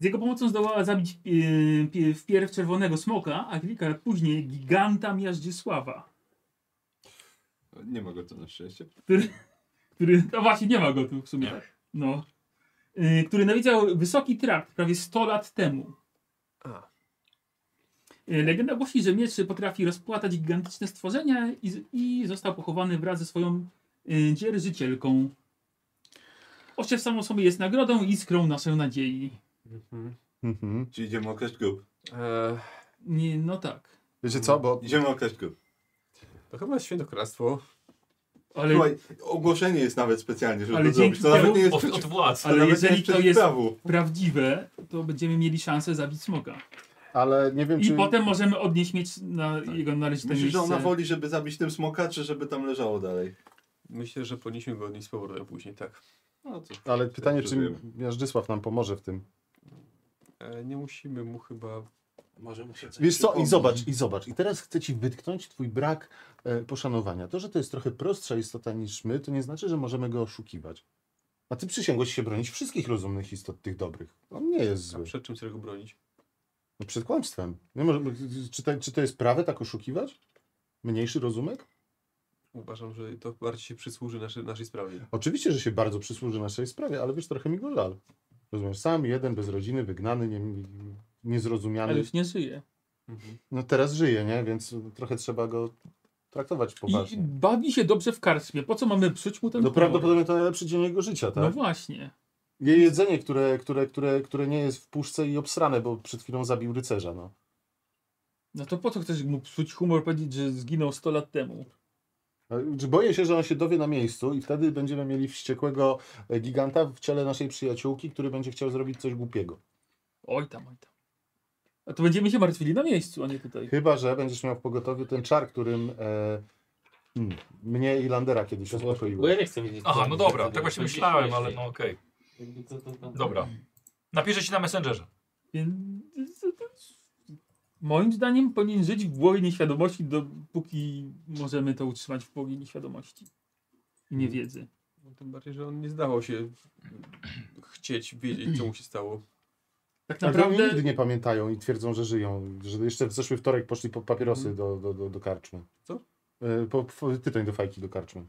Speaker 6: Z jego pomocą zdołała zabić y, pie- wpierw czerwonego smoka, a kilka lat później giganta Miażdżysława,
Speaker 1: Nie ma go tu na szczęście.
Speaker 6: który... No właśnie, nie ma go tu w sumie. No. Y, który nawiedział wysoki trakt prawie 100 lat temu.
Speaker 9: A.
Speaker 6: Y, Legenda głosi, że miecz potrafi rozpłatać gigantyczne stworzenia i, z- i został pochowany wraz ze swoją y, dzierżycielką. Osiew samo sobie jest nagrodą i iskrą naszej nadziei.
Speaker 5: Mhm.
Speaker 1: Czy idziemy okraść grób?
Speaker 9: E,
Speaker 6: Nie, no tak.
Speaker 5: Wiecie co, bo
Speaker 1: Idziemy okraść grób.
Speaker 9: to chyba świętokradztwo.
Speaker 6: Ale,
Speaker 1: Słuchaj, ogłoszenie jest nawet specjalnie, żeby
Speaker 6: Ale
Speaker 1: to zrobić.
Speaker 6: dzięki
Speaker 1: To nawet
Speaker 6: temu-
Speaker 1: nie jest
Speaker 2: Od, od władz.
Speaker 1: to
Speaker 6: ale
Speaker 1: nawet nie
Speaker 6: jeżeli to
Speaker 1: przeciw
Speaker 6: jest
Speaker 1: prawu.
Speaker 6: prawdziwe, to będziemy mieli szansę zabić smoka.
Speaker 5: ale nie wiem
Speaker 6: I
Speaker 5: czy...
Speaker 6: potem możemy odnieść miecz na jego należyte
Speaker 1: Myślisz, że
Speaker 6: miejsce.
Speaker 1: ona woli, żeby zabić tym smoka, czy żeby tam leżało dalej?
Speaker 9: Myślę, że powinniśmy go odnieść z powrotem później, tak.
Speaker 1: No to
Speaker 5: Ale pytanie, czy
Speaker 1: Rozumiem.
Speaker 5: Miażdżysław nam pomoże w tym.
Speaker 9: E, nie musimy mu chyba...
Speaker 2: Może mu się coś
Speaker 5: Wiesz co, i
Speaker 2: przypomnieć.
Speaker 5: zobacz, i zobacz. I teraz chcę ci wytknąć twój brak e, poszanowania. To, że to jest trochę prostsza istota niż my, to nie znaczy, że możemy go oszukiwać. A ty przysięgłeś się bronić wszystkich rozumnych istot, tych dobrych. On nie jest
Speaker 9: A
Speaker 5: zły.
Speaker 9: przed czym chcę go bronić?
Speaker 5: No przed kłamstwem. Nie może, czy, to, czy to jest prawe tak oszukiwać? Mniejszy rozumek?
Speaker 9: Uważam, że to bardziej się przysłuży naszej, naszej sprawie.
Speaker 5: Oczywiście, że się bardzo przysłuży naszej sprawie, ale wiesz, trochę mi go żal. Rozumiesz, sam, jeden, bez rodziny, wygnany, nie, niezrozumiany.
Speaker 6: Ale już nie żyje.
Speaker 5: No teraz żyje, nie? Więc trochę trzeba go traktować
Speaker 6: I
Speaker 5: poważnie.
Speaker 6: bawi się dobrze w karczmie. Po co mamy psuć mu ten
Speaker 5: No
Speaker 6: humor?
Speaker 5: prawdopodobnie to najlepszy dzień jego życia,
Speaker 6: No
Speaker 5: tak?
Speaker 6: właśnie.
Speaker 5: Jej jedzenie, które, które, które, które nie jest w puszce i obsrane, bo przed chwilą zabił rycerza, no.
Speaker 6: No to po co chcesz mu psuć humor, powiedzieć, że zginął 100 lat temu?
Speaker 5: No, Czy Boję się, że on się dowie na miejscu i wtedy będziemy mieli wściekłego e, giganta w ciele naszej przyjaciółki, który będzie chciał zrobić coś głupiego.
Speaker 6: Oj tam, oj tam. A to będziemy się martwili na miejscu, a nie tutaj.
Speaker 5: Chyba, że będziesz miał w pogotowiu ten czar, którym e, mm, mnie i Landera kiedyś
Speaker 3: Bo
Speaker 5: uspokoiło.
Speaker 3: ja nie chcę widzieć.
Speaker 2: Aha,
Speaker 3: co
Speaker 2: no
Speaker 3: on
Speaker 2: dobra,
Speaker 3: zrobił.
Speaker 2: tak właśnie
Speaker 3: To jest
Speaker 2: myślałem,
Speaker 3: śmiesznie.
Speaker 2: ale no okej.
Speaker 3: Jakby co to tam-
Speaker 2: Dobra. Napiszę ci na Messengerze.
Speaker 6: Więc- Moim zdaniem powinien żyć w głowie nieświadomości, dopóki możemy to utrzymać w głowie nieświadomości. I
Speaker 5: Mhm.
Speaker 6: niewiedzy.
Speaker 9: No, tym bardziej, że on nie zdawał się chcieć wiedzieć, co mu się stało.
Speaker 6: Tak
Speaker 5: Tak, oni
Speaker 6: naprawdę
Speaker 5: nigdy nie pamiętają i twierdzą, że żyją. Że jeszcze w zeszły wtorek poszli po papierosy
Speaker 6: Mhm.
Speaker 5: do, do, do, do karczmy.
Speaker 9: Co?
Speaker 5: E, Po, po tytoń do fajki do karczmy.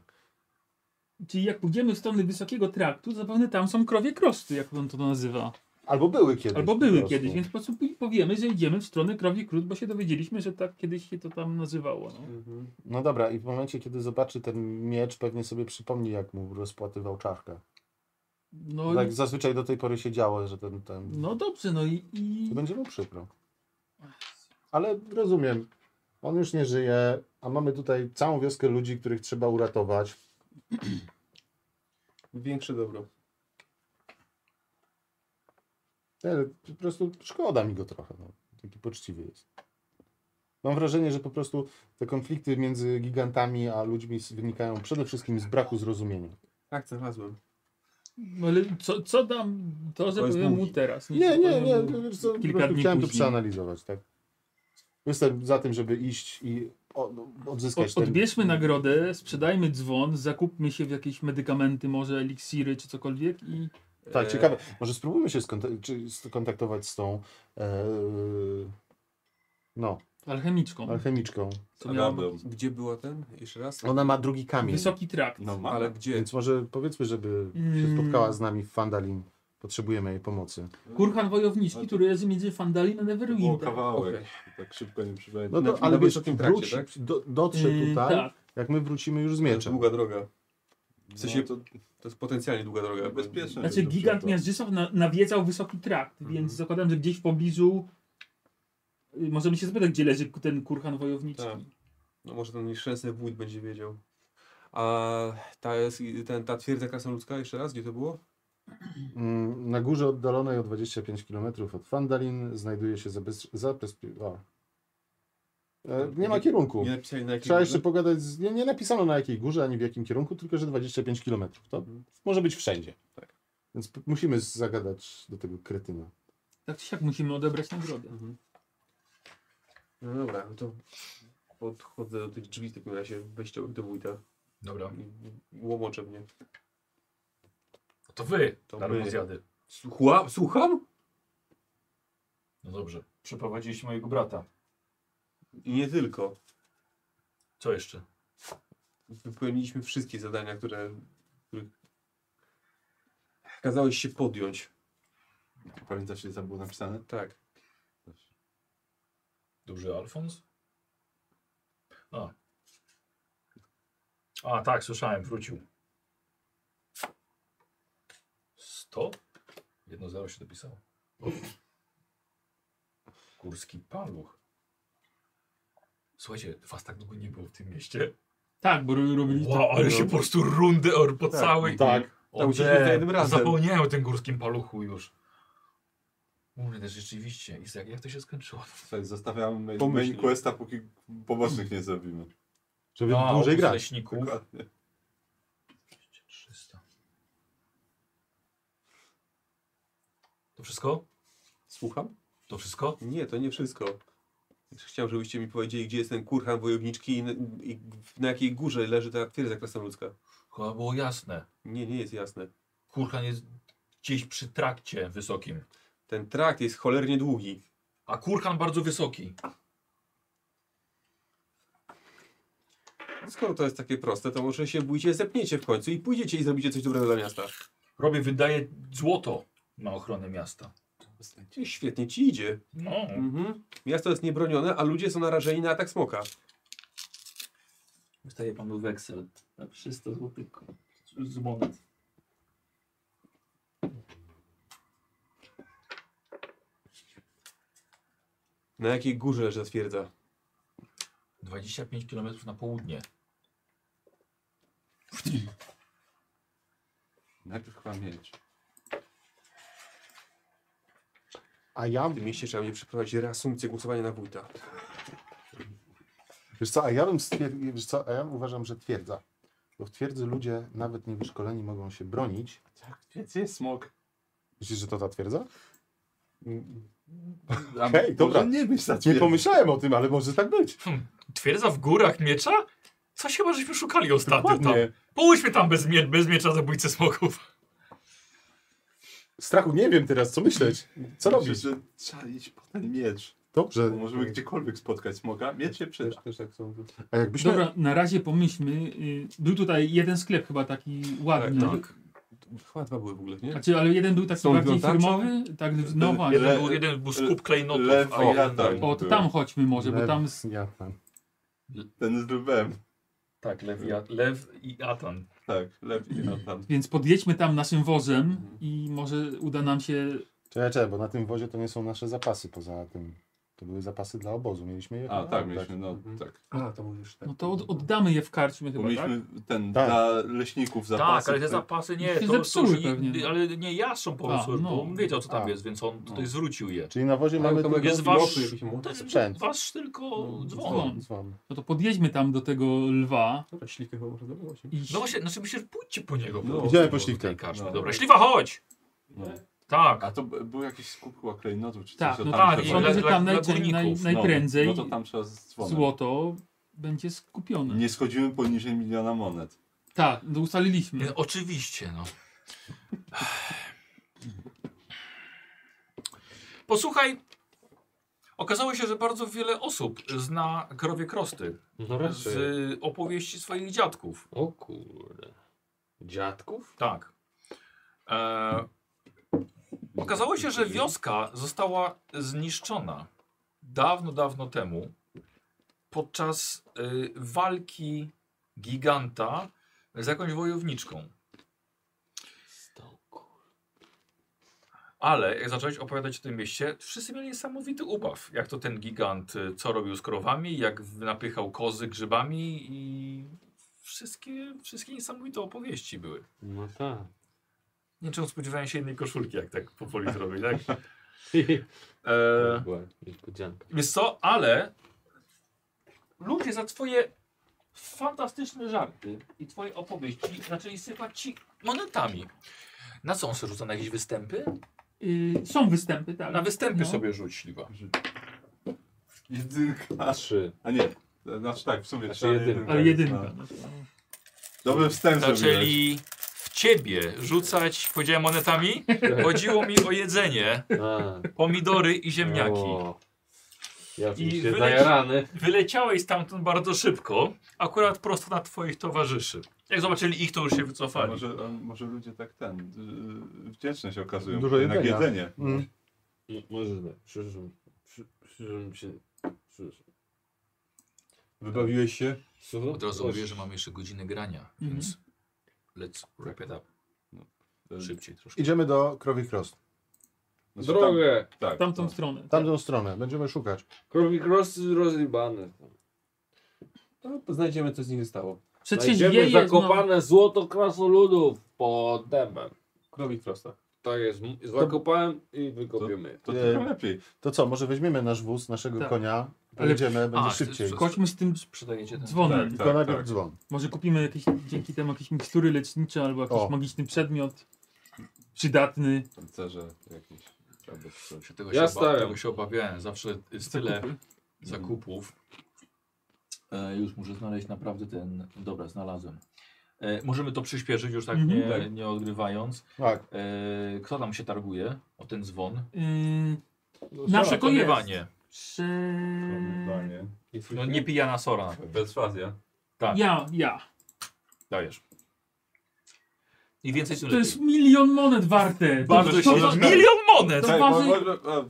Speaker 6: Czyli jak pójdziemy w stronę Wysokiego Traktu, zapewne tam są krowie krosty, jak on to nazywa.
Speaker 5: Albo były kiedyś.
Speaker 6: Albo
Speaker 5: po
Speaker 6: były
Speaker 5: prostu.
Speaker 6: kiedyś, więc po prostu powiemy, że idziemy w stronę krowie krót, bo się dowiedzieliśmy, że tak kiedyś się to tam nazywało. No.
Speaker 5: No dobra, i w momencie, kiedy zobaczy ten miecz, pewnie sobie przypomni, jak mu rozpłatywał czaszkę.
Speaker 6: No,
Speaker 5: tak
Speaker 6: i,
Speaker 5: zazwyczaj do tej pory się działo, że ten... ten...
Speaker 6: no dobrze, no i... i...
Speaker 5: To będzie mu przykro. Ale rozumiem, on już nie żyje, a mamy tutaj całą wioskę ludzi, których trzeba uratować.
Speaker 9: Większe dobro.
Speaker 5: Nie, E, po prostu szkoda mi go trochę. No. Taki poczciwy jest. Mam wrażenie, że po prostu te konflikty między gigantami a ludźmi z- wynikają przede wszystkim z braku zrozumienia.
Speaker 9: Tak, znalazłem.
Speaker 6: No, ale co, co dam to, że
Speaker 9: To jest
Speaker 6: powiem mu
Speaker 9: długi.
Speaker 6: teraz?
Speaker 5: Nie, nie,
Speaker 6: powiem
Speaker 5: nie.
Speaker 6: mu-
Speaker 5: wiesz co, po
Speaker 6: kilka
Speaker 5: prostu
Speaker 6: dni
Speaker 5: Chciałem to
Speaker 6: później.
Speaker 5: przeanalizować, tak. Jestem za tym, żeby iść i o- no, odzyskać
Speaker 6: Od, odbierzmy nagrodę, sprzedajmy dzwon, zakupmy się w jakieś medykamenty, może eliksiry czy cokolwiek i...
Speaker 5: ten...
Speaker 4: E,
Speaker 5: Tak, ciekawe. Może spróbujmy się skontak- czy skontaktować z tą e, no,
Speaker 6: Alchemiczką.
Speaker 5: alchemiczką.
Speaker 6: To miało
Speaker 1: Adam.
Speaker 9: Gdzie była ten? Jeszcze raz?
Speaker 5: Ona ma drugi kamień.
Speaker 6: Wysoki Trakt.
Speaker 1: No ma.
Speaker 9: Ale gdzie?
Speaker 5: No, Więc może powiedzmy, żeby się
Speaker 6: Mm.
Speaker 5: spotkała z nami w Fandalin. Potrzebujemy jej pomocy.
Speaker 6: Kurhan Wojowniczki, który jest między Fandalim a
Speaker 1: Było
Speaker 6: Neverwinter.
Speaker 1: kawałek.
Speaker 9: Okej.
Speaker 1: Tak szybko nie przypomnę.
Speaker 5: No to,
Speaker 9: Na-
Speaker 5: ale
Speaker 9: na
Speaker 5: wiesz,
Speaker 9: wysokim trakcie,
Speaker 5: wróć,
Speaker 9: tak?
Speaker 5: do, dotrze
Speaker 6: Yy,
Speaker 5: tutaj,
Speaker 6: tak.
Speaker 5: jak my wrócimy już z
Speaker 9: To
Speaker 5: mieczem.
Speaker 9: długa droga. W
Speaker 5: No,
Speaker 9: sensie-
Speaker 1: No, to
Speaker 9: To jest potencjalnie długa droga. bo-
Speaker 1: bezpieczne.
Speaker 6: Znaczy
Speaker 1: żeby
Speaker 6: gigant
Speaker 1: to-
Speaker 4: Mhm.
Speaker 6: Miażdżysław na, nawiedzał Wysoki Trakt, więc zakładam, że gdzieś w pobliżu y, y, możemy się zapytać, gdzie leży k- ten kurhan wojowniczy.
Speaker 4: Tak. No może ten nieszczęsny wójt będzie wiedział. A ta, jest, ten, ta twierdza krasnoludzka, jeszcze raz, gdzie to było?
Speaker 5: Mm, Na górze oddalonej o 25 km od Fandalin znajduje się zabez... zabezpie... o. E, nie ma kierunku.
Speaker 4: Nie napisali na jakiej
Speaker 5: Trzeba jeszcze
Speaker 4: górze?
Speaker 5: pogadać, z... nie, nie napisano na jakiej górze, ani w jakim kierunku, tylko że 25 km. To może być wszędzie. Więc p- musimy zagadać do tego kretyna.
Speaker 6: Tak czy siak musimy odebrać nagrodę.
Speaker 4: Mhm. No dobra, no to podchodzę do tych drzwi w takim razie wejściowych do wójta
Speaker 2: Dobra.
Speaker 4: i łomoczę mnie.
Speaker 2: To wy,
Speaker 4: To
Speaker 2: Darmo
Speaker 4: my.
Speaker 2: zjady.
Speaker 4: Słucha, słucham?
Speaker 2: No dobrze. Przeprowadziliście mojego brata.
Speaker 4: I nie tylko.
Speaker 2: Co jeszcze?
Speaker 4: Wypełniliśmy wszystkie zadania, które których kazałeś się podjąć.
Speaker 1: Pamiętasz, ile tam było napisane?
Speaker 4: Tak.
Speaker 2: Duży Alfons? A. A, tak, słyszałem, wrócił. 100? Jedno zero się dopisało. Górski paluch. Słuchajcie, was tak długo nie było w tym mieście.
Speaker 6: Tak, bo ro- robili
Speaker 2: Wow, ale się po prostu rundę or, po całej...
Speaker 5: Tak.
Speaker 2: O,
Speaker 4: Tak, uciekli
Speaker 2: nie,
Speaker 4: za jednym razem.
Speaker 2: Zapomniałem o tym górskim paluchu już. Mówię też rzeczywiście. I jak, jak to się skończyło?
Speaker 1: Słuchaj, zostawiamy main,
Speaker 4: Pomyśl.
Speaker 1: main questa, póki pobocznych nie zrobimy.
Speaker 5: Żeby
Speaker 2: A,
Speaker 5: dłużej
Speaker 2: obóz
Speaker 5: grać.
Speaker 2: No, leśników.
Speaker 1: Dokładnie.
Speaker 2: 300. To wszystko?
Speaker 4: Słucham?
Speaker 2: To wszystko?
Speaker 4: Nie, to nie wszystko. Jeszcze Chciałem, żebyście mi powiedzieli, gdzie jest ten kurhan wojowniczki i na, i na jakiej górze leży ta twierdza krasnoludzka.
Speaker 2: Chyba było jasne.
Speaker 4: Nie, nie jest jasne.
Speaker 2: Kurhan jest gdzieś przy trakcie wysokim.
Speaker 4: Ten trakt jest cholernie długi.
Speaker 2: A kurhan bardzo wysoki.
Speaker 4: Skoro to jest takie proste, to może się bójcie, zepniecie w końcu i pójdziecie i zrobicie coś dobrego dla miasta.
Speaker 2: Robię, wydaje złoto na ochronę miasta.
Speaker 4: Czyli Świetnie ci idzie.
Speaker 2: No.
Speaker 4: Mhm. Miasto jest niebronione, a ludzie są narażeni na atak smoka.
Speaker 3: Wystaje panu weksel na 300 zł z monet.
Speaker 4: Na jakiej górze leży ta twierdza?
Speaker 2: 25 km na południe.
Speaker 1: Najpierw chyba mieć.
Speaker 5: A ja,
Speaker 4: W tym mieście trzeba mnie przeprowadzić reasumpcję głosowania na wójta.
Speaker 5: wiesz co, a ja bym stwierdził, wiesz co, a ja uważam, że twierdza. Bo w twierdzy ludzie, nawet niewyszkoleni, mogą się bronić.
Speaker 1: Gdzie jest smok?
Speaker 5: Myślisz, że to ta twierdza?
Speaker 1: A
Speaker 5: Hej, dobra.
Speaker 1: może Nie myśl na
Speaker 5: Nie
Speaker 1: twierdzy.
Speaker 5: pomyślałem o tym, ale może tak być.
Speaker 2: Twierdza w górach miecza? Coś chyba żeśmy szukali ostatnio tam.
Speaker 5: Dokładnie.
Speaker 2: Połóżmy tam bez, mie bez miecza zabójcy
Speaker 1: [LAUGHS]
Speaker 2: smoków.
Speaker 5: Strachu nie wiem teraz, co myśleć. Co
Speaker 1: Myślę,
Speaker 5: robisz?
Speaker 1: że trzeba iść po ten miecz. Bo
Speaker 5: Dobrze.
Speaker 1: możemy gdziekolwiek spotkać smoka. Miecz się
Speaker 4: Też,
Speaker 1: przyda.
Speaker 4: też tak sądzę.
Speaker 5: A jakbyśmy...
Speaker 6: Dobra, na razie pomyślmy. y, Był tutaj jeden sklep chyba taki ładny.
Speaker 4: Tak, Chyba dwa były w ogóle, nie?
Speaker 6: Znaczy, ale jeden był taki
Speaker 4: Są
Speaker 6: bardziej
Speaker 4: wyglądacze?
Speaker 6: firmowy, tak, no właśnie.
Speaker 1: Le-
Speaker 2: Jeden był, jeden był skup klejnotów,
Speaker 1: Lew
Speaker 2: a
Speaker 1: i
Speaker 2: jeden...
Speaker 1: Ratan.
Speaker 6: O, to tam chodźmy może, bo tam z...
Speaker 5: Ja tam.
Speaker 1: Ten z lwem.
Speaker 2: Tak, lew i, At- lew i Atan.
Speaker 1: Tak, lew i Ratan.
Speaker 6: Więc podjedźmy tam naszym
Speaker 4: Mhm.
Speaker 6: wozem i może uda nam się.
Speaker 5: Czekaj, czekaj, bo na tym wozie to nie są nasze zapasy poza tym. To były zapasy dla obozu. Mieliśmy je?
Speaker 1: A,
Speaker 5: No,
Speaker 1: tak, mieliśmy, no
Speaker 4: Mhm.
Speaker 1: tak.
Speaker 4: A, to mówisz tak.
Speaker 6: No to od, oddamy je w karczmie
Speaker 1: Bo
Speaker 6: chyba, tak?
Speaker 1: mieliśmy ten
Speaker 5: Tak.
Speaker 1: dla leśników zapasy.
Speaker 2: tak, ale te
Speaker 1: które-
Speaker 2: zapasy nie,
Speaker 6: Się
Speaker 2: to są
Speaker 6: zepsuły
Speaker 2: już-
Speaker 6: pewnie, no.
Speaker 2: ale nie jastrząb po
Speaker 6: A,
Speaker 2: prostu,
Speaker 6: no.
Speaker 2: bo on wiedział co tam
Speaker 5: A.
Speaker 2: jest, więc on tutaj zwrócił je.
Speaker 5: Czyli na wozie
Speaker 4: Mamy
Speaker 5: mamy
Speaker 4: to
Speaker 5: tylko
Speaker 4: mojego
Speaker 2: jest wasz- Tak.
Speaker 4: losu, jakiś mu-
Speaker 2: To jest
Speaker 5: sprzęt.
Speaker 2: wasz tylko dzwon.
Speaker 6: dzwon.
Speaker 5: dzwon.
Speaker 6: No to podjedźmy tam do tego lwa
Speaker 4: Dobra, ślikę chyba można było właśnie.
Speaker 6: i
Speaker 2: No właśnie, znaczy myślę, że pójdźcie po niego.
Speaker 4: No,
Speaker 2: prostu,
Speaker 5: idziemy po
Speaker 2: do tej
Speaker 5: śliwkę.
Speaker 2: karczmy.
Speaker 1: No.
Speaker 2: Dobra, śliwa chodź!
Speaker 1: No.
Speaker 2: Tak.
Speaker 1: A to b- był jakiś skup chyba klejnotów czy
Speaker 6: Tak,
Speaker 1: coś.
Speaker 6: no
Speaker 1: o
Speaker 2: tak,
Speaker 1: trzeba-
Speaker 2: i
Speaker 6: sądzę,
Speaker 2: dla-
Speaker 6: że
Speaker 2: dla-
Speaker 6: tam
Speaker 2: dla
Speaker 6: najczę- naj,
Speaker 2: górników.
Speaker 1: No,
Speaker 6: najprędzej
Speaker 1: No to tam trzeba z dzwonem.
Speaker 6: złoto będzie skupione.
Speaker 1: Nie schodzimy poniżej miliona monet.
Speaker 6: Tak, no ustaliliśmy.
Speaker 2: Nie, oczywiście, no. [SIGHS] Posłuchaj, okazało się, że bardzo wiele osób zna krowie krosty
Speaker 3: No
Speaker 2: z
Speaker 3: raczej.
Speaker 2: opowieści swoich dziadków.
Speaker 3: O kurde. Dziadków?
Speaker 2: Tak. E, okazało się, że wioska została zniszczona dawno, dawno temu podczas y, walki giganta z jakąś wojowniczką.
Speaker 3: Stoku.
Speaker 2: Ale jak zacząłeś opowiadać o tym mieście, wszyscy mieli niesamowity ubaw. Jak to ten gigant, y, co robił z krowami, jak w- napychał kozy grzybami i wszystkie, wszystkie niesamowite opowieści były.
Speaker 3: No
Speaker 2: [LAUGHS]
Speaker 3: tak.
Speaker 2: Niczym spodziewałem się jednej koszulki, jak tak powoli zrobić, tak? E,
Speaker 3: Była niespodzianka.
Speaker 2: wiesz co, ale ludzie za twoje fantastyczne żarty i twoje opowieści zaczęli sypać ci monetami. Na co on sobie rzuca? Na jakieś występy?
Speaker 6: Y, są występy, tak.
Speaker 2: Na występy
Speaker 6: No.
Speaker 2: sobie rzuć, śliwa.
Speaker 1: Jedynka.
Speaker 10: Trzy.
Speaker 1: A nie, znaczy tak, w sumie
Speaker 10: Znaczy
Speaker 1: trzy, ale
Speaker 10: jedynka.
Speaker 6: Ale
Speaker 1: jest,
Speaker 6: jedynka.
Speaker 1: no.
Speaker 6: no to-
Speaker 1: Dobry wstęp zrobiłeś.
Speaker 2: Zaczęli w ciebie rzucać, powiedziałem monetami, chodziło mi o jedzenie,
Speaker 10: A,
Speaker 2: pomidory i ziemniaki.
Speaker 10: o. Ja
Speaker 2: I
Speaker 10: oczywiście
Speaker 2: wyleci-
Speaker 10: zajarany.
Speaker 2: Wyleciałeś stamtąd bardzo szybko, akurat prosto na twoich towarzyszy. Jak zobaczyli ich, to już się
Speaker 1: A
Speaker 2: wycofali.
Speaker 1: Może, a może ludzie tak ten, yy, wdzięczność okazują
Speaker 5: Dużo
Speaker 1: na
Speaker 5: jedzenia.
Speaker 1: jedzenie.
Speaker 5: Mm.
Speaker 10: M- Może tak. Przyszłym, przy, przyszłym się. Przyszłym.
Speaker 9: Wybawiłeś się?
Speaker 10: Słucham?
Speaker 2: Od razu mówię, że mam jeszcze godzinę grania, więc let's wrap it up.
Speaker 1: tak.
Speaker 2: Szybciej troszkę.
Speaker 5: Idziemy do Krowich Rost.
Speaker 1: Znaczy,
Speaker 10: Drogę!
Speaker 1: Tam, tak,
Speaker 6: Tamtą
Speaker 1: no.
Speaker 6: stronę.
Speaker 5: Tamtą stronę. Będziemy szukać.
Speaker 10: Krowi krosy rozrybane.
Speaker 4: No, znajdziemy, co z nich zostało.
Speaker 6: Przecież no, je
Speaker 10: Znajdziemy
Speaker 6: jest,
Speaker 10: zakopane złoto krasoludów pod dębem.
Speaker 4: Krowik prosta.
Speaker 10: Tak jest. m- Zakopałem i wykopiemy.
Speaker 1: To tylko lepiej.
Speaker 5: To co, może weźmiemy nasz wóz, naszego
Speaker 6: Tak.
Speaker 5: konia, pojedziemy, będzie
Speaker 2: A,
Speaker 5: szybciej.
Speaker 2: to-
Speaker 6: no.
Speaker 2: to-
Speaker 6: Chodźmy z tym
Speaker 2: Przedajecie ten.
Speaker 6: dzwonem.
Speaker 1: Tak,
Speaker 5: Tylko najpierw
Speaker 1: tak.
Speaker 5: dzwon.
Speaker 6: Może kupimy jakieś, dzięki temu jakieś mikstury lecznicze albo jakiś
Speaker 5: O.
Speaker 6: magiczny przedmiot przydatny.
Speaker 1: Pancerze jakieś. albo coś.
Speaker 2: Się tego
Speaker 10: Ja
Speaker 2: się
Speaker 10: stawiam.
Speaker 2: Oba, tego się obawiałem. Zawsze jest tyle zakupów. E, już muszę znaleźć naprawdę ten. Dobra, znalazłem. E, możemy to przyspieszyć już tak
Speaker 6: Mhm.
Speaker 2: nie, nie odgrywając.
Speaker 5: Tak.
Speaker 2: E, kto tam się targuje o ten dzwon?
Speaker 6: Yy,
Speaker 10: No,
Speaker 2: Na
Speaker 6: nasze to jest.
Speaker 2: przekonywanie.
Speaker 6: Prze...
Speaker 1: Panie.
Speaker 2: No,
Speaker 3: Mhm.
Speaker 2: nie pijana sora na pewno.
Speaker 4: Perswazja.
Speaker 2: Tak,
Speaker 6: Ja, ja.
Speaker 2: dajesz. I więcej tym
Speaker 6: To jest
Speaker 2: lepiej.
Speaker 6: milion monet warte.
Speaker 2: Bardzo Tak.
Speaker 6: to,
Speaker 2: się.
Speaker 6: to, to,
Speaker 2: Milion monet!
Speaker 6: To
Speaker 1: Czekaj, bo-
Speaker 6: waży-
Speaker 1: bo- bo-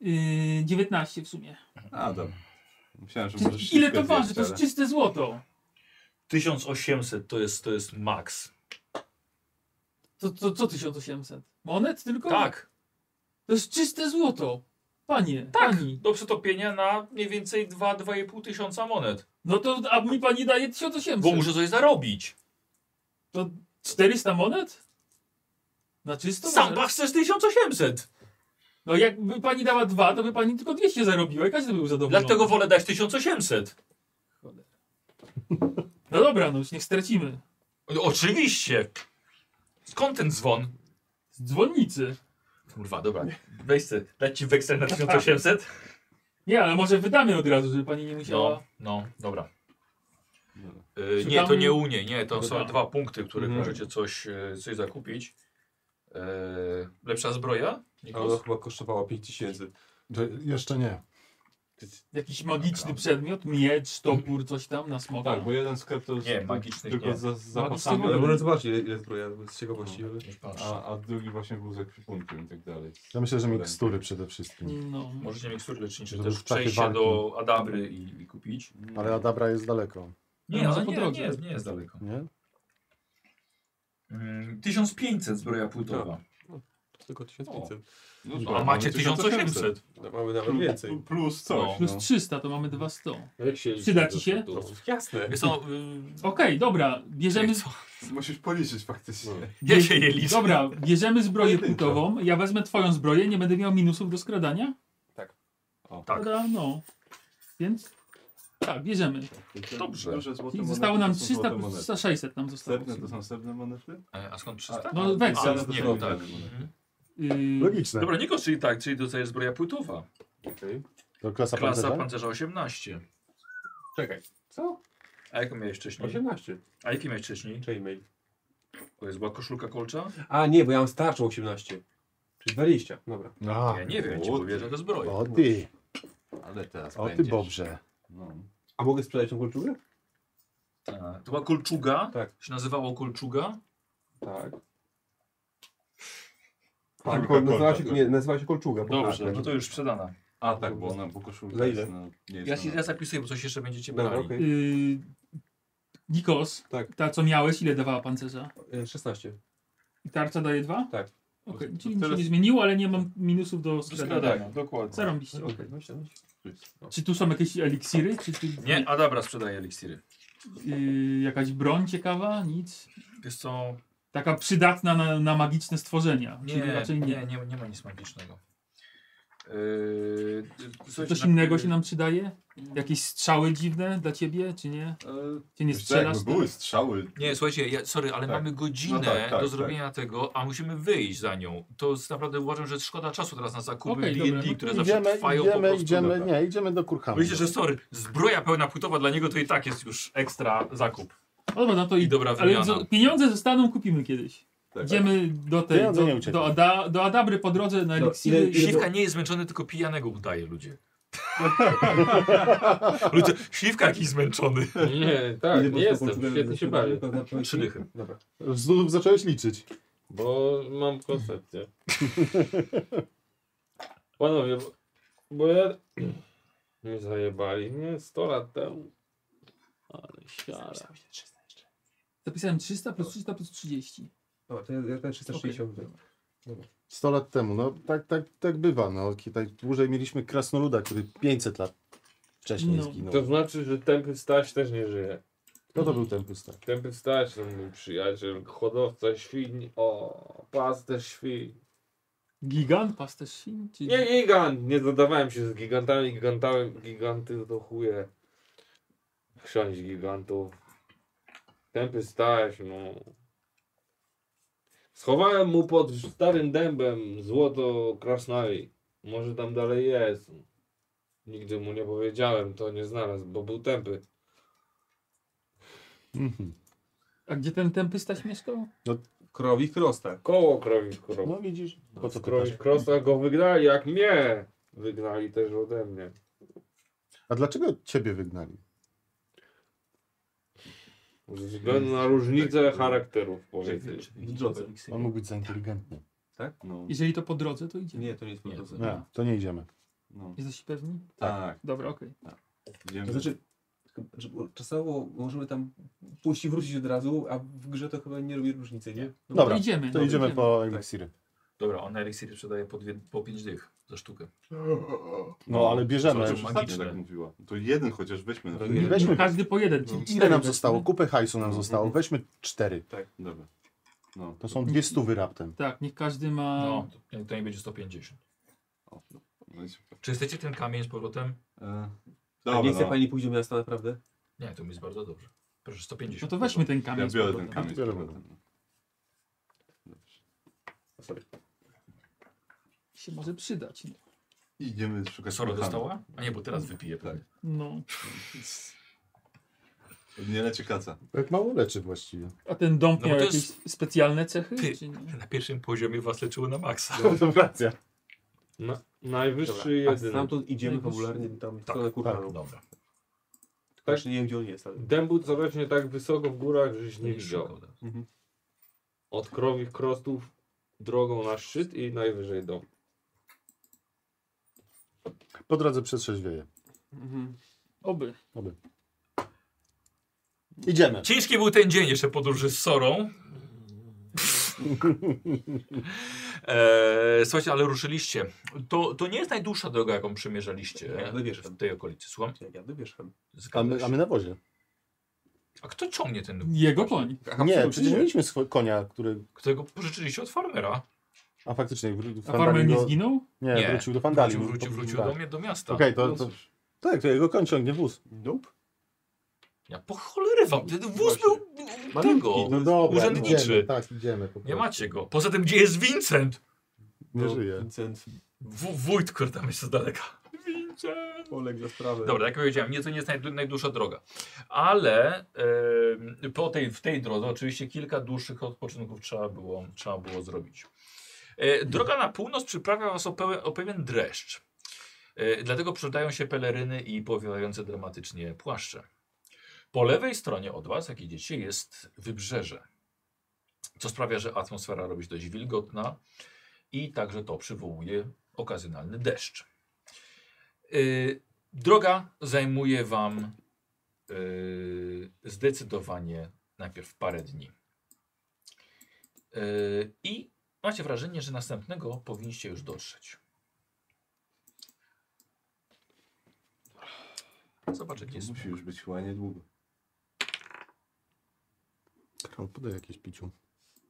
Speaker 6: yy, 19 w sumie.
Speaker 1: A, dobra. Myślałem, że
Speaker 6: Czy,
Speaker 1: możesz
Speaker 6: ile to
Speaker 1: śliwkę
Speaker 6: waży?
Speaker 1: zjeść,
Speaker 6: To jest
Speaker 1: ale-
Speaker 6: czyste złoto.
Speaker 2: 1800 to jest, to jest max.
Speaker 6: To, to co 1800? Monet tylko?
Speaker 2: Tak,
Speaker 6: To jest czyste złoto. Panie, tak. pani.
Speaker 2: do przetopienia na mniej więcej 2-2,5 tysiąca monet.
Speaker 6: No to, a mi pani daje 1800.
Speaker 2: Bo muszę coś zarobić.
Speaker 6: To 400 monet? Na czysto?
Speaker 2: Sam
Speaker 6: może?
Speaker 2: pan chcesz 1800.
Speaker 6: No jakby pani dała dwa, to by pani tylko 200 zarobiła i każdy był zadowolony.
Speaker 2: Dlatego wolę dać 1800.
Speaker 6: No dobra, no już niech stracimy.
Speaker 2: No, Oczywiście. Skąd ten dzwon?
Speaker 6: Z dzwonnicy.
Speaker 2: Kurwa, dobra. Weź se, dać ci weksel na 1800?
Speaker 6: Nie, ale może wydamy od razu, żeby pani nie musiała...
Speaker 2: No, no, dobra. Y, nie,
Speaker 6: Szukamy-
Speaker 2: to nie Unie, nie, to są
Speaker 6: Dobra.
Speaker 2: dwa punkty, których
Speaker 4: Mhm.
Speaker 2: możecie coś, y, coś zakupić. Y, lepsza zbroja?
Speaker 4: Ale ona
Speaker 2: Nikos?
Speaker 4: chyba kosztowała 5000.
Speaker 5: jeszcze nie.
Speaker 6: Jakiś magiczny przedmiot, miecz, topór, coś tam na smoka.
Speaker 1: Tak, bo jeden sklep to jest
Speaker 2: Nie, magicznych
Speaker 1: tylko
Speaker 2: nie.
Speaker 1: za, zapasami,
Speaker 6: Magicznego
Speaker 4: Ale
Speaker 1: ale-
Speaker 4: może zobaczyć, ile, ile zbroja bo z ciekawości. Ale...
Speaker 2: Już patrzę.
Speaker 1: a, a drugi właśnie był z ekwipunkiem i tak dalej.
Speaker 5: Ja myślę, że mikstury przede wszystkim.
Speaker 6: No.
Speaker 2: Możecie mikstury lecznicze
Speaker 5: Żeby
Speaker 2: też
Speaker 5: w czasie
Speaker 2: przejść się
Speaker 5: walki.
Speaker 2: do Adabry i, i kupić.
Speaker 5: Ale Adabra jest daleko,
Speaker 2: Nie,
Speaker 6: Nie,
Speaker 2: ale
Speaker 6: może po
Speaker 2: nie,
Speaker 6: drodze.
Speaker 2: nie, jest- nie jest daleko.
Speaker 5: nie?
Speaker 2: Mm, 1500 zbroja płytowa.
Speaker 4: Tylko 1500.
Speaker 1: No
Speaker 2: Tak. A
Speaker 1: tak,
Speaker 2: macie
Speaker 1: mamy
Speaker 2: 1800.
Speaker 4: No, mamy nawet więcej.
Speaker 1: Plus coś.
Speaker 6: Plus
Speaker 1: No.
Speaker 6: 300, to mamy 200. Okej,
Speaker 10: Jak się idzie
Speaker 6: Przyda
Speaker 10: do
Speaker 6: ci
Speaker 3: No.
Speaker 6: się? [LAUGHS]
Speaker 10: sklepu?
Speaker 4: No, Jasne.
Speaker 2: Jest to, y,
Speaker 6: dobra, bierzemy...
Speaker 2: co?
Speaker 1: Musisz policzyć faktycznie.
Speaker 2: Ja się je liczę.
Speaker 6: Dobra, bierzemy zbroję płytową, ja wezmę twoją zbroję, nie będę miał minusów do skradania?
Speaker 1: O.
Speaker 2: Tak.
Speaker 6: Prawda? No. Więc... Tak, bierzemy.
Speaker 2: Dobrze.
Speaker 1: Duże złote
Speaker 6: Czyli
Speaker 1: monety
Speaker 6: zostało nam
Speaker 1: to są
Speaker 6: 300
Speaker 1: złote monety.
Speaker 6: plus 600 nam zostało.
Speaker 1: Srebrne to są srebrne monety?
Speaker 2: E, A skąd 300?
Speaker 6: No
Speaker 2: A,
Speaker 6: weksel.
Speaker 1: ale to
Speaker 2: nie,
Speaker 1: są
Speaker 2: tak.
Speaker 1: inne.
Speaker 2: Mhm.
Speaker 6: Yy,
Speaker 5: Logiczne.
Speaker 2: Dobra, Nikos, czyli tak, czyli dostajesz zbroja płytowa.
Speaker 5: To klasa
Speaker 2: Klasa
Speaker 5: pancerza?
Speaker 2: pancerza 18.
Speaker 4: Czekaj. Co?
Speaker 2: A jaką miałeś wcześniej?
Speaker 4: 18.
Speaker 2: A jakie miałeś wcześniej?
Speaker 4: Czekaj mail.
Speaker 2: To jest była koszulka kolcza?
Speaker 4: A nie, bo ja mam starczą 18. Czyli 20. Dobra.
Speaker 5: A,
Speaker 2: Ja nie wiem, ja ci
Speaker 1: o,
Speaker 2: powiem, że to zbroja.
Speaker 5: o ty,
Speaker 1: Ale teraz
Speaker 5: o ty
Speaker 1: będziesz.
Speaker 5: Bobrze.
Speaker 1: No.
Speaker 4: A mogę sprzedać tą kulturę?
Speaker 2: A, To była kolczuga?
Speaker 4: Tak.
Speaker 2: Się nazywało kolczuga?
Speaker 4: Tak.
Speaker 1: Kolczuga,
Speaker 4: Tak, kol, nazywa, się,
Speaker 1: kolczuga.
Speaker 4: nie, nazywa się kolczuga. po
Speaker 2: Dobrze,
Speaker 4: tak.
Speaker 2: no to już sprzedana.
Speaker 1: A tak, bo ona po koszulce
Speaker 4: Za ile?
Speaker 1: jest na- nie jest
Speaker 2: Ja
Speaker 1: na-
Speaker 2: się ja zapisuję, bo coś jeszcze będziecie
Speaker 4: tak. Dobra,
Speaker 2: brali.
Speaker 4: okej.
Speaker 6: yy, Nikos,
Speaker 4: Tak.
Speaker 1: Tak.
Speaker 6: ta co miałeś, ile dawała pancerza?
Speaker 4: E, 16.
Speaker 6: I tarcza daje dwa?
Speaker 4: Tak.
Speaker 6: Okej, Okej, czyli nic się nie zmieniło, ale nie mam minusów do
Speaker 1: Tak.
Speaker 6: sprzedania.
Speaker 2: Tak, dokładnie.
Speaker 6: Zarąbiście, okej. Czy tu są jakieś eliksiry? Czy tu,
Speaker 2: Nie, a dobra, sprzedaję eliksiry.
Speaker 6: y, jakaś broń ciekawa? Nic.
Speaker 2: Wiesz co?
Speaker 6: Taka przydatna na, na magiczne stworzenia.
Speaker 2: Nie,
Speaker 6: czyli raczej nie.
Speaker 2: nie, nie, nie ma nic magicznego. Yy, słuchajcie,
Speaker 6: Coś
Speaker 2: na-
Speaker 6: innego się nam przydaje? Jakieś strzały dziwne dla ciebie, czy nie? Czy nie
Speaker 1: Wiesz co, jakby
Speaker 6: strzelasz?
Speaker 1: były strzały.
Speaker 2: Nie, słuchajcie, ja, sorry, ale
Speaker 1: Tak.
Speaker 2: mamy godzinę
Speaker 1: No tak, tak,
Speaker 2: do zrobienia tego, a musimy wyjść za nią. To jest naprawdę uważam, że szkoda czasu teraz na zakupy
Speaker 6: Okej,
Speaker 2: D&D,
Speaker 6: dobra, no to
Speaker 2: które zawsze
Speaker 5: Idziemy,
Speaker 2: trwają po
Speaker 5: idziemy,
Speaker 2: prostu.
Speaker 5: idziemy, nie, idziemy do kurhamy.
Speaker 2: Myślę, że sorry, zbroja pełna płytowa dla niego to i tak jest już ekstra zakup.
Speaker 6: No dobra, no to
Speaker 2: I
Speaker 6: i
Speaker 2: dobra
Speaker 6: Ale
Speaker 2: wymiana.
Speaker 6: z- pieniądze zostaną, kupimy kiedyś.
Speaker 1: Tak.
Speaker 6: Idziemy do tej,
Speaker 5: Pieniądze nie
Speaker 6: do,
Speaker 5: uciekną.
Speaker 6: do, Ada, do Adabry po drodze na
Speaker 3: No,
Speaker 6: eliksiry.
Speaker 3: ile- ile
Speaker 6: i-
Speaker 2: Śliwka nie jest zmęczony, tylko pijanego udaje ludzie. Ludzie, śliwka jakiś zmęczony.
Speaker 3: Nie,
Speaker 11: tak,
Speaker 3: Ile
Speaker 11: nie
Speaker 3: było z tobą
Speaker 11: jestem,
Speaker 3: człowiek-
Speaker 11: świetnie się bawię.
Speaker 3: Pewna
Speaker 4: znaczy-
Speaker 3: człowiek-
Speaker 2: Trzy dychy.
Speaker 3: Dobra.
Speaker 5: Znów zacząłeś liczyć.
Speaker 3: Bo mam [LAUGHS] koncepcję. Panowie, bo- bo ja... [CLEARS THROAT] Mnie zajebali nie, 100 lat temu. Ale siara.
Speaker 6: Zapisałem 300 plus 300 plus 30.
Speaker 4: Dobra, to ja, ja ten 360 okay.
Speaker 5: 100 lat temu, no tak, tak, tak bywa. No. Tutaj dłużej mieliśmy krasnoluda, który 500 lat wcześniej
Speaker 6: No.
Speaker 5: zginął.
Speaker 3: To znaczy, że tępy staś też nie żyje.
Speaker 5: No to był ten pustak.
Speaker 3: Tępy staś to mój przyjaciel, hodowca świń, o, pasterz świń.
Speaker 6: Gigant, pasterz świn? Czy...
Speaker 3: Nie, gigant! Nie zadawałem się z gigantami, gigantami, giganty to chuje. Chrząść gigantów. Tępy stałeś, no. Schowałem mu pod starym dębem złoto krasnali. Może tam dalej jest. Nigdy mu nie powiedziałem, to nie znalazł, bo był tępy.
Speaker 5: Mhm.
Speaker 6: A gdzie ten tępy staś mieszkał?
Speaker 4: Krowi krosta.
Speaker 3: Koło krowi krow.
Speaker 5: No widzisz, po co pytasz?
Speaker 3: krowi krosa go wygnali, jak mnie! Wygnali też ode mnie.
Speaker 5: A dlaczego ciebie wygnali?
Speaker 3: Ze względu na
Speaker 5: Tak,
Speaker 3: różnicę charakterów, powiedzmy.
Speaker 1: W drodze.
Speaker 5: On mógł być za inteligentny.
Speaker 1: No,
Speaker 6: Jeżeli to po drodze, to idzie.
Speaker 4: Nie, to nie jest
Speaker 2: Nie,
Speaker 4: podróż.
Speaker 5: Nie, to nie idziemy.
Speaker 1: no.
Speaker 6: Jesteś pewni?
Speaker 1: Tak.
Speaker 6: Dobra, okej.
Speaker 1: Idziemy.
Speaker 4: To znaczy, chyba, że czasowo możemy tam pójść i wrócić od razu, a w grze to chyba nie robi różnicy, nie? No,
Speaker 5: Dobra,
Speaker 6: To idziemy.
Speaker 5: To
Speaker 6: no,
Speaker 5: idziemy po eliksiry.
Speaker 2: Dobra, on eliksiry sprzedaje po, dwie, po 5 dych za sztukę.
Speaker 5: No ale bierzemy.
Speaker 2: Zobaczymy.
Speaker 1: Magicznie tak mówiła. To jeden chociaż weźmy. na razie.
Speaker 5: Weźmy.
Speaker 6: Każdy po jeden.
Speaker 1: No.
Speaker 6: czyli
Speaker 5: Ile
Speaker 6: cztery
Speaker 5: nam
Speaker 6: weźmy.
Speaker 5: zostało? Kupę hajsu nam zostało. Weźmy cztery.
Speaker 1: Dobra. No.
Speaker 5: To są dwie stówy raptem.
Speaker 6: Tak, niech każdy ma...
Speaker 2: No, to, to nie będzie 150.
Speaker 1: O, no. No i super.
Speaker 2: Czy chcecie ten kamień z powrotem?
Speaker 1: E,
Speaker 4: a nie chce
Speaker 1: Dobra, no.
Speaker 4: pani pójść do miasta naprawdę?
Speaker 2: Nie, to mi jest bardzo dobrze. Proszę, 150.
Speaker 6: No to weźmy ten kamień.
Speaker 1: Ja
Speaker 6: z
Speaker 1: biorę ten
Speaker 6: powrotem.
Speaker 1: kamień. z
Speaker 5: Biorę.
Speaker 1: powrotem. Dobrze.
Speaker 6: Się może przydać.
Speaker 1: Idziemy szukać.
Speaker 2: Soro
Speaker 1: kochana.
Speaker 2: dostała? A nie, bo teraz wypiję.
Speaker 5: Tak.
Speaker 2: pewnie.
Speaker 6: No.
Speaker 1: Nie leci kaca.
Speaker 5: Jak mało leczy
Speaker 2: [LAUGHS]
Speaker 5: właściwie.
Speaker 6: A ten dom
Speaker 2: No bo
Speaker 6: miał
Speaker 2: to
Speaker 6: jakieś
Speaker 2: jest-
Speaker 6: specjalne cechy?
Speaker 2: Ty.
Speaker 6: Czy nie?
Speaker 2: Na pierwszym poziomie was leczyło na maksa.
Speaker 5: To racja.
Speaker 3: Na, najwyższy
Speaker 4: A
Speaker 3: jedyny.
Speaker 4: stamtąd idziemy
Speaker 6: Najwyższy.
Speaker 4: popularnie tam w
Speaker 2: Tak,
Speaker 4: stronę
Speaker 2: [LAUGHS]
Speaker 4: Kurhanu.
Speaker 2: Dobra.
Speaker 4: Tak, nie wiem gdzie on jest, ale...
Speaker 3: Dębu co rośnie tak wysoko w górach, żeś nie widział.
Speaker 2: szkoda.
Speaker 3: Od krowich krostów drogą na szczyt i najwyżej dom.
Speaker 5: Po drodze przetrzeźwieje.
Speaker 6: Mhm. Oby.
Speaker 5: Idziemy.
Speaker 2: Ciężki był ten dzień jeszcze podróży z Sorą. [LAUGHS] Eee, słuchajcie, ale ruszyliście. To, to nie jest najdłuższa droga, jaką przemierzaliście
Speaker 4: Ja dowieszam.
Speaker 2: w tej okolicy. Słucham?
Speaker 4: Jak ja wybierzem.
Speaker 5: A
Speaker 2: Zgadza
Speaker 5: my,
Speaker 2: się.
Speaker 5: a my na wozie.
Speaker 2: A kto ciągnie ten,
Speaker 6: Jego koń.
Speaker 5: Nie, przecież mieliśmy swo- konia, który...
Speaker 2: którego pożyczyliście od farmera?
Speaker 5: A faktycznie wró-
Speaker 6: A farmer
Speaker 5: Fandalin
Speaker 6: nie
Speaker 5: go-
Speaker 6: zginął?
Speaker 5: Nie,
Speaker 2: Nie,
Speaker 5: wrócił do Fandali.
Speaker 2: Wrócił, wrócił, wrócił do mnie, do miasta.
Speaker 5: tak.
Speaker 2: No
Speaker 5: Okej, to, to... Tak, to jego koń ciągnie wóz.
Speaker 4: Nope.
Speaker 2: Ja po cholery wam, ten wóz był tego.
Speaker 5: No dobra,
Speaker 2: Urzędniczy.
Speaker 5: Idziemy, tak, idziemy. po
Speaker 2: Nie
Speaker 5: prostu.
Speaker 2: macie go. Poza tym, gdzie jest Vincent?
Speaker 5: Nie
Speaker 4: No,
Speaker 5: żyje.
Speaker 4: Vincent
Speaker 2: W, wójt, który tam jest z daleka. Vincent!
Speaker 4: poległ za sprawę.
Speaker 2: Dobra, jak powiedziałem, nie, to nie jest najd- najdłuższa droga. Ale em, po tej, w tej drodze oczywiście kilka dłuższych odpoczynków trzeba było, trzeba było zrobić. E, droga na północ przyprawia was o, pełen, o pewien dreszcz. E, dlatego przydają się peleryny i powiewające dramatycznie płaszcze. Po lewej stronie od was, jak idziecie, jest wybrzeże. Co sprawia, że atmosfera robi się dość wilgotna i także to przywołuje okazjonalny deszcz. E, Droga zajmuje Wam yy, zdecydowanie najpierw parę dni. Yy, I Macie wrażenie, że następnego powinniście już dotrzeć. Zobaczę, gdzie jest.
Speaker 1: Musi już być chyba niedługo.
Speaker 2: No.
Speaker 5: Karol, podaj jakieś piciu.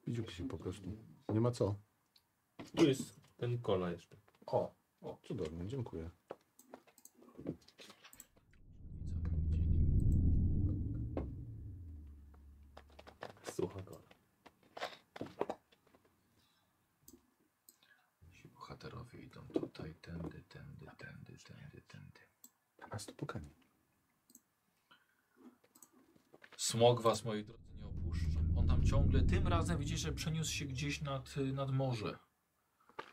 Speaker 5: Piciu pisiu po prostu. Nie ma co.
Speaker 10: Tu jest ten kola jeszcze.
Speaker 5: O, o cudownie, dziękuję.
Speaker 10: Sucha kola.
Speaker 2: Ci bohaterowie idą tutaj, tędy, tędy, tędy, tędy, tędy.
Speaker 5: A z to pukanie.
Speaker 2: Smog was, moi drodzy, nie opuszcza. On tam ciągle, tym razem widzicie, że przeniósł się gdzieś nad, y, nad morze.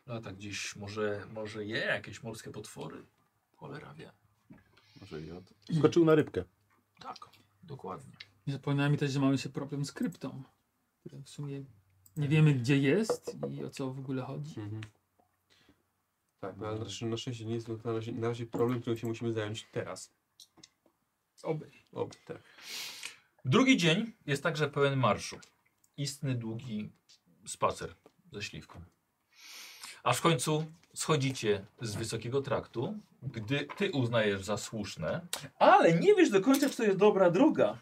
Speaker 2: Lata gdzieś, może, może je jakieś morskie potwory. Cholera wie.
Speaker 1: Może i od.
Speaker 5: Skoczył na rybkę.
Speaker 2: Tak, dokładnie.
Speaker 6: Nie zapominajmy też, że mamy się problem z kryptą, która w sumie nie
Speaker 2: Tak.
Speaker 6: wiemy gdzie jest i o co w ogóle chodzi.
Speaker 9: Mhm.
Speaker 1: Tak,
Speaker 9: No, ale na szczę- na szczęście nie jest na razie, na razie problem, którym się musimy zająć teraz.
Speaker 6: Oby.
Speaker 9: O, tak.
Speaker 2: Drugi dzień jest także pełen marszu. Istny, długi spacer ze śliwką. Aż w końcu schodzicie z wysokiego traktu, gdy ty uznajesz za słuszne, ale nie wiesz do końca, czy to jest dobra droga.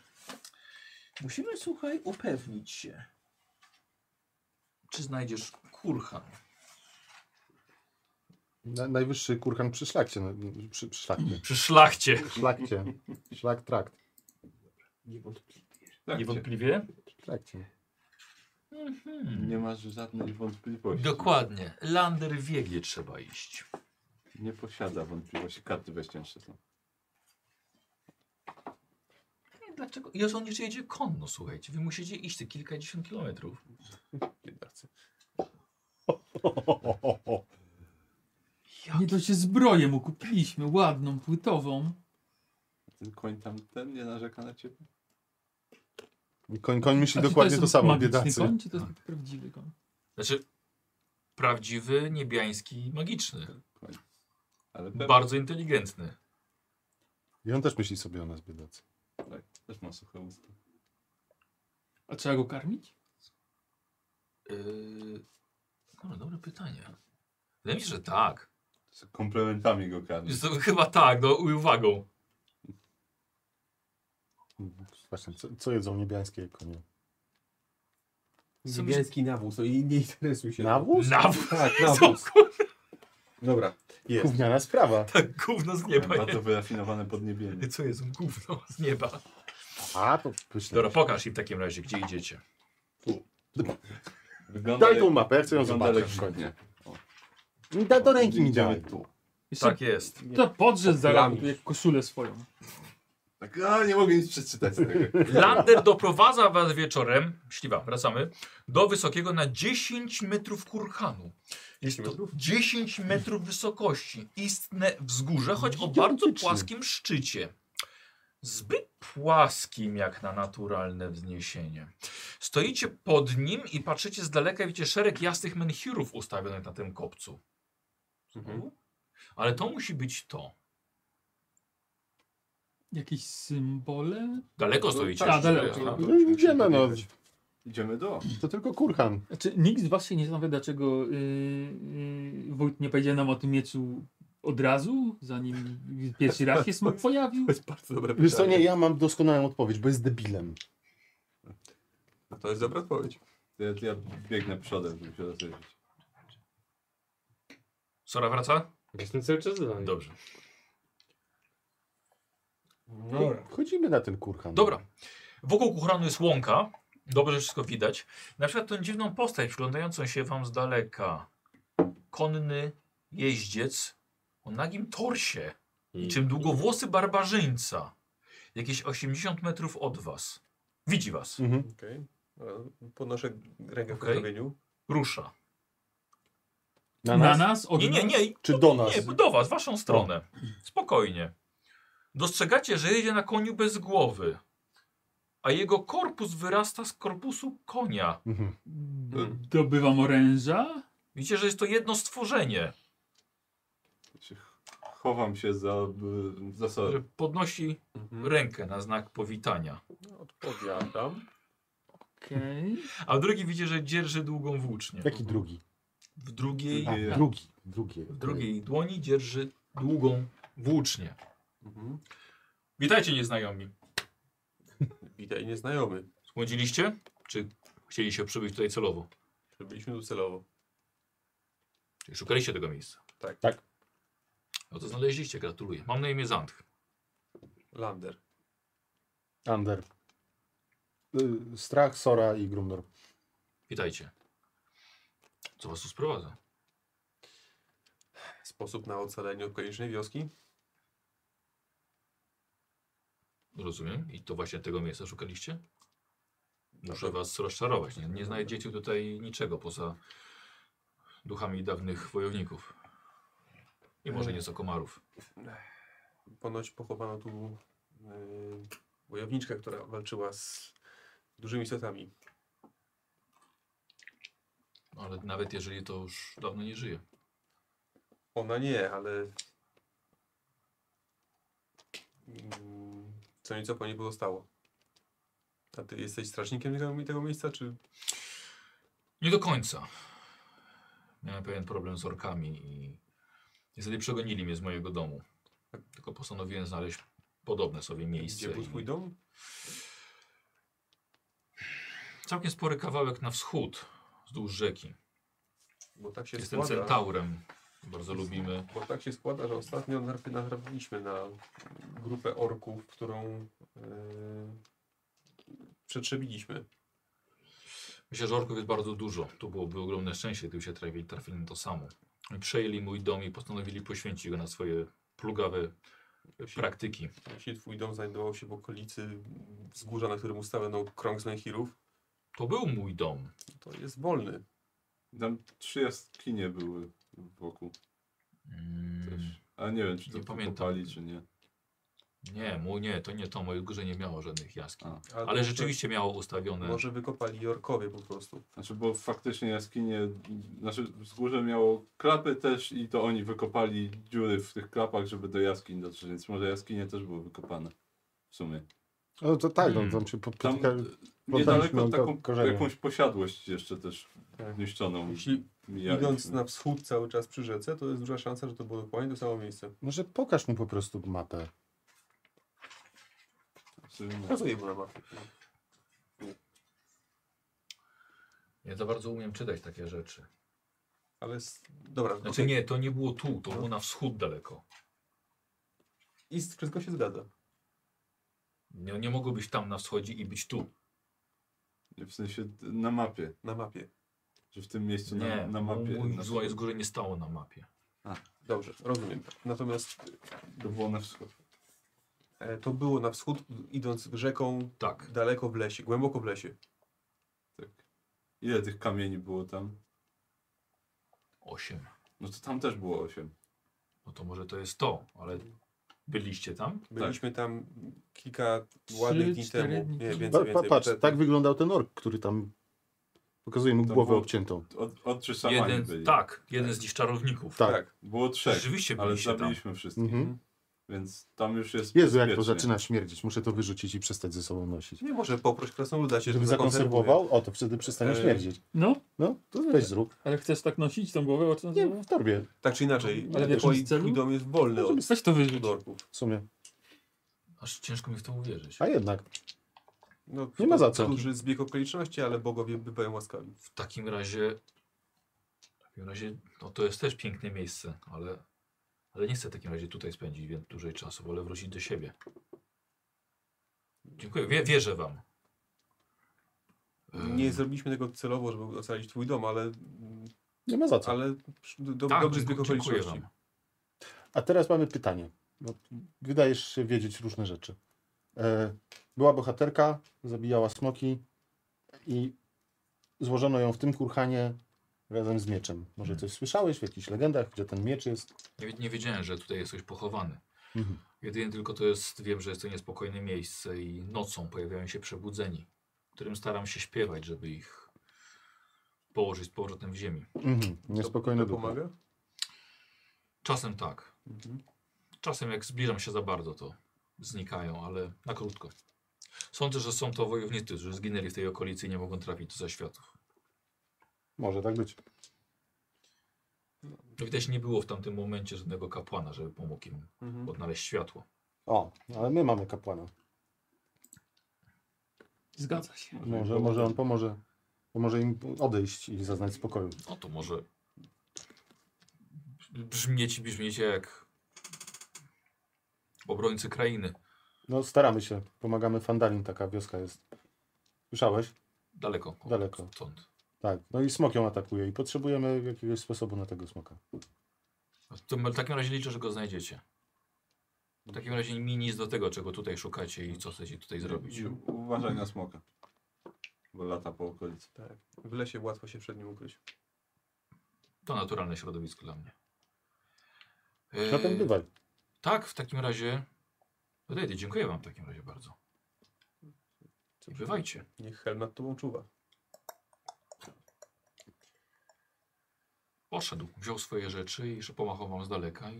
Speaker 2: Musimy, słuchaj, upewnić się, czy znajdziesz kurhan.
Speaker 5: Na, najwyższy kurhan przy szlakcie. No, przy, przy szlakcie.
Speaker 2: Przy szlachcie.
Speaker 5: Szlakcie. Szlak trakt.
Speaker 1: tak,
Speaker 2: Niewątpliwie. Hmm.
Speaker 5: Szlakcie.
Speaker 1: Nie masz żadnej wątpliwości.
Speaker 2: Dokładnie. Lander wie, gdzie trzeba iść.
Speaker 1: Nie posiada wątpliwości. Karty bezcięższe są.
Speaker 2: Nie, Dlaczego? I on jeszcze jedzie konno, słuchajcie. Wy musicie iść te kilkadziesiąt kilometrów.
Speaker 6: Nie to się zbroję mu kupiliśmy, ładną, płytową.
Speaker 1: Ten koń tam ten nie narzeka na ciebie.
Speaker 5: Koń, koń myśli
Speaker 6: A czy
Speaker 5: dokładnie
Speaker 6: jest
Speaker 5: to samo,
Speaker 6: magiczny
Speaker 5: biedacy.
Speaker 6: Koń, czy
Speaker 2: Tak.
Speaker 6: to jest prawdziwy koń?
Speaker 2: Znaczy, prawdziwy, niebiański, magiczny.
Speaker 1: Tak, Ale pewnie
Speaker 2: Bardzo inteligentny.
Speaker 5: I on też myśli sobie o nas, biedacy.
Speaker 1: też ma suche usta.
Speaker 6: A trzeba go karmić?
Speaker 2: Yy... No, dobre pytanie. Wydaje mi się, że tak.
Speaker 1: Z komplementami go karmi.
Speaker 2: Jest to chyba tak, no i uwagą.
Speaker 5: Właśnie, co, co jedzą niebiańskie konie?
Speaker 2: Są-
Speaker 9: Niebiański nawóz, o, i nie interesuj się.
Speaker 5: Nawóz?
Speaker 2: Nawet
Speaker 9: Tak,
Speaker 2: Co,
Speaker 9: nawóz. Dobra, jest.
Speaker 5: Gówniana sprawa.
Speaker 2: tak gówno z nieba.
Speaker 1: Bardzo wyrafinowane podniebienie.
Speaker 2: nie? Co jest gówno z nieba?
Speaker 5: A, to pyszne.
Speaker 2: Dobra, pokaż im w takim razie, gdzie idziecie.
Speaker 1: Wygląda
Speaker 5: Daj
Speaker 1: jak-
Speaker 5: tą mapę, ja chcę ją
Speaker 1: wygląda
Speaker 5: zobaczyć.
Speaker 1: lekkośnie.
Speaker 5: Da do ręki mi
Speaker 1: Idziemy
Speaker 5: daj.
Speaker 1: tu.
Speaker 6: Jeszcze
Speaker 2: Tak jest.
Speaker 6: to podrzeć zaraz
Speaker 9: Plamisz.
Speaker 6: jak koszulę swoją.
Speaker 1: Tak, a nie mogę nic przeczytać z tego.
Speaker 2: Lander doprowadza was wieczorem, śliwa, wracamy, do wysokiego na 10 metrów kurhanu. Jest to 10 metrów wysokości. Istne wzgórze, choć o bardzo płaskim szczycie. Zbyt płaskim jak na naturalne wzniesienie. Stoicie pod nim i patrzycie z daleka i widzicie szereg jasnych menhirów ustawionych na tym kopcu.
Speaker 9: Mhm.
Speaker 2: Ale to musi być to.
Speaker 6: Jakieś symbole?
Speaker 2: Daleko stoicie.
Speaker 6: tak,
Speaker 2: jeszcze,
Speaker 6: daleko.
Speaker 2: prawda?
Speaker 5: No idziemy, no.
Speaker 1: Idziemy do.
Speaker 5: To tylko kurhan.
Speaker 6: Znaczy, nikt z was się nie zastanawia, dlaczego yy, yy, Wójt nie powiedział nam o tym mieczu od razu, zanim pierwszy raz się smok pojawił?
Speaker 9: To jest bardzo dobre
Speaker 5: Wiesz co, nie,
Speaker 9: pytanie.
Speaker 5: ja mam doskonałą odpowiedź, bo jest debilem.
Speaker 9: To jest dobra odpowiedź.
Speaker 1: Ja, ja biegnę przodem, żeby się rozejrzeć.
Speaker 2: Sora wraca?
Speaker 10: Jestem cały czas z wami.
Speaker 2: Dobrze.
Speaker 9: No
Speaker 5: Chodzimy na ten kurhan.
Speaker 2: Dobra. Wokół kuchranu jest łąka. Dobrze że wszystko widać. Na przykład tą dziwną postać przyglądającą się wam z daleka. Konny jeździec o nagim torsie. Niczym długowłosy barbarzyńca. Jakieś 80 metrów od was. Widzi was.
Speaker 5: Mhm.
Speaker 9: Okej. E, Podnoszę rękę w
Speaker 2: Okej.
Speaker 9: pozdrowieniu.
Speaker 2: Rusza.
Speaker 5: Na nas?
Speaker 6: od
Speaker 2: Nie, nie,
Speaker 6: nas?
Speaker 2: nie.
Speaker 5: Czy do nas?
Speaker 2: Nie, do was, waszą stronę. Spokojnie. Dostrzegacie, że jedzie na koniu bez głowy. A jego korpus wyrasta z korpusu konia.
Speaker 5: Mhm.
Speaker 6: Dobywam oręża?
Speaker 2: Widzicie, że jest to jedno stworzenie,
Speaker 1: Chowam się za, y, za
Speaker 2: które
Speaker 1: sorem.
Speaker 2: podnosi
Speaker 9: Mhm.
Speaker 2: rękę na znak powitania.
Speaker 9: Odpowiadam.
Speaker 6: Okej.
Speaker 2: A drugi widzi, że dzierży długą włócznię.
Speaker 5: Jaki drugi?
Speaker 2: W drugiej,
Speaker 5: A, tak. drugi. Drugi.
Speaker 2: w drugiej dłoni dzierży długą włócznię. Witajcie nieznajomi.
Speaker 4: Witaj nieznajomy.
Speaker 2: Błądziliście? Czy chcieliście przybyć tutaj celowo?
Speaker 4: Robiliśmy tu celowo.
Speaker 2: Czyli szukaliście tego miejsca?
Speaker 4: Tak.
Speaker 5: Tak.
Speaker 2: No to znaleźliście, gratuluję. Mam na imię Zantch.
Speaker 4: Lander.
Speaker 5: Under. Y, Strach, Sora i Grumnor.
Speaker 2: Witajcie. Co was tu sprowadza?
Speaker 4: Sposób na ocalenie okolicznej wioski.
Speaker 2: Rozumiem. I to właśnie tego miejsca szukaliście?
Speaker 4: Tak.
Speaker 2: Muszę was rozczarować. Nie, nie znajdziecie tutaj niczego poza duchami dawnych wojowników. I
Speaker 4: E.
Speaker 2: może nieco komarów.
Speaker 4: Ponoć pochowano tu
Speaker 9: y,
Speaker 4: yy, wojowniczkę, która walczyła z dużymi istotami.
Speaker 2: Ale nawet jeżeli to już dawno nie żyje.
Speaker 4: Ona nie, ale... Mm, Co nieco po niej pozostało. A ty jesteś strażnikiem tego, tego miejsca, czy...
Speaker 2: Nie do końca. Miałem pewien problem z orkami i niestety przegonili mnie z mojego domu. Tylko postanowiłem znaleźć podobne sobie miejsce.
Speaker 4: Tak. Gdzie był
Speaker 2: i-
Speaker 4: twój dom?
Speaker 2: Całkiem spory kawałek na wschód, wzdłuż rzeki.
Speaker 4: Bo tak się
Speaker 2: Jestem
Speaker 4: składa...
Speaker 2: centaurem. Bardzo lubimy.
Speaker 4: Bo tak się składa, że ostatnio narf- natrafiliśmy na grupę orków, którą yy, przetrzebiliśmy.
Speaker 2: Myślę, że orków jest bardzo dużo. To byłoby ogromne szczęście, gdyby się trafili, trafili na to samo. Oni Przejęli mój dom i postanowili poświęcić go na swoje plugawe
Speaker 4: Jeśli,
Speaker 2: praktyki.
Speaker 4: jeśli twój dom znajdował się w okolicy wzgórza, na którym ustawiono krąg zmenhirów,
Speaker 2: To był mój dom.
Speaker 4: to jest wolny.
Speaker 1: Tam trzy jaskinie były wokół
Speaker 2: Mm.
Speaker 1: też. A nie wiem, czy to
Speaker 2: Nie pamiętam.
Speaker 1: pali, czy nie.
Speaker 2: Nie, mój nie, to nie to. Moje górze nie miało żadnych jaskiń.
Speaker 1: A.
Speaker 2: Ale
Speaker 4: Ale, może-
Speaker 2: rzeczywiście miało ustawione.
Speaker 4: Może wykopali orkowie po prostu.
Speaker 1: Znaczy, bo faktycznie jaskinie, znaczy wzgórze miało klapy też i to oni wykopali dziury w tych klapach, żeby do jaskiń dotrzeć, więc może jaskinie też były wykopane w sumie.
Speaker 5: No to tak,
Speaker 2: Hmm.
Speaker 5: no, tam się po,
Speaker 1: Tam
Speaker 5: potyka-
Speaker 1: niedaleko
Speaker 5: mam ko-
Speaker 1: taką,
Speaker 5: korzenie.
Speaker 1: jakąś posiadłość jeszcze też
Speaker 4: Tak.
Speaker 1: zniszczoną.
Speaker 4: Jeśli
Speaker 1: mijaliśmy.
Speaker 4: idąc na wschód cały czas przy rzece, to jest duża szansa, że to było dokładnie to samo miejsce.
Speaker 5: Może pokaż mu po prostu mapę.
Speaker 1: Znaczy, no.
Speaker 4: Pokazuję mu na mapie.
Speaker 2: Nie za bardzo umiem czytać takie rzeczy.
Speaker 4: Ale s- dobra,
Speaker 2: Znaczy nie, to nie było tu,
Speaker 1: No.
Speaker 2: to było na wschód daleko.
Speaker 4: i s- wszystko się zgadza.
Speaker 2: Nie, nie mogło być tam na wschodzie i być tu.
Speaker 1: W sensie na mapie,
Speaker 4: Na mapie.
Speaker 1: że w tym miejscu
Speaker 2: Nie,
Speaker 1: Znaczy na, na mapie. znaczy-
Speaker 2: mój
Speaker 1: na
Speaker 2: zła jest
Speaker 1: wschód.
Speaker 2: górze nie stało na mapie.
Speaker 4: Dobrze, rozumiem. Natomiast
Speaker 1: To było na wschód.
Speaker 4: E, To było na wschód, idąc rzeką,
Speaker 2: Tak.
Speaker 4: daleko w lesie, głęboko w lesie.
Speaker 1: Tak. Ile tych kamieni było tam?
Speaker 2: Osiem.
Speaker 1: No to tam też było 8.
Speaker 2: No to może to jest to, ale byliście tam?
Speaker 4: Byliśmy tam kilka ładnych dni
Speaker 6: cztery
Speaker 4: temu.
Speaker 6: dni
Speaker 4: Nie,
Speaker 6: temu.
Speaker 4: więcej,
Speaker 5: Pa,
Speaker 4: więcej.
Speaker 5: pa,
Speaker 4: bo
Speaker 5: patrz,
Speaker 4: te-
Speaker 5: tak wyglądał ten ork, który tam pokazuje mu
Speaker 1: To
Speaker 5: głowę
Speaker 1: było-
Speaker 5: obciętą.
Speaker 1: Od, od czy samani
Speaker 2: Jeden,
Speaker 1: byli?
Speaker 2: tak, jeden z nich czarowników.
Speaker 5: Tak.
Speaker 4: tak.
Speaker 1: Było trzech,
Speaker 2: Rzeczywiście
Speaker 1: ale
Speaker 2: byliście tam.
Speaker 1: zabiliśmy wszystkich.
Speaker 5: Mhm.
Speaker 1: Więc tam już jest
Speaker 5: Jezu, jak to
Speaker 1: bezpiecznie.
Speaker 5: zaczyna śmierdzić. Muszę to wyrzucić i przestać ze sobą nosić.
Speaker 4: Nie może poproś krasnoluda się,
Speaker 5: Żeby zakonserwował, o to wtedy przestanie
Speaker 4: E,
Speaker 5: śmierdzić.
Speaker 6: No,
Speaker 5: No, to weź zrób.
Speaker 6: ale chcesz tak nosić tą głowę? o czym-
Speaker 5: Nie, w torbie
Speaker 4: Tak czy inaczej,
Speaker 6: Ale w jakimś
Speaker 4: twój,
Speaker 6: celu?
Speaker 4: twój dom jest
Speaker 5: No,
Speaker 4: wolny od,
Speaker 6: Weź to wyrzuć.
Speaker 4: od orków.
Speaker 5: w sumie.
Speaker 2: Aż ciężko mi w to uwierzyć.
Speaker 4: Tak?
Speaker 5: A jednak,
Speaker 4: No,
Speaker 5: Nie ma za co.
Speaker 4: Duży zbieg okoliczności, ale bogowie bywają łaskawi.
Speaker 2: W takim razie, w takim razie, no to jest też piękne miejsce, ale, ale nie chcę w takim razie tutaj spędzić wie- dłużej czasu, wolę wrócić do siebie. Dziękuję, Wie, wierzę wam. Ehm, Em,
Speaker 4: Nie zrobiliśmy tego celowo, żeby ocalić twój dom, ale,
Speaker 5: nie ma za co.
Speaker 4: ale do,
Speaker 2: tak,
Speaker 4: dobry
Speaker 2: dziękuję-
Speaker 4: zbieg
Speaker 2: dziękuję
Speaker 4: okoliczności.
Speaker 2: wam.
Speaker 5: A teraz mamy pytanie. Bo Wydajesz się wiedzieć różne rzeczy. E, Była bohaterka, zabijała smoki i złożono ją w tym kurhanie razem z mieczem. Może coś słyszałeś w jakichś legendach, gdzie ten miecz jest?
Speaker 2: Nie, nie wiedziałem, że tutaj jest coś pochowany. Jedynie tylko to jest, wiem, że jest to niespokojne miejsce i nocą pojawiają się przebudzeni, którym staram się śpiewać, żeby ich położyć z powrotem w ziemi.
Speaker 5: Mhm. Niespokojne
Speaker 4: to, to
Speaker 5: duchy. Mhm.
Speaker 4: pomaga?
Speaker 2: Czasem tak. Czasem jak zbliżam się za bardzo, to znikają, ale na krótko. Sądzę, że są to wojownicy, którzy zginęli w tej okolicy i nie mogą trafić do zaświatów.
Speaker 5: Może tak być.
Speaker 2: No Widać, nie było w tamtym momencie żadnego kapłana, żeby pomógł im
Speaker 4: Mhm.
Speaker 2: odnaleźć światło.
Speaker 5: O, ale my mamy kapłana.
Speaker 6: Zgadza się.
Speaker 5: Może, może on pomoże. Pomoże im odejść i zaznać spokoju.
Speaker 2: No to może brzmieć, brzmieć jak obrońcy krainy.
Speaker 5: No staramy się. Pomagamy Fandalin, taka wioska jest. Słyszałeś?
Speaker 2: Daleko. od-
Speaker 5: Daleko.
Speaker 2: Stąd.
Speaker 5: Tak. No i smok ją atakuje i potrzebujemy jakiegoś sposobu na tego smoka.
Speaker 2: To w takim razie liczę, że go znajdziecie. W takim razie mi nic do tego, czego tutaj szukacie i co chcecie tutaj zrobić.
Speaker 1: I Uważaj na smoka. Bo lata po okolicy.
Speaker 4: Tak. W lesie łatwo się przed nim ukryć.
Speaker 2: To naturalne środowisko dla mnie. E,
Speaker 5: Zatem No bywaj.
Speaker 2: Tak, w takim razie. Odejdę, dziękuję Wam w takim razie bardzo. I bywajcie.
Speaker 4: Niech Hel nad tobą czuwa.
Speaker 2: Poszedł, wziął swoje rzeczy i jeszcze pomachał Wam z daleka i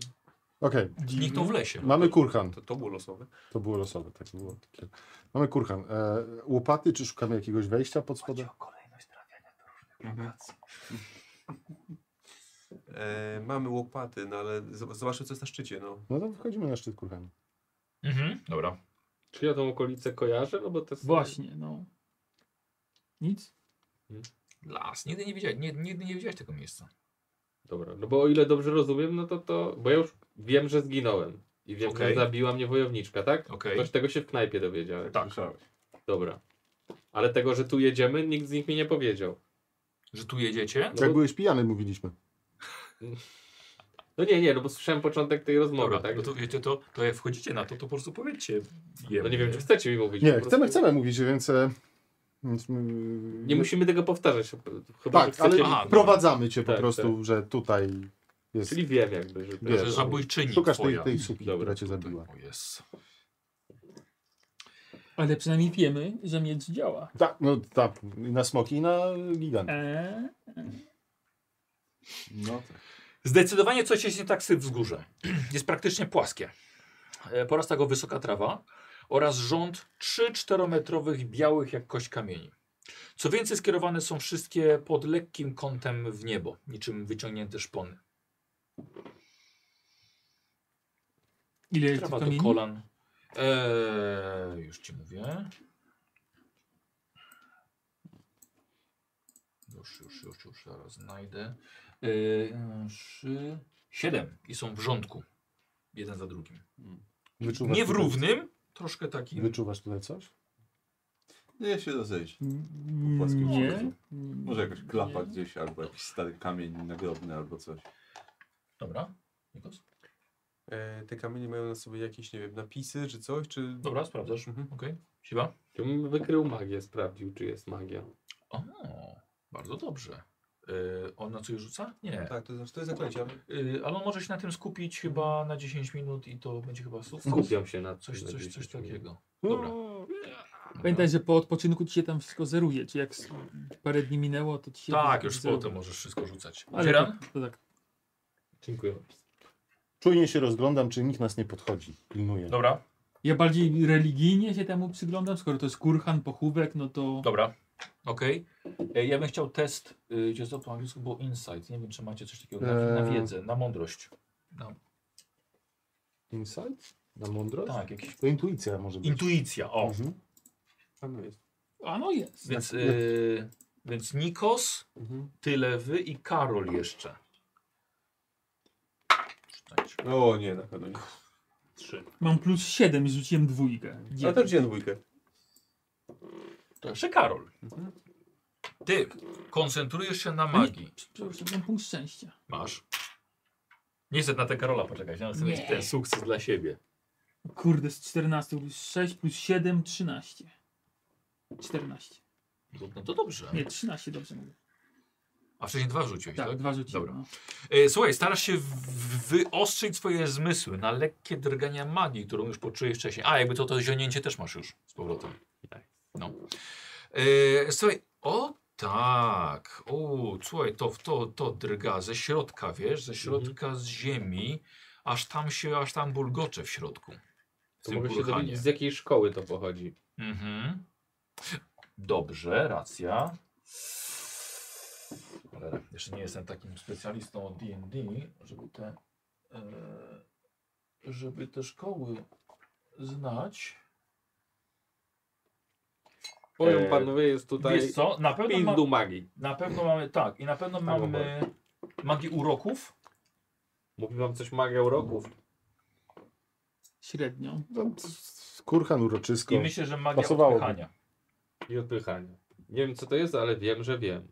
Speaker 5: Okej.
Speaker 2: zniknął w lesie.
Speaker 5: Mamy kurhan.
Speaker 4: To, to było losowe.
Speaker 5: To było losowe. Tak było. Takie- Mamy kurhan. E, łopaty, czy szukamy jakiegoś wejścia pod spodem?
Speaker 4: E, mamy łopaty, no ale zob- zobaczmy co jest na szczycie. No.
Speaker 5: No to wchodzimy na szczyt kurhanu.
Speaker 2: Mhm, dobra.
Speaker 3: Czy ja tą okolicę kojarzę? No bo to są-
Speaker 6: Właśnie, no. Nic?
Speaker 2: Las. Nigdy nie widziałeś, nie, nigdy nie widziałeś tego miejsca.
Speaker 3: Dobra, no bo o ile dobrze rozumiem, no to to... Bo ja już wiem, że zginąłem. I wiem,
Speaker 2: Okej.
Speaker 3: że zabiła mnie wojowniczka, tak?
Speaker 2: Okej.
Speaker 3: Ktoś tego się w knajpie dowiedziałem.
Speaker 2: Tak.
Speaker 1: Słyszałeś.
Speaker 3: Dobra. Ale tego, że tu jedziemy, nikt z nich mi nie powiedział.
Speaker 2: Że tu jedziecie?
Speaker 3: No,
Speaker 5: Jak
Speaker 3: bo,
Speaker 5: byłeś pijany, mówiliśmy.
Speaker 3: no nie, nie, no bo słyszałem początek tej rozmowy,
Speaker 2: Dobra,
Speaker 3: tak?
Speaker 2: no to wiecie, to, to jak wchodzicie na to, to po prostu powiedzcie. jemu,
Speaker 3: No nie wiem, czy chcecie mi mówić.
Speaker 5: Nie,
Speaker 3: po prostu.
Speaker 5: chcemy, chcemy mówić, więc... E, więc mm,
Speaker 3: Nie musimy tego powtarzać. Chyba, że
Speaker 5: Tak,
Speaker 3: chcecie
Speaker 5: ale
Speaker 3: mi-
Speaker 2: Aha,
Speaker 5: prowadzamy cię po
Speaker 3: Tak,
Speaker 5: prostu, że tutaj jest...
Speaker 3: Czyli wiem jakby, że to
Speaker 5: Wiesz,
Speaker 2: Że zabójczyni
Speaker 5: Szukasz tej,
Speaker 2: twoja.
Speaker 5: tej suki,
Speaker 3: Dobra,
Speaker 5: która cię
Speaker 2: Tutaj,
Speaker 5: zabiła.
Speaker 2: o jest.
Speaker 6: Ale przynajmniej wiemy, że miecz działa.
Speaker 5: Tak, no tak, i na smoki i na
Speaker 2: E,
Speaker 5: gigant.
Speaker 6: Eee,
Speaker 1: No tak.
Speaker 2: Zdecydowanie coś jest nie tak z tym wzgórze. [CLEARS THROAT] Jest praktycznie płaskie. E, Porasta go wysoka trawa oraz rząd 3-4 metrowych białych jak kość kamieni. Co więcej skierowane są wszystkie pod lekkim kątem w niebo, niczym wyciągnięte szpony.
Speaker 6: ile jest
Speaker 2: Trawa
Speaker 6: tych
Speaker 2: do
Speaker 6: kamieni?
Speaker 2: kolan. Eee, już ci mówię. Już, już, już, już zaraz znajdę. Eee, trzy, siedem i są w rządku. Jeden za drugim.
Speaker 5: Wyczuwasz
Speaker 2: nie w
Speaker 5: tutaj-
Speaker 2: równym, troszkę takim.
Speaker 5: Wyczuwasz tutaj coś?
Speaker 1: Nie No się rozejść.
Speaker 6: Mm,
Speaker 1: płaskim
Speaker 6: Nie.
Speaker 1: szczycie. Może jakaś klapa
Speaker 6: Nie.
Speaker 1: gdzieś, albo jakiś stary kamień nagrobny, albo coś.
Speaker 2: Dobra. Nikos?
Speaker 4: E, te kamienie mają na sobie jakieś, nie wiem, napisy czy coś, czy...
Speaker 5: No.
Speaker 2: Dobra, sprawdzasz.
Speaker 4: Mhm.
Speaker 2: Okej. Siła?
Speaker 3: Ja bym wykrył magię, sprawdził, czy jest magia.
Speaker 2: O, bardzo dobrze. Eee, on na coś rzuca? Nie.
Speaker 4: Tak, to, jest- to jest zaklęcie. ale-
Speaker 2: Eee, ale on może się na tym skupić chyba na 10 minut i to będzie chyba sukces.
Speaker 3: Skupiam się na
Speaker 2: Coś,
Speaker 3: na
Speaker 2: coś,
Speaker 3: 10
Speaker 2: coś
Speaker 3: minut.
Speaker 2: takiego. Dobra.
Speaker 6: Pamiętaj, że po odpoczynku ci się tam wszystko zeruje. Czy jak s- parę dni minęło, to ci się.
Speaker 2: Tak, już
Speaker 6: zeruje.
Speaker 2: potem możesz wszystko rzucać.
Speaker 6: Ale
Speaker 2: Kieran?
Speaker 6: tak, to tak.
Speaker 3: Dziękuję.
Speaker 5: Czujnie się rozglądam, czy nikt nas nie podchodzi. Pilnuję.
Speaker 2: Dobra,
Speaker 6: Ja bardziej religijnie się temu przyglądam, skoro to jest kurhan, pochówek, no to.
Speaker 2: dobra. Okej. E, Ja bym chciał test, y, gdzie to po angielsku było insight. Nie wiem, czy macie coś takiego na, na
Speaker 5: Eee.
Speaker 2: wiedzę, na mądrość. Na,
Speaker 5: Insight? Na mądrość?
Speaker 2: tak, jakiś.
Speaker 5: To intuicja może być.
Speaker 2: Intuicja, o.
Speaker 5: Mhm.
Speaker 4: A no jest.
Speaker 6: A no jest.
Speaker 2: Więc, y, więc Nikos,
Speaker 4: Mhm.
Speaker 2: tyle wy i Karol jeszcze. Czytajcie.
Speaker 4: O nie, na pewno nie.
Speaker 6: Mam plus 7 i rzuciłem dwójkę.
Speaker 4: Ale też wziąłem dwójkę.
Speaker 2: To Jeszcze Karol.
Speaker 4: Mhm.
Speaker 2: Ty koncentrujesz się na
Speaker 6: A nie,
Speaker 2: magii.
Speaker 6: Przepraszam, mam punkt szczęścia.
Speaker 2: Masz. Nie chcę na te Karola poczekać, ja chcę
Speaker 6: Nie.
Speaker 2: mieć ten sukces dla siebie.
Speaker 6: Kurde, z 14 plus 6 plus 7, 13. 14.
Speaker 2: No, no to dobrze.
Speaker 6: Nie, 13 dobrze mówię.
Speaker 2: A wcześniej dwa rzuciłeś, tak?
Speaker 6: Tak, dwa rzuciłem.
Speaker 2: Dobra.
Speaker 6: No.
Speaker 2: E, słuchaj, starasz się w- wyostrzyć swoje zmysły na lekkie drgania magii, którą już poczujesz wcześniej. A, jakby to to zionięcie też masz już z powrotem. No. E, słuchaj, o tak. O, słuchaj, to, to, to drga ze środka, wiesz, ze środka z ziemi, aż tam się, aż tam bulgocze w środku. W
Speaker 3: To
Speaker 2: tym
Speaker 3: mogę się
Speaker 2: kurhanie.
Speaker 3: dowiedzieć, z jakiej szkoły to pochodzi.
Speaker 2: Mhm. Dobrze, racja. Ale jeszcze nie jestem takim specjalistą od D&D, żeby te, e, żeby te szkoły znać.
Speaker 3: Powiem
Speaker 2: E,
Speaker 3: panowie, jest tutaj
Speaker 2: Wiesz co, na pewno, ma,
Speaker 3: pindu magii.
Speaker 2: na pewno mamy, tak, i na pewno mamy magię uroków.
Speaker 3: Mówi wam coś magia uroków?
Speaker 6: Średnio.
Speaker 5: No, c- c- Kurhan uroczysko.
Speaker 2: I myślę, że magia
Speaker 5: Pasowałoby.
Speaker 2: odpychania.
Speaker 3: I odpychanie. Nie wiem co to jest, ale wiem, że wiem.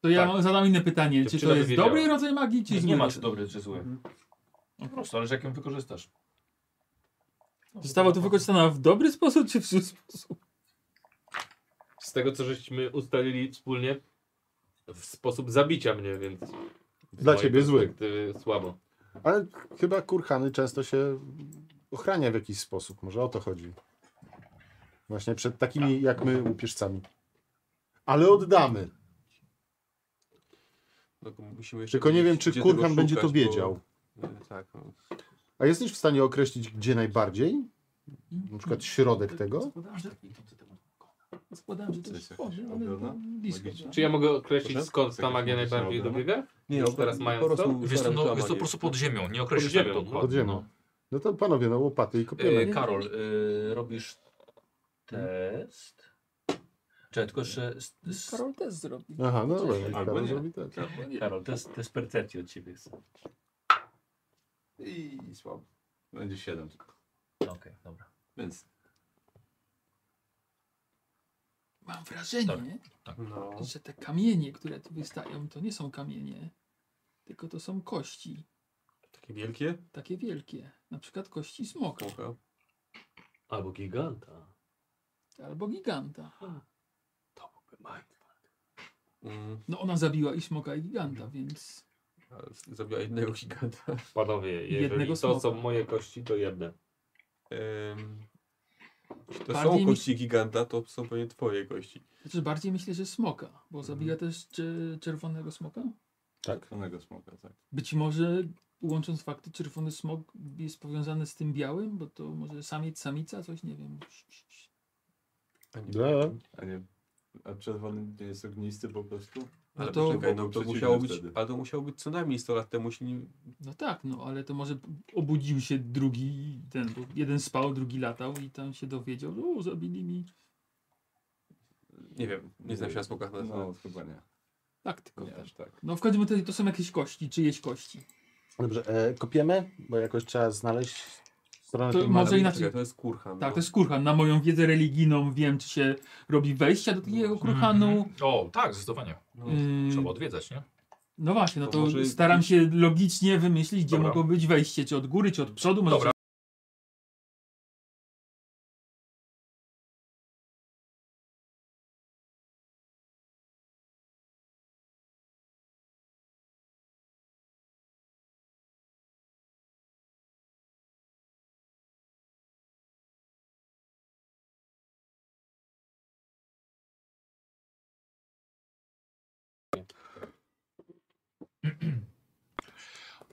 Speaker 6: To ja
Speaker 2: Tak.
Speaker 6: zadam inne pytanie. Czy
Speaker 3: Dziewczyna
Speaker 6: to
Speaker 3: by
Speaker 6: jest
Speaker 3: wiedziała.
Speaker 6: dobry rodzaj magii, czy
Speaker 2: Nie,
Speaker 6: zły
Speaker 2: nie ma czy
Speaker 6: rodzaj?
Speaker 2: dobry, czy zły. No po prostu, ale jak ją wykorzystasz. No,
Speaker 6: Została tu wykorzystana w dobry sposób, czy w zły sposób?
Speaker 3: Z tego co żeśmy ustalili wspólnie w sposób zabicia mnie, więc. z
Speaker 5: Dla
Speaker 3: mojej
Speaker 5: ciebie zły.
Speaker 3: perspektywy Słabo.
Speaker 5: Ale chyba kurhany często się ochrania w jakiś sposób. Może o to chodzi. Właśnie przed takimi jak my łupieżcami. Ale oddamy.
Speaker 4: Tylko No, musimy jeszcze
Speaker 5: Tylko nie wiem,
Speaker 4: wiedzieć,
Speaker 5: czy
Speaker 4: gdzie tego
Speaker 5: kurhan będzie to
Speaker 4: szukać,
Speaker 5: wiedział.
Speaker 4: Bo, y, tak, no.
Speaker 5: A jesteś w stanie określić, gdzie najbardziej? Na przykład środek tego?
Speaker 2: Zakładałem, że taki typ temu.
Speaker 6: Składam, że to
Speaker 9: To
Speaker 6: jest
Speaker 9: jest
Speaker 6: Boże,
Speaker 9: jakaś
Speaker 6: ale
Speaker 9: obrona?
Speaker 6: to blisko.
Speaker 9: Magiczna?
Speaker 6: tak.
Speaker 3: Czy ja mogę określić
Speaker 9: Proszę?
Speaker 3: skąd ta
Speaker 9: Jakaś
Speaker 3: magia
Speaker 9: magiczna
Speaker 3: najbardziej
Speaker 9: obrona?
Speaker 3: dobiega?
Speaker 4: Nie,
Speaker 3: Już
Speaker 4: no,
Speaker 3: teraz
Speaker 4: po
Speaker 3: mając
Speaker 4: prostu
Speaker 3: to?
Speaker 2: Wiesz co,
Speaker 4: ustalamy,
Speaker 2: no,
Speaker 4: która
Speaker 2: wiesz co, po
Speaker 4: magia.
Speaker 2: prostu pod ziemią, nie określisz
Speaker 3: Pod
Speaker 2: tak
Speaker 3: ziemią,
Speaker 2: dokładnie.
Speaker 5: Pod ziemią. No to panowie, no łopaty i
Speaker 2: E,
Speaker 5: kopiemy.
Speaker 2: Karol, e, robisz test. Czekaj, tylko jeszcze... s- s-
Speaker 6: Karol też zrobi.
Speaker 5: Aha, no dobra.
Speaker 9: Albo
Speaker 5: Karol
Speaker 9: nie.
Speaker 5: zrobi tak.
Speaker 2: Karol, test, test percepcji od ciebie jest.
Speaker 9: I słabo. Będzie 7 tylko.
Speaker 2: Okej, dobra.
Speaker 9: Więc
Speaker 6: Mam wrażenie,
Speaker 4: No.
Speaker 2: Tak.
Speaker 6: że te kamienie, które tu wystają, to nie są kamienie, tylko to są kości.
Speaker 4: no. Takie wielkie?
Speaker 6: Takie wielkie. Na przykład kości smoka
Speaker 4: Spoko.
Speaker 3: Albo giganta.
Speaker 6: albo giganta.
Speaker 3: To byłby mindfuck.
Speaker 4: Mm,
Speaker 6: No ona zabiła i smoka i giganta, więc
Speaker 4: ale z- zabiła jednego giganta.
Speaker 3: Panowie, jeżeli
Speaker 6: Jednego
Speaker 3: to
Speaker 6: smoka.
Speaker 3: są moje kości, to jedne.
Speaker 4: Ym, jeśli to
Speaker 6: Bardziej
Speaker 4: są
Speaker 6: mi-
Speaker 4: kości giganta, to są pewnie twoje kości.
Speaker 6: znaczy bardziej myślę, że smoka,
Speaker 4: Mhm.
Speaker 6: bo zabiła też cze- czerwonego smoka.
Speaker 9: tak. smoka, tak.
Speaker 6: Być może łącząc fakty, czerwony smok jest powiązany z tym białym, bo to może samiec, samica, coś nie wiem.
Speaker 4: A nie
Speaker 5: Da.
Speaker 9: A nie. A czerwony nie jest ognisty po prostu?
Speaker 6: No
Speaker 4: Ale
Speaker 6: to-
Speaker 4: poczekaj, no, to
Speaker 9: Przeciwny
Speaker 4: musiało być,
Speaker 9: wtedy.
Speaker 4: ale to musiało być co najmniej 100 lat temu, jeśli nie,
Speaker 6: No tak, no ale to może obudził się drugi, ten, bo jeden spał, drugi latał i tam się dowiedział, że o, zabili mi.
Speaker 4: nie wiem, nie znam się na smokach na
Speaker 9: No, chyba nie.
Speaker 6: Tak, tylko
Speaker 9: Nie,
Speaker 6: też.
Speaker 9: aż tak.
Speaker 6: No w każdym razie to są jakieś kości, czyjeś kości.
Speaker 5: Dobrze, e, kopiemy, bo jakoś trzeba znaleźć stronę
Speaker 6: To
Speaker 5: tej
Speaker 6: może
Speaker 5: magii.
Speaker 6: inaczej.
Speaker 4: Czekaj, to jest kurhan.
Speaker 6: Tak,
Speaker 4: no.
Speaker 6: to jest kurhan. Na moją wiedzę religijną wiem, czy się robi wejścia do takiego kurhanu.
Speaker 2: Mhm. O, tak, zdecydowanie.
Speaker 4: No.
Speaker 6: Ym,
Speaker 2: Trzeba odwiedzać, nie?
Speaker 6: Yy, no właśnie, no
Speaker 4: To
Speaker 6: to
Speaker 4: może
Speaker 6: staram się logicznie wymyślić, gdzie
Speaker 2: Dobra.
Speaker 6: mogło być wejście, czy od góry, czy od przodu. Może
Speaker 2: Dobra.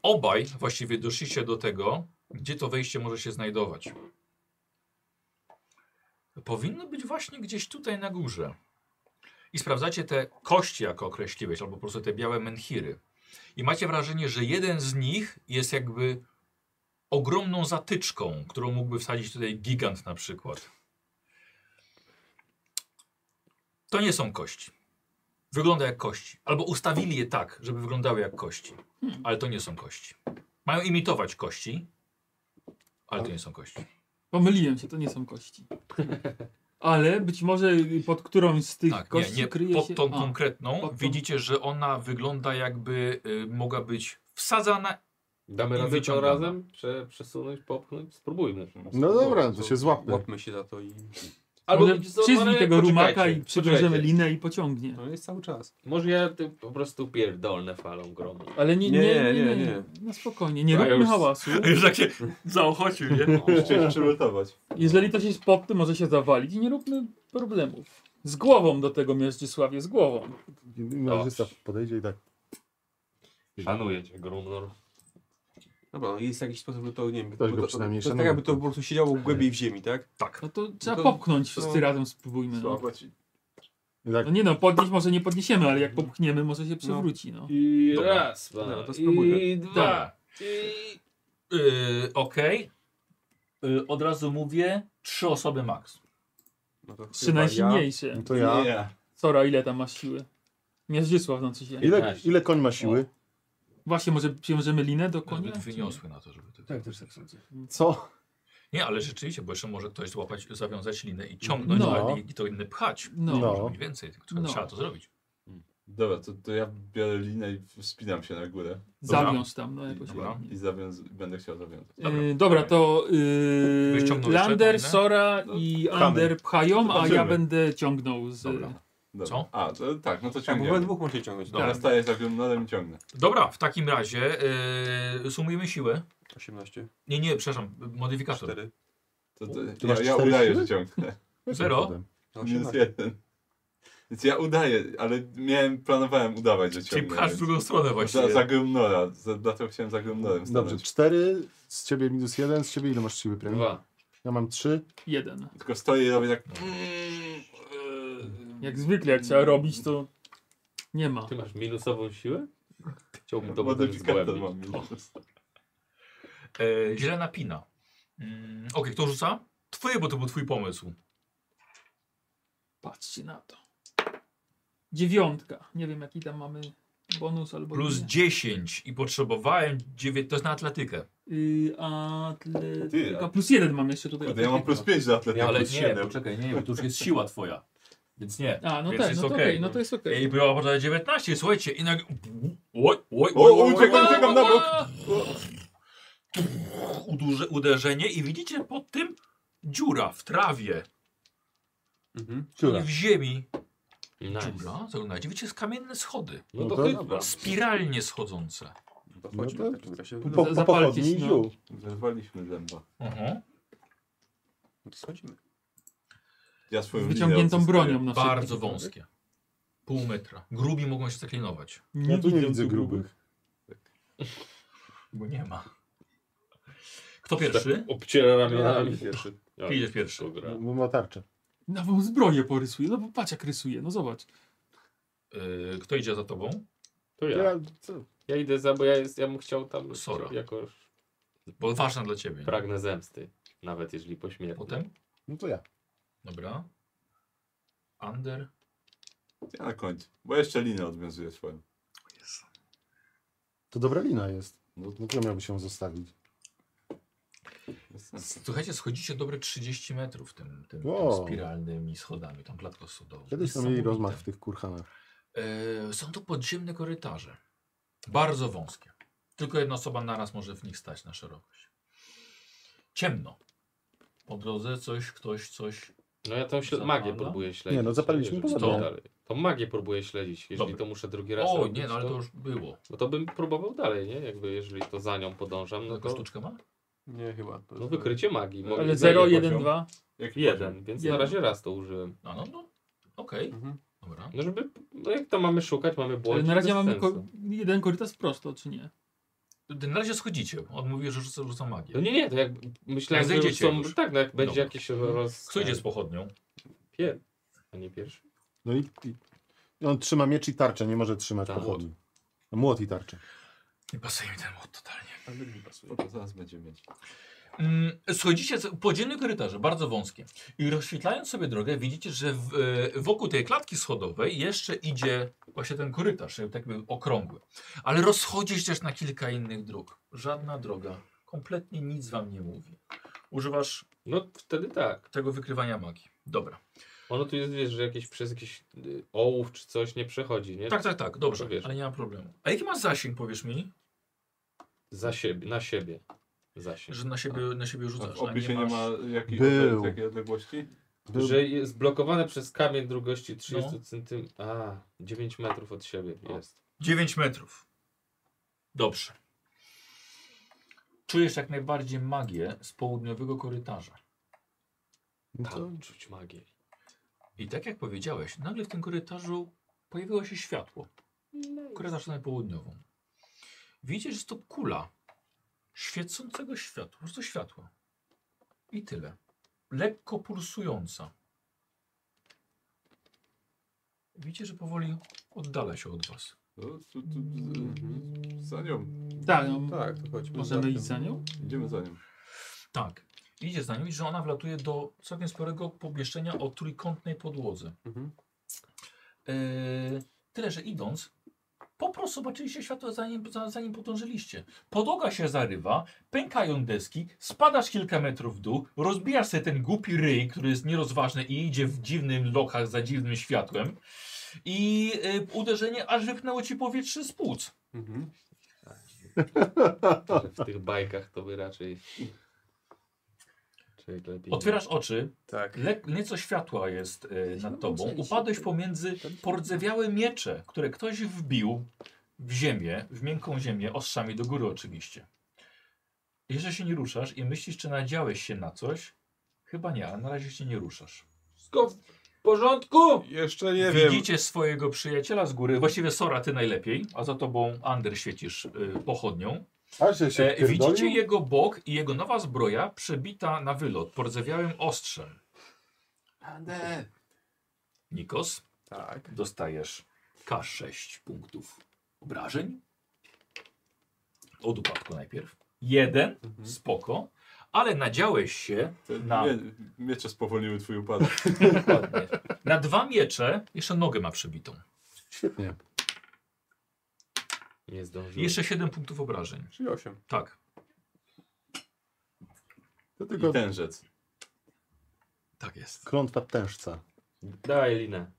Speaker 2: Obaj właściwie doszliście do tego, gdzie to wejście może się znajdować. Powinno być właśnie gdzieś tutaj na górze. I sprawdzacie te kości, jak określiłeś, albo po prostu te białe menhiry. I macie wrażenie, że jeden z nich jest jakby ogromną zatyczką, którą mógłby wsadzić tutaj gigant na przykład. To nie są kości. Wygląda jak kości. Albo ustawili je tak, żeby wyglądały jak kości. Ale to nie są kości. Mają imitować kości, ale to nie są kości.
Speaker 6: Pomyliłem się, to nie są kości. Ale być może pod którąś z tych
Speaker 2: Tak, nie,
Speaker 6: kości
Speaker 2: nie.
Speaker 6: kryje
Speaker 2: Pod
Speaker 6: się...
Speaker 2: tą
Speaker 6: A,
Speaker 2: konkretną
Speaker 6: pod tą-
Speaker 2: widzicie, że ona wygląda jakby y, mogła być wsadzana. [LAUGHS]
Speaker 3: Damy
Speaker 2: I
Speaker 3: radę to
Speaker 2: wyciągamy.
Speaker 3: razem prze, przesunąć, popchnąć, spróbujmy.
Speaker 5: No dobra, to się złapmy.
Speaker 4: Łapmy się za to i...
Speaker 3: Albo
Speaker 6: może
Speaker 3: wiecie co,
Speaker 6: przyzwij
Speaker 3: panowie,
Speaker 6: tego rumaka
Speaker 3: poczekajcie,
Speaker 6: i przybierzemy
Speaker 3: poczekajcie.
Speaker 6: linę i pociągnie.
Speaker 4: No jest cały czas.
Speaker 3: Może ja ty po prostu pierdolnę falą [LAUGHS] gromu.
Speaker 6: Ale nie, nie, nie, nie.
Speaker 4: nie, nie.
Speaker 6: No spokojnie,
Speaker 3: A
Speaker 6: nie
Speaker 3: ja
Speaker 6: róbmy
Speaker 3: już-
Speaker 6: hałasu.
Speaker 2: Już tak się zaochocił, nie?
Speaker 6: No.
Speaker 9: Chciałeś przylutować.
Speaker 6: Jeżeli to się spotty, może się zawalić i nie róbmy problemów. Z głową do tego Mieczysławie, z głową.
Speaker 5: Mężczyzna podejdzie i tak.
Speaker 3: Szanuję cię, Grumnor.
Speaker 4: Dobra, no jest jakiś sposób, że to nie wiem.
Speaker 5: Ktoś
Speaker 4: bo
Speaker 5: go
Speaker 4: to,
Speaker 5: przynajmniej
Speaker 4: to, to tak
Speaker 5: szanuje.
Speaker 4: jakby to po prostu siedziało głębiej w ziemi, tak?
Speaker 6: No to trzeba
Speaker 4: to-
Speaker 6: popchnąć, wszyscy
Speaker 4: no.
Speaker 6: razem spróbujmy. No.
Speaker 1: Słabo ci.
Speaker 5: I tak
Speaker 6: no nie no, podnieść może nie podniesiemy, ale jak popchniemy, może się przewróci. No.
Speaker 3: I
Speaker 2: Dobra.
Speaker 3: raz, dwa,
Speaker 4: Dobra, to spróbujmy.
Speaker 3: i
Speaker 2: Dobra.
Speaker 3: dwa, i...
Speaker 2: Yy, Tak. Okej. Yy, od razu mówię, trzy osoby max.
Speaker 4: No to
Speaker 6: Trzy
Speaker 4: chyba
Speaker 6: najsilniejsze.
Speaker 5: No to ja.
Speaker 1: Nie.
Speaker 6: Sora, ile tam masz siły? Mierzysław, no coś się.
Speaker 5: Ile, ile koń ma siły?
Speaker 6: Właśnie, może przywiążemy linę do konia?
Speaker 2: Nawet
Speaker 6: czy nie?
Speaker 2: wyniosły na to, żeby to.
Speaker 12: Tak, też tak sądzę.
Speaker 5: Co?
Speaker 2: Nie, ale rzeczywiście, bo jeszcze może ktoś złapać, zawiązać linę i ciągnąć
Speaker 6: No.
Speaker 2: ale i, i to inne pchać.
Speaker 6: No.
Speaker 2: Może być więcej, tylko
Speaker 6: No.
Speaker 2: trzeba to zrobić.
Speaker 1: Dobra, to, to ja biorę linę i wspinam się na górę.
Speaker 6: Zawiąż tam, no jakoś
Speaker 2: Dobra.
Speaker 6: ładnie.
Speaker 1: I zawiąz... będę chciał zawiązać.
Speaker 2: Dobra.
Speaker 6: Yy, dobra, to
Speaker 2: Byś
Speaker 6: yy,
Speaker 2: ciągnął jeszcze
Speaker 6: Lander,
Speaker 2: kolinę?
Speaker 6: Sora i
Speaker 5: pchamy.
Speaker 6: Ander pchają, a
Speaker 1: Zobaczymy.
Speaker 6: ja będę ciągnął z...
Speaker 2: Dobra.
Speaker 1: Dobra.
Speaker 2: Co?
Speaker 1: A, to, tak, no to
Speaker 4: Tak, bo we
Speaker 1: ciągniemy.
Speaker 4: dwóch możecie ciągnąć.
Speaker 1: Dobra, staję za glumnodem i ciągnę.
Speaker 2: Dobra, w takim razie yy, sumujemy siłę.
Speaker 4: 18,
Speaker 2: Nie, nie, przepraszam, modyfikator.
Speaker 4: 4,
Speaker 1: To,
Speaker 5: Ty
Speaker 1: to, ja
Speaker 5: masz
Speaker 1: ja
Speaker 5: cztery
Speaker 1: udaję,
Speaker 5: siły?
Speaker 1: że ciągnę.
Speaker 2: Zero.
Speaker 4: no,
Speaker 1: Minus
Speaker 4: 18.
Speaker 1: jeden. Więc ja udaję, ale miałem, planowałem udawać, że
Speaker 2: Czyli
Speaker 1: ciągnę.
Speaker 2: pchasz w drugą stronę
Speaker 1: więc Za,
Speaker 2: właściwie.
Speaker 1: za Grumnora, za, dlatego chciałem za Grumnorem stanąć.
Speaker 5: Dobrze, cztery, z ciebie minus jeden, z ciebie ile masz siły premii?
Speaker 3: Dwa.
Speaker 5: Ja mam trzy.
Speaker 6: Jeden.
Speaker 1: Tylko stoję i robię tak...
Speaker 2: No,
Speaker 6: Jak zwykle, jak trzeba robić, to nie ma.
Speaker 3: Ty masz minusową siłę? Chciałbym
Speaker 1: mm,
Speaker 3: to potem
Speaker 1: Modyfikator
Speaker 3: zgłębić.
Speaker 1: mam. minus.
Speaker 2: E, źle napina. Mm, Okej, kto rzuca? Twoje, bo to był twój pomysł.
Speaker 6: Patrzcie na to. Dziewiątka. Nie wiem, jaki tam mamy bonus albo
Speaker 2: Plus
Speaker 6: nie.
Speaker 2: 10 i potrzebowałem 9, to jest na atletykę.
Speaker 6: Yy, atletyka.
Speaker 1: Ty, a-
Speaker 6: Plus jeden mam jeszcze tutaj.
Speaker 1: Kurde, ja mam plus
Speaker 6: atletyka.
Speaker 1: 5 do atletyki.
Speaker 2: Ja ale
Speaker 1: plus
Speaker 2: nie,
Speaker 1: siedem.
Speaker 2: poczekaj, nie, bo to już jest siła twoja. Więc nie.
Speaker 6: A, no
Speaker 2: Więc
Speaker 6: tak,
Speaker 2: jest
Speaker 6: no to okej,
Speaker 2: okej.
Speaker 6: no to jest okej.
Speaker 2: I była potrzeba 19, słuchajcie, i nagle... Oj, oj,
Speaker 1: O, uciekam, uciekam na bok!
Speaker 2: Uduże- Uderzenie i widzicie pod tym dziura w trawie,
Speaker 4: Mhm.
Speaker 2: nie w ziemi.
Speaker 3: Nice.
Speaker 2: Dziura, zaglądajcie, widzicie, jest kamienne schody.
Speaker 3: No to
Speaker 5: No to
Speaker 3: chyba.
Speaker 2: Spiralnie schodzące.
Speaker 4: To chodźmy
Speaker 5: No
Speaker 4: w
Speaker 5: to-
Speaker 4: takim razie.
Speaker 5: Po,
Speaker 4: No
Speaker 5: po
Speaker 6: zapalcie
Speaker 5: pochodni i
Speaker 6: się, no.
Speaker 5: ziół.
Speaker 1: Zerwaliśmy zęba.
Speaker 2: Mhm.
Speaker 4: No to schodzimy.
Speaker 1: Ja swoją
Speaker 6: Z
Speaker 1: linię
Speaker 6: wyciągniętą
Speaker 1: odzyskałem.
Speaker 6: bronią na wszelki
Speaker 2: Bardzo
Speaker 6: wypadek.
Speaker 2: wąskie. Pół metra. Grubi mogą się zaklinować.
Speaker 5: Ja tu nie widzę
Speaker 12: tu
Speaker 5: grubych.
Speaker 2: Bo nie ma. Kto pierwszy?
Speaker 3: Obciera ramionami.
Speaker 4: Pierwszy.
Speaker 3: Ja,
Speaker 2: Idzie pierwszy.
Speaker 3: Dobra.
Speaker 5: Bo ma tarczę.
Speaker 6: Nową zbroję porysuje, no bo patrz jak rysuje, no zobacz.
Speaker 2: Yy, kto idzie za tobą?
Speaker 3: To ja.
Speaker 5: Ja, co?
Speaker 3: Ja idę za, bo ja, jest, ja bym chciał tam
Speaker 2: Sora.
Speaker 3: jako
Speaker 2: Bo ważne dla ciebie. nie?
Speaker 3: pragnę zemsty. Nawet jeżeli pośmiertnie.
Speaker 2: Potem?
Speaker 5: No to ja.
Speaker 2: Dobra. Under.
Speaker 1: Ja na końcu. Bo jeszcze linę odwiązuję swoją.
Speaker 5: To dobra lina jest.
Speaker 1: No,
Speaker 5: No to miałby się zostawić.
Speaker 1: bez sensu.
Speaker 2: Słuchajcie, schodzicie dobre 30 metrów tym, tym,
Speaker 5: Wow.
Speaker 2: tym spiralnymi schodami, tą klatką sodową.
Speaker 5: Kiedyś tam mieli
Speaker 2: Niesamowite.
Speaker 5: rozmach w tych kurhanach.
Speaker 2: Yy, są to podziemne korytarze. Bardzo wąskie. Tylko jedna osoba naraz może w nich stać na szerokość. Ciemno. Po drodze coś, ktoś, coś.
Speaker 3: No ja tą śle- magię próbuję śledzić.
Speaker 5: Nie, no zapaliliśmy
Speaker 3: Nie,
Speaker 5: poza
Speaker 3: żeby
Speaker 2: dnia.
Speaker 3: dalej. To magię próbuję śledzić, jeżeli
Speaker 2: Dobra.
Speaker 3: to muszę drugi raz
Speaker 2: O,
Speaker 3: robić,
Speaker 2: nie, no ale to już było.
Speaker 3: Bo to bym próbował dalej, nie? Jakby jeżeli to za nią podążam, no
Speaker 2: Tylko
Speaker 3: to...
Speaker 2: sztuczkę ma?
Speaker 4: Nie, chyba. To
Speaker 3: No wykrycie magii. Mogę
Speaker 6: Ale
Speaker 3: zajść
Speaker 6: 0,
Speaker 3: poziom.
Speaker 6: 1, 2.
Speaker 1: Jaki
Speaker 3: Jeden, więc
Speaker 6: Jeden.
Speaker 3: na razie raz to użyłem.
Speaker 2: No, no, no. Okej,
Speaker 4: Mhm.
Speaker 2: dobra.
Speaker 3: No żeby... No jak to mamy szukać, mamy błąd.
Speaker 6: Ale na razie mamy ko jeden korytarz prosto, czy nie?
Speaker 2: To Na razie schodzicie. On mówi, że rzuca, rzuca magię.
Speaker 3: No nie, nie, to jak myślałem,
Speaker 2: Jak
Speaker 3: że już
Speaker 2: zejdziecie
Speaker 3: są...
Speaker 2: już.
Speaker 3: Tak, no jak będzie
Speaker 2: Dobra.
Speaker 3: jakieś roz...
Speaker 2: Kto idzie z pochodnią?
Speaker 3: Pier... A nie pierwszy.
Speaker 5: No i, i on trzyma miecz i tarczę, nie może trzymać
Speaker 3: Tak.
Speaker 5: pochodni. Młot i tarczę.
Speaker 2: Nie pasuje mi ten młot totalnie.
Speaker 1: Bo to zaraz będziemy mieć.
Speaker 2: Mm, schodzicie z- podziemne korytarze, bardzo wąskie. I rozświetlając sobie drogę, widzicie, że w, e, wokół tej klatki schodowej jeszcze idzie właśnie ten korytarz, jakby tak jakby okrągły. Ale rozchodzi się też na kilka innych dróg. Żadna droga, kompletnie nic wam nie mówi. Używasz
Speaker 3: No wtedy tak.
Speaker 2: tego wykrywania magii. Dobra.
Speaker 3: Ono tu jest, wiesz, że jakieś przez jakiś y, ołów czy coś nie przechodzi, nie?
Speaker 2: Tak, tak, tak, dobrze,
Speaker 3: To wiesz.
Speaker 2: ale nie ma problemu. A jaki masz zasięg, powiesz mi?
Speaker 3: Za siebie, na siebie. Za siebie.
Speaker 2: Że na siebie,
Speaker 1: Tak.
Speaker 2: na siebie
Speaker 1: A
Speaker 2: rzucasz.
Speaker 1: w
Speaker 2: a
Speaker 1: opisie nie
Speaker 2: masz-
Speaker 1: ma jakiej
Speaker 5: Był.
Speaker 1: odle- takiej odległości?
Speaker 5: Był-
Speaker 3: Że jest blokowane przez kamień długości 30
Speaker 2: No.
Speaker 3: centym... A, 9 metrów od siebie jest.
Speaker 2: 9 metrów. Dobrze. Czujesz jak najbardziej magię z południowego korytarza.
Speaker 5: No to,
Speaker 3: Tam czuć magię.
Speaker 2: I tak jak powiedziałeś, nagle w tym korytarzu pojawiło się światło. Korytarz na południową. Widzisz, że to kula. świecącego światła, po prostu światła. I tyle. Lekko pulsująca. Widzicie, że powoli oddala się od was.
Speaker 1: No, tu, tu,
Speaker 5: Mhm.
Speaker 1: z- za nią.
Speaker 6: Tak, no,
Speaker 9: Tak, to chodźmy.
Speaker 6: możemy
Speaker 9: za
Speaker 6: iść za
Speaker 5: No
Speaker 6: nią?
Speaker 1: Idziemy za nią.
Speaker 2: Tak. Idzie za nią i że ona wlatuje do całkiem sporego pomieszczenia o trójkątnej podłodze.
Speaker 9: Mhm.
Speaker 2: Yy, tyle, że idąc, po prostu zobaczyliście światło zanim, za- zanim podążyliście. Podłoga się zarywa, pękają deski, spadasz kilka metrów w dół, rozbijasz sobie ten głupi ryj, który jest nierozważny i idzie w dziwnym lochach za dziwnym światłem. I yy, uderzenie aż wypchnęło ci powietrze z płuc.
Speaker 9: Mhm.
Speaker 3: Że w tych bajkach to by raczej... Czyli lepiej nie.
Speaker 2: Otwierasz oczy,
Speaker 9: Tak.
Speaker 2: Le nieco światła jest e, nad tobą. Upadłeś pomiędzy pordzewiałe miecze, które ktoś wbił w ziemię, w miękką ziemię, ostrzami do góry oczywiście. Jeżeli się nie ruszasz i myślisz, czy nadziałeś się na coś, chyba nie, ale na razie się nie ruszasz.
Speaker 7: Wszystko w porządku?
Speaker 9: Jeszcze nie wiem.
Speaker 2: No. Widzicie swojego przyjaciela z góry, właściwie Sora ty najlepiej, a za tobą Ander świecisz y, pochodnią.
Speaker 5: A że się
Speaker 2: E,
Speaker 5: wpierdolił?
Speaker 2: widzicie jego bok i jego nowa zbroja przebita na wylot pordzewiałym ostrzem.
Speaker 1: Ande!
Speaker 2: Nikos?
Speaker 9: Tak.
Speaker 2: dostajesz K6 punktów obrażeń. Od upadku najpierw. Jeden,
Speaker 6: Mhm.
Speaker 2: spoko, ale nadziałeś
Speaker 6: [LAUGHS]
Speaker 2: się
Speaker 1: Te
Speaker 2: Na.
Speaker 1: mie miecze spowolniły twój upadek.
Speaker 2: dokładnie, na dwa miecze, jeszcze nogę ma przebitą.
Speaker 5: Świetnie.
Speaker 3: Nie zdążyłem.
Speaker 2: Jeszcze 7 punktów obrażeń.
Speaker 9: Czyli 8.
Speaker 2: Tak,
Speaker 5: To
Speaker 1: I
Speaker 5: tylko
Speaker 1: ten rzec.
Speaker 2: tak jest.
Speaker 5: klątwa tężca.
Speaker 3: Daj linę.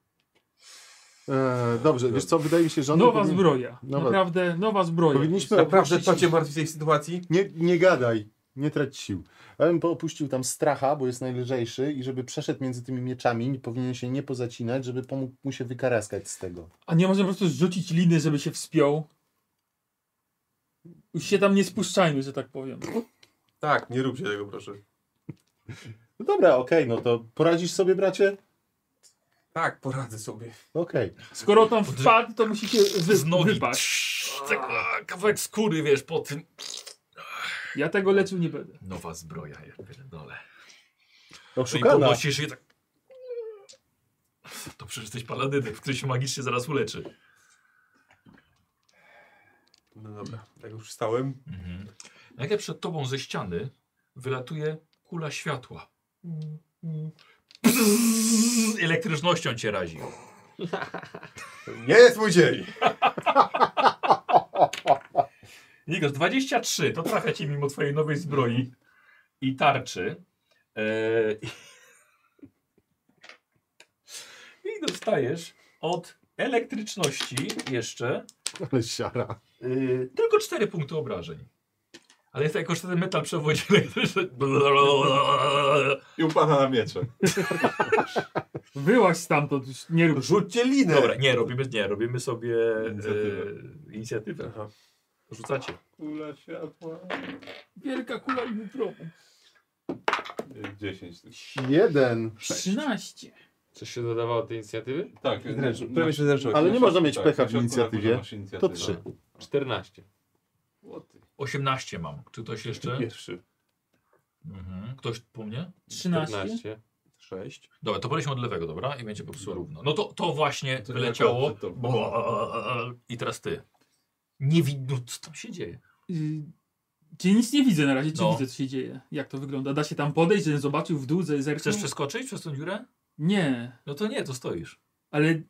Speaker 5: E, dobrze, wiesz co, wydaje mi się, że on
Speaker 6: Nowa zbroja.
Speaker 5: Nowa-
Speaker 6: Naprawdę nowa zbroja.
Speaker 2: Tak,
Speaker 5: powinniśmy
Speaker 9: Naprawdę to
Speaker 5: opuścić-
Speaker 9: cię martwi w tej sytuacji?
Speaker 5: Nie, nie gadaj, nie trać sił. Ja bym opuścił tam stracha, bo jest najlżejszy i żeby przeszedł między tymi mieczami, nie- powinien się nie pozacinać, żeby pomógł mu się wykaraskać z tego.
Speaker 6: A nie można po prostu zrzucić liny, żeby się wspiął? Już się tam nie spuszczajmy, że tak powiem.
Speaker 9: Tak, nie róbcie tego proszę.
Speaker 5: No dobra, okej, no to poradzisz sobie, bracie?
Speaker 9: Tak, poradzę sobie.
Speaker 5: Okej. No
Speaker 6: Skoro tam wpadł, to musi się wy
Speaker 2: Z nogi
Speaker 6: wypaść.
Speaker 2: trz- taka- kawałek skóry, wiesz, po tym.
Speaker 6: Ja tego leczył nie będę.
Speaker 2: Nowa zbroja, ja pierdolę. No i
Speaker 5: Oszukana.
Speaker 2: podnosisz je tak. To przecież jesteś paladynem, który się magicznie zaraz uleczy.
Speaker 9: No dobra, jak już wstałem.
Speaker 2: Mhm. Nagle przed tobą ze ściany wylatuje kula światła.
Speaker 6: Mm,
Speaker 2: Pzzz, elektrycznością cię razi.
Speaker 9: [LAUGHS] Nie jest mój dzień!
Speaker 2: [LAUGHS] Nikos, 23, to trafia cię mimo twojej nowej zbroi i tarczy. Eee, [LAUGHS] I dostajesz od elektryczności jeszcze
Speaker 5: [LAUGHS] Ale siara. Y,
Speaker 2: Yy, tylko 4 punkty obrażeń. Ale jest to jako, że ten metal przewodzi [LAUGHS] elektryczny. Blablabla.
Speaker 1: I upada na miecze.
Speaker 6: Wyłaź stamtąd, już nie rób.
Speaker 9: Rzućcie linę!
Speaker 2: Dobra, nie, robimy, nie, robimy sobie
Speaker 1: Inicjatywę.
Speaker 2: e, inicjatywę.
Speaker 9: Aha.
Speaker 2: Rzucacie.
Speaker 1: Kula światła.
Speaker 6: Wielka kula i wypromu.
Speaker 1: 10.
Speaker 5: Jeden.
Speaker 6: 13.
Speaker 10: Coś się dodawało do tej inicjatywy?
Speaker 1: Tak,
Speaker 9: Zręczny.
Speaker 1: na-
Speaker 9: Prawie się zręczyłem.
Speaker 5: Ale nie można
Speaker 1: na-
Speaker 9: tak,
Speaker 5: mieć pecha
Speaker 1: na
Speaker 5: w
Speaker 1: tak. środku
Speaker 5: inicjatywie.
Speaker 1: masz inicjatywę.
Speaker 5: To trzy.
Speaker 9: no.
Speaker 10: 14.
Speaker 1: O ty.
Speaker 2: 18 mam. Czy ktoś jeszcze?
Speaker 9: Pierwszy.
Speaker 2: Mhm. Ktoś po mnie?
Speaker 6: 13.
Speaker 10: 15.
Speaker 9: Sześć.
Speaker 2: Dobra, to poleśmy od lewego, dobra? I będzie po prostu równo. No to, to właśnie
Speaker 1: To
Speaker 2: wyleciało.
Speaker 1: akurat to-
Speaker 2: Bo- I teraz ty. Nie widzę, co tam się dzieje.
Speaker 6: Y, Czy nic nie widzę na razie, czy
Speaker 2: No.
Speaker 6: widzę co się dzieje? Jak to wygląda? Da się tam podejść, żebym zobaczył w dół, ze- zerknął?
Speaker 2: Chcesz przeskoczyć przez tą dziurę?
Speaker 6: Nie,
Speaker 2: No to nie, to stoisz.
Speaker 6: ale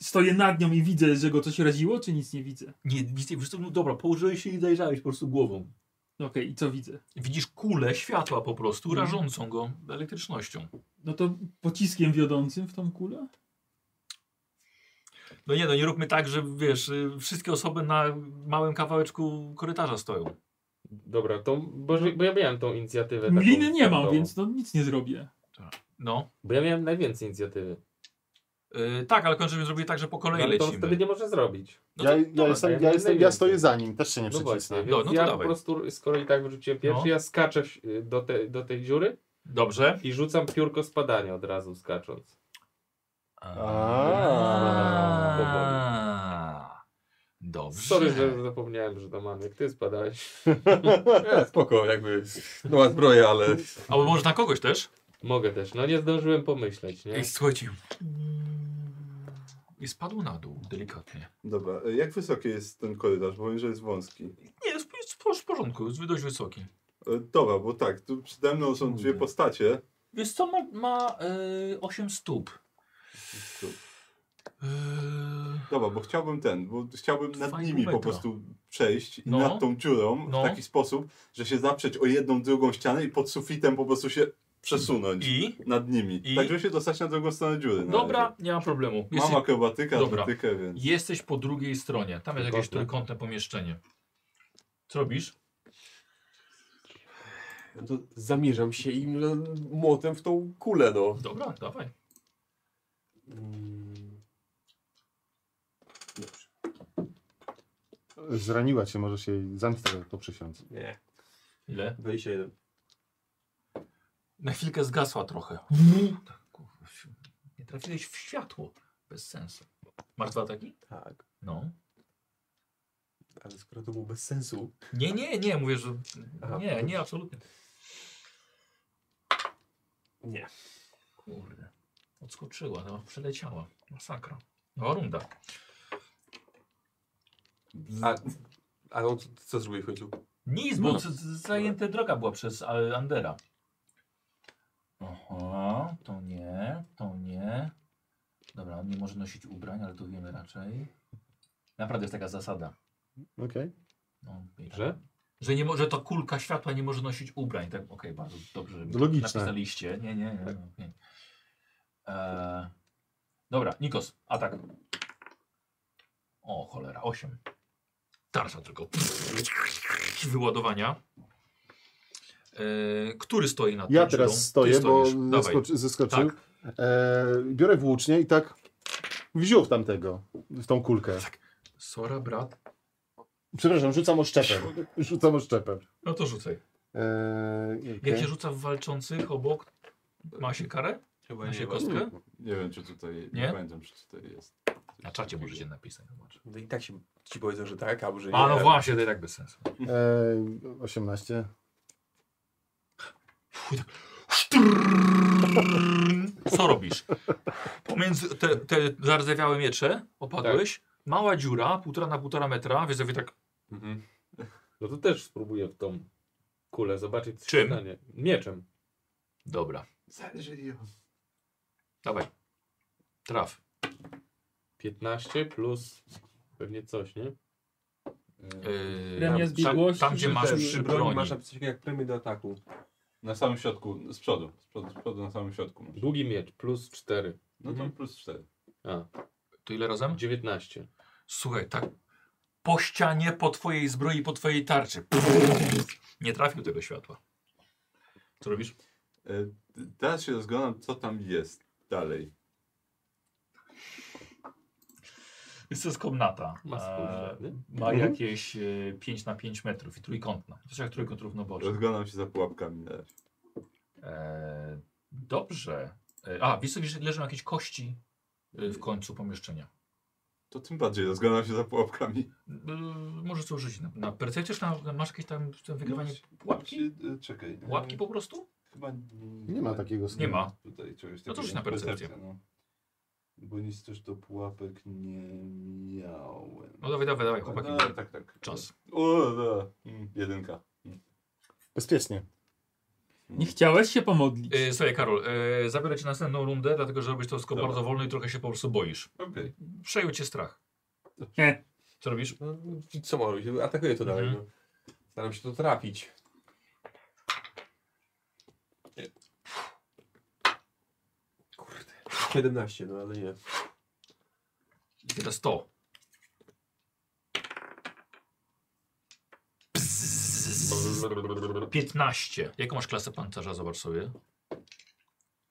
Speaker 6: stoję nad nią i widzę, że go coś raziło, czy nic nie widzę?
Speaker 2: Nie, nic nie, po prostu, no dobra, położyłeś się i zajrzałeś po prostu głową.
Speaker 6: No Okej, i co widzę?
Speaker 2: Widzisz kulę światła po prostu, rażącą go elektrycznością.
Speaker 6: No to pociskiem wiodącym w tą kulę?
Speaker 2: No nie, no nie róbmy tak, że wiesz, y, wszystkie osoby na małym kawałeczku korytarza stoją.
Speaker 10: Dobra, to, bo, bo ja miałem tą inicjatywę. taką
Speaker 6: Gliny nie mam,
Speaker 10: startową.
Speaker 6: więc no nic nie zrobię.
Speaker 2: No.
Speaker 10: Bo ja miałem najwięcej inicjatywy.
Speaker 2: Y, tak, ale kończymy zrobili tak, że po
Speaker 3: No,
Speaker 2: kolei
Speaker 10: Ale to wtedy
Speaker 2: lecimy.
Speaker 10: nie można zrobić.
Speaker 2: No
Speaker 5: ja,
Speaker 2: to,
Speaker 5: ja,
Speaker 10: dobra,
Speaker 5: jestem,
Speaker 10: ja
Speaker 5: ja, jestem, ja
Speaker 10: najwięcej.
Speaker 5: stoję za nim, też się nie
Speaker 10: No właśnie,
Speaker 5: przycisnę.
Speaker 10: więc
Speaker 2: No, no to
Speaker 10: ja po
Speaker 2: dawaj.
Speaker 10: prostu, skoro i tak wyrzuciłem pierwszy,
Speaker 2: No.
Speaker 10: ja skaczę w-
Speaker 3: y,
Speaker 10: do, te, do tej dziury
Speaker 2: Dobrze.
Speaker 10: i rzucam piórko spadania od razu skacząc.
Speaker 5: A.
Speaker 2: A. Dobrze.
Speaker 3: Sorry, że zapomniałem, że tam jak ty spadałeś. [LAUGHS]
Speaker 4: E, spoko, jakby nowa zbroja, ale
Speaker 2: Albo może na kogoś też?
Speaker 3: Mogę też, no nie zdążyłem pomyśleć, nie?
Speaker 2: Ej, słuchajcie. I spadł Mm, na dół, delikatnie.
Speaker 1: Dobra, e, jak wysoki jest ten korytarz? Bo wiem, że jest wąski.
Speaker 2: Nie, jest, jest w porządku, jest dość wysoki.
Speaker 1: E, Dobra, bo tak, tu przede mną są dwie
Speaker 2: Kurde.
Speaker 1: postacie.
Speaker 2: Wiesz co, ma, ma y, 8 stóp. Y,
Speaker 1: Dobra, bo chciałbym ten, bo chciałbym nad
Speaker 2: Fajną
Speaker 1: nimi
Speaker 2: metra.
Speaker 1: po prostu przejść i
Speaker 2: No.
Speaker 1: nad tą dziurą
Speaker 2: No.
Speaker 1: w taki sposób, że się zaprzeć o jedną, drugą ścianę i pod sufitem po prostu się przesunąć
Speaker 2: I?
Speaker 1: nad nimi.
Speaker 2: I?
Speaker 1: Tak, żeby się dostać na drugą stronę dziury. na razie.
Speaker 2: Dobra, nie ma problemu. Jesteś,
Speaker 1: Mam akrobatykę,
Speaker 2: Dobra.
Speaker 1: atletykę, więc...
Speaker 2: jesteś po drugiej stronie. Tam jest jakieś
Speaker 3: Trójkątne.
Speaker 2: trójkątne pomieszczenie. Co robisz?
Speaker 4: no to zamierzam się im no, młotem w tą kulę, no.
Speaker 2: Dobra, dawaj.
Speaker 9: Mm,
Speaker 5: Zraniła cię, możesz jej zamknąć po przysiąc.
Speaker 4: Nie.
Speaker 2: Ile?
Speaker 13: 21.
Speaker 2: Na chwilkę zgasła trochę. Tak, kurwa, Nie trafiłeś w światło. Bez sensu. Masz dwa ataki?
Speaker 4: Tak,
Speaker 2: No.
Speaker 4: ale skoro to było bez sensu.
Speaker 2: Nie, nie, nie, mówię, że.
Speaker 4: Aha.
Speaker 2: Nie, nie, absolutnie.
Speaker 4: Nie.
Speaker 2: Kurde. Odskoczyła, no, przeleciała. Masakra. No, runda.
Speaker 4: A, a on co, co zrobił w końcu?
Speaker 2: Nic, bo z- z- zajęta droga była przez e, Andera. Oho, to nie, to nie. Dobra, on nie może nosić ubrań, ale to wiemy raczej. Naprawdę jest taka zasada.
Speaker 5: Okej.
Speaker 2: No, i tak.
Speaker 3: Że?
Speaker 2: Że, nie mo- że to kulka światła nie może nosić ubrań. Tak, okej, bardzo dobrze, że mi to
Speaker 5: Logiczne. Tak.
Speaker 2: napisaliście. Nie, nie, nie. no, okej. Eee, dobra, Nikos, atak. O, cholera, 8. Tarcza tylko. Wyładowania. Eee, który stoi na
Speaker 5: Ja teraz stoję, bo zeskoczy, zeskoczył.
Speaker 2: Tak.
Speaker 5: E, biorę włócznie i tak wziął w tamtego, w tą kulkę.
Speaker 2: Sora, brat.
Speaker 5: Przepraszam, rzucam oszczepem. Rzucam oszczepem.
Speaker 2: No to rzucaj.
Speaker 5: E,
Speaker 2: Jak
Speaker 5: okej.
Speaker 2: się rzuca w walczących obok, ma się karę?
Speaker 4: Chyba
Speaker 2: Ma się
Speaker 4: nie.
Speaker 2: kostkę?
Speaker 1: Nie wiem, czy tutaj, nie,
Speaker 2: Nie?
Speaker 1: pamiętam, czy tutaj jest.
Speaker 2: Na czacie możecie napisać. Zobacz.
Speaker 4: No i tak się ci powiedzą, że tak, albo że nie.
Speaker 2: A no właśnie, to i tak bez sensu.
Speaker 5: E, 18.
Speaker 2: Co robisz? Pomiędzy te, te zardzewiałe miecze opadłeś, mała dziura, półtora na półtora metra, więc sobie tak
Speaker 4: Mhm.
Speaker 3: No to też spróbuję w tą kulę zobaczyć, co
Speaker 2: Czym?
Speaker 3: się stanie. Mieczem.
Speaker 2: dobra,
Speaker 1: Zależy ją.
Speaker 2: dawaj. Traf.
Speaker 3: 15 plus pewnie coś, nie?
Speaker 2: Yy,
Speaker 6: Premia
Speaker 2: tam-
Speaker 6: zbiegłości,
Speaker 2: Tam, gdzie masz przy broni.
Speaker 4: Masz na coś jak premię do ataku.
Speaker 1: Na samym środku, z przodu, z przodu, z przodu na samym środku. masz.
Speaker 3: Długi miecz plus 4.
Speaker 1: No to
Speaker 4: Mhm.
Speaker 1: plus 4.
Speaker 3: A,
Speaker 2: To ile razem?
Speaker 3: 19.
Speaker 2: Słuchaj, tak po ścianie, po twojej zbroi, po twojej tarczy. Nie trafił tego światła. Co robisz?
Speaker 1: E, Teraz się rozglądam, co tam jest dalej.
Speaker 2: Jest to jest komnata.
Speaker 3: Ma swój
Speaker 2: E,
Speaker 3: żadny?
Speaker 2: ma
Speaker 1: Mhm.
Speaker 2: jakieś e, 5 na 5 metrów i trójkątna. To jest jak trójkąt równoboczny.
Speaker 1: Rozglądam się za pułapkami na razie.
Speaker 2: E, dobrze. E, a, wiesz, co, wiesz, leżą jakieś kości e, w końcu pomieszczenia.
Speaker 1: To tym bardziej rozglądam się za pułapkami.
Speaker 2: E, może co użyć na, na percepcję, czy na, na, masz jakieś tam, tam wygrywanie pułapki?
Speaker 1: Czy- e, Czekaj. e,
Speaker 2: Łapki po prostu?
Speaker 1: Chyba
Speaker 5: Y, Nie ma tak- takiego
Speaker 2: Nie ma.
Speaker 1: Tutaj czegoś
Speaker 2: No to rzuć
Speaker 1: takiego.
Speaker 2: na percepcję.
Speaker 1: Percepcja, no. Bo nic też do pułapek nie miałem.
Speaker 2: No dawaj, dawaj, dawaj, chłopaki.
Speaker 1: tak, tak, tak.
Speaker 2: Czas.
Speaker 1: O, da. Mm, Jedynka.
Speaker 5: Bezpiecznie.
Speaker 6: Nie chciałeś się pomodlić.
Speaker 2: E, słuchaj, Karol, e, zabiorę cię na następną rundę, dlatego że robisz to wszystko
Speaker 1: Dobra.
Speaker 2: bardzo wolno i trochę się po prostu boisz.
Speaker 1: Okej.
Speaker 2: Przejął cię strach.
Speaker 6: Nie.
Speaker 2: Co robisz?
Speaker 4: No, i co mam robić? Atakuję to dalej.
Speaker 2: Mhm.
Speaker 4: No. Staram się to trafić. Kurde. 17, no ale nie.
Speaker 2: I teraz to. Pzzz. 15. Jaką masz klasę pancerza? Zobacz sobie.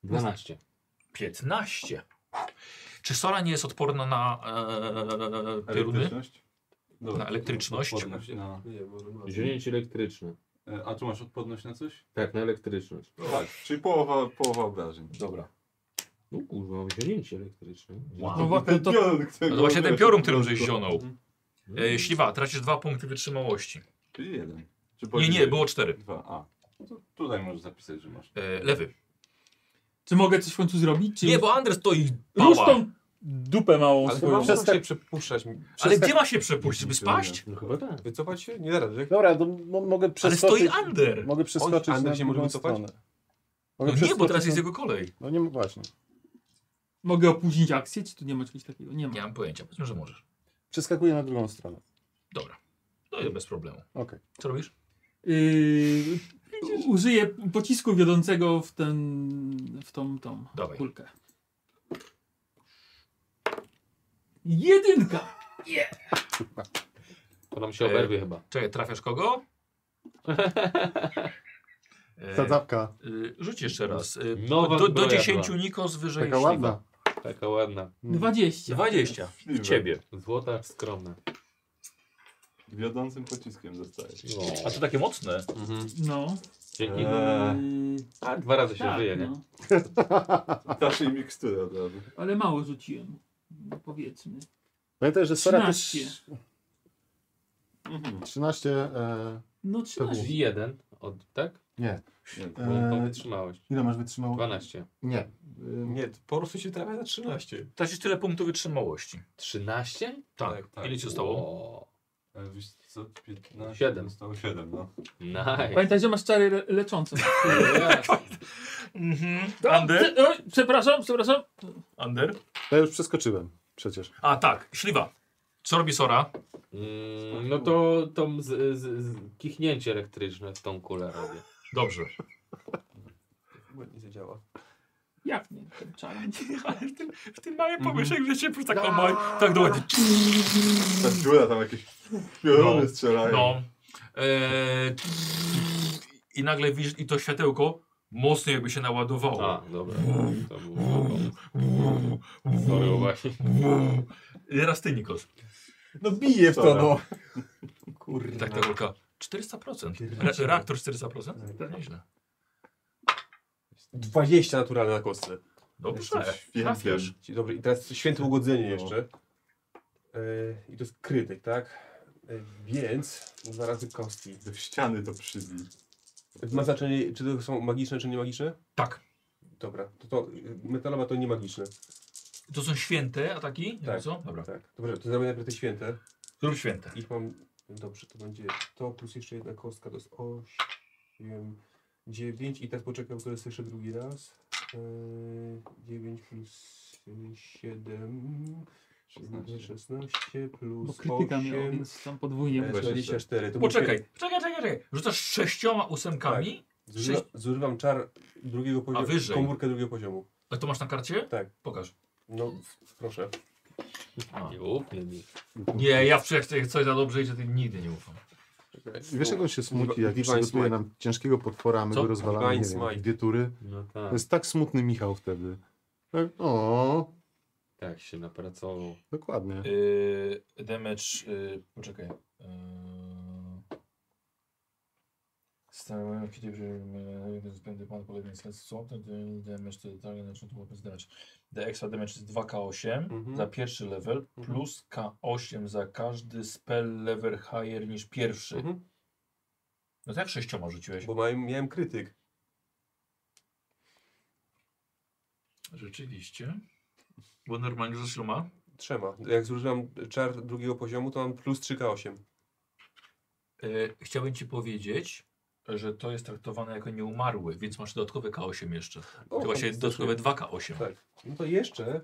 Speaker 3: 12.
Speaker 2: 15. Czy Sora nie jest odporna na e, pioruny?
Speaker 1: Elektryczność? Dobra,
Speaker 2: Na no.
Speaker 1: to
Speaker 2: elektryczność?
Speaker 1: Odporność na...
Speaker 4: Nie, może ma.
Speaker 3: Zięć elektryczne.
Speaker 1: e, A tu masz odporność na coś?
Speaker 3: Tak, na elektryczność.
Speaker 1: Tak, czyli połowa, połowa obrażeń.
Speaker 2: Dobra.
Speaker 3: No kurwa, zięć elektryczne.
Speaker 2: Wow.
Speaker 6: No, wa- no, to,
Speaker 1: piorun,
Speaker 5: Mhm.
Speaker 2: No to właśnie ten piorun, którym żeś zionął. E, śliwa, tracisz dwa punkty wytrzymałości.
Speaker 9: Czyli jeden. Czy
Speaker 2: Nie, nie,
Speaker 9: poniżej?
Speaker 2: było cztery.
Speaker 9: Dwa, a.
Speaker 1: No
Speaker 9: To tutaj możesz zapisać, że masz.
Speaker 2: E, lewy.
Speaker 6: Czy mogę coś w końcu zrobić? Czy
Speaker 2: Nie, bo Andres to i
Speaker 6: Rusz
Speaker 2: pała.
Speaker 6: tą dupę małą
Speaker 4: Ale
Speaker 6: swoją.
Speaker 4: chyba przez się przepuszczać.
Speaker 2: Ale
Speaker 4: Przestać-
Speaker 2: gdzie ma się przepuścić, żeby spaść?
Speaker 3: No chyba tak.
Speaker 4: Wycofać się? Nie da rady.
Speaker 5: Dobra, to mo- mogę
Speaker 2: Ale
Speaker 5: przeskoczyć.
Speaker 2: stoi Ander.
Speaker 5: Mogę przeskoczyć
Speaker 4: Andrzej
Speaker 5: na
Speaker 4: się może
Speaker 5: drugą
Speaker 4: wycofać?
Speaker 5: stronę.
Speaker 2: No
Speaker 5: Mogę
Speaker 2: nie, bo teraz
Speaker 5: przeskoczyć
Speaker 2: jest
Speaker 5: na-
Speaker 2: jego kolej.
Speaker 5: No nie, właśnie.
Speaker 6: Mogę opóźnić akcję, czy tu nie ma czegoś takiego? Nie ma.
Speaker 2: Nie mam pojęcia, powiedzmy, że możesz.
Speaker 5: Przeskakuję na drugą stronę.
Speaker 2: Dobra. To jest bez problemu.
Speaker 5: Okej.
Speaker 2: Co robisz?
Speaker 6: Yy, użyję pocisku wiodącego w ten, w tą, tą
Speaker 2: Dawaj.
Speaker 6: kulkę. Jedynka!
Speaker 3: To nam się oberwie chyba.
Speaker 2: Czekaj, trafiasz
Speaker 5: [LAUGHS]
Speaker 2: kogo? E,
Speaker 5: Zadzawka,
Speaker 2: y, Rzuć jeszcze raz. Y,
Speaker 3: Nowa
Speaker 2: Do, do
Speaker 3: zbroja
Speaker 2: 10
Speaker 3: była.
Speaker 2: Nikos wyżej
Speaker 5: taka
Speaker 2: śliwa.
Speaker 5: ładna.
Speaker 3: Taka ładna.
Speaker 5: Hmm.
Speaker 6: 20.
Speaker 2: 20. I ciebie.
Speaker 3: Złota skromna.
Speaker 9: Wiodącym pociskiem zostajesz.
Speaker 3: No.
Speaker 2: A to takie mocne.
Speaker 6: No.
Speaker 3: Dzięki.
Speaker 9: Eee,
Speaker 6: Yy,
Speaker 3: A dwa razy się
Speaker 6: tak,
Speaker 3: żyje, nie?
Speaker 6: no.
Speaker 9: dasz jej miksturę od razu.
Speaker 6: Ale mało rzuciłem. No, powiedzmy.
Speaker 5: Pamiętaj, że Sora też...
Speaker 6: 13.
Speaker 5: 13, e,
Speaker 6: No
Speaker 5: To było.
Speaker 6: 13.
Speaker 3: Czyli jeden, od, tak?
Speaker 5: nie.
Speaker 9: Nie,
Speaker 3: Bo to
Speaker 6: Eee,
Speaker 5: E,
Speaker 3: wytrzymałeś.
Speaker 5: ile masz wytrzymało?
Speaker 3: 12.
Speaker 5: Nie.
Speaker 4: Nie, po prostu się trafia na 13.
Speaker 2: Tracisz tyle punktów wytrzymałości.
Speaker 3: 13?
Speaker 2: Tak.
Speaker 4: Tak, tak.
Speaker 2: Ile ci zostało?
Speaker 3: O,
Speaker 9: E, Wiesz co, 15.
Speaker 3: Siedem.
Speaker 9: Zostało 7, no.
Speaker 3: nice.
Speaker 6: Pamiętaj, że masz czary le leczące.
Speaker 2: Mhm.
Speaker 6: Prze- oj, przepraszam, przepraszam.
Speaker 2: Ander?
Speaker 5: Ja już przeskoczyłem przecież.
Speaker 2: A tak, śliwa. Co robi Sora?
Speaker 3: Mm, no to, to z, z, z kichnięcie elektryczne w tą kulę robię.
Speaker 2: Dobrze.
Speaker 4: Chyba nie zadziała.
Speaker 6: Jak nie? Ten czar. [LAUGHS]
Speaker 2: Ale [LAUGHS] w tym, w tym małym pomieszczeniu, że się po prostu tak ma, tak dokładnie.
Speaker 9: Ta dziura tam jakieś pioruny
Speaker 2: No.
Speaker 9: strzelają.
Speaker 2: No. Eee, I nagle widzisz, i to światełko mocno jakby się naładowało.
Speaker 3: A, dobra. To było. Sorry, właśnie.
Speaker 2: Teraz ty, Nikos.
Speaker 4: No bije w to,
Speaker 9: Dobra.
Speaker 4: no.
Speaker 2: I
Speaker 4: Kurde.
Speaker 2: tak ta rolka. 400%. Re reaktor 400%? Nieźle.
Speaker 4: 20 naturalne na kostce.
Speaker 2: Dobrze.
Speaker 9: Jesteś świętym.
Speaker 2: Trafiasz.
Speaker 4: Czyli Dobrze, i teraz święte ugodzenie jeszcze. Yy, I to jest krytyk, tak? Yy, więc dwa razy kostki.
Speaker 9: Do ściany to przybij.
Speaker 4: Ma znaczenie, czy to są magiczne, czy nie magiczne?
Speaker 2: Tak.
Speaker 4: Dobra, to, to yy, metalowa to nie magiczne.
Speaker 2: To są święte ataki?
Speaker 4: Tak.
Speaker 2: Tak. Co? Dobra.
Speaker 4: Tak. Dobrze, to zrobię najpierw te święte.
Speaker 2: Zrób święte.
Speaker 4: Ich mam. Dobrze, to będzie to plus jeszcze jedna kostka, to jest 8, 9 i teraz poczekam, to jest jeszcze drugi raz. Eee, 9 plus 7, 16, 16
Speaker 6: Bo
Speaker 4: plus
Speaker 6: krytyka miał,
Speaker 4: 8,
Speaker 6: więc tam podwójnie.
Speaker 4: e,
Speaker 6: muszę.
Speaker 4: 24. To
Speaker 2: Poczekaj, czekaj, czekaj, czekaj. Rzucasz sześcioma ósemkami,
Speaker 4: Zużywa, zużywam czar drugiego poziomu,
Speaker 2: wyżej.
Speaker 4: komórkę drugiego poziomu.
Speaker 2: a to masz na karcie?
Speaker 4: Tak.
Speaker 2: Pokaż.
Speaker 4: No, proszę.
Speaker 3: Nie ufnie mi.
Speaker 2: Nie, ja w jak coś za dobrze idzie, to nigdy nie ufam.
Speaker 5: Wiesz jak on się smuci, jak
Speaker 4: Divine
Speaker 5: przygotuje
Speaker 4: Smite.
Speaker 5: nam ciężkiego potwora, a my
Speaker 2: Co?
Speaker 5: go rozwalamy,
Speaker 4: Divine
Speaker 5: nie
Speaker 4: Smite.
Speaker 5: wiem, dwie tury.
Speaker 3: No
Speaker 5: To
Speaker 3: tak.
Speaker 5: jest tak smutny Michał wtedy. Tak, o,
Speaker 3: Tak się napracował.
Speaker 5: dokładnie.
Speaker 2: Yy, damage, yy, poczekaj. Yy, Stałem, kiedy zbędę pan polegnie na słabym, damage to dalej znaczy to weapons damage. The extra damage jest 2k8
Speaker 4: Mhm.
Speaker 2: za pierwszy level,
Speaker 4: Mhm.
Speaker 2: plus k8 za każdy spell level higher niż pierwszy.
Speaker 4: Mhm.
Speaker 2: No tak sześcioma rzuciłeś.
Speaker 4: Bo miałem, miałem krytyk.
Speaker 2: Rzeczywiście. Bo normalnie rzucasz ma.
Speaker 4: Trzema. Jak zużywam czar drugiego poziomu, to mam plus 3K8.
Speaker 2: E, chciałbym ci powiedzieć, że to jest traktowane jako nieumarły, więc masz dodatkowe K8 jeszcze.
Speaker 4: O,
Speaker 2: to właśnie
Speaker 4: to
Speaker 2: dodatkowe
Speaker 4: znaczy-
Speaker 2: 2K8.
Speaker 4: Tak. No to jeszcze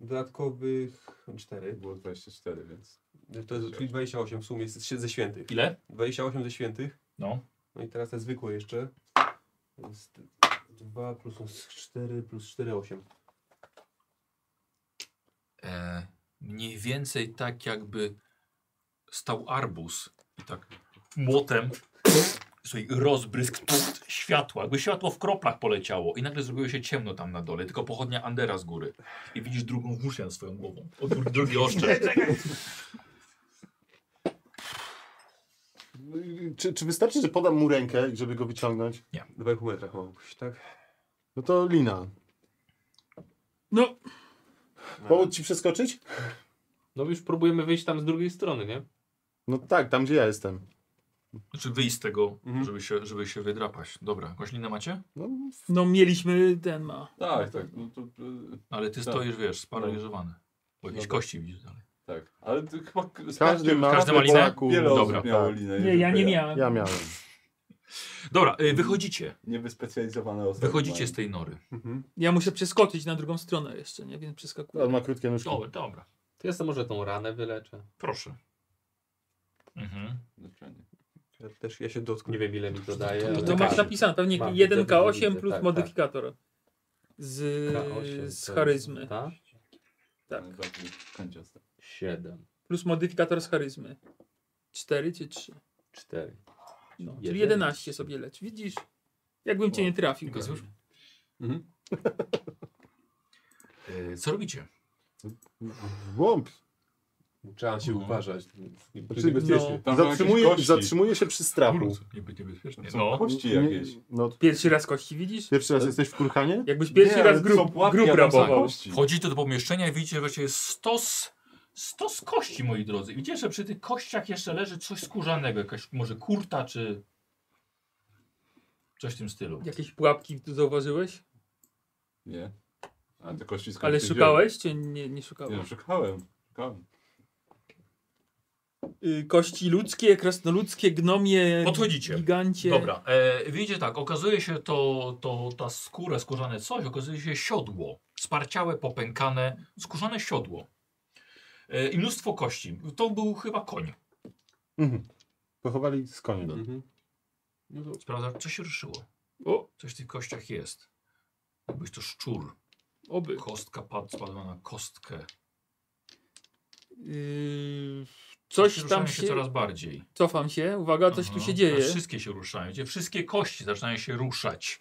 Speaker 4: dodatkowych 4.
Speaker 9: Było 24, więc.
Speaker 4: To jest, czyli 28 w sumie z- ze świętych.
Speaker 2: Ile?
Speaker 4: 28 ze świętych.
Speaker 2: No.
Speaker 4: No i teraz te zwykłe jeszcze. To Jest 2 plus 4 plus 4, 8.
Speaker 2: E, mniej więcej tak jakby stał arbus i tak młotem słuchaj, rozbrysk pst, światła, jakby światło w kroplach poleciało i nagle zrobiło się ciemno tam na dole, tylko pochodnia Andera z góry i widzisz drugą włócznię nad swoją głową, o, dru- drugi oszczep.
Speaker 4: [LAUGHS]
Speaker 5: No Czy, czy wystarczy, że podam mu rękę, żeby go wyciągnąć?
Speaker 4: 2,5 metra chyba mógłbyś, tak?
Speaker 5: No to Lina,
Speaker 6: No,
Speaker 5: pomóc ci przeskoczyć?
Speaker 14: No już próbujemy wyjść tam z drugiej strony, nie?
Speaker 5: No tak, tam gdzie ja jestem.
Speaker 2: Znaczy wyjść z tego,
Speaker 1: Mhm.
Speaker 2: żeby, się, żeby się wydrapać. Dobra, koślinę macie?
Speaker 5: No,
Speaker 6: No mieliśmy ten ma.
Speaker 1: Tak, tak. No to, y,
Speaker 2: Ale ty
Speaker 1: Tak.
Speaker 2: stoisz, wiesz, sparaliżowany. Bo jakieś
Speaker 1: No tak.
Speaker 2: kości widzisz dalej.
Speaker 1: tak. Ale ty chyba k-
Speaker 5: każdy
Speaker 1: sprawdził-
Speaker 5: ma
Speaker 2: każdy ma linę?
Speaker 5: Polaku.
Speaker 1: Wiele osób
Speaker 2: Dobra,
Speaker 1: miało
Speaker 5: tak.
Speaker 1: linę.
Speaker 6: Nie,
Speaker 1: tylko
Speaker 6: ja nie miałem.
Speaker 5: Ja miałem.
Speaker 2: Dobra, y, wychodzicie.
Speaker 1: Niewyspecjalizowane osoby.
Speaker 2: Wychodzicie z tej nory.
Speaker 6: Ja muszę przeskoczyć na drugą stronę jeszcze, nie? Więc
Speaker 5: On
Speaker 1: No,
Speaker 6: przeskakuję.
Speaker 5: ma krótkie nóżki.
Speaker 2: Dobra, dobra.
Speaker 14: To ja sobie może tą ranę wyleczę.
Speaker 2: Proszę. Mhm.
Speaker 1: mają.
Speaker 15: Ja też ja się dotknę.
Speaker 14: Nie wiem ile mi to daje.
Speaker 6: To,
Speaker 14: ale-
Speaker 6: to
Speaker 3: tak.
Speaker 6: masz napisane, pewnie
Speaker 14: Mam,
Speaker 6: 1K8
Speaker 14: widzę,
Speaker 6: plus
Speaker 14: tak,
Speaker 6: modyfikator. Z,
Speaker 2: e,
Speaker 14: K8
Speaker 6: z
Speaker 14: to-
Speaker 6: charyzmy.
Speaker 14: Tak?
Speaker 6: Tak.
Speaker 1: No, taki Kanciaste.
Speaker 14: Siedem,
Speaker 6: Plus modyfikator z charyzmy. 4 czy 3?
Speaker 14: cztery.
Speaker 6: No,
Speaker 14: Jeden.
Speaker 6: czyli 11 sobie lecz. Widzisz? Jakbym cię nie trafił. No.
Speaker 2: Tylko cóż.
Speaker 1: Mhm.
Speaker 2: Y, co robicie?
Speaker 5: Głąb.
Speaker 4: Trzeba się
Speaker 2: Mhm.
Speaker 4: uważać.
Speaker 5: Znaczy,
Speaker 6: No,
Speaker 1: Tam są jakieś
Speaker 5: Zatrzymuje,
Speaker 1: kości.
Speaker 5: zatrzymuje się przy strachu.
Speaker 2: Kurczę, nieby- Niebezpiecznie.
Speaker 1: Są
Speaker 2: No.
Speaker 1: kości jakieś.
Speaker 5: No,
Speaker 6: pierwszy raz kości widzisz?
Speaker 5: pierwszy raz jesteś w kurhanie?
Speaker 6: Jakbyś pierwszy
Speaker 1: Nie, ale
Speaker 6: raz
Speaker 1: są
Speaker 6: grup,
Speaker 1: pułapki,
Speaker 6: grup
Speaker 1: a tam są
Speaker 6: rabował.
Speaker 1: kości.
Speaker 2: Wchodzicie do pomieszczenia i widzicie, że właściwie jest stos, stos kości, moi drodzy. Widzicie, że przy tych kościach jeszcze leży coś skórzanego, jakaś może kurta, czy coś w tym stylu.
Speaker 6: Jakieś pułapki tu zauważyłeś?
Speaker 1: Nie. A te kości skąd
Speaker 6: Ale
Speaker 1: ty
Speaker 6: szukałeś czy nie, nie
Speaker 1: wziąłeś?
Speaker 6: szukałeś?
Speaker 1: Nie, szukałem. Szukałem.
Speaker 6: Y, Kości ludzkie, krasnoludzkie, gnomie,
Speaker 2: Podchodzicie.
Speaker 6: gigancie.
Speaker 2: Dobra, e, widzicie tak, okazuje się to, to ta skóra, skórzane coś, okazuje się siodło. Sparciałe, popękane, skórzane siodło. E, I mnóstwo kości. To był chyba koń.
Speaker 5: Mhm. Pochowali z koniem.
Speaker 6: No
Speaker 2: Sprawdza, co się ruszyło.
Speaker 6: O.
Speaker 2: Coś w tych kościach jest. Jakbyś to szczur.
Speaker 6: Oby.
Speaker 2: Kostka pad- spadła na kostkę.
Speaker 6: Y, coś
Speaker 2: Ruszają
Speaker 6: tam
Speaker 2: się,
Speaker 6: się...
Speaker 2: coraz bardziej.
Speaker 6: Cofam się, uwaga, coś tu
Speaker 2: Aha.
Speaker 6: się
Speaker 2: Teraz
Speaker 6: dzieje.
Speaker 2: Wszystkie się ruszają. Widzicie, wszystkie kości zaczynają się ruszać.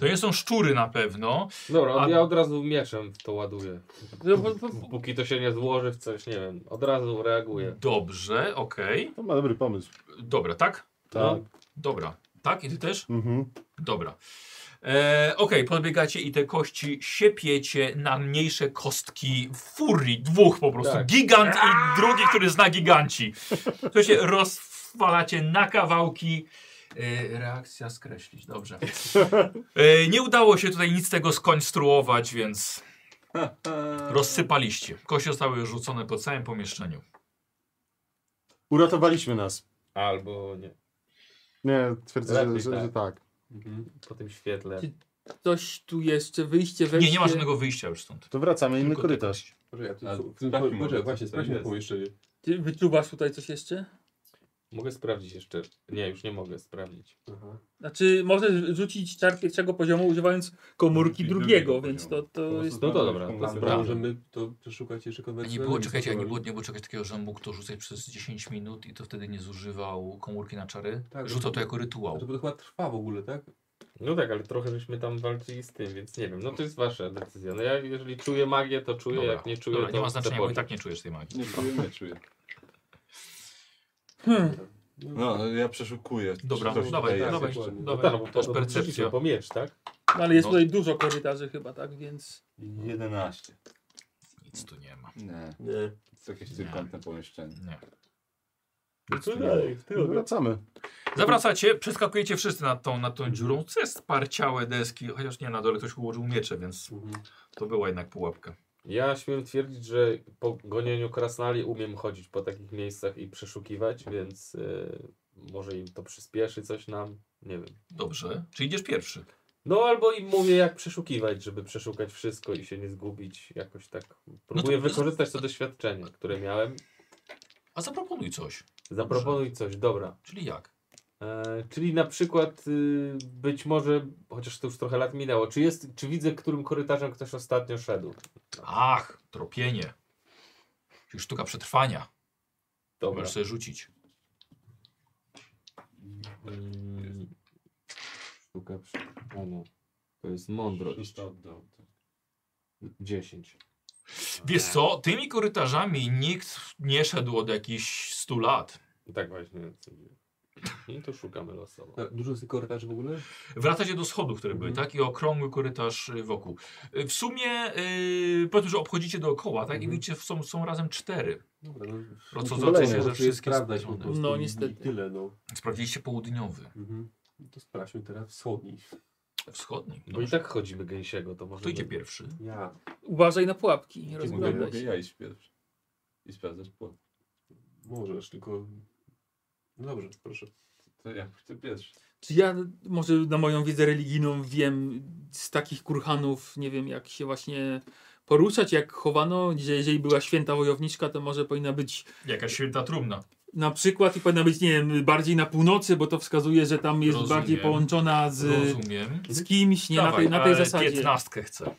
Speaker 2: To nie są szczury na pewno.
Speaker 3: Dobra,
Speaker 2: A-
Speaker 3: ja od razu mieczem w to ładuję.
Speaker 6: No, bo- bo- bo-
Speaker 3: Póki to się nie złoży w coś, nie wiem. Od razu reaguję.
Speaker 2: Dobrze, okej.
Speaker 5: To ma dobry pomysł.
Speaker 2: Dobra, tak?
Speaker 5: Tak.
Speaker 3: No,
Speaker 2: Dobra. Tak? I ty też?
Speaker 5: Mhm.
Speaker 2: Dobra. E, Okej, podbiegacie i te kości siepiecie na mniejsze kostki w furii. Dwóch po prostu.
Speaker 3: Tak.
Speaker 2: Gigant i drugi, który zna giganci. To się rozwalacie na kawałki. E, reakcja skreślić, dobrze. E, nie udało się tutaj nic z tego skonstruować, więc
Speaker 1: Eee,
Speaker 2: rozsypaliście. Kości zostały rzucone po całym pomieszczeniu.
Speaker 5: Uratowaliśmy nas.
Speaker 3: Albo nie.
Speaker 5: Nie, twierdzę, że,
Speaker 3: Lepiej
Speaker 5: że,
Speaker 3: tak.
Speaker 5: że tak.
Speaker 3: Po tym świetle.
Speaker 6: Coś tu jeszcze, wyjście, wejście.
Speaker 2: Nie, nie ma żadnego wyjścia już stąd.
Speaker 5: To wracamy, inny
Speaker 2: Tylko te
Speaker 5: korytarz.
Speaker 2: kości.
Speaker 4: Może ja tu,
Speaker 1: A,
Speaker 4: w tym,
Speaker 1: sprawdźmy
Speaker 4: po,
Speaker 1: może,
Speaker 4: może właśnie
Speaker 1: co
Speaker 4: sprawdźmy
Speaker 1: jest.
Speaker 4: pomieszczenie.
Speaker 6: Ty wyczuwasz tutaj coś jeszcze?
Speaker 3: Mogę sprawdzić jeszcze. Nie, już nie mogę sprawdzić.
Speaker 6: Znaczy, możesz rzucić czar pierwszego poziomu używając komórki
Speaker 1: I
Speaker 6: drugiego,
Speaker 1: drugiego
Speaker 6: więc to,
Speaker 1: poziomu.
Speaker 6: to jest...
Speaker 3: No to dobra,
Speaker 1: Dobra.
Speaker 4: Dobra, możemy to przeszukać jeszcze
Speaker 2: A
Speaker 4: konwencjonalnie.
Speaker 2: nie było, czekajcie, a nie było, nie było czegoś takiego, że mógł to rzucać przez 10 minut i to wtedy nie zużywał komórki na czary?
Speaker 4: Tak.
Speaker 2: Rzucał to jako
Speaker 4: To,
Speaker 2: rytuał.
Speaker 4: to chyba trwa w ogóle, tak?
Speaker 3: No tak, ale trochę żeśmy tam walczyli z tym, więc nie wiem. No to jest wasza decyzja. No ja jeżeli czuję magię, to czuję,
Speaker 2: Dobra,
Speaker 3: jak nie czuję,
Speaker 2: Dobra,
Speaker 3: to
Speaker 2: nie ma znaczenia, bo i
Speaker 3: zapomnę.
Speaker 2: tak nie czujesz tej magii.
Speaker 1: Nie czuję, nie czuję.
Speaker 6: Hmm.
Speaker 1: No, ja przeszukuję. czy
Speaker 2: Dobra,
Speaker 1: coś
Speaker 2: dawaj,
Speaker 1: tutaj jest.
Speaker 2: dawaj,
Speaker 4: dokładnie.
Speaker 3: No
Speaker 2: dawaj.
Speaker 3: tak, bo
Speaker 2: to jest
Speaker 3: to
Speaker 2: percepcja.
Speaker 3: percepcja. po miecz, tak?
Speaker 6: No, ale jest
Speaker 2: No.
Speaker 6: tutaj dużo korytarzy chyba, tak, więc...
Speaker 1: 11.
Speaker 2: Nic tu nie ma.
Speaker 1: Nie,
Speaker 4: Nie.
Speaker 1: to jest jakieś trójkątne pomieszczenie.
Speaker 2: Nie.
Speaker 5: Wracamy.
Speaker 2: Zawracacie, przeskakujecie wszyscy nad tą, nad tą dziurą, co jest sparciałe deski, chociaż nie, na dole ktoś ułożył miecze, więc to była jednak pułapka.
Speaker 3: Ja śmiem twierdzić, że po gonieniu krasnali umiem chodzić po takich miejscach i przeszukiwać, więc y, może im to przyspieszy coś nam, nie wiem.
Speaker 2: Dobrze, czy idziesz pierwszy?
Speaker 3: No albo im mówię jak przeszukiwać, żeby przeszukać wszystko i się nie zgubić jakoś tak. Próbuję wykorzystać to doświadczenie, które miałem.
Speaker 2: A zaproponuj coś,
Speaker 3: Zaproponuj coś, dobra.
Speaker 2: czyli jak?
Speaker 3: E, czyli na przykład y, być może, chociaż to już trochę lat minęło, czy, jest, czy widzę, którym korytarzem ktoś ostatnio szedł?
Speaker 2: Ach, tropienie. Czyli sztuka przetrwania.
Speaker 3: Dobra.
Speaker 2: Możesz sobie rzucić.
Speaker 3: Mm, Sztuka przetrwania.
Speaker 9: no,
Speaker 3: To jest mądrość.
Speaker 10: tak.
Speaker 3: 10.
Speaker 2: Wiesz co, tymi korytarzami nikt nie szedł od jakichś 100 lat.
Speaker 3: Tak właśnie.
Speaker 10: No to szukamy losowo.
Speaker 9: No, Dużo jest tych korytarzy w ogóle?
Speaker 2: Wracacie do schodów, które były, tak? I okrągły korytarz y, wokół. Y, W sumie, yy, powiedzmy, że obchodzicie dookoła, tak? I
Speaker 9: Mhm.
Speaker 2: widzicie, są, są razem cztery.
Speaker 9: Dobra, no,
Speaker 2: Rozchodzące się
Speaker 9: Kolejne,
Speaker 2: ze
Speaker 9: to jest
Speaker 2: wszystkich
Speaker 9: prawda, po
Speaker 2: stron.
Speaker 9: prostu.
Speaker 6: No,
Speaker 9: i-
Speaker 6: niestety.
Speaker 9: I tyle, no.
Speaker 2: Sprawdziliście południowy,
Speaker 9: Mhm. No To sprawdźmy teraz wschodni.
Speaker 2: wschodni.
Speaker 10: Bo i
Speaker 2: Dobrze.
Speaker 10: tak chodzimy gęsiego, to może...
Speaker 2: Kto No, idzie pierwszy?
Speaker 9: Ja.
Speaker 6: Uważaj na pułapki, nie
Speaker 1: Mogę,
Speaker 6: rozglądaj
Speaker 1: mogę
Speaker 6: się.
Speaker 1: ja iść pierwszy. I sprawdzać płot.
Speaker 9: Możesz, tylko... No dobrze, proszę.
Speaker 1: To ja pójdę pierwszy.
Speaker 6: Czy ja może na moją wiedzę religijną wiem z takich kurhanów, nie wiem jak się właśnie poruszać, jak chowano, że jeżeli była święta wojowniczka, to może powinna być
Speaker 2: Jakaś święta trumna.
Speaker 6: na przykład i powinna być, nie wiem, bardziej na północy, bo to wskazuje, że tam jest
Speaker 2: Rozumiem.
Speaker 6: bardziej połączona z,
Speaker 2: Rozumiem.
Speaker 6: z kimś, nie
Speaker 2: Dawaj,
Speaker 6: na tej, na
Speaker 2: ale
Speaker 6: tej zasadzie.
Speaker 2: Piętnastkę chcę.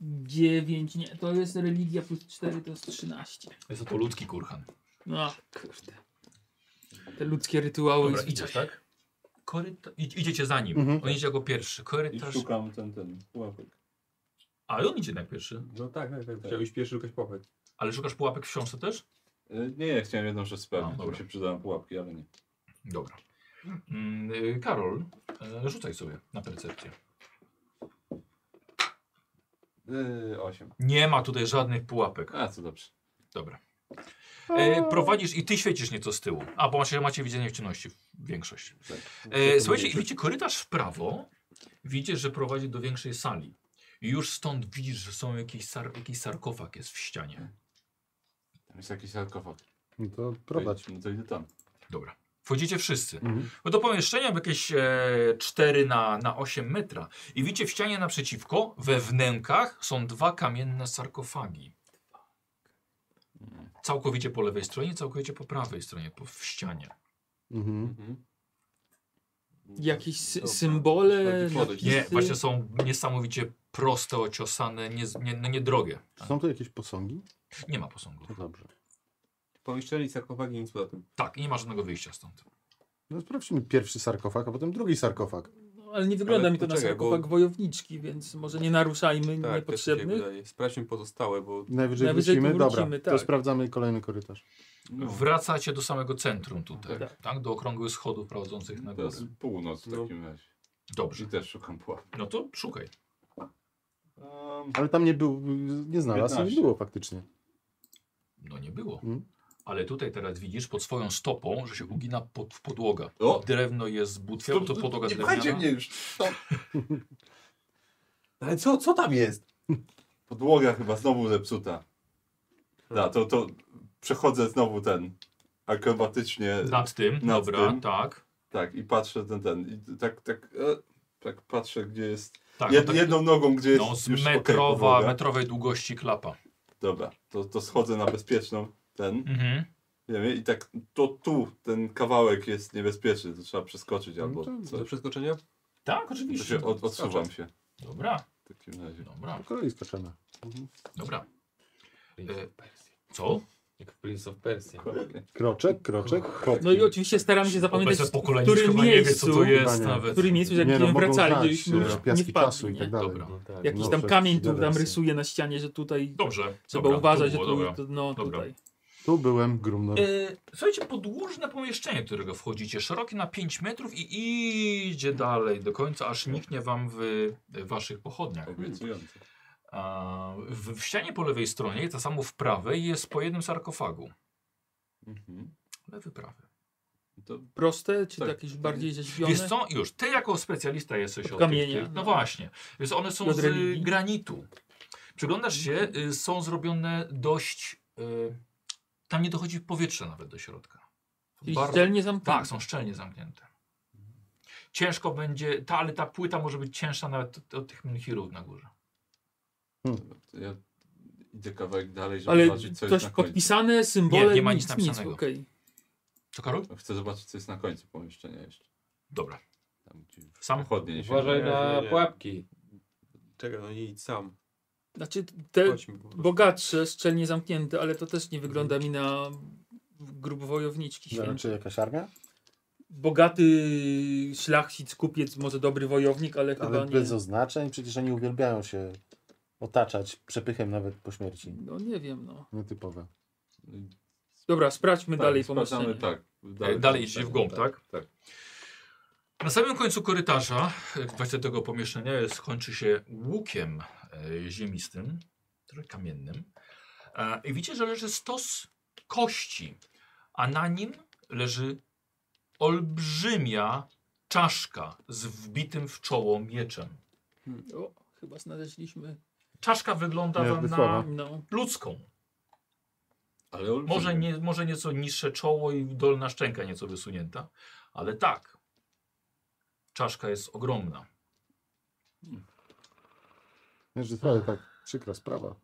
Speaker 6: 9, nie, to jest religia plus 4 to jest 13.
Speaker 2: Jest to ludzki kurhan.
Speaker 6: No, kurde. Te ludzkie rytuały.
Speaker 2: Dobra,
Speaker 6: i-
Speaker 2: idziesz, tak? Koryta... Idź- Idziecie za nim.
Speaker 5: Mhm.
Speaker 2: On idzie jako pierwszy.
Speaker 1: I
Speaker 2: Korytarz...
Speaker 1: szukam ten, ten pułapek.
Speaker 2: A i on idzie jak pierwszy.
Speaker 9: No tak, tak, tak. Chciałbyś pierwszy szukać popyt.
Speaker 2: Ale szukasz pułapek w książce też?
Speaker 1: E, Nie, ja chciałem jedną rzecz
Speaker 2: A,
Speaker 1: sprawdzić, bo
Speaker 2: dobra.
Speaker 1: się przydały pułapki, ale nie.
Speaker 2: Dobra. Mm, y, Karol, y, rzucaj sobie na percepcję.
Speaker 1: Yy, osiem.
Speaker 2: Nie ma tutaj żadnych pułapek.
Speaker 1: A, co dobrze.
Speaker 2: Dobra. E,
Speaker 1: Mm.
Speaker 2: prowadzisz i ty świecisz nieco z tyłu. A, bo macie, macie widzenie w ciemności, większość.
Speaker 1: Tak.
Speaker 2: E, słuchajcie, i widzicie korytarz w prawo, widzicie, że prowadzi do większej sali. I już stąd widzisz, że są jakieś sar, jakiś sarkofag jest w ścianie.
Speaker 1: Tam jest jakiś sarkofag.
Speaker 5: No to prowadź.
Speaker 1: No to idę tam.
Speaker 2: Dobra. Wchodzicie wszyscy.
Speaker 5: Mhm.
Speaker 2: No do pomieszczenia by jakieś e, 4 na, na 8 metra. I widzicie w ścianie naprzeciwko, we wnękach są dwa kamienne sarkofagi. Całkowicie po lewej stronie, całkowicie po prawej stronie, po, w ścianie.
Speaker 5: Mhm.
Speaker 6: Jakieś sy-
Speaker 1: Dobra.
Speaker 6: symbole.
Speaker 1: Chodzi podejść.
Speaker 6: napisy?
Speaker 2: Nie, właśnie są niesamowicie proste, ociosane, nie, nie, no niedrogie.
Speaker 5: Czy Są tu jakieś posągi?
Speaker 2: Nie ma posągu.
Speaker 5: To dobrze.
Speaker 9: Pomieszczeli sarkofagi i nic poza tym.
Speaker 2: Tak, i nie ma żadnego wyjścia stąd.
Speaker 5: No sprawdźmy pierwszy sarkofag, a potem drugi sarkofag.
Speaker 6: No, ale nie wygląda
Speaker 9: Ale
Speaker 6: mi to na
Speaker 9: poczekaj,
Speaker 6: sarkofag
Speaker 9: bo-
Speaker 6: wojowniczki, więc może nie naruszajmy
Speaker 9: Tak, też mi się
Speaker 6: niepotrzebnych.
Speaker 9: wydaje. Sprawdźmy pozostałe, bo...
Speaker 5: Najwyżej,
Speaker 6: Najwyżej
Speaker 5: wrócimy.
Speaker 6: tu
Speaker 5: Dobra,
Speaker 6: wrócimy,
Speaker 5: to
Speaker 6: tak.
Speaker 5: sprawdzamy kolejny korytarz.
Speaker 1: No.
Speaker 2: Wracacie do samego centrum tutaj,
Speaker 6: Tak.
Speaker 2: tak? Do okrągłych schodów prowadzących na górę.
Speaker 1: Teraz północ w
Speaker 9: No.
Speaker 1: takim razie.
Speaker 2: Dobrze,
Speaker 1: I też szukam pułapki.
Speaker 2: no to szukaj.
Speaker 1: Um,
Speaker 5: Ale tam nie był, nie znalazł, nie
Speaker 1: 15.
Speaker 5: było faktycznie.
Speaker 2: No nie było.
Speaker 6: Hmm?
Speaker 5: Mm.
Speaker 2: Ale tutaj teraz widzisz pod swoją stopą, że się ugina pod, w podłoga.
Speaker 1: O!
Speaker 2: Drewno jest butwią, to podłoga
Speaker 1: nie będzie
Speaker 2: drewniana.
Speaker 1: mnie już. To...
Speaker 9: [LAUGHS] Ale co, co tam jest?
Speaker 1: Podłoga chyba znowu zepsuta. Da, to, to przechodzę znowu ten akrobatycznie.
Speaker 2: Nad tym,
Speaker 1: Nad
Speaker 2: dobra,
Speaker 1: tym.
Speaker 2: tak.
Speaker 1: Tak, i patrzę ten, ten. I tak, tak, e, tak patrzę, gdzie jest.
Speaker 2: tak,
Speaker 1: jed,
Speaker 2: no, tak
Speaker 1: jedną nogą, gdzie jest.
Speaker 2: no z
Speaker 1: już
Speaker 2: metrowa,
Speaker 1: okej, podłoga.
Speaker 2: metrowej długości klapa.
Speaker 1: Dobra, to, to schodzę na bezpieczną ten.
Speaker 2: Mhm.
Speaker 1: Wiemy, i tak to tu ten kawałek jest niebezpieczny, to trzeba
Speaker 9: No
Speaker 1: przeskoczyć albo
Speaker 5: No to-
Speaker 9: Do
Speaker 1: coś.
Speaker 9: przeskoczenia?
Speaker 2: Tak,
Speaker 1: To
Speaker 2: oczywiście.
Speaker 1: się od, odsuwam się
Speaker 2: Dobra,
Speaker 1: w takim razie.
Speaker 2: dobra,
Speaker 5: Po kolei skoczymy.
Speaker 2: dobra.
Speaker 10: Prince
Speaker 2: E,
Speaker 10: of Persia.
Speaker 2: Co?
Speaker 10: Jak w Prince of Persia.
Speaker 5: Kroczek, kroczek, kroczek.
Speaker 6: No i oczywiście staramy się zapamiętać,
Speaker 2: Obecne
Speaker 6: w
Speaker 2: pokolenie już
Speaker 6: którym
Speaker 2: chyba nie wie, co
Speaker 6: miejscu,
Speaker 2: to jest
Speaker 5: Pytanie.
Speaker 6: w
Speaker 2: nawet.
Speaker 6: którym miejscu, jak
Speaker 5: Nie, no,
Speaker 6: będziemy
Speaker 5: mogą
Speaker 6: wracali,
Speaker 5: znać,
Speaker 6: żebyśmy już
Speaker 5: e,
Speaker 6: nie
Speaker 5: piaski
Speaker 6: wpadli,
Speaker 5: czasu i
Speaker 6: nie?
Speaker 5: tak dalej.
Speaker 2: Dobra,
Speaker 10: No tak.
Speaker 6: Jakiś
Speaker 5: No,
Speaker 6: tam
Speaker 5: przecież
Speaker 6: kamień tu tam
Speaker 5: wiadomo.
Speaker 6: rysuje na ścianie, że tutaj
Speaker 2: dobrze.
Speaker 6: trzeba
Speaker 2: dobra,
Speaker 6: uważać,
Speaker 2: to było,
Speaker 6: że
Speaker 2: dobra.
Speaker 6: tu, tu, no,
Speaker 2: Dobra.
Speaker 6: tutaj.
Speaker 5: Tu byłem, grumno.
Speaker 2: E, słuchajcie, podłużne pomieszczenie, do którego wchodzicie, szerokie na 5 metrów i idzie dalej do końca, aż niknie wam w waszych pochodniach.
Speaker 1: Obiecujące.
Speaker 2: A, w, w ścianie po lewej stronie, i to samo w prawej, jest po jednym sarkofagu.
Speaker 1: Mhm.
Speaker 2: Lewy, prawy.
Speaker 1: To
Speaker 6: Proste, czy
Speaker 1: Tak.
Speaker 6: jakieś bardziej rzeźbione?
Speaker 2: Wiesz co? Już, ty jako specjalista jesteś
Speaker 6: Od
Speaker 2: od tych-
Speaker 6: kamienia,
Speaker 2: tych- No
Speaker 6: no.
Speaker 2: właśnie. Więc one są
Speaker 6: Od
Speaker 2: z
Speaker 6: religii.
Speaker 2: granitu. Przyglądasz się, y, są zrobione dość... y, Tam nie dochodzi powietrze nawet do środka.
Speaker 6: Czyli
Speaker 2: Bardzo-
Speaker 6: ścielnie zamknięte.
Speaker 2: Tak, są szczelnie zamknięte. Ciężko będzie, ta, ale ta płyta może być cięższa nawet od, od tych menhirów na górze.
Speaker 1: to ja idę kawałek dalej, żeby
Speaker 6: Ale
Speaker 1: zobaczyć, co jest
Speaker 6: coś
Speaker 1: na końcu.
Speaker 6: podpisane, symbole,
Speaker 2: Nie, nie ma nic
Speaker 6: nic,
Speaker 2: napisanego.
Speaker 6: okej.
Speaker 2: To Karol?
Speaker 1: Chcę zobaczyć, co jest na końcu pomieszczenia jeszcze.
Speaker 2: Dobra.
Speaker 1: Tam, gdzie
Speaker 2: Sam?
Speaker 1: pochodnie się...
Speaker 10: Uważaj
Speaker 9: Nie,
Speaker 10: na
Speaker 9: nie, nie.
Speaker 10: pułapki.
Speaker 9: Czekaj, no nie idź sam.
Speaker 6: Znaczy, te
Speaker 9: Chodźmy. po prostu.
Speaker 6: bogatsze, szczelnie zamknięte, ale to też nie wygląda mi na grubowojowniczki
Speaker 5: No,
Speaker 6: święte.
Speaker 5: Czy jakaś armia?
Speaker 6: Bogaty szlachcic, kupiec, może dobry wojownik, ale, chyba
Speaker 5: Ale
Speaker 6: nie.
Speaker 5: bez oznaczeń? Przecież oni uwielbiają się otaczać przepychem nawet po śmierci.
Speaker 6: No nie wiem, no.
Speaker 5: Nietypowe.
Speaker 6: Dobra, sprawdźmy dalej po
Speaker 1: sprawdzamy,
Speaker 6: maszynie.
Speaker 1: Tak,
Speaker 2: Dalej, E, dalej idzie w głąb, tak?
Speaker 1: tak.
Speaker 2: Na samym końcu korytarza, e, właśnie tego pomieszczenia, jest, kończy się łukiem e, ziemistym, trochę kamiennym. E, I widzicie, że leży stos kości, a na nim leży olbrzymia czaszka z wbitym w czoło mieczem.
Speaker 6: O, chyba znaleźliśmy.
Speaker 2: Czaszka wygląda
Speaker 5: Nie,
Speaker 2: wam na
Speaker 5: wysława.
Speaker 6: No.
Speaker 2: ludzką.
Speaker 1: Ale olbrzymie.
Speaker 2: Może, nie, może nieco niższe czoło i dolna szczęka nieco wysunięta, ale tak. Czaszka jest ogromna.
Speaker 5: Nie, że trochę tak przykra sprawa.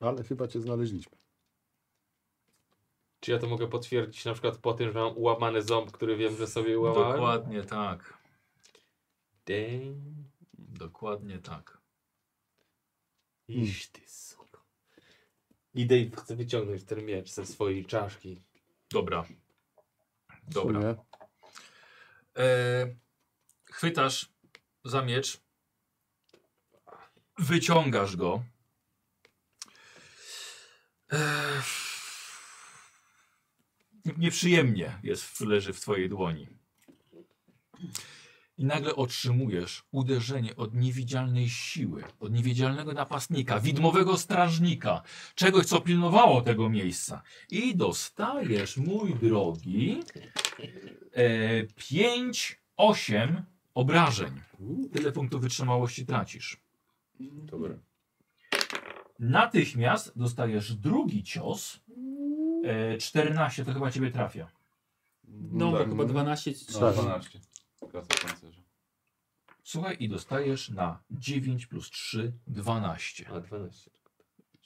Speaker 5: Ale chyba cię znaleźliśmy.
Speaker 10: Czy ja to mogę potwierdzić na przykład po tym, że mam ułamany ząb, który wiem, że sobie ułamałem?
Speaker 2: Dokładnie tak.
Speaker 10: Damn.
Speaker 2: Dokładnie tak. Hmm.
Speaker 10: Iż ty, suko. Idę i chcę wyciągnąć ten miecz ze swojej czaszki.
Speaker 2: Dobra.
Speaker 5: W
Speaker 2: Dobra.
Speaker 5: sumie.
Speaker 2: E, chwytasz za miecz. Wyciągasz go. E, nieprzyjemnie jest, w- leży w twojej dłoni. I nagle otrzymujesz uderzenie od niewidzialnej siły, od niewidzialnego napastnika, widmowego strażnika, czegoś, co pilnowało tego miejsca. I dostajesz, mój drogi, e, 5, 8 obrażeń. Tyle punktów wytrzymałości tracisz.
Speaker 10: Dobra.
Speaker 2: Natychmiast dostajesz drugi cios. E, 14, to chyba ciebie trafia.
Speaker 6: No,
Speaker 1: tak.
Speaker 6: chyba 12.
Speaker 1: No, 12. Klasa pancerza.
Speaker 2: Słuchaj, i dostajesz na 9 plus 3, 12.
Speaker 10: A 12.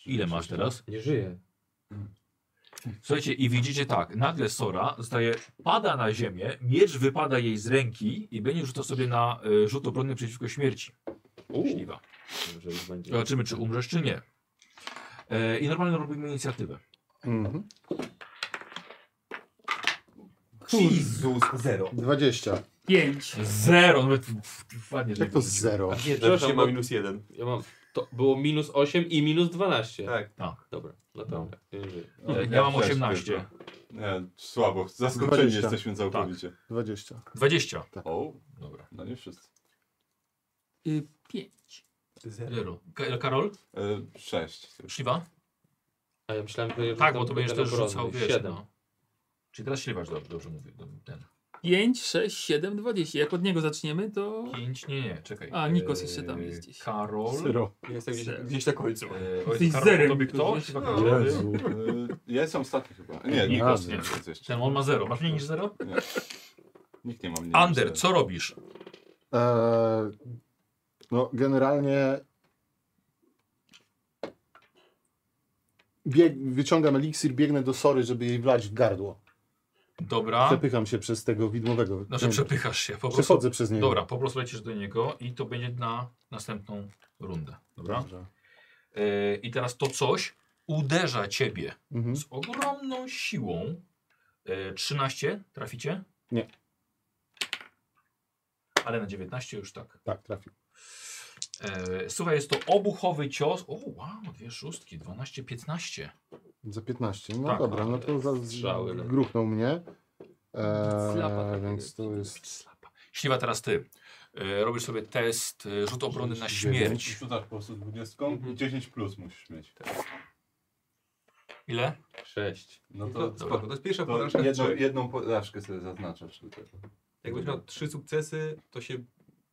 Speaker 2: Ile masz teraz?
Speaker 10: Nie żyję.
Speaker 2: Słuchajcie, i widzicie tak, nagle Sora zostaje, pada na ziemię, miecz wypada jej z ręki i będzie rzucał sobie na e, rzut obronny przeciwko śmierci. Śliwa.
Speaker 10: Może już będzie.
Speaker 2: Zobaczymy, czy umrzesz, czy nie. E, I normalnie robimy inicjatywę.
Speaker 5: Mhm.
Speaker 4: Jezus, zero.
Speaker 5: 20.
Speaker 6: 5.
Speaker 2: Zero, nawet pff, pff, ładnie, że
Speaker 5: Jak to z zero?
Speaker 10: A nie,
Speaker 4: Przepraszam,
Speaker 10: przepraszam,
Speaker 4: ma
Speaker 10: bo
Speaker 4: minus jeden.
Speaker 10: ja mam. To było minus 8 i minus 12.
Speaker 4: Tak.
Speaker 2: Tak.
Speaker 10: Dobra, no to nie żyję.
Speaker 2: E, Ja mam
Speaker 1: Sześć
Speaker 2: 18.
Speaker 1: tylko. Nie, E, słabo. Zaskoczeni
Speaker 5: 20.
Speaker 1: jesteśmy całkowicie.
Speaker 5: 20.
Speaker 2: 20.
Speaker 1: O,
Speaker 2: Dobra.
Speaker 1: no nie wszyscy.
Speaker 6: 5.
Speaker 2: Zero. Ka- Karol?
Speaker 1: E, 6.
Speaker 2: Śliwa?
Speaker 10: A ja myślałem, że.
Speaker 2: Tak, bo to będziesz też rzucał, wiesz,
Speaker 10: 7.
Speaker 2: no. Czyli teraz śliwasz, dobrze, dobrze mówię. dobrze, Ten.
Speaker 6: 5, 6, 7, 20. Jak od niego zaczniemy, to.
Speaker 2: 5, nie, nie, czekaj.
Speaker 6: A, Nikos
Speaker 2: E,
Speaker 6: jeszcze tam jest gdzieś.
Speaker 2: Karol.
Speaker 5: Zero.
Speaker 4: Jestem gdzieś,
Speaker 6: Zero.
Speaker 4: gdzieś na końcu.
Speaker 2: E,
Speaker 6: Jesteś
Speaker 2: ojciec Karol,
Speaker 6: zerem,
Speaker 2: tobie kto?
Speaker 6: Nikos,
Speaker 2: Śliwa
Speaker 6: nie?
Speaker 2: Karol.
Speaker 1: Ja jestem ostatni chyba. Nie,
Speaker 2: Nie,
Speaker 1: Nikos
Speaker 5: nie.
Speaker 1: nie jest jeszcze.
Speaker 2: Ten on ma zero. Masz mniej niż zero?
Speaker 1: Nie. Nikt nie ma mnie.
Speaker 2: Ander, co robisz?
Speaker 5: Eee, no, generalnie. Bieg, wyciągam eliksir, biegnę do Sory, żeby jej wlać w gardło.
Speaker 2: Dobra.
Speaker 5: Przepycham się przez tego widmowego.
Speaker 2: Znaczy przepychasz się. Po prostu.
Speaker 5: Przechodzę przez niego.
Speaker 2: Dobra, po prostu lecisz do niego i to będzie na następną rundę. Dobra?
Speaker 5: Dobrze.
Speaker 2: E, I teraz to coś uderza ciebie
Speaker 5: Mhm.
Speaker 2: z ogromną siłą. E, 13 traficie?
Speaker 5: Nie.
Speaker 2: Ale na 19 już tak.
Speaker 5: Tak, trafił.
Speaker 2: E, słuchaj, jest to obuchowy cios. O, wow, dwie szóstki, 12, 15.
Speaker 5: Za 15. No
Speaker 2: Tak,
Speaker 5: dobra, no to za
Speaker 10: strzały, no.
Speaker 5: gruchnął mnie.
Speaker 6: Slapa
Speaker 5: Eee,
Speaker 6: takiego.
Speaker 5: więc to jest.
Speaker 2: Śliwa teraz ty. E, robisz sobie test e, rzut obrony na śmierć. Mhm.
Speaker 1: Rzucasz po prostu 20 i 10 plus musisz mieć.
Speaker 2: Ile?
Speaker 10: 6.
Speaker 1: No
Speaker 4: To,
Speaker 1: to,
Speaker 4: spoko, to jest pierwsza
Speaker 1: to
Speaker 4: porażka.
Speaker 1: jedną,
Speaker 4: trzy.
Speaker 1: jedną porażkę sobie zaznaczasz tutaj.
Speaker 4: Jakbyś miał trzy sukcesy, to się...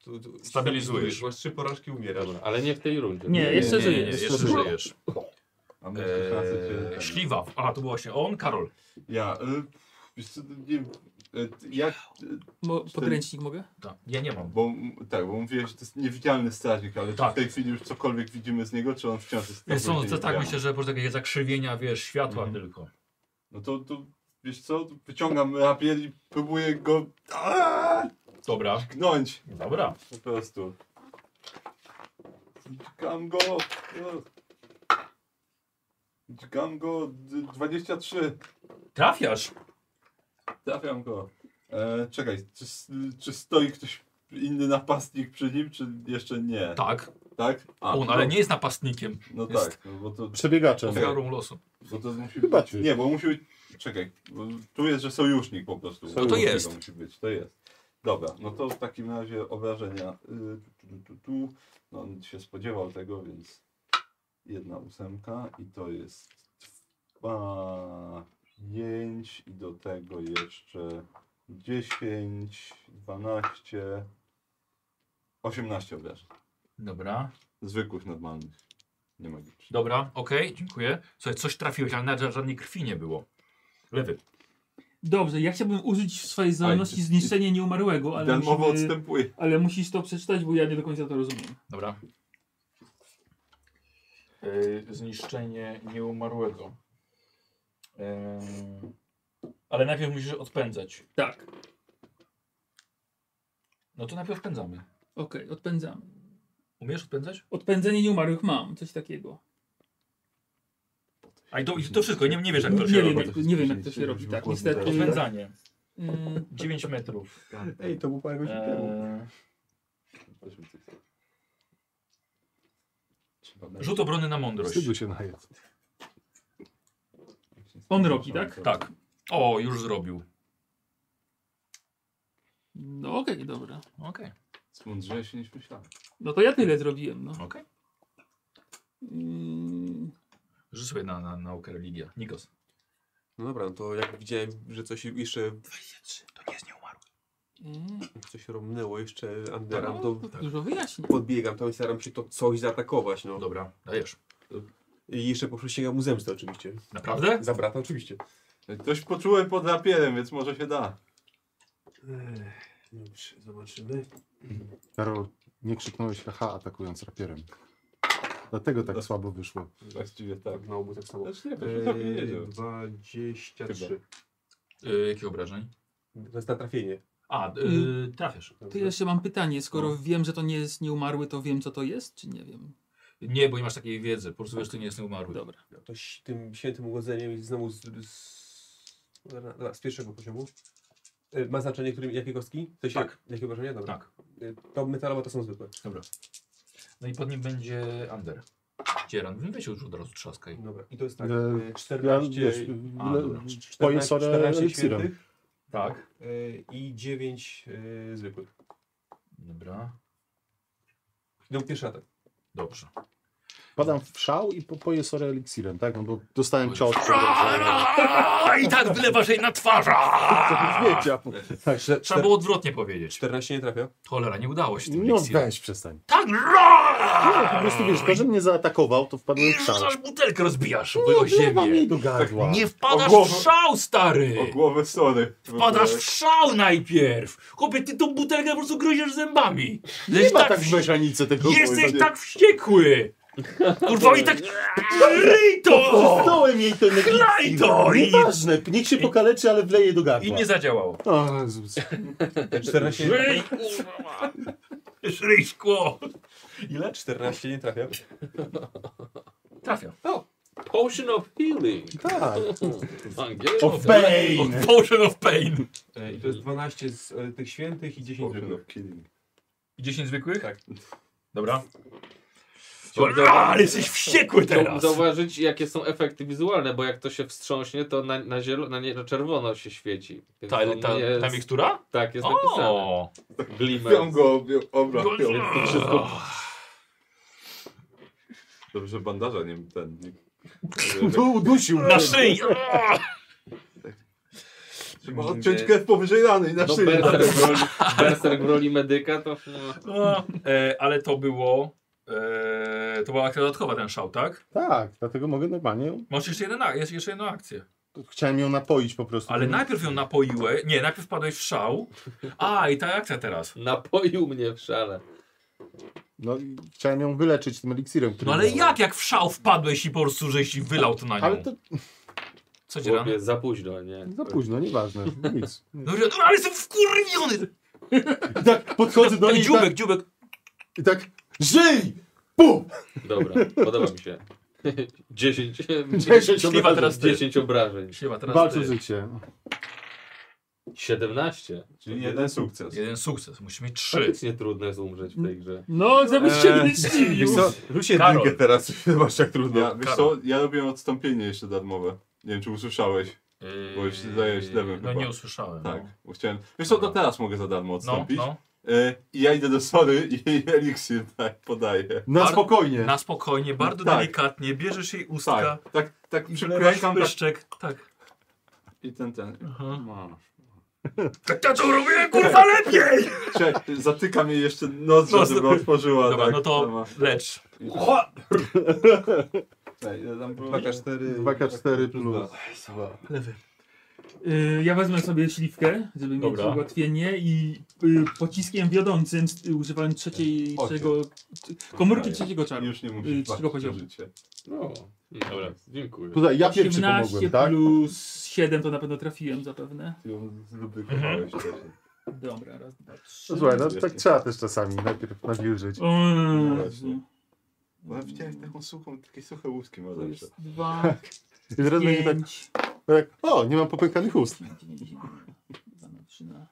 Speaker 4: Tu, tu,
Speaker 2: Stabilizujesz.
Speaker 4: Masz trzy porażki, umierasz.
Speaker 10: Dobra, ale nie w tej rundzie.
Speaker 6: Nie, jeszcze
Speaker 2: nie, nie,
Speaker 6: żyje.
Speaker 2: jeszcze
Speaker 5: żyje.
Speaker 2: żyjesz.
Speaker 1: Mamy jeszcze szansę cię-
Speaker 2: E, śliwa. A, to był właśnie on, Karol.
Speaker 1: Ja. Y, wiesz co, nie, y, jak, y,
Speaker 6: Mo- Podręcznik mogę?
Speaker 2: Tak, ja nie mam.
Speaker 1: bo, m- tak, bo mówiłeś, że to jest niewidzialny strażnik, ale
Speaker 2: Tak.
Speaker 1: czy w tej chwili już cokolwiek widzimy z niego, czy on wciąż jest
Speaker 2: Więc są,
Speaker 1: całkowicie
Speaker 2: to tak
Speaker 1: niewidzialny?
Speaker 2: myślę, że po prostu takie zakrzywienia, wiesz, światła
Speaker 1: Mhm.
Speaker 2: tylko.
Speaker 1: No to, to wiesz co, wyciągam rapier i próbuję go aaa,
Speaker 2: Dobra,
Speaker 1: gnąć
Speaker 2: dobra.
Speaker 1: po prostu. Dźgam go. e. Dźgam go d- 23.
Speaker 2: Trafiasz.
Speaker 1: Trafiam go. E, czekaj, czy, s- czy stoi ktoś inny napastnik przy nim, czy jeszcze nie?
Speaker 2: Tak.
Speaker 1: Tak? A,
Speaker 2: On,
Speaker 1: no,
Speaker 2: ale nie jest napastnikiem,
Speaker 1: No
Speaker 2: jest-
Speaker 1: tak, no bo to,
Speaker 5: Przebiegaczem.
Speaker 1: Okej.
Speaker 2: ofiarą losu.
Speaker 1: bo to musi
Speaker 5: Chyba
Speaker 1: być...
Speaker 5: nie.
Speaker 1: Nie, bo musi być... Czekaj, bo tu jest, że sojusznik po prostu.
Speaker 2: to
Speaker 1: Sojusznik
Speaker 2: jest.
Speaker 1: Musi być, to jest. Dobra, no to w takim razie obrażenia. Y, tu, tu, tu, tu. No, on się spodziewał tego, więc jedna ósemka i to jest dwa, pięć i do tego jeszcze 10, 12, 18 obrażeń.
Speaker 2: Dobra,
Speaker 1: Zwykłych, normalnych. Nie magicznych.
Speaker 2: dobra, okej, dziękuję. Słuchaj, coś trafiłeś, ale na żadnej krwi nie było. Lewy.
Speaker 6: Dobrze, ja chciałbym użyć swojej zdolności
Speaker 1: Ale-
Speaker 6: zniszczenie nieumarłego, ale,
Speaker 1: Darmowo
Speaker 6: musimy,
Speaker 1: odstępuje.
Speaker 6: ale musisz to przeczytać, bo ja nie do końca to rozumiem.
Speaker 2: Dobra. Yy, zniszczenie nieumarłego. Yy, ale najpierw musisz odpędzać.
Speaker 6: Tak,
Speaker 2: No to najpierw odpędzamy.
Speaker 6: okej, odpędzamy.
Speaker 2: Umiesz odpędzać?
Speaker 6: Odpędzenie nieumarłych mam, coś takiego.
Speaker 2: A i to, i to wszystko, nie, nie wiesz jak
Speaker 6: Nie
Speaker 2: Tak, to się
Speaker 6: wiem,
Speaker 2: robi.
Speaker 6: jak, nie wiem jak to się robi, tak, niestety.
Speaker 2: Odpędzanie.
Speaker 6: Mm,
Speaker 2: 9 metrów.
Speaker 4: Ej, to był parę godzin temu.
Speaker 2: Eee,
Speaker 1: Trzeba
Speaker 2: rzut obrony na mądrość.
Speaker 5: Wstydu się najedz.
Speaker 6: On robi, tak?
Speaker 2: Tak. O, już zrobił.
Speaker 6: No okej, dobra.
Speaker 2: Okej.
Speaker 1: Mądrze się niż myślałem.
Speaker 6: No to ja tyle zrobiłem, no.
Speaker 2: Okej.
Speaker 6: Mm,
Speaker 2: Rzuć sobie na, na naukę religia. Nikos.
Speaker 4: No dobra, no to jak widziałem, że coś jeszcze,
Speaker 2: To nie jest nieumarły.
Speaker 6: mm,
Speaker 4: coś romnęło jeszcze Anderam,
Speaker 6: no,
Speaker 4: to
Speaker 6: to dużo wyjaśni.
Speaker 4: podbiegam tam i staram się to coś zaatakować, no.
Speaker 2: Dobra, dajesz.
Speaker 4: I jeszcze poprosiłem mu zemstę oczywiście.
Speaker 2: Naprawdę?
Speaker 4: Za brata oczywiście.
Speaker 1: Ktoś poczułem pod rapierem, więc może się da.
Speaker 4: Dobrze, zobaczymy.
Speaker 5: Karol, nie krzyknąłeś haha atakując rapierem. Dlatego tak
Speaker 1: No.
Speaker 5: słabo wyszło.
Speaker 1: Właściwie tak.
Speaker 4: Tak, na obu tak samo.
Speaker 1: Znaczy nie,
Speaker 4: [LAUGHS] Eee,
Speaker 1: wiem,
Speaker 4: 23.
Speaker 2: Yy, jakie obrażeń?
Speaker 4: To jest na trafienie.
Speaker 2: A,
Speaker 4: Mhm.
Speaker 2: yy, trafiasz.
Speaker 4: Dobrze.
Speaker 6: To ja jeszcze mam pytanie, skoro wiem, że to nie jest nieumarły, to wiem co to jest, czy nie wiem?
Speaker 2: Nie, bo nie masz takiej wiedzy. Po prostu wiesz, że to nie jest nieumarły.
Speaker 6: Dobra.
Speaker 4: No to ś- tym świętym ugodzeniem i znowu z, z, dobra, dobra, z pierwszego poziomu. E, Ma znaczenie, którym, jakie kostki? W sensie,
Speaker 2: Tak.
Speaker 4: Jakie obrażenia? Dobra.
Speaker 2: Tak.
Speaker 4: E, To metalowe to są zwykłe.
Speaker 2: Dobra. No i pod nim będzie Ander. Dzieran. Weź już od razu trzaskaj.
Speaker 4: Dobra. I to jest tak.
Speaker 5: E,
Speaker 4: e,
Speaker 5: Ja,
Speaker 4: 14,
Speaker 5: wiesz,
Speaker 2: A,
Speaker 5: le-
Speaker 2: dobra.
Speaker 5: twoje
Speaker 4: 14,
Speaker 5: sorę
Speaker 4: 14
Speaker 5: eliksirem.
Speaker 4: świętych
Speaker 2: Tak.
Speaker 4: e, i 9 e, zwykłych.
Speaker 2: Dobra.
Speaker 4: No pierwszy atak.
Speaker 2: Dobrze.
Speaker 5: Padam w szał i po, poję sorę eliksirem, tak? No bo dostałem
Speaker 2: Oj.
Speaker 5: cios.
Speaker 2: I tak wylewasz jej na twarz.
Speaker 5: Także
Speaker 2: Trzeba było odwrotnie powiedzieć.
Speaker 4: 14 nie trafia.
Speaker 2: Cholera, nie udało się. tym
Speaker 5: no
Speaker 2: eliksirem.
Speaker 5: weź, przestań.
Speaker 2: Tak!
Speaker 5: Nie, po prostu wiesz, to, że mnie zaatakował, to wpadłem
Speaker 2: I
Speaker 5: w szał.
Speaker 2: rzucasz butelkę, rozbijasz
Speaker 5: No,
Speaker 2: o
Speaker 5: wlewam jej
Speaker 2: ziemię.
Speaker 5: do gardła.
Speaker 2: Nie wpadasz
Speaker 1: O głowę.
Speaker 2: w szał,
Speaker 1: O
Speaker 2: stary!
Speaker 1: głowę sorry.
Speaker 2: Wpadasz w szał najpierw! Chłopie, ty tą butelkę po prostu grozisz zębami.
Speaker 5: Nie
Speaker 2: Jesteś
Speaker 5: ma tak
Speaker 2: tak,
Speaker 5: w mechanice tego
Speaker 2: jesteś
Speaker 1: nie.
Speaker 2: tak wściekły! Kurwa i tak... Ryj to!
Speaker 5: Wstałem jej ten
Speaker 2: Klaj to! I,
Speaker 5: Nieważne, niech się pokaleczy, ale wleję do gardła.
Speaker 2: I nie zadziałało.
Speaker 5: O, Jezus.
Speaker 4: 14 nie
Speaker 2: Ryj, kurwa! ma. Ryj szkło!
Speaker 4: Ile? 14 nie trafia.
Speaker 2: Trafia.
Speaker 10: Potion of healing. [LAUGHS]
Speaker 5: Tak.
Speaker 10: Angielsko.
Speaker 5: O pain!
Speaker 2: Potion of pain.
Speaker 4: E, I to jest 12 z e, tych świętych i 10
Speaker 1: Potion
Speaker 4: zwykłych.
Speaker 1: of killing.
Speaker 2: 10 zwykłych?
Speaker 4: Tak.
Speaker 2: Dobra. Dobra, ale jesteś wściekły teraz!
Speaker 10: Zauważyć, jakie są efekty wizualne, bo jak to się wstrząśnie, to na, na, zielo, na, nie, na czerwono się świeci. Więc
Speaker 2: Ta,
Speaker 10: on
Speaker 2: ta,
Speaker 10: jest,
Speaker 2: ta mikstura?
Speaker 10: tak, jest napisane.
Speaker 2: O!
Speaker 1: Pią
Speaker 10: Glimmer.
Speaker 1: go, objął, obra, pią. Dobrze, że bandaża nie ten. Nie,
Speaker 5: Tu udusił.
Speaker 2: Na szyi!
Speaker 1: trzeba odciąć krew powyżej rany i na
Speaker 10: No,
Speaker 1: szyi.
Speaker 10: berserk, w roli, berserk w roli medyka to... No.
Speaker 2: No, e, ale to było. E, to była akcja dodatkowa, ten szał, tak?
Speaker 5: Tak, dlatego mogę normalnie. ją-
Speaker 2: Masz jeszcze, jeden, ak- jest jeszcze jedną akcję.
Speaker 5: Chciałem ją napoić po prostu.
Speaker 2: Ale najpierw ją napoiłeś. Nie, najpierw padłeś w szał. A, i ta akcja teraz.
Speaker 10: Napoił mnie w szale.
Speaker 5: No i chciałem ją wyleczyć tym eliksirem, który
Speaker 2: No ale
Speaker 5: miałem.
Speaker 2: jak, jak w szał wpadłeś i po prostu żeś i wylał to na
Speaker 5: Ale
Speaker 2: nią?
Speaker 5: to
Speaker 2: Co ci rano?
Speaker 10: Chłopie, za późno, nie?
Speaker 5: za
Speaker 2: [LAUGHS]
Speaker 5: późno, nieważne. Nic.
Speaker 2: No, że- no ale jestem wkurwiony! No,
Speaker 5: I tak podchodzę do
Speaker 2: Ten
Speaker 5: niej i tak,
Speaker 2: dziubek, dziubek.
Speaker 5: i tak żyj! Bum!
Speaker 10: Dobra, podoba mi się. [LAUGHS] 10.
Speaker 5: 10
Speaker 10: Śliwa
Speaker 5: obrażeń.
Speaker 10: teraz 10 obrażeń.
Speaker 2: Śliwa, teraz
Speaker 5: Walczę
Speaker 2: ty.
Speaker 5: życie.
Speaker 10: 17.
Speaker 1: Czyli jeden sukces.
Speaker 2: Jeden sukces, musimy mieć trzy.
Speaker 10: Faktycznie trudno jest umrzeć w tej grze.
Speaker 6: No, żebyś się
Speaker 1: Eee,
Speaker 6: nie zdziwił.
Speaker 1: wiesz co,
Speaker 4: Rusie
Speaker 2: Karol.
Speaker 4: drinkę teraz, zobacz jak trudno.
Speaker 1: Ja, wiesz co, ja robiłem odstąpienie jeszcze darmowe. Nie wiem, czy usłyszałeś.
Speaker 2: Yy,
Speaker 1: Bo już zająłeś lewym
Speaker 2: No
Speaker 1: chyba.
Speaker 2: nie usłyszałem.
Speaker 1: Tak, bo chciałem. Wiesz co, to teraz mogę za darmo
Speaker 2: No,
Speaker 1: odstąpić.
Speaker 2: no,
Speaker 1: E, I ja idę do Sory [LAUGHS] i eliksir tak podaję.
Speaker 5: Na
Speaker 2: Bar-
Speaker 5: spokojnie.
Speaker 2: na spokojnie, bardzo
Speaker 1: Tak.
Speaker 2: delikatnie, bierzesz jej ustka
Speaker 1: Tak, tak, tak
Speaker 2: i wlewasz
Speaker 1: przykręcam tak.
Speaker 2: pyszczek. Tak.
Speaker 1: i ten, ten.
Speaker 2: Aha.
Speaker 1: Masz.
Speaker 2: Tak ja to robię, kurwa, lepiej!
Speaker 1: Czekaj, zatykam jej jeszcze nos,
Speaker 2: Nos,
Speaker 1: żeby
Speaker 2: no.
Speaker 1: otworzyła.
Speaker 2: Dobra,
Speaker 1: tak,
Speaker 2: no to-
Speaker 1: ma-
Speaker 2: Lecz. [LAUGHS]
Speaker 1: Czekaj, ile tam było?
Speaker 9: 2K4.
Speaker 5: 2K4 plus.
Speaker 6: Y, ja wezmę sobie śliwkę, żeby
Speaker 2: Dobra.
Speaker 6: mieć ułatwienie i y, pociskiem wiodącym y, używałem trzeciej,
Speaker 1: Osiem.
Speaker 6: trzeciego, komórki trzeciego czaru.
Speaker 1: Już nie musisz
Speaker 6: Y,
Speaker 1: patrzeć
Speaker 6: czego poziomu?
Speaker 1: na życie.
Speaker 10: No, dobra, dziękuję.
Speaker 5: Tutaj No ja pierwszy
Speaker 6: 18
Speaker 5: pomogłem, tak?
Speaker 6: plus 7 to na pewno trafiłem zapewne.
Speaker 1: Ty ją zlubykowałeś wcześniej.
Speaker 6: Dobra, raz, dwa, trzy.
Speaker 5: No Słuchaj, no, tak trzeba też czasami najpierw nawilżyć.
Speaker 6: O, no,
Speaker 1: właśnie. No, ja widziałem taką suchą, takie suche łuski ma
Speaker 6: to
Speaker 1: zawsze.
Speaker 6: jest dwa,
Speaker 5: I teraz będzie tak,
Speaker 6: pięć,
Speaker 5: tak, o, nie mam popękanych ust.
Speaker 6: dziewięć, dwa na trzy na-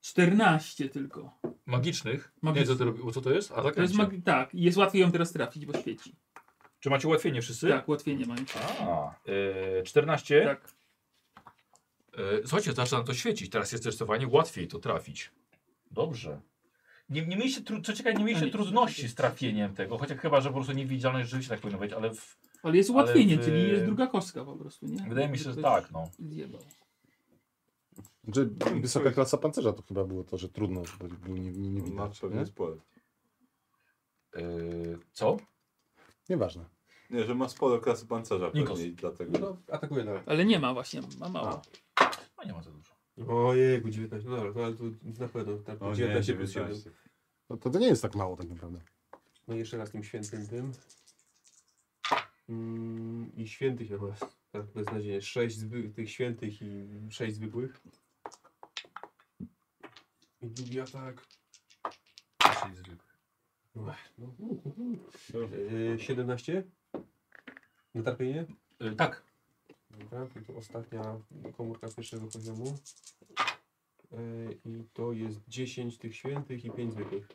Speaker 6: 14 tylko.
Speaker 2: Magicznych?
Speaker 6: Magicznych.
Speaker 2: Nie, co, ty robi, co to jest? A, tak,
Speaker 6: To jest mag- tak, i jest łatwiej ją teraz trafić, bo świeci.
Speaker 2: Czy macie ułatwienie wszyscy?
Speaker 6: Tak, łatwiej nie ma.
Speaker 2: A, e, 14.
Speaker 6: Tak.
Speaker 2: E, Słuchajcie, zaczyna to świecić. Teraz jest zdecydowanie łatwiej to trafić. Dobrze. Nie, nie mieliście, tru- co ciekawe, nie mieliście
Speaker 6: A nie,
Speaker 2: trudności
Speaker 6: nie.
Speaker 2: z trafieniem tego, chociaż chyba, że po prostu niewidzialność rzeczywiście tak powinno być, ale w,
Speaker 6: Ale jest
Speaker 2: Ale
Speaker 6: ułatwienie,
Speaker 2: w-
Speaker 6: czyli jest druga kostka po prostu, nie?
Speaker 2: wydaje mi się, że
Speaker 6: Ktoś
Speaker 2: tak, no.
Speaker 6: Zjebał.
Speaker 5: Że wysoka klasa pancerza to chyba było to, że trudno, bo był nie, nie, nie
Speaker 1: Ma
Speaker 2: No,
Speaker 5: widać.
Speaker 1: pewnie
Speaker 5: Nie?
Speaker 1: spore.
Speaker 2: E, co?
Speaker 5: Nieważne.
Speaker 1: Nie, że ma sporo klasy pancerza
Speaker 2: Nikos.
Speaker 1: pewnie i dlatego.
Speaker 9: No, atakuje dalej.
Speaker 6: Ale nie ma właśnie, ma mało.
Speaker 1: A.
Speaker 2: No nie ma za dużo.
Speaker 9: Ojejku, 19. No dobra, no, ale tu na pewno. Tak,
Speaker 1: O No nie,
Speaker 9: 19 plus 7.
Speaker 1: 19.
Speaker 5: No, to, to nie jest tak mało tak naprawdę.
Speaker 9: No i jeszcze raz tym świętym tym. Mm, I świętych ja was. Tak, beznadziejnie. 6 zby- tych świętych i 6 zwykłych. I drugi atak. Ech, No. Yy, 17? Na trafienie?
Speaker 2: E, tak.
Speaker 9: Dobra, to, to ostatnia komórka pierwszego poziomu. Yy, I to jest 10 tych świętych i 5 zwykłych.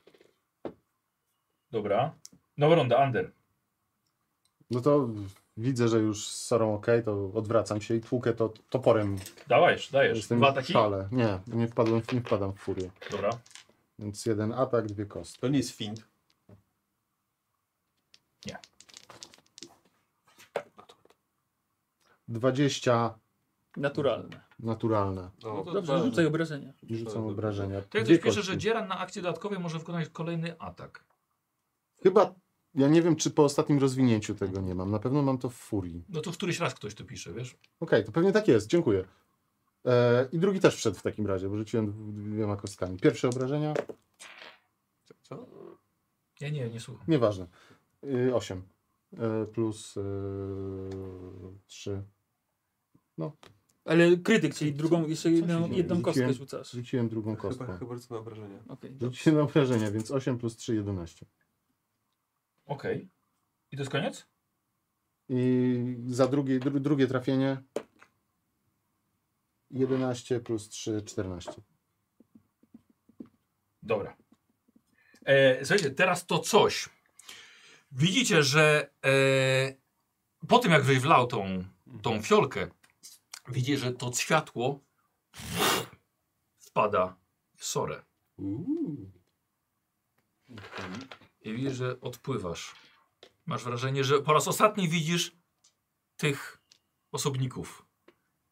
Speaker 2: Dobra. Nowa runda, Under.
Speaker 5: No to widzę, że już z Sarą ok, to odwracam się i tłukę to toporem.
Speaker 2: Dawajesz, dajesz.
Speaker 5: Jestem
Speaker 2: Dwa
Speaker 5: w
Speaker 2: ataki?
Speaker 5: szale. Nie, nie, wpadłem, nie wpadam w furię.
Speaker 2: Dobra.
Speaker 5: Więc jeden atak, dwie kostki.
Speaker 4: To nie jest fint.
Speaker 5: Dwadzieścia
Speaker 6: Naturalne.
Speaker 5: naturalne.
Speaker 9: No,
Speaker 6: Dobrze, rzucaj obrażenia.
Speaker 5: Rzucam obrażenia.
Speaker 2: To jak
Speaker 5: Dwie
Speaker 2: ktoś pisze,
Speaker 5: kości.
Speaker 2: że Dzieran na akcji dodatkowej może wykonać kolejny atak.
Speaker 5: Chyba, ja nie wiem, czy po ostatnim rozwinięciu tego nie mam. Na pewno mam to w furii.
Speaker 2: No to któryś raz ktoś to pisze, wiesz?
Speaker 5: Okej, to pewnie tak jest, dziękuję. E, I drugi też wszedł w takim razie, bo rzuciłem dw- dwiema kostkami. Pierwsze obrażenia,
Speaker 2: Ja nie, nie słucham.
Speaker 5: nieważne. Y, osiem e, plus e, trzy.
Speaker 6: Ale krytyk, czyli drugą, jeszcze jedną,
Speaker 5: dzieje?
Speaker 6: jedną kostkę
Speaker 5: Rzuciłem-
Speaker 6: rzucasz.
Speaker 5: Rzuciłem drugą
Speaker 9: chyba,
Speaker 5: kostką.
Speaker 9: chyba co na obrażenia.
Speaker 6: Okej.
Speaker 5: Rzuciłem na obrażenia, więc 8 plus 3, 11.
Speaker 2: Okej. I to jest koniec?
Speaker 5: I za drugie, dru, drugie trafienie 11 plus 3, 14.
Speaker 2: Dobra. E, słuchajcie, teraz to coś. Widzicie, że e, po tym jak żeś wlał tą, tą fiolkę, widzicie, że to światło wpada w sorę. I widzisz, że odpływasz. Masz wrażenie, że po raz ostatni widzisz tych osobników.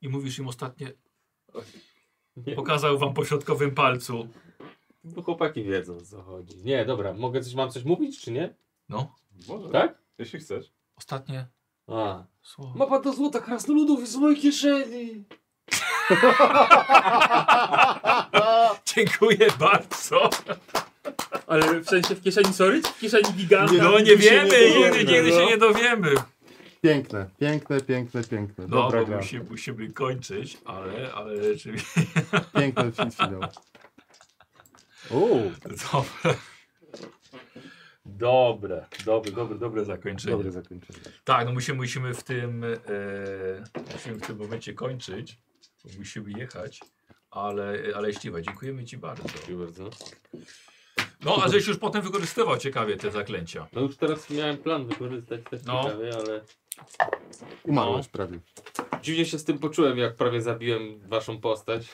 Speaker 2: I mówisz im ostatnie. Pokazał wam pośrodkowym palcu.
Speaker 10: No chłopaki wiedzą o co chodzi. Nie, dobra, mogę coś, mam coś mówić, czy nie?
Speaker 2: No,
Speaker 1: Może.
Speaker 10: Tak?
Speaker 1: Jeśli chcesz.
Speaker 2: ostatnie
Speaker 10: A.
Speaker 2: słowo.
Speaker 10: Ma pan to złota krasnoludów z mojej kieszeni.
Speaker 2: [LAUGHS] Dziękuję bardzo.
Speaker 6: Ale w sensie w kieszeni sorry? W kieszeni giganta?
Speaker 5: Nie,
Speaker 2: No nie wiemy, nigdy, nigdy
Speaker 6: no.
Speaker 2: się nie dowiemy.
Speaker 5: Piękne, piękne, piękne, piękne.
Speaker 2: No,
Speaker 5: Dobra
Speaker 2: bo
Speaker 5: gra.
Speaker 2: musimy, musimy kończyć, ale, ale rzeczywiście. [LAUGHS]
Speaker 5: Piękny fi- finał. Uuu,
Speaker 2: Dobre. Dobre, dobre, dobre, dobre zakończenie.
Speaker 5: dobre zakończenie.
Speaker 2: Tak, no musimy, musimy w tym e, musimy w tym momencie kończyć. bo Musimy jechać. ale, ale ściwe. Dziękujemy Ci bardzo.
Speaker 3: Dziękuję bardzo.
Speaker 2: No, a żeś już potem wykorzystywał ciekawie te zaklęcia.
Speaker 3: No już teraz miałem plan wykorzystać też
Speaker 2: No.
Speaker 3: ciekawie, ale
Speaker 5: Umarłeś prawie.
Speaker 3: dziwnie się z tym poczułem, jak prawie zabiłem waszą postać.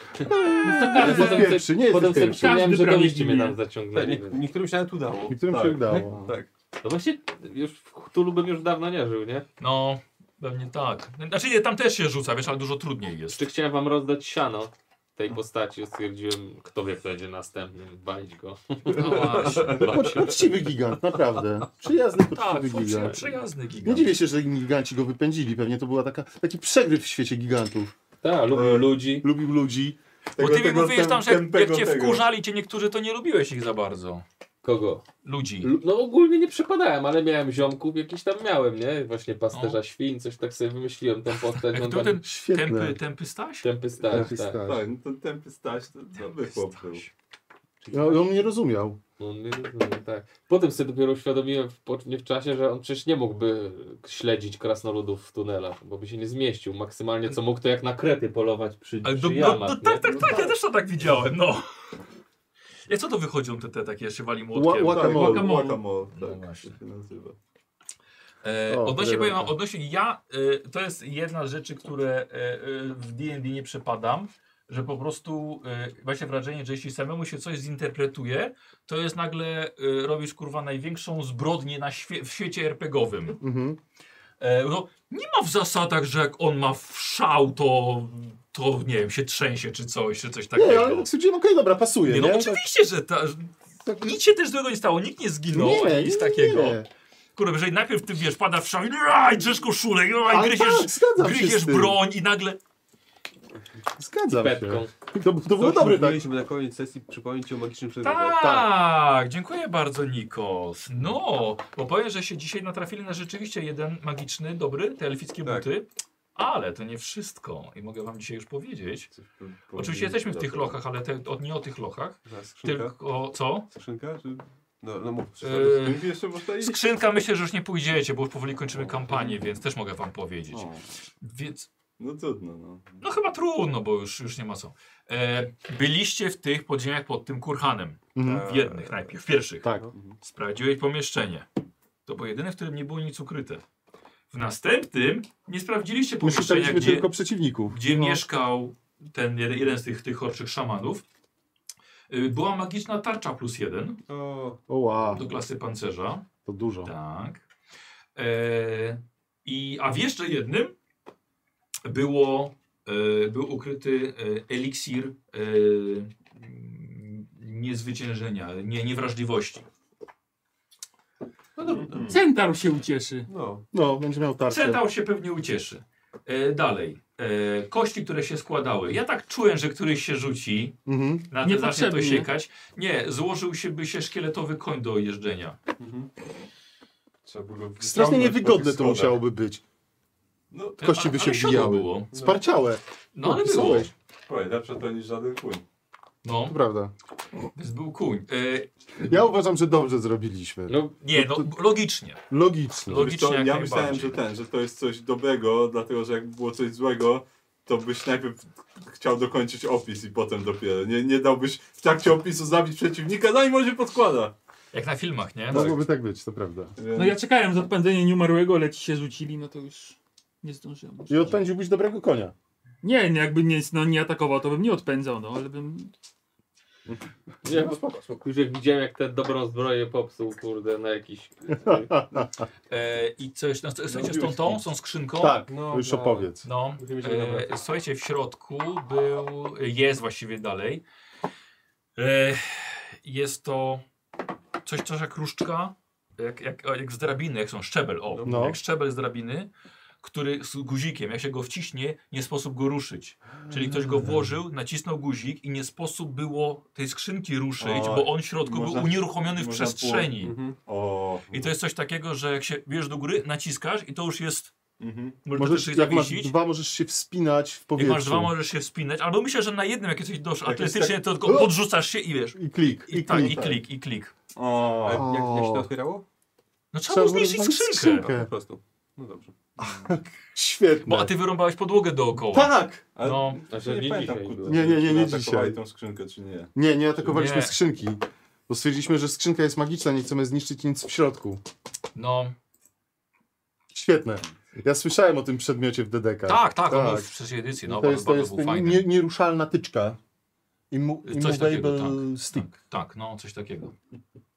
Speaker 5: Ale
Speaker 3: potem
Speaker 5: jesteś
Speaker 3: sobie-
Speaker 5: pierwszy, nie jesteś
Speaker 3: Potem sobie
Speaker 5: pierwszy.
Speaker 3: przypomniałem, że do
Speaker 6: prawie
Speaker 3: liści mnie
Speaker 6: ginie.
Speaker 3: tam zaciągnęli. więc-
Speaker 2: Tak.
Speaker 4: Niektórym się nawet udało.
Speaker 5: Niektórym się
Speaker 1: Tak.
Speaker 5: udało.
Speaker 1: Tak.
Speaker 3: No właśnie już w Cthulhu bym już dawno nie żył, nie?
Speaker 2: No, pewnie tak. Znaczy nie, tam też się rzuca, wiesz, ale dużo trudniej jest.
Speaker 3: Jeszcze chciałem wam rozdać siano tej postaci, stwierdziłem, kto wie, kto będzie następny, balić go.
Speaker 2: No właśnie.
Speaker 5: Poc- Poczciwy gigant, naprawdę. Przyjazny,
Speaker 2: Tak,
Speaker 5: poczciwy
Speaker 2: przy-
Speaker 5: gigant.
Speaker 2: przyjazny
Speaker 5: Nie
Speaker 2: gigant.
Speaker 5: dziwię się, że inni giganci go wypędzili. Pewnie to była taka, taki przegryw w świecie gigantów.
Speaker 3: Tak, lubię ludzi.
Speaker 5: Lubił ludzi.
Speaker 2: Bo ty mi mówiłeś tam, że jak, jak
Speaker 1: tępego
Speaker 2: cię
Speaker 1: tego.
Speaker 2: wkurzali cię niektórzy, to nie lubiłeś ich za bardzo.
Speaker 3: Kogo?
Speaker 2: Ludzi.
Speaker 3: Lu- No ogólnie nie przypadałem, ale miałem ziomków, jakiś tam miałem, nie? Właśnie pasterza świn, coś tak sobie wymyśliłem tą postać, on
Speaker 2: Kto
Speaker 3: tam
Speaker 2: No. ten
Speaker 5: Świetne.
Speaker 2: tępy, tępy Staś?
Speaker 3: tępy stać,
Speaker 5: Taki
Speaker 3: tak.
Speaker 5: staś.
Speaker 1: Tak, no ten tępy Staś to dobry chłop był.
Speaker 5: No, on nie rozumiał.
Speaker 3: On nie rozumie, tak. Potem sobie dopiero uświadomiłem w, po- nie w czasie, że on przecież nie mógłby śledzić krasnoludów w tunelach, bo by się nie zmieścił. Maksymalnie co mógł to jak na krety polować przy,
Speaker 2: Ale do,
Speaker 3: przy
Speaker 2: do,
Speaker 3: jamach,
Speaker 2: do,
Speaker 3: nie? No
Speaker 2: tak, tak, tak, ja też to tak widziałem, no. Ja co to wychodzą te, te takie szywali
Speaker 5: Ła-
Speaker 2: młotkiem?
Speaker 5: Guacamole.
Speaker 1: Tak, guacamole,
Speaker 2: No
Speaker 1: tak
Speaker 2: właśnie.
Speaker 1: to się nazywa.
Speaker 2: E,
Speaker 5: O,
Speaker 2: odnośnie,
Speaker 5: tyle
Speaker 2: powiem, wam,
Speaker 5: lata.
Speaker 2: odnośnie ja, e, to jest jedna z rzeczy, które e, e, w D&D nie przepadam, że po prostu e, właśnie wrażenie, że jeśli samemu się coś zinterpretuje, to jest nagle e, robisz kurwa największą zbrodnię na świe w świecie RPGowym.
Speaker 5: Mhm.
Speaker 2: E, no, nie ma w zasadach, że jak on ma w szał, to, to nie wiem, się trzęsie czy coś, czy coś takiego.
Speaker 5: Nie, ale tak stwierdziłem, okej, dobra, pasuje,
Speaker 2: Nie,
Speaker 5: nie?
Speaker 2: no
Speaker 5: Tak-
Speaker 2: oczywiście, że ta,
Speaker 5: tak-
Speaker 2: nic się też złego nie stało, nikt nie zginął,
Speaker 5: nie, nie,
Speaker 2: no, nic
Speaker 5: nie,
Speaker 2: takiego.
Speaker 5: nie.
Speaker 2: Kurde, jeżeli najpierw ty wiesz, pada w szał i aj, drzesz koszulę, i
Speaker 5: Ale
Speaker 2: gryziesz,
Speaker 5: tak, zgadzam się
Speaker 2: gryziesz
Speaker 5: z tym.
Speaker 2: broń i nagle...
Speaker 5: Zgadzam
Speaker 3: Petką.
Speaker 5: się. To, to było dobre, tak?
Speaker 4: Mieliśmy na koniec sesji przypomnieć o magicznym przedmiocie.
Speaker 2: Tak, dziękuję bardzo Nikos. No, bo powiem, że się dzisiaj natrafili na rzeczywiście jeden magiczny, dobry, te elfickie
Speaker 4: Tak.
Speaker 2: buty. Ale to nie wszystko i mogę wam dzisiaj już powiedzieć. Oczywiście jesteśmy w tych lochach, ale te, o, nie o tych lochach,
Speaker 4: Ta Skrzynka?
Speaker 2: tylko co?
Speaker 4: Skrzynka? Czy... No, no mów.
Speaker 2: Yy,
Speaker 1: Tym jeszcze można iść?
Speaker 2: skrzynka myślę, że już nie pójdziecie, bo już powoli kończymy kampanię, więc też mogę wam powiedzieć.
Speaker 1: O,
Speaker 2: Więc
Speaker 1: No trudno, no.
Speaker 2: No chyba trudno, bo już, już nie ma co. E, byliście w tych podziemiach pod tym kurhanem.
Speaker 5: Mhm.
Speaker 2: W jednych najpierw, w pierwszych.
Speaker 5: Tak.
Speaker 2: Sprawdziłeś pomieszczenie. To było jedyne, w którym nie było nic ukryte. W następnym nie sprawdziliście
Speaker 5: My
Speaker 2: pomieszczenia,
Speaker 5: szukaliśmy
Speaker 2: gdzie,
Speaker 5: tylko przeciwników. No.
Speaker 2: gdzie mieszkał ten jeden jeden z tych, tych chorszych szamanów. Y, Była magiczna tarcza plus jeden
Speaker 4: O,
Speaker 5: Oła,
Speaker 2: do klasy pancerza.
Speaker 5: to dużo.
Speaker 2: Tak. E, i, a w jeszcze jednym było, e, był ukryty e, eliksir e, mm, niezwyciężenia, nie, niewrażliwości.
Speaker 6: Centaur się ucieszy.
Speaker 4: no.
Speaker 5: No, będzie miał tarczę.
Speaker 2: Centaur się pewnie ucieszy. E, dalej. E, kości, które się składały. Ja tak czułem, że któryś się rzuci, na
Speaker 5: Mhm.
Speaker 2: ten zacznie to
Speaker 6: Niepotrzebnie.
Speaker 2: siekać. Nie, złożył się by się szkieletowy koń do jeżdżenia.
Speaker 1: Trzeba było go wyciągnąć po
Speaker 5: Strasznie niewygodne
Speaker 1: tych
Speaker 5: to
Speaker 1: schodach.
Speaker 5: musiałoby być.
Speaker 1: No,
Speaker 5: Kości by
Speaker 2: A-
Speaker 5: się
Speaker 2: ale siodło
Speaker 5: wbijały.
Speaker 2: Było.
Speaker 5: Sparciałe,
Speaker 2: No ale było.
Speaker 5: Opisałeś.
Speaker 1: powiem, lepsze to niż żaden kuń.
Speaker 2: No,
Speaker 5: to prawda.
Speaker 2: więc był kuń. E,
Speaker 5: Ja uważam, że dobrze zrobiliśmy.
Speaker 3: No,
Speaker 2: Nie, no logicznie. Logi-
Speaker 5: Logicznie.
Speaker 1: Wiesz
Speaker 2: Logicznie
Speaker 1: co,
Speaker 2: jak
Speaker 1: ja myślałem,
Speaker 2: najbardziej.
Speaker 1: że ten, że to jest coś dobrego, dlatego że jak było coś złego, to byś najpierw chciał dokończyć opis i potem dopiero. Nie, nie dałbyś w trakcie opisu zabić przeciwnika, zanim on się podkłada.
Speaker 2: Jak na filmach, nie?
Speaker 5: Mogłoby tak być, to prawda.
Speaker 1: Więc-
Speaker 6: No ja czekałem z odpędzeniem nieumarłego, ale ci się rzucili, no to już nie zdążyłem.
Speaker 5: I odpędziłbyś dobrego konia.
Speaker 6: Nie, nie, jakby nie, no, nie atakował, to bym nie odpędzał, no ale bym...
Speaker 3: nie,
Speaker 1: No
Speaker 3: Już jak widziałem, jak tę dobrą zbroję popsuł, kurde, na jakiś...
Speaker 2: E, I coś, no, słuchajcie, z tą, tą, z tą skrzynką.
Speaker 5: Tak,
Speaker 4: no
Speaker 5: to już
Speaker 4: no.
Speaker 5: opowiedz.
Speaker 2: No,
Speaker 4: Musimy się
Speaker 2: e,
Speaker 4: nabrać.
Speaker 2: słuchajcie, w środku był, jest właściwie dalej. E, jest to coś, coś jak różdżka, jak, jak, jak z drabiny, jak są szczebel, o,
Speaker 5: No.
Speaker 2: jak szczebel z drabiny, który z guzikiem, jak się go wciśnie, nie sposób go ruszyć. Czyli ktoś go włożył, nacisnął guzik i nie sposób było tej skrzynki ruszyć,
Speaker 1: O,
Speaker 2: bo on w środku
Speaker 1: można-
Speaker 2: był unieruchomiony w
Speaker 1: można było-
Speaker 2: przestrzeni.
Speaker 4: Mhm.
Speaker 1: O.
Speaker 2: I to jest coś takiego, że jak się bierzesz do góry, naciskasz i to już jest.
Speaker 1: Mhm.
Speaker 2: Możesz,
Speaker 5: Możesz,
Speaker 2: możesz
Speaker 5: jak masz
Speaker 2: zawiesić.
Speaker 5: dwa, możesz się wspinać w
Speaker 2: jak
Speaker 5: powietrzu.
Speaker 2: masz dwa, możesz się wspinać. Albo myślę, że na jednym jak jesteś dosz
Speaker 1: Jak jest
Speaker 2: atletycznie, to tylko podrzucasz się i wiesz.
Speaker 5: I klik,
Speaker 2: I,
Speaker 5: No. i
Speaker 2: tak,
Speaker 5: klik.
Speaker 2: i klik, i klik.
Speaker 1: O.
Speaker 4: A Jak, jak się to otwierało?
Speaker 2: No trzeba było
Speaker 5: było
Speaker 2: zniszczyć
Speaker 5: rozwalić
Speaker 2: skrzynkę.
Speaker 4: Po prostu. No dobrze.
Speaker 5: Świetne.
Speaker 2: Bo a ty wyrąbałeś podłogę dookoła.
Speaker 5: Tak!
Speaker 1: Ale
Speaker 2: No,
Speaker 1: ja
Speaker 3: Znaczy,
Speaker 1: nie
Speaker 3: nie
Speaker 1: pamiętam,
Speaker 3: dzisiaj
Speaker 1: kurde,
Speaker 3: było.
Speaker 5: Nie, nie, nie,
Speaker 1: czy
Speaker 5: nie
Speaker 1: atakowali
Speaker 5: dzisiaj.
Speaker 1: tą skrzynkę, czy nie.
Speaker 5: Nie, nie atakowaliśmy
Speaker 2: Nie.
Speaker 5: skrzynki. Bo stwierdziliśmy, że skrzynka jest magiczna, nie chcemy zniszczyć nic w środku.
Speaker 2: No,
Speaker 5: Świetne. Ja słyszałem o tym przedmiocie w DDK.
Speaker 2: tak, tak, on
Speaker 5: tak.
Speaker 2: był w trzeciej edycji, no,
Speaker 5: to
Speaker 2: bardzo,
Speaker 5: jest, to
Speaker 2: bardzo
Speaker 5: jest
Speaker 2: był
Speaker 5: ten
Speaker 2: fajny.
Speaker 5: nie, nieruszalna tyczka. Immu,
Speaker 2: Coś takiego,
Speaker 5: immovable stick.
Speaker 2: Tak, tak, no, coś takiego.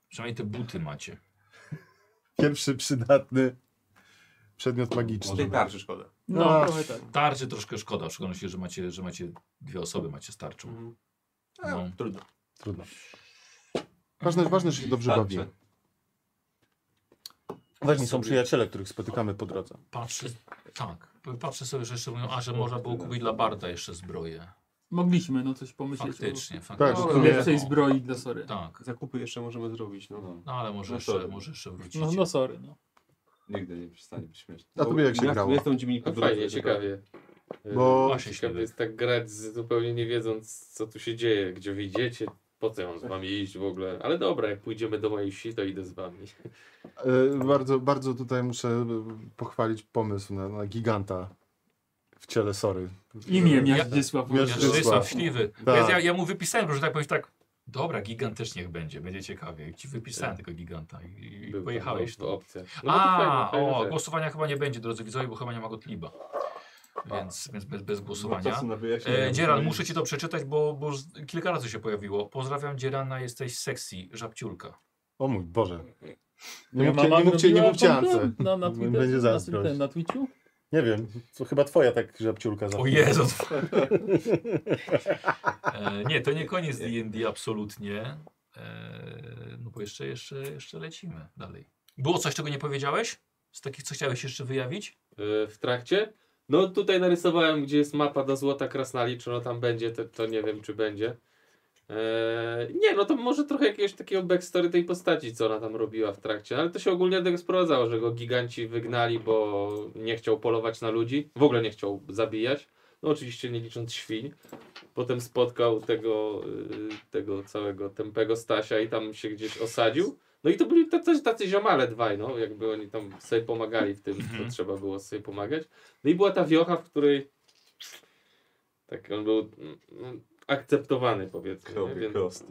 Speaker 2: Przynajmniej te buty macie.
Speaker 5: Pierwszy przydatny przedmiot magiczny.
Speaker 1: Tej tarczy szkoda.
Speaker 6: No,
Speaker 5: No.
Speaker 6: trochę tak.
Speaker 2: Tarczy troszkę szkoda, w szczególności, że macie, że macie dwie osoby macie z tarczą.
Speaker 4: Mhm.
Speaker 2: No.
Speaker 1: Trudno.
Speaker 5: Trudno. Ważne, ważne, że się dobrze
Speaker 1: Tarcze.
Speaker 5: bawi. Ważni są przyjaciele, których spotykamy po drodze.
Speaker 2: Patrzę, tak, patrzę sobie, że jeszcze mówią, a że można było kupić dla Barda jeszcze zbroję.
Speaker 6: Mogliśmy no coś pomyśleć.
Speaker 2: Faktycznie,
Speaker 5: Tak,
Speaker 2: faktycznie.
Speaker 5: to
Speaker 6: O
Speaker 5: No,
Speaker 6: więcej
Speaker 2: no,
Speaker 6: zbroi dla Sory.
Speaker 2: Tak,
Speaker 4: Zakupy jeszcze możemy zrobić, no.
Speaker 1: No,
Speaker 2: no ale może
Speaker 1: No
Speaker 2: jeszcze,
Speaker 1: sorry.
Speaker 2: może jeszcze wrócić.
Speaker 6: No, no Sory, no.
Speaker 1: nigdy nie przestanie być śmieszne.
Speaker 5: A tobie jak się
Speaker 4: ja,
Speaker 5: grało?
Speaker 4: Jestem dziennikiem.
Speaker 3: No Fajnie, ciekawie.
Speaker 5: Bo-
Speaker 2: Właśnie
Speaker 3: ciekawe
Speaker 2: ślepiej.
Speaker 3: jest tak grać z, zupełnie nie wiedząc, co tu się dzieje, gdzie wyjdziecie, po co ja mam z wami iść w ogóle. Ale dobra, jak pójdziemy do mojej wsi, to idę z wami.
Speaker 5: E, Bardzo, bardzo tutaj muszę e, pochwalić pomysł na, na giganta w ciele Sory.
Speaker 6: Imię
Speaker 2: Ja-
Speaker 6: Miażdżysław.
Speaker 5: Miażdż-
Speaker 2: Ja, że są
Speaker 5: Zdzisław.
Speaker 2: śliwy.
Speaker 5: Tak.
Speaker 2: Ja, ja, ja mu wypisałem, że tak powiem tak. Dobra, gigant też niech będzie, będzie ciekawie. I ci wypisałem tego giganta i, i
Speaker 3: Tak. Był tam,
Speaker 2: pojechałeś
Speaker 3: no,
Speaker 2: tu.
Speaker 3: opcja. No, to
Speaker 2: A,
Speaker 3: fajna-
Speaker 2: o,
Speaker 3: fajna rzecz.
Speaker 2: głosowania chyba nie będzie, drodzy widzowie, bo chyba nie ma Gottlieba. Więc, więc bez, bez
Speaker 1: Bo
Speaker 2: głosowania.
Speaker 1: czasu na wyjaśnienie.
Speaker 2: E, Dzieran, muszę ci to przeczytać, bo, bo już kilka razy się pojawiło. Pozdrawiam Dzierana, jesteś sexy, żabciulka.
Speaker 5: O mój Boże. Nie
Speaker 6: Moja
Speaker 5: mówcie,
Speaker 6: mama
Speaker 5: nie mówcie, nie
Speaker 6: zrobiła
Speaker 5: mówcie
Speaker 6: kontent
Speaker 5: Ance.
Speaker 6: Na, na, Twitter,
Speaker 5: Będzie
Speaker 6: na,
Speaker 5: zazdrość.
Speaker 6: tym- na Twitchu?
Speaker 5: Nie wiem, to chyba twoja tak żabciulka
Speaker 3: No.
Speaker 5: za.
Speaker 2: O
Speaker 3: [LAUGHS]
Speaker 2: Jezu! e, nie, to nie koniec D&D absolutnie. E, no bo jeszcze, jeszcze, jeszcze lecimy dalej. Było coś, czego nie powiedziałeś? Z takich, co chciałeś jeszcze wyjawić?
Speaker 3: E, w trakcie. No tutaj narysowałem, gdzie jest mapa do Złota Krasnali, czy ono tam będzie, to, to nie wiem, czy będzie. E, nie, no to może trochę jakiegoś takiego backstory tej postaci, co ona tam robiła w trakcie, ale to się ogólnie do tego sprowadzało, że go giganci wygnali, bo nie chciał polować na ludzi, w ogóle nie chciał zabijać, no oczywiście nie licząc świń. Potem spotkał tego, y, tego całego tępego Stasia i tam się gdzieś osadził. No i to byli tacy, tacy ziomale dwaj, no, jakby oni tam sobie pomagali w tym, co trzeba było sobie pomagać. No i była ta wiocha, w której tak on był mm, akceptowany, powiedzmy. nie?
Speaker 1: Krowy
Speaker 3: Więc-
Speaker 1: krosty.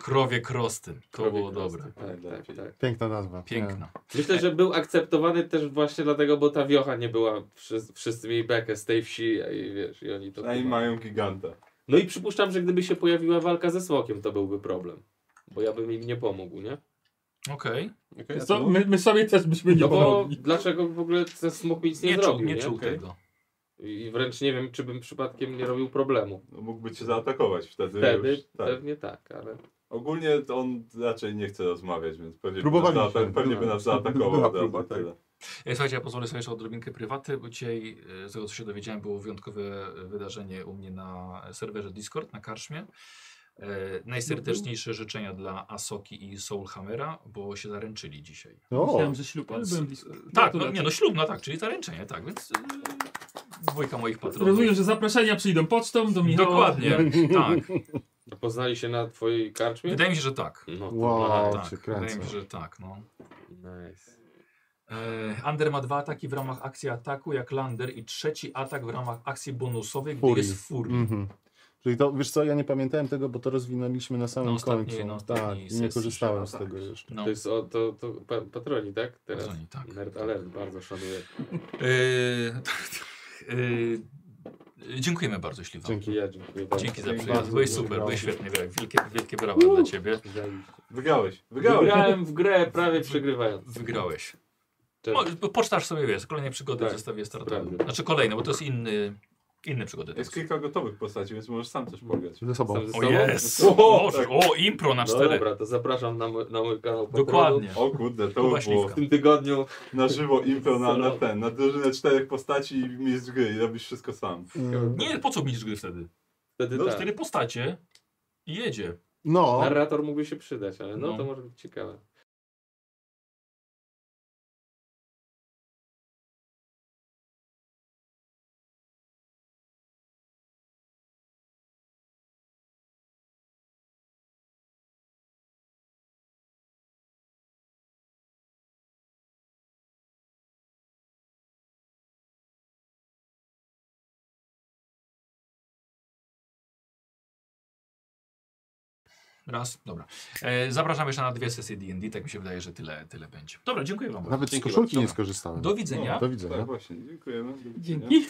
Speaker 2: Krowie krosty. To
Speaker 3: Krowie
Speaker 2: było
Speaker 3: krosty,
Speaker 2: dobre.
Speaker 3: Tak, tak, tak.
Speaker 5: Piękna nazwa.
Speaker 2: Piękna.
Speaker 3: Myślę, że był akceptowany też właśnie dlatego, bo ta wiocha nie była, wszyscy, wszyscy mieli bekę z tej wsi i wiesz, i oni to...
Speaker 1: A i mają giganta.
Speaker 3: No i przypuszczam, że gdyby się pojawiła walka ze smokiem, to byłby problem. Bo ja bym im nie pomógł, nie? Tak.
Speaker 2: Okej.
Speaker 4: Okay,
Speaker 6: Co? My, my sobie też byśmy nie
Speaker 3: No bo
Speaker 6: pomogli.
Speaker 3: dlaczego w ogóle ten smok mi nic nie,
Speaker 2: Nie, czuł,
Speaker 3: zrobił,
Speaker 2: nie czuł
Speaker 3: Okej.
Speaker 2: tego.
Speaker 3: I i wręcz nie wiem, czy bym przypadkiem nie robił problemu.
Speaker 1: No, Mógłby cię zaatakować wtedy.
Speaker 3: Wtedy
Speaker 1: już, tak.
Speaker 3: pewnie tak, ale...
Speaker 1: Ogólnie to on raczej nie chce rozmawiać, więc pewnie, by nas,
Speaker 5: Próbowaliśmy.
Speaker 1: zaata- pewnie by nas
Speaker 4: Była
Speaker 1: zaatakował.
Speaker 4: próba,
Speaker 1: Próba,
Speaker 4: tak.
Speaker 1: tyle.
Speaker 2: E, Słuchajcie, ja pozwolę sobie jeszcze odrobinkę prywaty, bo dzisiaj e, z tego co się dowiedziałem było wyjątkowe e, wydarzenie u mnie na serwerze Discord, na Karszmie. E, najserdeczniejsze
Speaker 6: Mhm.
Speaker 2: życzenia dla Asoki i Soulhammera, bo się zaręczyli dzisiaj.
Speaker 5: O,
Speaker 6: Myślałem, że ślub, ale
Speaker 2: Więc-
Speaker 6: byłem blisko.
Speaker 2: Tak, no,
Speaker 6: Gratulacje.
Speaker 2: nie no ślub, no tak, czyli zaręczenie, tak, więc e, dwójka moich patronów.
Speaker 6: Rozumiem, że zaproszenia przyjdą pocztą do Michała.
Speaker 2: Dokładnie,
Speaker 6: [LAUGHS]
Speaker 2: tak.
Speaker 3: Poznali się na twojej karczmie?
Speaker 2: Wydaje mi się, że tak.
Speaker 3: No to
Speaker 5: Wow. O,
Speaker 2: tak,
Speaker 5: cię
Speaker 2: wydaje
Speaker 5: kręcę.
Speaker 2: mi się, że tak, no.
Speaker 3: Nice.
Speaker 2: E, Under ma dwa ataki w ramach akcji ataku jak Lander i trzeci atak w ramach akcji bonusowej, gdy
Speaker 5: Furii.
Speaker 2: jest Fury.
Speaker 5: Mhm. Czyli to, wiesz co, ja nie pamiętałem tego, bo to rozwinęliśmy na samym
Speaker 2: Na ostatniej-
Speaker 5: końcu.
Speaker 2: na ostatniej
Speaker 5: tak, i
Speaker 2: sesji
Speaker 5: nie korzystałem z
Speaker 1: się-
Speaker 5: tego
Speaker 1: tak.
Speaker 5: jeszcze.
Speaker 2: No.
Speaker 3: To jest o, to, to pa, patroni, tak? Teraz.
Speaker 2: Patroni, tak.
Speaker 3: Nerd Alert bardzo szanuję.
Speaker 2: [LAUGHS] Yy, yy, dziękujemy bardzo, Śliwa.
Speaker 5: Dzięki.
Speaker 3: Ja dziękuję bardzo.
Speaker 2: Dzięki za
Speaker 1: Dzięki
Speaker 2: przyjazd.
Speaker 5: bardzo,
Speaker 2: Byłeś
Speaker 5: dziękuję.
Speaker 2: super, byłeś świetny. Wielkie, wielkie- wielkie brawa dla ciebie.
Speaker 1: Wygrałeś, wygrałeś.
Speaker 3: Wygrałem w grę prawie przegrywając.
Speaker 2: Wygrałeś.
Speaker 3: Cześć.
Speaker 2: No, pocztaż sobie wiesz, kolejne przygody
Speaker 3: Tak,
Speaker 2: w zestawie startowym.
Speaker 3: prawda.
Speaker 2: Znaczy kolejne, bo to jest inny, inny przygody.
Speaker 1: Jest kilka gotowych postaci, więc możesz sam też pograć.
Speaker 5: Ze sobą.
Speaker 3: Sam ze
Speaker 2: O
Speaker 3: sobą?
Speaker 2: jest!
Speaker 1: O,
Speaker 2: Boże,
Speaker 1: tak.
Speaker 2: O, impro na
Speaker 3: No
Speaker 2: cztery.
Speaker 3: dobra, to zapraszam na, mój- na mój kanał patronów.
Speaker 2: Dokładnie.
Speaker 1: O kurde, to
Speaker 2: Kuba
Speaker 1: by było
Speaker 2: Śliwka.
Speaker 3: W tym tygodniu
Speaker 1: na żywo impro na, na ten, na drużynę czterech postaci i mistrz gry i robisz wszystko sam.
Speaker 2: Nie, po co mieć gry wtedy?
Speaker 3: wtedy
Speaker 1: No,
Speaker 3: tak.
Speaker 2: Cztery postacie i jedzie.
Speaker 5: No,
Speaker 3: Narrator mógłby się przydać, ale no,
Speaker 2: No.
Speaker 3: to może być ciekawe.
Speaker 2: Raz, dobra. E, zapraszam jeszcze na dwie sesje D&D, tak mi się wydaje, że tyle, tyle będzie. Dobra, dziękuję wam. bardzo.
Speaker 5: Nawet z
Speaker 2: Dzięki
Speaker 5: koszulki
Speaker 2: bardzo.
Speaker 5: nie
Speaker 2: Dobra.
Speaker 5: skorzystałem. No,
Speaker 2: Do widzenia.
Speaker 5: Do widzenia.
Speaker 1: Tak, właśnie, dziękujemy. Do widzenia.
Speaker 6: Dzięki.